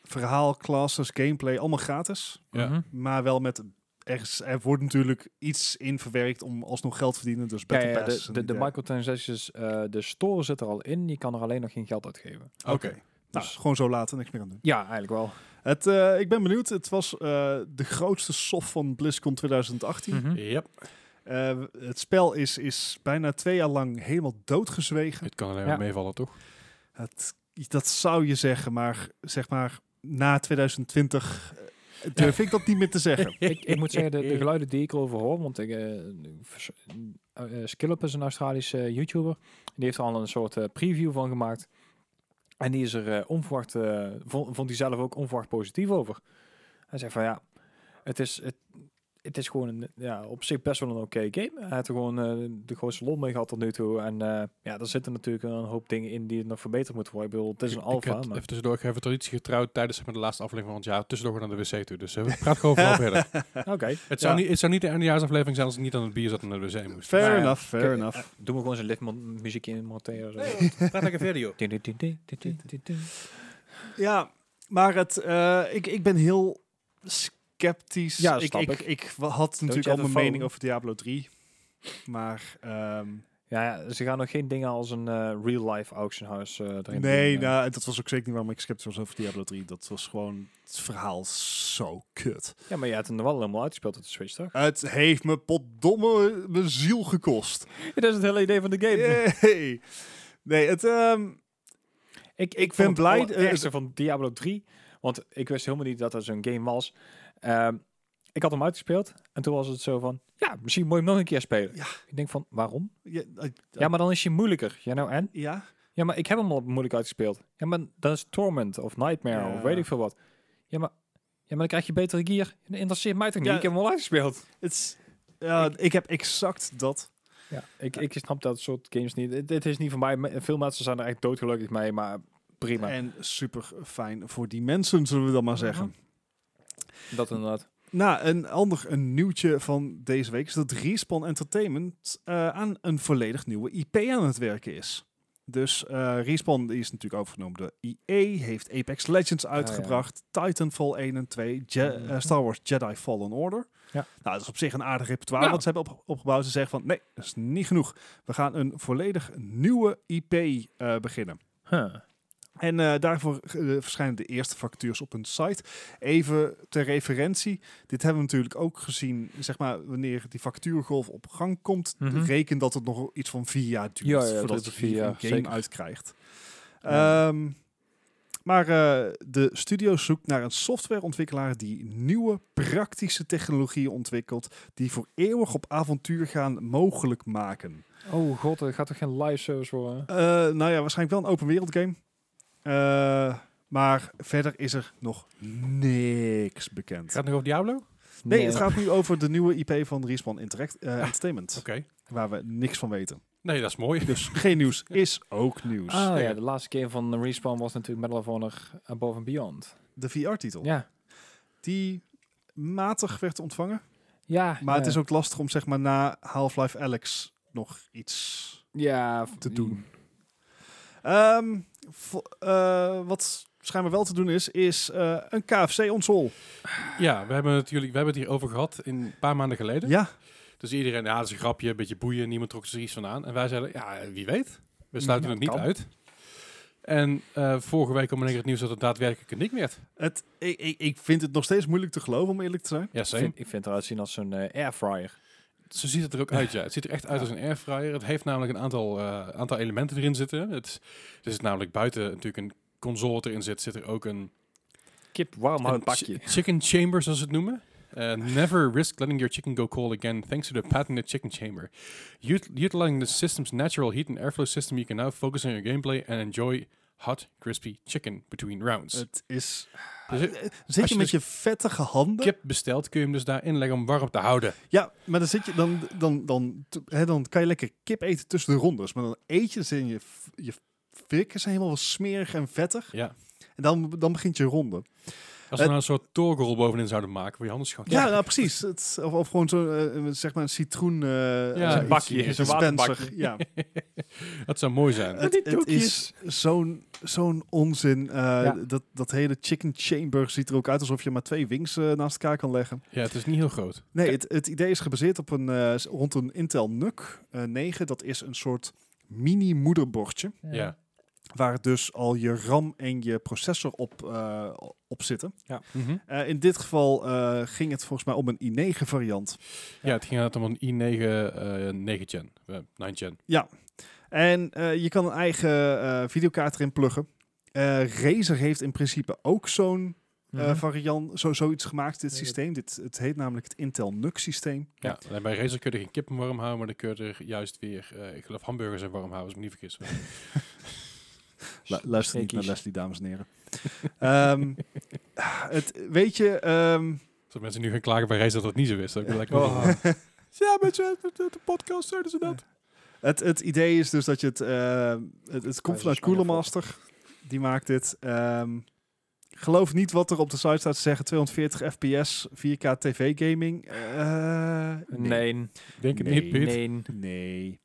Speaker 2: verhaal, classes, gameplay, allemaal gratis.
Speaker 1: Ja.
Speaker 3: Mhm.
Speaker 2: Maar wel met... Er, er wordt natuurlijk iets in verwerkt om alsnog geld te verdienen. Dus
Speaker 3: Ja,
Speaker 2: battle
Speaker 3: ja,
Speaker 2: passes
Speaker 3: de,
Speaker 2: en
Speaker 3: de, de
Speaker 2: dergelijke.
Speaker 3: microtransactions, eh, de store zit er al in. Je kan er alleen nog geen geld uitgeven.
Speaker 1: Oké.
Speaker 2: Nou,
Speaker 3: dus-
Speaker 2: gewoon zo laten. Niks meer aan doen.
Speaker 3: Ja, eigenlijk wel.
Speaker 2: Het, eh, ik ben benieuwd. Het was eh, de grootste soft van BlizzCon 2018.
Speaker 1: Yep.
Speaker 2: Eh, het spel is, is bijna twee jaar lang helemaal doodgezwegen.
Speaker 1: Het kan alleen maar
Speaker 3: Ja.
Speaker 1: meevallen, toch?
Speaker 2: Het, dat zou je zeggen, maar zeg maar na 2020 eh, durf ik dat niet meer te zeggen.
Speaker 3: ik, ik moet zeggen, de, de geluiden die ik erover hoor, want ik, eh, vers- eh, eh, Skillup is een Australische eh, YouTuber. Die heeft er al een soort eh, preview van gemaakt. En die is er eh, onverwacht, eh, vond, vond hij zelf ook onverwacht positief over. Hij zei van ja, het is, het, het is gewoon een, ja, op zich best wel een oké game. Hij heeft er gewoon eh, de grootste lol mee gehad tot nu toe. En eh, ja, er zitten natuurlijk een hoop dingen in die nog verbeterd moeten worden. Ik bedoel, het is een
Speaker 1: Ik- Ik
Speaker 3: alfa.
Speaker 1: heb
Speaker 3: maar-
Speaker 1: even tussendoor, ik heb even traditie getrouwd tijdens zeg maar, de laatste aflevering van het jaar. Tussendoor gewoon naar de wc toe. Dus eh, praat gewoon vooral verder.
Speaker 3: Oké,
Speaker 1: Het zou,
Speaker 2: Ja.
Speaker 1: niet, het zou niet de eindejaarsaflevering zijn als ik niet aan het bier zat en naar de wc moest.
Speaker 2: Fair
Speaker 3: Nou ja,
Speaker 2: enough, fair
Speaker 3: kijk,
Speaker 2: enough.
Speaker 3: doen we gewoon zijn liftmuziekje in eh. monteren. zo.
Speaker 1: Praat lekker verder, joh.
Speaker 3: Ding, ding, ding, ding, ding, ding, ding, ding.
Speaker 2: Ja, maar het, eh, ik, ik ben heel sceptisch.
Speaker 3: Ja,
Speaker 2: ik,
Speaker 3: snap
Speaker 2: ik,
Speaker 3: ik.
Speaker 2: ik had
Speaker 3: you
Speaker 2: natuurlijk
Speaker 3: have
Speaker 2: al
Speaker 3: a
Speaker 2: mijn mening
Speaker 3: phone?
Speaker 2: over Diablo 3. Maar ehm,
Speaker 3: Ja, ja, ze gaan nog geen dingen als een eh, real-life auction house eh, erin
Speaker 2: nee,
Speaker 3: doen, eh.
Speaker 2: nou, dat was ook zeker niet waarom ik sceptisch was over Diablo 3. Dat was gewoon het verhaal zo kut.
Speaker 3: Ja, maar je hebt hem er wel helemaal uitgespeeld op de Switch, toch?
Speaker 2: Het heeft me potdomme mijn ziel gekost.
Speaker 3: dat is het hele idee van de game.
Speaker 2: Yay. Nee, het... ehm,
Speaker 3: Ik,
Speaker 2: Ik
Speaker 3: vond
Speaker 2: ben
Speaker 3: het
Speaker 2: blij- eh,
Speaker 3: allerergste van Diablo 3, want ik wist helemaal niet dat dat zo'n game was. Ehm, ik had hem uitgespeeld en toen was het zo van, ja, misschien moet je hem nog een keer spelen.
Speaker 2: Ja.
Speaker 3: Ik denk van, waarom?
Speaker 2: ja, eh,
Speaker 3: Ja, maar dan is je moeilijker. Ja, nou en?
Speaker 2: ja?
Speaker 3: Ja, maar ik heb hem al moeilijk uitgespeeld. Ja, maar dan is Torment of Nightmare
Speaker 2: Ja.
Speaker 3: of weet ik veel wat. Ja, maar, ja, maar dan krijg je betere gear. Dat interesseert mij toch niet?
Speaker 2: Ja.
Speaker 3: Ik heb hem al uitgespeeld.
Speaker 2: Het is- ja, ik, heb exact dat.
Speaker 3: Ja, ik, ik snap dat soort games niet. Dit- Dit is niet voor mij. Me- Veel mensen zijn er echt doodgelukkig mee, maar prima.
Speaker 2: En super fijn voor die mensen, zullen we dan maar zeggen.
Speaker 3: Dat inderdaad.
Speaker 2: Nou, een ander een nieuwtje van deze week is dat Respawn Entertainment eh, aan een volledig nieuwe IP aan het werken is. Dus eh, Respawn die is natuurlijk overgenomen door EA, heeft Apex Legends uitgebracht, Titanfall 1 en 2, Je-
Speaker 3: Oh, Mhm.
Speaker 2: eh, Star Wars Jedi Fallen Order.
Speaker 3: Ja. Nou.
Speaker 2: Nou, dat is op zich een aardig repertoire
Speaker 3: Ja.
Speaker 2: wat ze hebben op- opgebouwd. Ze zeggen van, nee, dat is niet genoeg. We gaan een volledig nieuwe IP eh, beginnen.
Speaker 3: Huh.
Speaker 2: En eh, daarvoor eh, verschijnen de eerste factures op hun site. Even ter referentie. Dit hebben we natuurlijk ook gezien, zeg maar, wanneer die factuurgolf op gang komt.
Speaker 3: Mhm.
Speaker 2: Reken dat het nog iets van vier jaar duurt
Speaker 3: Ja, ja, drie
Speaker 2: voordat
Speaker 3: tot
Speaker 2: je
Speaker 3: vier
Speaker 2: hier
Speaker 3: jaar,
Speaker 2: een game
Speaker 3: zeker.
Speaker 2: uitkrijgt.
Speaker 3: Ja.
Speaker 2: Ehm, maar eh, de studio zoekt naar een softwareontwikkelaar die nieuwe praktische technologieën ontwikkelt die voor eeuwig op avontuur gaan mogelijk maken.
Speaker 3: Oh god, er gaat toch geen live service worden?
Speaker 2: Eh, nou ja, waarschijnlijk wel een open wereld game. Eh, maar verder is er nog niks bekend.
Speaker 1: Gaat het nog over Diablo?
Speaker 2: Nee, het gaat nu over de nieuwe IP van Respawn Interact,
Speaker 3: Ah.
Speaker 2: eh, Entertainment.
Speaker 1: Oké.
Speaker 2: Waar we niks van weten.
Speaker 1: Nee, dat is mooi.
Speaker 2: Dus geen nieuws is ook nieuws.
Speaker 3: Ah ja, de laatste keer van Respawn was natuurlijk Medal of Honor Above and Beyond.
Speaker 2: De VR-titel.
Speaker 3: Ja.
Speaker 2: Die matig werd ontvangen.
Speaker 3: Ja. eh,
Speaker 2: Maar het
Speaker 3: ja.
Speaker 2: is ook lastig om zeg maar na Half-Life Alex nog iets
Speaker 3: ja,
Speaker 2: te
Speaker 3: Hmm.
Speaker 2: doen. Ehm, vo- eh, wat schijnbaar wel te doen is, is eh, een KFC-onsol.
Speaker 1: Ja, we hebben, natuurlijk, we hebben het hier over gehad in een paar maanden geleden.
Speaker 2: Ja,
Speaker 1: Dus iedereen, ja, dat is een grapje, een beetje boeien. Niemand trok er iets van aan. En wij zeiden, ja, wie weet. We sluiten
Speaker 3: Ja,
Speaker 1: het niet
Speaker 3: kan.
Speaker 1: uit. En eh, vorige week kwam in één keer het nieuws dat het daadwerkelijk een ding werd.
Speaker 2: het, ik, ik, ik vind het nog steeds moeilijk te geloven, om eerlijk te zijn.
Speaker 1: Ja,
Speaker 3: Ik vind, ik vind het eruit zien als zo'n eh, airfryer.
Speaker 1: Zo ziet het er ook uit, ja. Het ziet er echt uit als een airfryer. Het heeft namelijk een aantal, eh, aantal elementen erin zitten. Het is, er zit namelijk buiten natuurlijk een console wat erin zit, zit er ook een,
Speaker 3: Kip warm
Speaker 1: een
Speaker 3: een pakje.
Speaker 1: chi- chicken chamber, zoals ze het noemen. Eh, never risk letting your chicken go cold again thanks to the patented chicken chamber. Ut- utilizing the system's natural heat and airflow system, you can now focus on your gameplay and enjoy hot, crispy chicken between rounds.
Speaker 2: Het is...
Speaker 1: Dus
Speaker 2: Eh,
Speaker 1: als
Speaker 2: zit je
Speaker 1: dus
Speaker 2: met je vettige handen?
Speaker 1: kip bestelt, kun je hem dus daarin leggen om warm te houden.
Speaker 2: Ja, maar dan, zit je, dan, dan, dan, t- hè, dan kan je lekker kip eten tussen de rondes. Maar dan eet je ze in je, f- je fikken zijn helemaal smerig en vettig.
Speaker 1: Ja.
Speaker 2: En dan, dan begint je ronde.
Speaker 1: Als we nou
Speaker 2: Het-
Speaker 1: een soort torgrol bovenin zouden maken voor je handen schoon.
Speaker 2: Eh, Ja, nou precies. Het, of, of gewoon zo, eh, zeg maar een citroen... eh,
Speaker 1: Ja,
Speaker 2: eh,
Speaker 1: een bakje,
Speaker 2: iets-
Speaker 1: zo'n
Speaker 2: dispenser.
Speaker 3: waterbakje.
Speaker 2: Ja.
Speaker 1: Dat zou mooi zijn.
Speaker 3: Met die
Speaker 2: Het, het is
Speaker 3: doekjes.
Speaker 2: zo'n zo'n onzin. Eh,
Speaker 3: Ja.
Speaker 2: dat, dat hele chicken chamber ziet er ook uit alsof je maar twee wings eh, naast elkaar kan leggen.
Speaker 1: Ja, het is niet heel groot.
Speaker 2: Nee,
Speaker 3: Ja.
Speaker 2: het, het idee is gebaseerd op een, eh, s- rond een Intel NUC eh, 9. Dat is een soort mini moederbordje.
Speaker 1: Ja.
Speaker 2: Waar dus al je RAM en je processor op, eh, op zitten. Eh, in dit geval eh, ging het volgens mij om een i9 variant.
Speaker 1: Ja, het ging inderdaad om een i9 eh 9 gen, eh, 9 gen.
Speaker 2: En eh, je kan een eigen eh, videokaart erin pluggen. Eh Razer heeft in principe ook zo'n eh, variant, zo, zoiets gemaakt, dit
Speaker 3: Nee, Mhm. dat-
Speaker 2: systeem. Dit, het heet namelijk het Intel NUC systeem.
Speaker 1: Ja, alleen bij Razer kun je er geen kippen warm houden, maar dan kun je er juist weer, eh, ik geloof hamburgers en warm houden, als ik me niet vergis.
Speaker 2: Lu- luister niet naar
Speaker 3: Stekies.
Speaker 2: Leslie, dames en heren. Ehm, het, weet je, ehm,
Speaker 1: Zodat mensen nu gaan klagen bij Razer dat het niet zo is. Dat heb ik lekker
Speaker 3: Oh.
Speaker 1: Ja, met de podcast zeiden ze dat.
Speaker 2: het, het idee is dus dat je het... eh, het, het komt vanuit Cooler Master. Die maakt dit. Ehm, geloof niet wat er op de site staat. Ze zeggen 240 fps, 4K tv gaming. Eh,
Speaker 3: Nee.
Speaker 1: Denk het
Speaker 2: Nee,
Speaker 1: niet, Piet.
Speaker 3: Nee.
Speaker 2: Nee.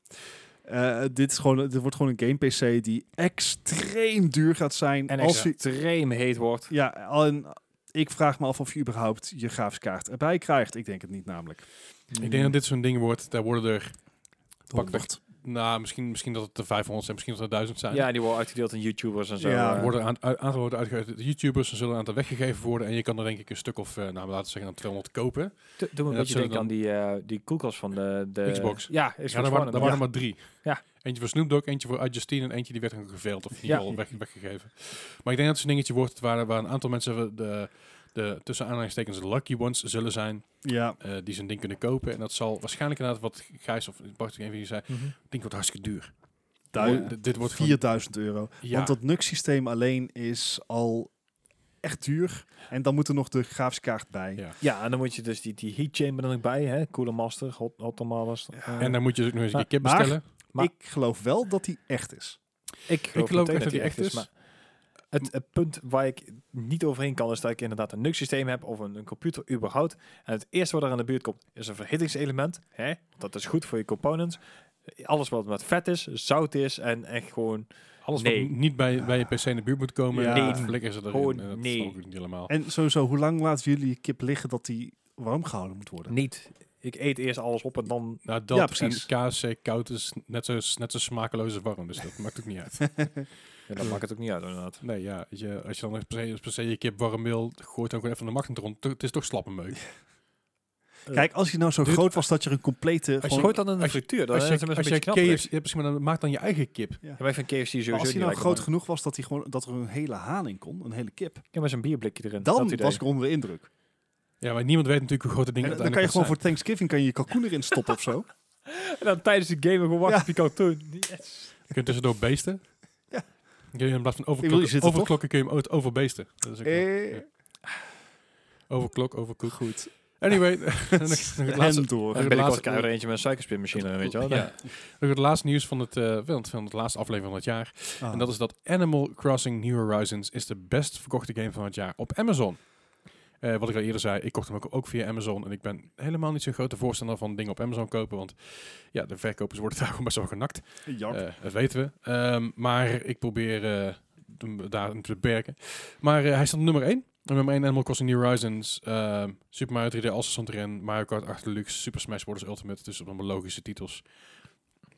Speaker 2: Eh, dit, is gewoon, dit wordt gewoon een game-PC die extreem duur gaat zijn.
Speaker 3: En
Speaker 2: als je,
Speaker 3: extreem heet wordt.
Speaker 2: ja, en ik vraag me af of je überhaupt je grafische kaart erbij krijgt. Ik denk het niet namelijk.
Speaker 1: Ik denk dat dit zo'n ding wordt, daar worden er, Pak weg.
Speaker 2: Honderd.
Speaker 1: nou, misschien, misschien dat het de 500 zijn, misschien dat het de 1000 zijn.
Speaker 3: Ja, die worden uitgedeeld aan YouTubers en zo.
Speaker 2: Ja,
Speaker 1: Er
Speaker 3: eh.
Speaker 1: worden een aantal- aantal worden uitgegeven. De YouTubers er zullen een aantal weggegeven worden. En je kan er denk ik een stuk of, eh, nou, laten we zeggen, dan 200 kopen.
Speaker 3: Doe doe me
Speaker 1: Ja,
Speaker 3: een
Speaker 1: dat
Speaker 3: beetje
Speaker 1: zullen
Speaker 3: denken aan die, eh, die koelkast van de, de...
Speaker 1: Xbox.
Speaker 3: Ja, Xbox
Speaker 1: Ja, daar
Speaker 3: One.
Speaker 1: waren, daar
Speaker 3: ja.
Speaker 1: waren er maar drie.
Speaker 3: Ja.
Speaker 1: Eentje voor Snoop Dogg, eentje voor Justine en eentje die werd gewoon geveeld of in ieder
Speaker 3: Ja.
Speaker 1: geval weg, weggegeven. Maar ik denk dat het zo'n dingetje wordt waar, waar een aantal mensen de, de tussen aanhalingstekens lucky ones zullen zijn
Speaker 2: Ja,
Speaker 1: eh, die zo'n ding kunnen kopen. En dat zal waarschijnlijk inderdaad wat Gijs of Bart, een van jullie zei,
Speaker 3: Mhm.
Speaker 1: het ding wordt hartstikke duur.
Speaker 2: duin-
Speaker 1: Dit- dit wordt gewoon-
Speaker 2: 4000 euro.
Speaker 1: Ja.
Speaker 2: Want dat NUC-systeem alleen is al echt duur. En dan moet er nog de grafische kaart bij.
Speaker 1: Ja.
Speaker 3: Ja, en dan moet je dus die, die heat chamber er nog bij, hè? Cooler Master, Hot, hot Master. eh.
Speaker 1: En dan moet je dus ook nog eens een
Speaker 3: Maar-
Speaker 1: keer kip
Speaker 2: maar-
Speaker 1: bestellen.
Speaker 3: Maar-
Speaker 2: Ik geloof wel dat die echt is.
Speaker 3: ik geloof,
Speaker 1: geloof
Speaker 3: meteen
Speaker 1: echt dat die
Speaker 3: die
Speaker 1: echt is.
Speaker 3: maar het, het punt waar ik niet overheen kan is dat ik inderdaad een NUC-systeem heb of een, een computer überhaupt. En het eerste wat er aan de buurt komt is een verhittingselement. Hè? Dat is goed voor je components. Alles wat met vet is, zout is en echt gewoon...
Speaker 1: Alles
Speaker 3: Nee.
Speaker 1: wat niet bij, bij je PC in de buurt moet komen, eh,
Speaker 2: Ja.
Speaker 1: dat
Speaker 2: Nee.
Speaker 1: flikkeren ze erin.
Speaker 3: Oh,
Speaker 1: En dat
Speaker 3: nee.
Speaker 1: snap ik niet helemaal.
Speaker 2: En sowieso, hoe lang laten jullie je kip liggen dat die warm gehouden moet worden?
Speaker 3: Niet. Ik eet eerst alles op en dan...
Speaker 1: Nou, dat
Speaker 2: Ja, precies.
Speaker 1: en KFC koud is net zo, net zo smakeloos als warm, dus dat maakt ook niet uit.
Speaker 3: Ja, dan maakt het ook niet uit inderdaad.
Speaker 1: Nee, ja, weet je, als je dan echt per se, per se je kip warm wil, gooit dan gewoon even de magnum erom. T- Het is toch slappe meuk.
Speaker 2: Kijk, als je nou zo
Speaker 1: Dude,
Speaker 2: groot was dat je er een complete...
Speaker 1: je
Speaker 2: gewoon-
Speaker 3: Gooit dan in de
Speaker 1: als je-
Speaker 3: frituur, dan
Speaker 1: als
Speaker 3: is het
Speaker 1: je,
Speaker 3: een
Speaker 1: als
Speaker 3: beetje
Speaker 1: je
Speaker 3: knapperig.
Speaker 1: KFC, ja, precies, maar dan maak dan je eigen kip.
Speaker 2: Ja.
Speaker 3: Ja, maar ik vind KFC sowieso
Speaker 2: Maar als
Speaker 3: niet
Speaker 2: hij nou
Speaker 3: lekker,
Speaker 2: groot
Speaker 3: man.
Speaker 2: genoeg was dat, hij gewoon, dat er een hele haan in kon, een hele kip,
Speaker 3: Ja, maar zo'n bierblikje erin.
Speaker 2: dan
Speaker 3: dat idee.
Speaker 2: was ik onder de indruk.
Speaker 1: Ja, maar niemand weet natuurlijk hoe groot het ding
Speaker 2: En, dan kan je
Speaker 1: uiteindelijk
Speaker 2: gewoon voor
Speaker 1: gaat
Speaker 2: Thanksgiving kan je, je kalkoen erin stoppen of zo.
Speaker 3: En dan tijdens de game gewoon wachten
Speaker 2: Ja.
Speaker 3: op die cartoon. Yes.
Speaker 1: zijn. Je kunt tussendoor beesten.
Speaker 2: Ja.
Speaker 1: Dan Kun je in plaats van
Speaker 2: Ik bedoel, je
Speaker 1: overklokken,
Speaker 2: zit er
Speaker 1: overklokken kun je hem o- overbeesten. Dat is ook wel-
Speaker 2: Eh,
Speaker 1: Overklok, overkoek.
Speaker 2: Goed.
Speaker 1: Anyway, nog het laatste,
Speaker 2: en door.
Speaker 1: Ja.
Speaker 3: En
Speaker 1: de
Speaker 3: binnenkort
Speaker 1: laatste-
Speaker 3: krijgen we er eentje met een suikerspinmachine, weet je wel.
Speaker 1: ja, nog het laatste nieuws van het, eh, van, het- van het laatste aflevering van het jaar.
Speaker 2: Ah.
Speaker 1: En dat is dat Animal Crossing New Horizons is de best verkochte game van het jaar op Amazon. Eh, wat ik al eerder zei, ik kocht hem ook, ook via Amazon. En ik ben helemaal niet zo'n grote voorstander van dingen op Amazon kopen. Want ja, de verkopers worden daar gewoon best wel genakt.
Speaker 2: Jap.
Speaker 1: Eh, dat weten we. Ehm, maar ik probeer eh, hem daarin te beperken. Maar eh, hij staat op nummer 1. Nummer 1 Animal Crossing New Horizons, ehm, Super Mario 3D All Stars erin, Mario Kart 8 Deluxe, Super Smash Bros. Ultimate, dus allemaal logische titels.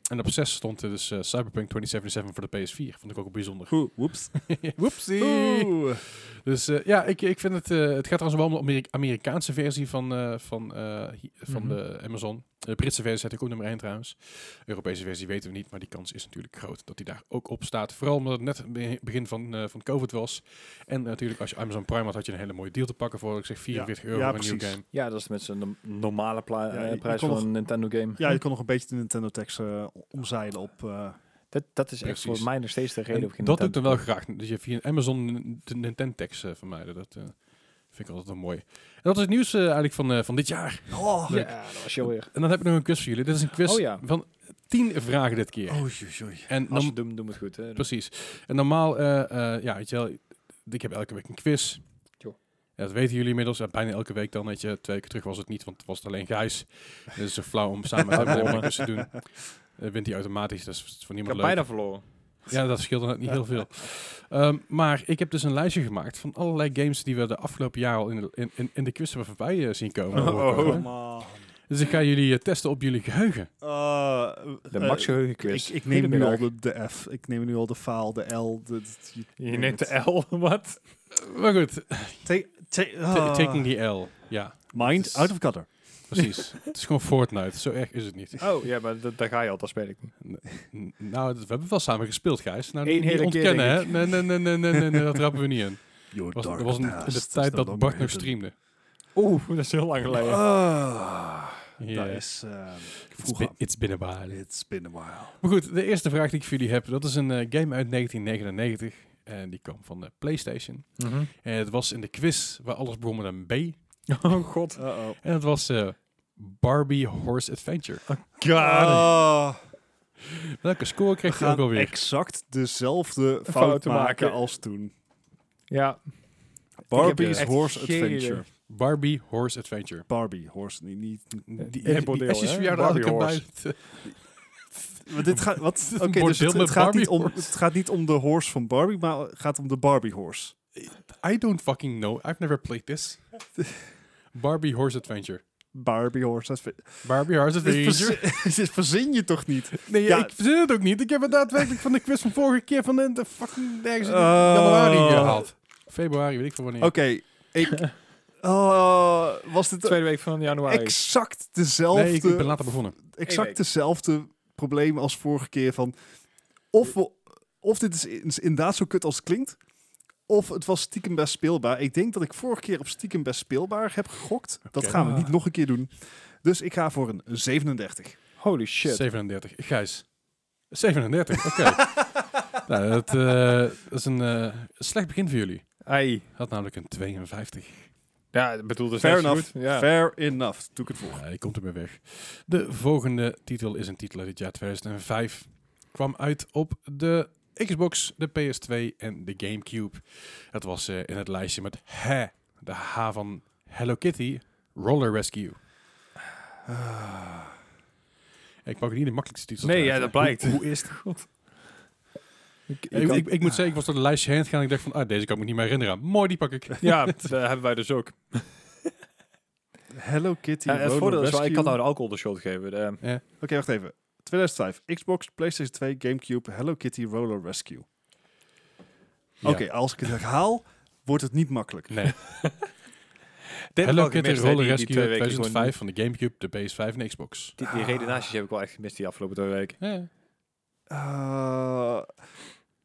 Speaker 1: En op 6 stond eh, dus eh, Cyberpunk 2077 voor de PS4. Vond ik ook bijzonder.
Speaker 2: Oeh, Woeps.
Speaker 1: Whoopsie!
Speaker 2: Oeh.
Speaker 1: Dus eh, ja, ik, ik vind het... eh, het gaat trouwens wel om de Ameri- Amerikaanse versie van, eh, van, eh, hi- van
Speaker 3: Mhm.
Speaker 1: de Amazon. De Britse versie zet ik ook nummer 1 trouwens. Europese versie weten we niet, maar die kans is natuurlijk groot dat die daar ook op staat. Vooral omdat het net het be- begin van, eh, van COVID was. En natuurlijk als je Amazon Prime had, had je een hele mooie deal te pakken voor, ik zeg, 44
Speaker 2: Ja,
Speaker 1: euro
Speaker 2: ja,
Speaker 1: voor een nieuwe
Speaker 2: precies.
Speaker 1: game.
Speaker 3: Ja, dat is met zijn no- normale pla-
Speaker 2: Ja,
Speaker 3: eh,
Speaker 2: je- je
Speaker 3: prijs
Speaker 2: kon
Speaker 3: van
Speaker 2: nog-
Speaker 3: een Nintendo game.
Speaker 2: Ja, je kon nog een beetje de Nintendo tekst eh, omzeilen op... eh,
Speaker 3: Dat, dat is echt voor
Speaker 1: Precies.
Speaker 3: mij nog steeds de
Speaker 1: En
Speaker 3: reden. of geen
Speaker 1: dat doe ik
Speaker 3: Nintendo
Speaker 1: dan wel
Speaker 3: koop.
Speaker 1: graag. Dus je via Amazon de Nintendex eh vermijden. Dat eh, vind ik altijd wel mooi. En dat is het nieuws eh, eigenlijk van, eh, van dit jaar.
Speaker 2: Oh,
Speaker 1: Leuk.
Speaker 3: Ja, dat was je weer.
Speaker 1: En dan heb ik nog een quiz voor jullie. Dit is een quiz
Speaker 3: Oh ja.
Speaker 1: van 10 vragen dit keer.
Speaker 2: oh joe, joe.
Speaker 1: En
Speaker 3: Als
Speaker 1: dan,
Speaker 3: we het doen, doen we het goed. Hè.
Speaker 1: precies. En normaal, eh, eh, ja, weet je wel, ik heb elke week een quiz.
Speaker 3: Jo.
Speaker 1: Ja, dat weten jullie inmiddels. Ja, bijna elke week dan, weet je. Twee keer terug was het niet, want was het alleen Gijs. Dus het is zo flauw om samen met hem helemaal een quiz te doen. Eh, wint hij automatisch, dat is voor
Speaker 3: Ik
Speaker 1: niemand
Speaker 3: heb
Speaker 1: leuk.
Speaker 3: bijna verloren.
Speaker 1: Ja, dat scheelt inderdaad niet heel veel. Ehm, maar ik heb dus een lijstje gemaakt van allerlei games die we de afgelopen jaar al in de, in, in, in de quiz hebben voorbij eh, zien komen.
Speaker 2: Oh,
Speaker 1: horen komen.
Speaker 2: man.
Speaker 1: Dus ik ga jullie eh, testen op jullie geheugen.
Speaker 2: Eh,
Speaker 3: De
Speaker 2: eh,
Speaker 3: Max Geheugen
Speaker 2: ik,
Speaker 3: quiz.
Speaker 2: ik neem nu al de, de F, ik neem nu al de faal, de L. De, de-
Speaker 3: Je neemt de L, wat?
Speaker 1: Maar goed, ta-
Speaker 2: Take, take, ah.
Speaker 1: taking the L. Ja,
Speaker 2: Mind out of gutter.
Speaker 1: precies. het is gewoon Fortnite, zo erg is het niet.
Speaker 3: Oh, ja, maar dat- daar ga je al, dat speel ik niet.
Speaker 1: N- Nou, dat- we hebben wel samen gespeeld, Gijs. Nou,
Speaker 3: Eén
Speaker 1: niet
Speaker 3: hele keer,
Speaker 1: ontkennen, hè?
Speaker 3: denk
Speaker 1: Nee, nee, nee, nee, nee, nee, nee, dat rappen we niet in.
Speaker 2: Your
Speaker 1: Was, dat
Speaker 2: dark
Speaker 1: was een,
Speaker 2: past
Speaker 1: in de
Speaker 2: is
Speaker 1: tijd
Speaker 2: no
Speaker 1: dat
Speaker 2: longer
Speaker 1: Bart nog
Speaker 2: hidden.
Speaker 1: streamde.
Speaker 3: Oeh, dat is heel lang geleden.
Speaker 2: Ah,
Speaker 1: Ja.
Speaker 2: Dat is eh
Speaker 1: It's,
Speaker 2: vroeger.
Speaker 1: been, it's been a while.
Speaker 2: It's been a while.
Speaker 1: Maar goed, de eerste vraag die ik voor jullie heb, dat is een eh, game uit 1999. En die kwam van de PlayStation.
Speaker 3: Mhm.
Speaker 1: En het was in de quiz waar alles begon met een B.
Speaker 3: Oh, god.
Speaker 2: Uh-oh.
Speaker 1: En dat was eh, Barbie Horse Adventure.
Speaker 3: Ah,
Speaker 2: Ah,
Speaker 1: Welke score
Speaker 2: we
Speaker 1: kreeg je ook
Speaker 2: gaan
Speaker 1: alweer?
Speaker 2: exact dezelfde fout,
Speaker 3: Fouten
Speaker 2: maken,
Speaker 3: maken.
Speaker 2: als toen.
Speaker 3: Ja,
Speaker 2: Barbie's
Speaker 3: echt
Speaker 2: Horse
Speaker 3: geen idee.
Speaker 2: Adventure.
Speaker 1: Barbie Horse Adventure.
Speaker 2: Barbie Horse, niet... niet-
Speaker 1: Die,
Speaker 3: in
Speaker 1: eh,
Speaker 3: een
Speaker 1: die
Speaker 3: bordeel,
Speaker 1: Asjes
Speaker 3: hè?
Speaker 1: verjaardag had ik
Speaker 3: Barbie
Speaker 1: erbij.
Speaker 2: Maar dit gaat, wat?
Speaker 1: een
Speaker 2: Oké, dus
Speaker 1: bordeel
Speaker 2: het,
Speaker 1: met
Speaker 2: het gaat niet
Speaker 1: Barbie
Speaker 2: om, het gaat niet om de horse van Barbie, maar het gaat om de Barbie Horse.
Speaker 1: I don't fucking know. I've never played this. Barbie Horse Adventure.
Speaker 2: Barbie Horse Adventure.
Speaker 1: Barbie Horse
Speaker 2: Dit,
Speaker 1: Adventure.
Speaker 2: verzin- dit verzin je toch niet?
Speaker 1: Nee, ja,
Speaker 2: Ja.
Speaker 1: ik verzin het ook niet. Ik heb het daadwerkelijk van de quiz van vorige keer van de, de fucking ergens in
Speaker 2: Oh.
Speaker 1: januari gehaald. Februari, weet ik veel wanneer.
Speaker 2: Oké, ik... Ah, was dit
Speaker 3: tweede week van januari.
Speaker 2: exact
Speaker 1: Nee, ik, ik
Speaker 2: dezelfde
Speaker 1: ben later begonnen.
Speaker 3: Eén
Speaker 2: exact
Speaker 3: week.
Speaker 2: dezelfde probleem als vorige keer van of, we, of dit is in- is inderdaad zo kut als het klinkt, of het was stiekem best speelbaar. Ik denk dat ik vorige keer op stiekem best speelbaar heb gegokt. Dat
Speaker 1: Oké.
Speaker 2: gaan we niet
Speaker 1: Ah.
Speaker 2: nog een keer doen. Dus ik ga voor een 37.
Speaker 3: Holy shit.
Speaker 1: 37. Gijs. 37, oké. nou, dat, eh, dat is een eh, slecht begin voor jullie.
Speaker 3: Ai.
Speaker 1: Had namelijk een 52.
Speaker 3: Ja, ik bedoel, dat is
Speaker 2: Fair
Speaker 3: net zo
Speaker 2: enough.
Speaker 3: goed. Ja.
Speaker 2: Fair enough. Doe ik het voor.
Speaker 1: Ja, hij komt ermee weg. De volgende titel is een titel uit het jaar 2005. Kwam uit op de Xbox, de PS2 en de Gamecube. Dat was eh, in het lijstje met H, de H van Hello Kitty, Roller Rescue. Ik pak niet de makkelijkste titel.
Speaker 3: Ah. Nee, ja,
Speaker 1: eruit,
Speaker 3: dat
Speaker 1: maar
Speaker 3: blijkt.
Speaker 1: Hoe, hoe is het?
Speaker 3: God. Ik,
Speaker 1: Ik, ik, ik moet zeggen, ik was door de lijstje heen gegaan en ik dacht van, ah, deze kan ik me niet meer herinneren. Mooi, die pak ik.
Speaker 3: ja, dat hebben wij dus ook.
Speaker 2: Ah, Hello Kitty.
Speaker 3: Ja, het
Speaker 2: Roller
Speaker 3: voordeel is wel, ik
Speaker 2: Rescue.
Speaker 3: had nou de alcohol de schuld Ehm, gegeven. De,
Speaker 2: Oké, wacht even. 2005. Xbox, PlayStation 2, GameCube, Hello Kitty, Roller Rescue.
Speaker 1: Ja.
Speaker 2: Oké, als ik het herhaal, wordt het niet makkelijk.
Speaker 1: Nee.
Speaker 3: Dit heb ik
Speaker 1: Hello
Speaker 3: wel
Speaker 1: Kitty
Speaker 3: gemist, hè,
Speaker 1: Roller
Speaker 3: die- die
Speaker 1: Rescue
Speaker 3: twee weken die
Speaker 1: 2005 van de Gamecube, de PS5 en de Xbox.
Speaker 3: Die, die redenaties heb ik wel echt gemist die afgelopen twee weken.
Speaker 1: Ja.
Speaker 2: Eh,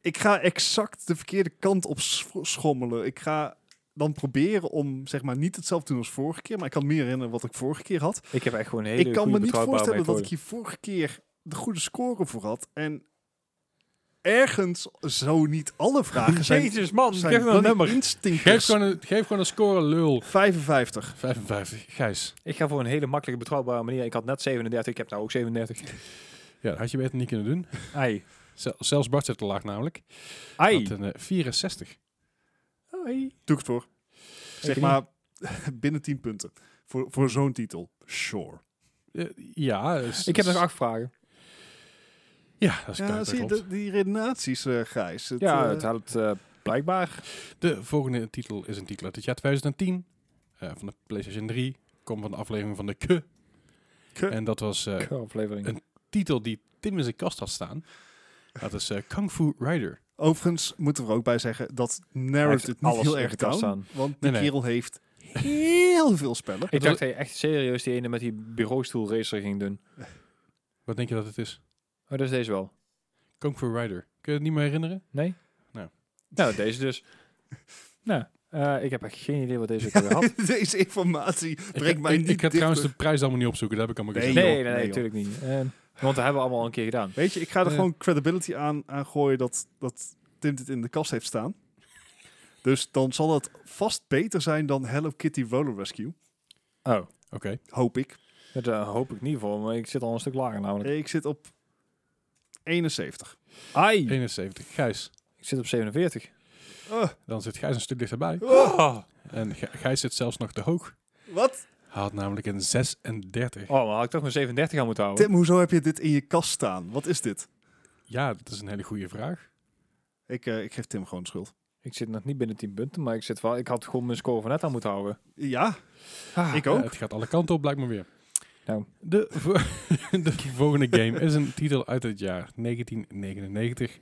Speaker 2: ik ga exact de verkeerde kant op sch- schommelen. Ik ga dan proberen om zeg maar niet hetzelfde te doen als vorige keer, maar ik kan me herinneren wat ik vorige keer had.
Speaker 3: Ik heb echt gewoon een hele
Speaker 2: Ik kan
Speaker 3: goede
Speaker 2: me niet
Speaker 3: betrouwbare
Speaker 2: voorstellen dat ik
Speaker 3: methode.
Speaker 2: hier vorige keer de goede score voor had en ergens zo niet alle vragen zijn.
Speaker 3: Ah, Jezus, man.
Speaker 2: zijn
Speaker 3: Geef me een
Speaker 2: bloody
Speaker 3: nummer.
Speaker 1: Geef
Speaker 2: instinkers.
Speaker 1: gewoon een, geef gewoon een score, lul.
Speaker 2: 55.
Speaker 1: 55. Gijs.
Speaker 3: Ik ga voor een hele makkelijke, betrouwbare manier. Ik had net 37, ik heb nou ook 37.
Speaker 1: Ja, dat had je beter niet kunnen doen.
Speaker 3: Ai.
Speaker 1: Zel- zelfs Bart zit te laag namelijk.
Speaker 3: Ai.
Speaker 1: Had een eh, 64.
Speaker 3: Ai.
Speaker 2: Doe ik het voor.
Speaker 3: Ik
Speaker 2: Zeg maar binnen 10 punten. Voor, voor zo'n titel. Sure.
Speaker 1: Eh, ja. is-
Speaker 3: Ik heb
Speaker 1: is-
Speaker 3: nog acht vragen.
Speaker 1: Ja, dat is
Speaker 2: Ja,
Speaker 1: dat
Speaker 2: zie je
Speaker 1: klopt.
Speaker 2: de- die redenaties, eh Gijs. Het,
Speaker 3: Ja,
Speaker 2: eh,
Speaker 3: het houdt eh, blijkbaar.
Speaker 1: De volgende titel is een titel uit het jaar 2010. eh, van de PlayStation 3. Komt van de aflevering van de Ke.
Speaker 2: Ke.
Speaker 1: En dat was eh
Speaker 3: aflevering.
Speaker 1: een titel die Tim in zijn kast had staan. Dat is eh, Kung Fu Rider.
Speaker 2: Overigens moeten we er ook bij zeggen dat narrowed het niet
Speaker 3: alles
Speaker 2: heel
Speaker 3: in
Speaker 2: erg
Speaker 3: de kast
Speaker 2: down.
Speaker 3: staan.
Speaker 2: Want die
Speaker 1: Nee, nee.
Speaker 2: kerel heeft heel veel spellen.
Speaker 3: Ik
Speaker 1: was-
Speaker 3: dacht dat je echt serieus die ene met die bureaustoel racer ging doen.
Speaker 1: Wat denk je dat het is?
Speaker 3: Oh, dat is deze wel.
Speaker 1: Kung Fu Rider. Kun je het niet meer herinneren?
Speaker 3: Nee?
Speaker 1: Nou.
Speaker 3: Nou, deze dus. nou, eh, ik heb echt geen idee wat deze ook weer had.
Speaker 2: Deze informatie
Speaker 1: ik,
Speaker 2: brengt mij
Speaker 1: ik,
Speaker 2: niet
Speaker 1: ik ga
Speaker 2: dichter.
Speaker 1: trouwens de prijs allemaal niet opzoeken. Dat heb ik allemaal
Speaker 2: Nee,
Speaker 1: gezegd.
Speaker 2: joh.
Speaker 3: Nee, nee, nee,
Speaker 2: joh.
Speaker 3: natuurlijk niet. Eh, want dat hebben we allemaal al een keer gedaan.
Speaker 2: Weet je, ik ga er
Speaker 1: Eh.
Speaker 2: gewoon credibility aan, aan gooien dat, dat Tim dit in de kast heeft staan. Dus dan zal het vast beter zijn dan Hello Kitty Roller Rescue.
Speaker 3: Oh,
Speaker 1: Oké.
Speaker 2: Hoop ik.
Speaker 3: dat eh, hoop ik niet voor, maar ik zit al een stuk lager namelijk.
Speaker 2: Ik zit op 71.
Speaker 3: Ai!
Speaker 1: 71. Gijs.
Speaker 3: Ik zit op 47.
Speaker 2: Oh,
Speaker 1: Dan zit Gijs een stuk dichterbij.
Speaker 3: Oh,
Speaker 1: En Gij- Gijs zit zelfs nog te hoog.
Speaker 2: wat?
Speaker 1: Hij had namelijk een 36.
Speaker 3: Oh, maar had ik toch mijn 37 aan moeten houden?
Speaker 2: Tim, hoezo heb je dit in je kast staan? Wat is dit?
Speaker 1: Ja, dat is een hele goede vraag.
Speaker 2: Ik, eh, ik geef Tim gewoon de schuld.
Speaker 3: Ik zit nog niet binnen 10 punten, maar ik, zit wel, ik had gewoon mijn score van net aan moeten houden.
Speaker 2: Ja, ik
Speaker 1: Eh,
Speaker 2: ook.
Speaker 1: het gaat alle kanten op, blijkbaar weer.
Speaker 3: Nou.
Speaker 1: De, vo- de volgende game is een titel uit het jaar 1999.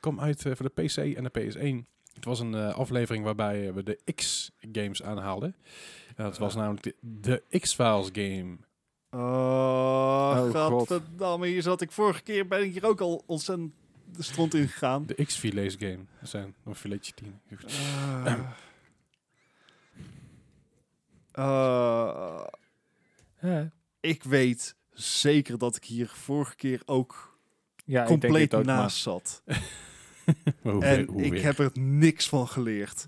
Speaker 1: Kwam uit eh, voor de PC en de PS1. Het was een eh, aflevering waarbij eh, we de X-games aanhaalden. En dat was namelijk de, de X-Files game.
Speaker 2: Oh,
Speaker 3: Oh, God.
Speaker 2: godverdamme. Hier zat ik vorige keer, ben ik hier ook al ontzettend de stront in gegaan.
Speaker 1: De X-Filets game. Dat zijn een filetje 10.
Speaker 2: Eh. Eh,
Speaker 3: Eh,
Speaker 2: ik weet zeker dat ik hier vorige keer ook
Speaker 3: ja, ik denk
Speaker 2: compleet
Speaker 3: het ook, maar-
Speaker 2: naast zat.
Speaker 1: Maar hoe
Speaker 2: en
Speaker 1: weer- hoe
Speaker 2: ik
Speaker 1: weer?
Speaker 2: heb er niks van geleerd.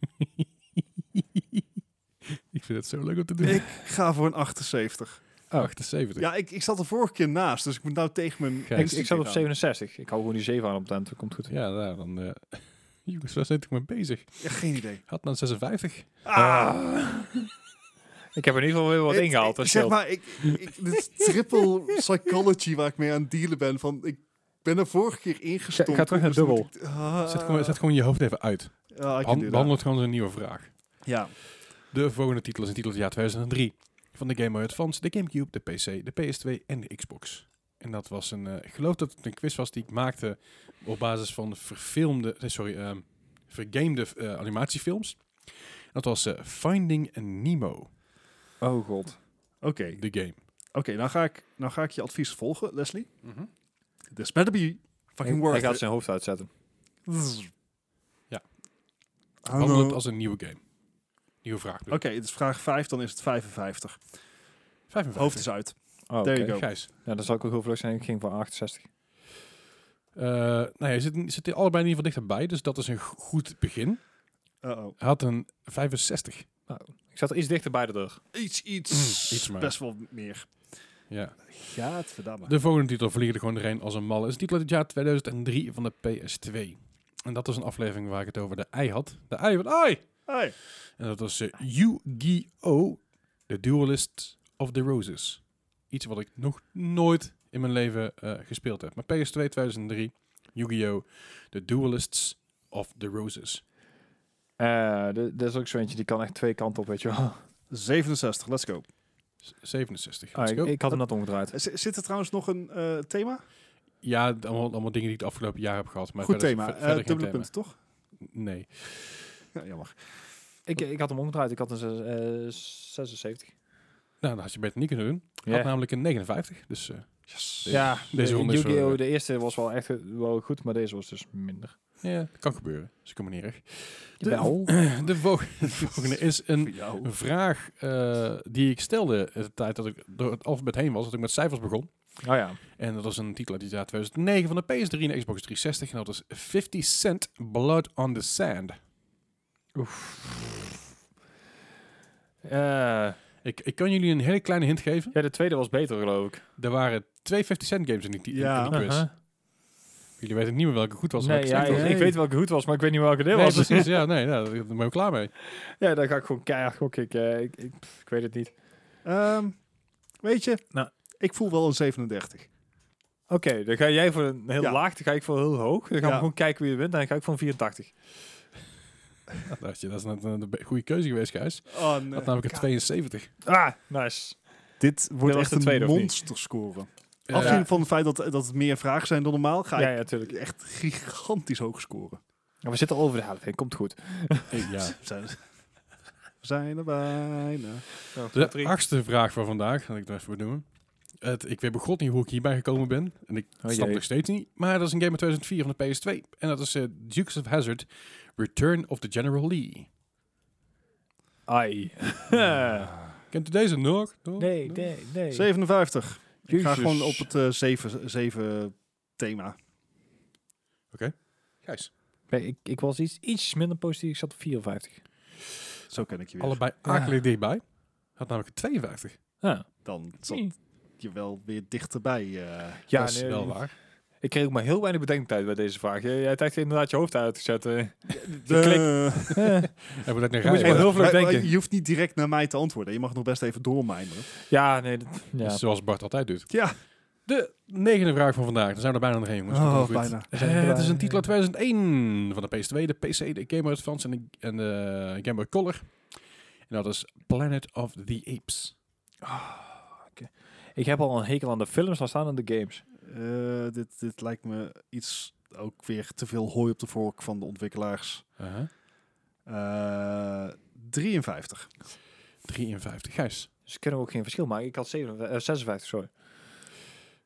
Speaker 1: ik vind het zo leuk om te doen. Ah,
Speaker 2: ik ga voor een 78.
Speaker 3: Oh.
Speaker 1: 78.
Speaker 2: Ja, ik, ik zat er vorige keer naast, dus ik moet nou tegen mijn...
Speaker 1: Gijs.
Speaker 3: Ik, ik zat op
Speaker 2: aan.
Speaker 3: 67. Ik hou gewoon die 7 aan op de end. Dat komt goed.
Speaker 1: Ja, nou, dan... eh jongens, waar zit ik mee bezig?
Speaker 2: Ja, geen idee.
Speaker 1: Had dan 56.
Speaker 3: Ah. Ik heb in ieder geval weer wat
Speaker 2: Het-
Speaker 3: ingehaald.
Speaker 2: ik-
Speaker 3: dat
Speaker 2: Zeg
Speaker 3: scheelt.
Speaker 2: maar, ik, ik, dit is triple psychology waar ik mee aan het dealen ben. Van, ik ben er vorige keer ingestompt.
Speaker 3: Ga- ga terug naar
Speaker 2: dus moet
Speaker 3: dubbel.
Speaker 2: ik- ah.
Speaker 1: Zet gewoon, zet gewoon je hoofd even uit.
Speaker 2: Ja, ik kan
Speaker 1: Han-
Speaker 2: dit
Speaker 1: behandel het gewoon als een nieuwe vraag.
Speaker 2: aan. Ja.
Speaker 1: De volgende titel is een titel uit het jaar 2003. Van de Game Boy Advance, de Gamecube, de PC, de PS2 en de Xbox. En dat was een... eh, ik geloof dat het een quiz was die ik maakte op basis van verfilmde... nee, Sorry, ehm, vergamede eh, animatiefilms. Dat was eh, Finding Nemo,
Speaker 3: Oh god.
Speaker 2: Oké,
Speaker 1: de game.
Speaker 2: oké, nou ga ik, nou ga ik je advies volgen, Leslie. This better be fucking
Speaker 3: Hij
Speaker 2: worth
Speaker 3: gaat
Speaker 2: it.
Speaker 3: zijn hoofd uitzetten.
Speaker 1: Ja.
Speaker 2: Hallo.
Speaker 1: Handel het
Speaker 2: Oké,
Speaker 1: als een nieuwe game. Nieuwe vraag. dus.
Speaker 2: het is vraag 5, dan is het 55.
Speaker 1: 55.
Speaker 2: Hoofd is uit.
Speaker 3: Oh,
Speaker 2: There
Speaker 3: oké.
Speaker 2: you go.
Speaker 1: Gijs.
Speaker 3: Ja, dan zal ik ook heel vlug zijn. Ik ging voor 68.
Speaker 1: Eh nou ja, zitten zitten allebei in ieder geval dichterbij, dus dat is een go- goed begin.
Speaker 2: Uh-oh.
Speaker 1: Hij had een 65.
Speaker 3: Ik zat er iets dichter bij de deur.
Speaker 2: Iets, iets,
Speaker 1: Mm, iets maar.
Speaker 2: best wel meer.
Speaker 1: Ja.
Speaker 2: Ja, het verdamme.
Speaker 1: De volgende titel vliegen er gewoon doorheen als een malle. Het is een titel uit het jaar 2003 van de PS2. En dat was een aflevering waar ik het over de ei had. De ei van ei!
Speaker 2: Hey.
Speaker 1: En dat was eh, Yu-Gi-Oh! The Duelist of the Roses. Iets wat ik nog nooit in mijn leven eh, gespeeld heb. Maar PS2 2003, Yu-Gi-Oh! The Duelists of the Roses.
Speaker 3: Eh, dit dit is ook zo eentje, die kan echt twee kanten op, weet je wel.
Speaker 2: 67, let's go.
Speaker 1: S- 67.
Speaker 3: Ah,
Speaker 1: Let's
Speaker 3: ik,
Speaker 1: go.
Speaker 3: ik had hem net omgedraaid.
Speaker 2: Z- zit er trouwens nog een eh, thema?
Speaker 1: Ja, d- allemaal, allemaal dingen die ik het afgelopen jaar heb gehad. Maar
Speaker 2: Goed
Speaker 1: verder-
Speaker 2: thema.
Speaker 1: ver-
Speaker 2: Eh,
Speaker 1: verder geen
Speaker 2: dubbele
Speaker 1: thema.
Speaker 2: punten, toch?
Speaker 1: Nee.
Speaker 2: Ja, jammer.
Speaker 3: Ik, ik had hem omgedraaid. Ik had een zes- eh, 76.
Speaker 1: Nou, dat had je beter niet kunnen doen. Ik
Speaker 3: Ja.
Speaker 1: had namelijk een 59. Dus eh,
Speaker 3: Ja,
Speaker 1: Deze ronde is
Speaker 3: Yu-Gi-Oh!
Speaker 1: wel-
Speaker 3: De eerste was wel echt wel goed, maar deze was dus minder.
Speaker 1: ja, dat kan gebeuren. Dus ik kom me niet erg. De,
Speaker 3: Jawel.
Speaker 1: de vol- de volgende is een
Speaker 2: Voor jou.
Speaker 1: vraag eh, die ik stelde in de tijd dat ik door het alfabet heen was. Dat ik met cijfers begon.
Speaker 3: Oh ja.
Speaker 1: En dat was een titel uit het jaar 2009 van de PS3 en de Xbox 360. En dat was 50 Cent Blood on the Sand.
Speaker 3: Eh,
Speaker 1: Ik, ik kan jullie een hele kleine hint geven.
Speaker 3: ja, de tweede was beter, geloof ik.
Speaker 1: Er waren twee 50 Cent games in die, ti- in
Speaker 2: Ja.
Speaker 1: die quiz.
Speaker 3: Uh-huh.
Speaker 1: Jullie weten niet meer welke goed was. en
Speaker 3: Nee,
Speaker 1: welke
Speaker 3: ja,
Speaker 1: slecht
Speaker 3: ik,
Speaker 1: was.
Speaker 2: Nee.
Speaker 3: ik weet welke goed was, maar ik weet niet welke dit
Speaker 1: Nee,
Speaker 3: was.
Speaker 1: precies. Ja, nee, ja, daar ben ik klaar mee.
Speaker 3: Ja, dan ga ik gewoon keihard gokken. Ik, eh, ik, ik, pff, ik weet het niet.
Speaker 2: Ehm, weet je,
Speaker 3: Nou.
Speaker 2: ik voel wel een 37.
Speaker 3: Oké, dan ga jij voor een heel
Speaker 2: Ja.
Speaker 3: laag, dan ga ik voor heel hoog. Dan gaan we
Speaker 2: Ja.
Speaker 3: gewoon kijken wie er wint. Dan ga ik voor een 84.
Speaker 1: Nou, Dat, dacht je, dat is net een eh, be- goede keuze geweest, Gijs.
Speaker 2: Oh,
Speaker 1: Dat had namelijk een 72.
Speaker 3: Ah, nice.
Speaker 2: Dit wordt
Speaker 3: was
Speaker 2: echt
Speaker 3: de
Speaker 2: een
Speaker 3: tweede, of niet?
Speaker 2: monsterscore.
Speaker 1: Eh,
Speaker 2: Afgezien van het feit dat, dat het meer vragen zijn dan normaal, ga
Speaker 3: Ja,
Speaker 2: ik
Speaker 3: ja, tuurlijk.
Speaker 2: echt gigantisch hoog scoren.
Speaker 3: Maar we zitten al over de helft heen, komt goed.
Speaker 1: eh, ja.
Speaker 2: We zijn- we zijn er bijna.
Speaker 3: Dus-
Speaker 1: De achtste vraag van vandaag, dat ik nog even benoemen. Het, ik weet begot niet hoe ik hierbij gekomen ben. En ik
Speaker 3: Oh,
Speaker 1: snap
Speaker 3: jee.
Speaker 1: nog steeds niet. Maar dat is een game uit 2004 van de PS2. En dat is eh, Dukes of Hazard: Return of the General Lee.
Speaker 3: Ai.
Speaker 1: Kent u deze nog? Nog?
Speaker 3: nee,
Speaker 1: Nog?
Speaker 3: nee, nee.
Speaker 2: 57. Ik ga
Speaker 3: Jezus.
Speaker 2: gewoon op het eh 7, 7 thema.
Speaker 1: Gijs.
Speaker 3: Nee, ik, ik was iets, iets minder positief. Ik zat op 54.
Speaker 2: Zo ken ik je weer.
Speaker 1: Allebei akelig dichtbij. Had namelijk een 52.
Speaker 3: Ah.
Speaker 2: Dan zat je wel weer dichterbij. eh.
Speaker 3: Ja,
Speaker 1: dat is
Speaker 3: nee,
Speaker 1: wel waar.
Speaker 3: Ik kreeg ook maar heel weinig bedenktijd bij deze vraag. Jij, jij hebt echt inderdaad je hoofd uit te zetten.
Speaker 2: Eh,
Speaker 1: Hebben we dat naar
Speaker 3: Dan moet je
Speaker 1: rijden?
Speaker 3: heel vlug
Speaker 2: maar- maar
Speaker 3: denken.
Speaker 2: Je hoeft niet direct naar mij te antwoorden. Je mag nog best even doormijmeren.
Speaker 3: ja, nee. dat- Dus- ja.
Speaker 1: Zoals Bart altijd doet.
Speaker 2: Ja.
Speaker 1: De negende vraag van vandaag. Dan zijn we er bijna nog heen, jongens.
Speaker 2: Oh,
Speaker 1: Komt wel goed.
Speaker 2: bijna.
Speaker 1: Eh,
Speaker 3: zijn er
Speaker 1: het is een
Speaker 3: bijna.
Speaker 1: titel uit 2001 van de PS2, de PC, de Game Boy Advance en de, en de Game Boy Color. En dat is Planet of the Apes.
Speaker 3: Ik heb al een hekel aan de films, dan staan aan de games.
Speaker 2: Eh, dit, dit lijkt me iets ook weer te veel hooi op de vork van de ontwikkelaars. Eh, 53.
Speaker 1: 53, Gijs.
Speaker 3: Dus kunnen we ook geen verschil maken. Ik had 57, eh, 56, sorry.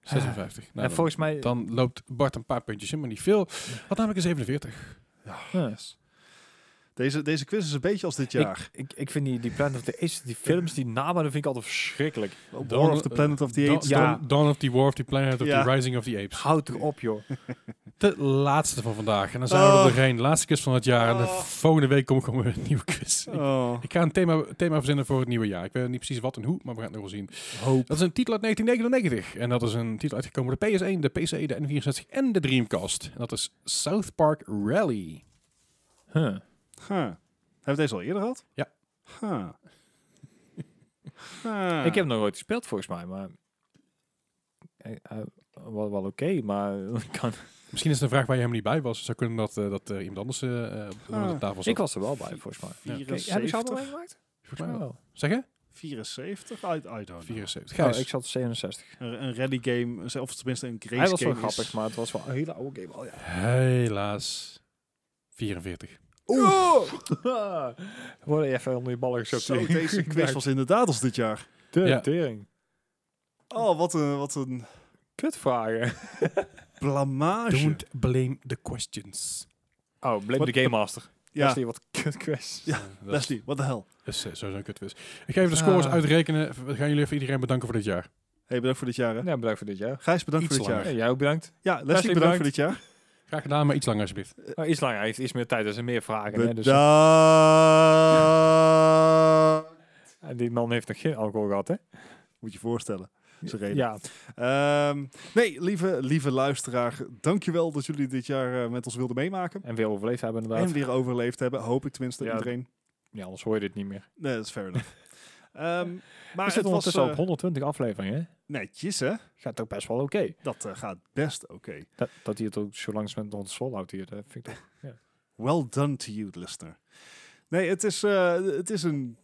Speaker 1: 56. Nou,
Speaker 3: en
Speaker 1: dan,
Speaker 3: volgens mij...
Speaker 1: dan loopt Bart een paar puntjes in, maar niet veel. Had namelijk een 47.
Speaker 3: Ja.
Speaker 2: Deze, deze quiz is een beetje als dit jaar.
Speaker 3: Ik, ik vind die, die Planet of the Apes, die films, die namen, dat vind ik altijd verschrikkelijk.
Speaker 2: War
Speaker 1: Dan-
Speaker 2: of the Planet of the
Speaker 1: Dawn-
Speaker 2: Apes.
Speaker 3: ja. Ah.
Speaker 1: Dawn, Dawn of the War of the Planet of
Speaker 2: Ja.
Speaker 1: the Rising of the Apes.
Speaker 3: Houd erop, joh.
Speaker 1: De laatste van vandaag. En dan zijn we
Speaker 2: Oh.
Speaker 1: er doorheen. Laatste quiz van het jaar. En de
Speaker 2: Oh.
Speaker 1: volgende week komt gewoon weer een nieuwe quiz. Ik,
Speaker 2: Oh,
Speaker 1: ik ga een thema, thema verzinnen voor het nieuwe jaar. Ik weet niet precies wat en hoe, maar we gaan het nog wel zien.
Speaker 2: hoop.
Speaker 1: Dat is een titel uit 1999. En dat is een titel uitgekomen door de PS1, de PC, de N64 en de Dreamcast. En dat is South Park Rally.
Speaker 3: Huh.
Speaker 2: Huh. Hebben we deze al eerder gehad?
Speaker 1: Ja.
Speaker 2: Huh. Huh.
Speaker 3: Ik heb nog nooit gespeeld, volgens mij, maar... Eh, eh, wel wel oké, maar kan...
Speaker 1: Misschien is het een vraag waar je helemaal niet bij was. Het zou kunnen dat, eh, dat er iemand anders eh, eh,
Speaker 2: Ah.
Speaker 1: aan de tafel zat.
Speaker 3: ik was er wel bij, volgens mij.
Speaker 1: Ja.
Speaker 3: Kijk, Heb ik ze allemaal
Speaker 2: 74.
Speaker 3: meegemaakt?
Speaker 1: Volgens
Speaker 3: Volgens
Speaker 1: mij
Speaker 3: mij
Speaker 1: wel.
Speaker 3: wel.
Speaker 1: Zeg je?
Speaker 2: 74? I, I don't know.
Speaker 1: 74.
Speaker 3: Oh,
Speaker 1: Gijs,
Speaker 3: ik zat op 67.
Speaker 2: Een, een rally game, eh, of tenminste een race
Speaker 3: Hij was wel
Speaker 2: game. is-
Speaker 3: grappig, maar het was wel een hele oude game al, ja.
Speaker 1: helaas 44.
Speaker 3: Ah. Word je even onder je ballen geschopt.
Speaker 2: Zo, deze quiz was inderdaad als dit jaar.
Speaker 3: De
Speaker 1: Ja.
Speaker 3: tering.
Speaker 2: Oh, wat een, wat een
Speaker 3: Kutvragen.
Speaker 2: blamage.
Speaker 1: Don't blame the questions.
Speaker 3: Oh, blame
Speaker 2: Wat-
Speaker 3: de Game Master. Ja.
Speaker 2: ja,
Speaker 3: Leslie, wat kut quiz.
Speaker 2: Ja,
Speaker 1: Eh, dat
Speaker 2: Leslie, what the hell.
Speaker 1: is eh, sowieso een kutwis. Ik ga even de scores
Speaker 3: Ah.
Speaker 1: uitrekenen. We gaan jullie even iedereen bedanken voor dit jaar.
Speaker 2: Hey, bedankt voor dit jaar. Hè.
Speaker 3: Ja, bedankt voor dit jaar.
Speaker 2: Gijs, bedankt
Speaker 1: Iets
Speaker 2: voor dit
Speaker 1: langer.
Speaker 3: Ja,
Speaker 2: jaar.
Speaker 3: jij ook bedankt.
Speaker 2: Ja, Leslie,
Speaker 3: Leslie,
Speaker 2: bedankt,
Speaker 3: bedankt.
Speaker 2: voor dit jaar.
Speaker 1: Graag gedaan, maar iets langer alsjeblieft.
Speaker 2: Eh,
Speaker 3: Oh, iets langer, hij heeft iets meer tijd, dus er zijn meer vragen. Hè, dus,
Speaker 2: Bedankt.
Speaker 3: en eh, die man heeft nog geen alcohol gehad, hè?
Speaker 2: Moet je voorstellen. Ze reden.
Speaker 3: Ja,
Speaker 2: Ehm, nee, lieve, lieve luisteraar, dankjewel dat jullie dit jaar eh, met ons wilden meemaken.
Speaker 3: en weer overleefd hebben inderdaad.
Speaker 2: En weer overleefd hebben, hoop ik tenminste
Speaker 3: Ja.
Speaker 2: iedereen.
Speaker 3: Ja, anders hoor je dit niet meer.
Speaker 2: Nee, dat is fair enough. Ehm, maar
Speaker 3: We
Speaker 2: het
Speaker 3: zitten
Speaker 2: was
Speaker 3: ondertussen
Speaker 2: eh,
Speaker 3: op 120 afleveringen, hè?
Speaker 2: netjes, hè?
Speaker 3: Gaat toch best wel oké.
Speaker 2: Dat eh, gaat best oké.
Speaker 3: Dat, dat hij het ook zo langs met ons volhoudt hier, dat vind ik toch...
Speaker 2: Well done to you, listener. Nee, het is, eh, het is een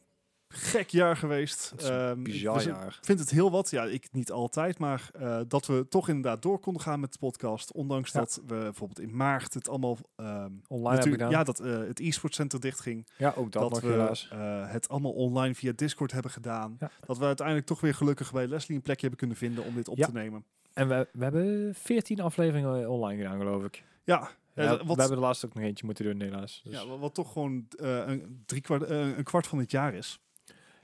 Speaker 2: gek jaar geweest.
Speaker 3: Het is een
Speaker 2: Ehm,
Speaker 3: Bizar
Speaker 2: we zijn-
Speaker 3: jaar.
Speaker 2: Ik vind het heel wat, ja, ik niet altijd, maar eh, dat we toch inderdaad door konden gaan met de podcast. Ondanks
Speaker 3: Ja.
Speaker 2: dat we bijvoorbeeld in maart het allemaal... ehm,
Speaker 3: Online heb ik
Speaker 2: natuurlijk-
Speaker 3: gedaan.
Speaker 2: ja,
Speaker 3: Ja,
Speaker 2: dat eh, het e-sport center dichtging.
Speaker 3: ook dat,
Speaker 2: Dat,
Speaker 3: nog
Speaker 2: we
Speaker 3: helaas.
Speaker 2: eh, het allemaal online via Discord hebben gedaan.
Speaker 3: Ja.
Speaker 2: Dat we uiteindelijk toch weer gelukkig bij Leslie een plekje hebben kunnen vinden om dit op
Speaker 3: Ja.
Speaker 2: te nemen.
Speaker 3: En we, we hebben 14 afleveringen eh, online gedaan, geloof ik.
Speaker 2: Ja, eh,
Speaker 3: Ja,
Speaker 2: wat,
Speaker 3: We hebben de laatste ook nog eentje moeten doen, helaas. Dus.
Speaker 2: ja, wat toch gewoon eh, een, drie kwart, eh, een kwart van het jaar is.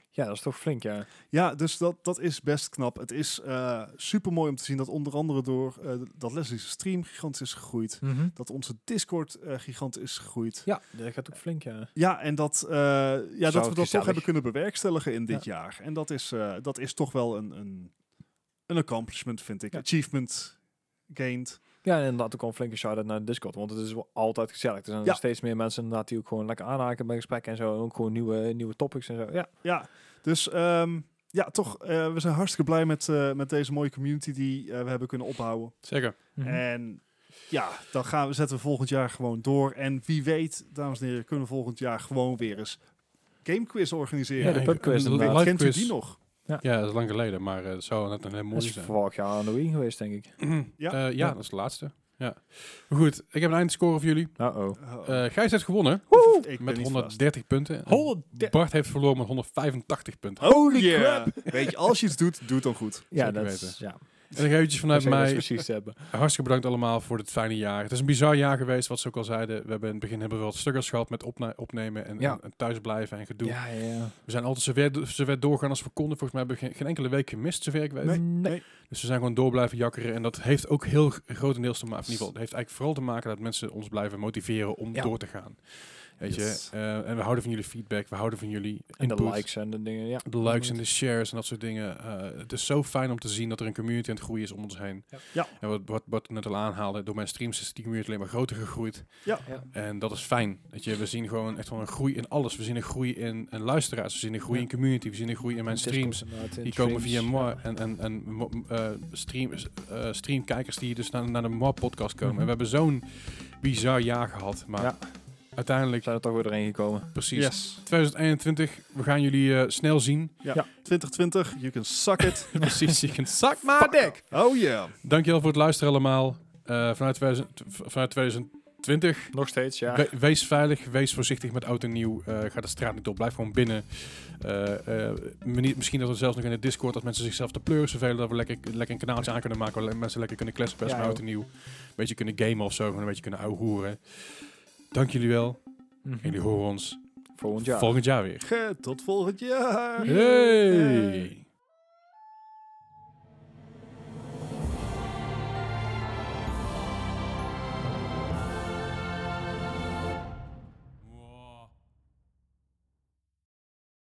Speaker 3: Ja, dat is toch flink, ja.
Speaker 2: Ja, dus dat, dat is best knap. Het is super mooi om te zien dat onder andere door eh, dat Leslie's stream gigantisch is gegroeid. Dat onze Discord eh gigant is gegroeid.
Speaker 3: Ja, dat gaat ook flink, ja.
Speaker 2: Ja, en dat, eh, ja, dat we dat
Speaker 3: gezellig.
Speaker 2: toch hebben kunnen bewerkstelligen in dit jaar. En dat is, eh, dat is toch wel een, een, een accomplishment, vind ik.
Speaker 3: Ja.
Speaker 2: Achievement gained.
Speaker 3: Ja, en inderdaad ook al een flinke shout-out naar Discord, want het is wel altijd gezellig. Er zijn
Speaker 2: Ja.
Speaker 3: nog steeds meer mensen inderdaad die ook gewoon lekker aanhaken bij gesprekken en zo. En ook gewoon nieuwe, nieuwe topics en zo. Ja,
Speaker 2: Ja, dus ehm, ja, toch, eh, we zijn hartstikke blij met, eh, met deze mooie community die eh, we hebben kunnen opbouwen.
Speaker 1: Zeker.
Speaker 3: Eh, Mhm.
Speaker 2: En ja, dan gaan we, zetten we volgend jaar gewoon door. En wie weet, dames en heren, kunnen we volgend jaar gewoon weer eens gamequiz
Speaker 3: Ja,
Speaker 2: organiseren.
Speaker 3: de
Speaker 1: ik-
Speaker 3: pubquiz
Speaker 1: een
Speaker 3: inderdaad.
Speaker 1: live
Speaker 2: Kent u
Speaker 1: quiz.
Speaker 2: die nog?
Speaker 1: Ja, dat is lang geleden, maar eh, het zou net een hele
Speaker 3: dat
Speaker 1: mooie
Speaker 3: is
Speaker 1: zijn.
Speaker 3: vorig jaar aan de Wii geweest, denk ik.
Speaker 1: ja?
Speaker 2: Ja?
Speaker 1: ja,
Speaker 3: Ja.
Speaker 1: dat is de laatste. Ja. Maar goed, ik heb een eindscore voor jullie.
Speaker 3: Uh-oh.
Speaker 2: Oh,
Speaker 1: Eh Gijs heeft gewonnen
Speaker 2: ik ben
Speaker 1: met
Speaker 2: niet verrast.
Speaker 1: 130 punten. En Bart heeft verloren met 185 punten.
Speaker 2: Holy crap! Oh, Weet je, als je iets doet, doe het dan goed.
Speaker 3: Ja,
Speaker 1: Zeker
Speaker 3: dat
Speaker 1: weten.
Speaker 3: is... Ja,
Speaker 1: En dan eventjes
Speaker 3: dat
Speaker 1: vanuit
Speaker 3: is
Speaker 1: mij
Speaker 3: precies te hebben.
Speaker 1: hartstikke bedankt allemaal voor dit fijne jaar. Het is een bizar jaar geweest, wat ze ook al zeiden. We hebben in het begin hebben we wat stukkers gehad met opna- opnemen en,
Speaker 3: Ja.
Speaker 1: en- en thuisblijven en gedoe.
Speaker 3: Ja, ja.
Speaker 1: We zijn altijd zover, zover doorgaan als we konden. Volgens mij hebben we geen, geen enkele week gemist, zover ik weet.
Speaker 2: Nee.
Speaker 1: Dus we zijn gewoon door blijven jakkeren. En dat heeft ook heel g- grotendeels te maken. In ieder geval, het heeft eigenlijk vooral te maken dat mensen ons blijven motiveren om
Speaker 3: Ja.
Speaker 1: door te gaan. Weet je?
Speaker 2: Yes.
Speaker 1: eh, en we houden van jullie feedback. We houden van jullie
Speaker 3: En
Speaker 1: input.
Speaker 3: de likes en de dingen, ja.
Speaker 1: De likes en de shares en dat soort dingen. Eh, het is zo fijn om te zien dat er een community aan het groeien is om ons heen.
Speaker 3: Ja.
Speaker 2: Ja.
Speaker 1: En wat, wat, wat net al aanhaalde, door mijn streams is die community alleen maar groter gegroeid.
Speaker 2: Ja.
Speaker 3: Ja.
Speaker 1: En dat is fijn. Weet je, we zien gewoon echt wel een groei in alles. We zien een groei in, in luisteraars, we zien een groei
Speaker 3: Ja.
Speaker 1: in community, we zien een groei in mijn streams. Die komen via moi en, en, en mo- m- eh, stream, eh, streamkijkers die dus naar, naar de Moi-podcast komen.
Speaker 3: Mhm.
Speaker 1: En we hebben zo'n bizar jaar gehad. Maar
Speaker 3: Ja.
Speaker 1: uiteindelijk,
Speaker 3: Zijn er toch weer doorheen gekomen.
Speaker 1: precies,
Speaker 2: Yes.
Speaker 1: 2021, we gaan jullie eh, snel zien.
Speaker 2: 2020, you can suck it.
Speaker 1: precies, je kunt zak maar dik.
Speaker 2: Oh yeah.
Speaker 1: Dankjewel voor het luisteren allemaal. Eh, vanuit, 2000 v- vanuit 2020,
Speaker 3: Nog steeds, ja.
Speaker 1: we- wees veilig, wees voorzichtig met oud en nieuw. Eh, ga de straat niet op, blijf gewoon binnen. Eh, eh, mini- misschien dat we zelfs nog in de Discord, dat mensen zichzelf te pleuren vervelen, dat we lekker, lekker een kanaaltje aan kunnen maken, waar mensen lekker kunnen kletsen best
Speaker 3: Ja,
Speaker 1: met oud en nieuw. Een beetje kunnen gamen of zo, gewoon een beetje kunnen ouwhoeren. Dank jullie wel.
Speaker 3: Mhm.
Speaker 1: En jullie horen ons
Speaker 3: Volgend jaar.
Speaker 1: volgend jaar weer.
Speaker 2: Tot volgend jaar.
Speaker 1: Hey!
Speaker 2: Hey.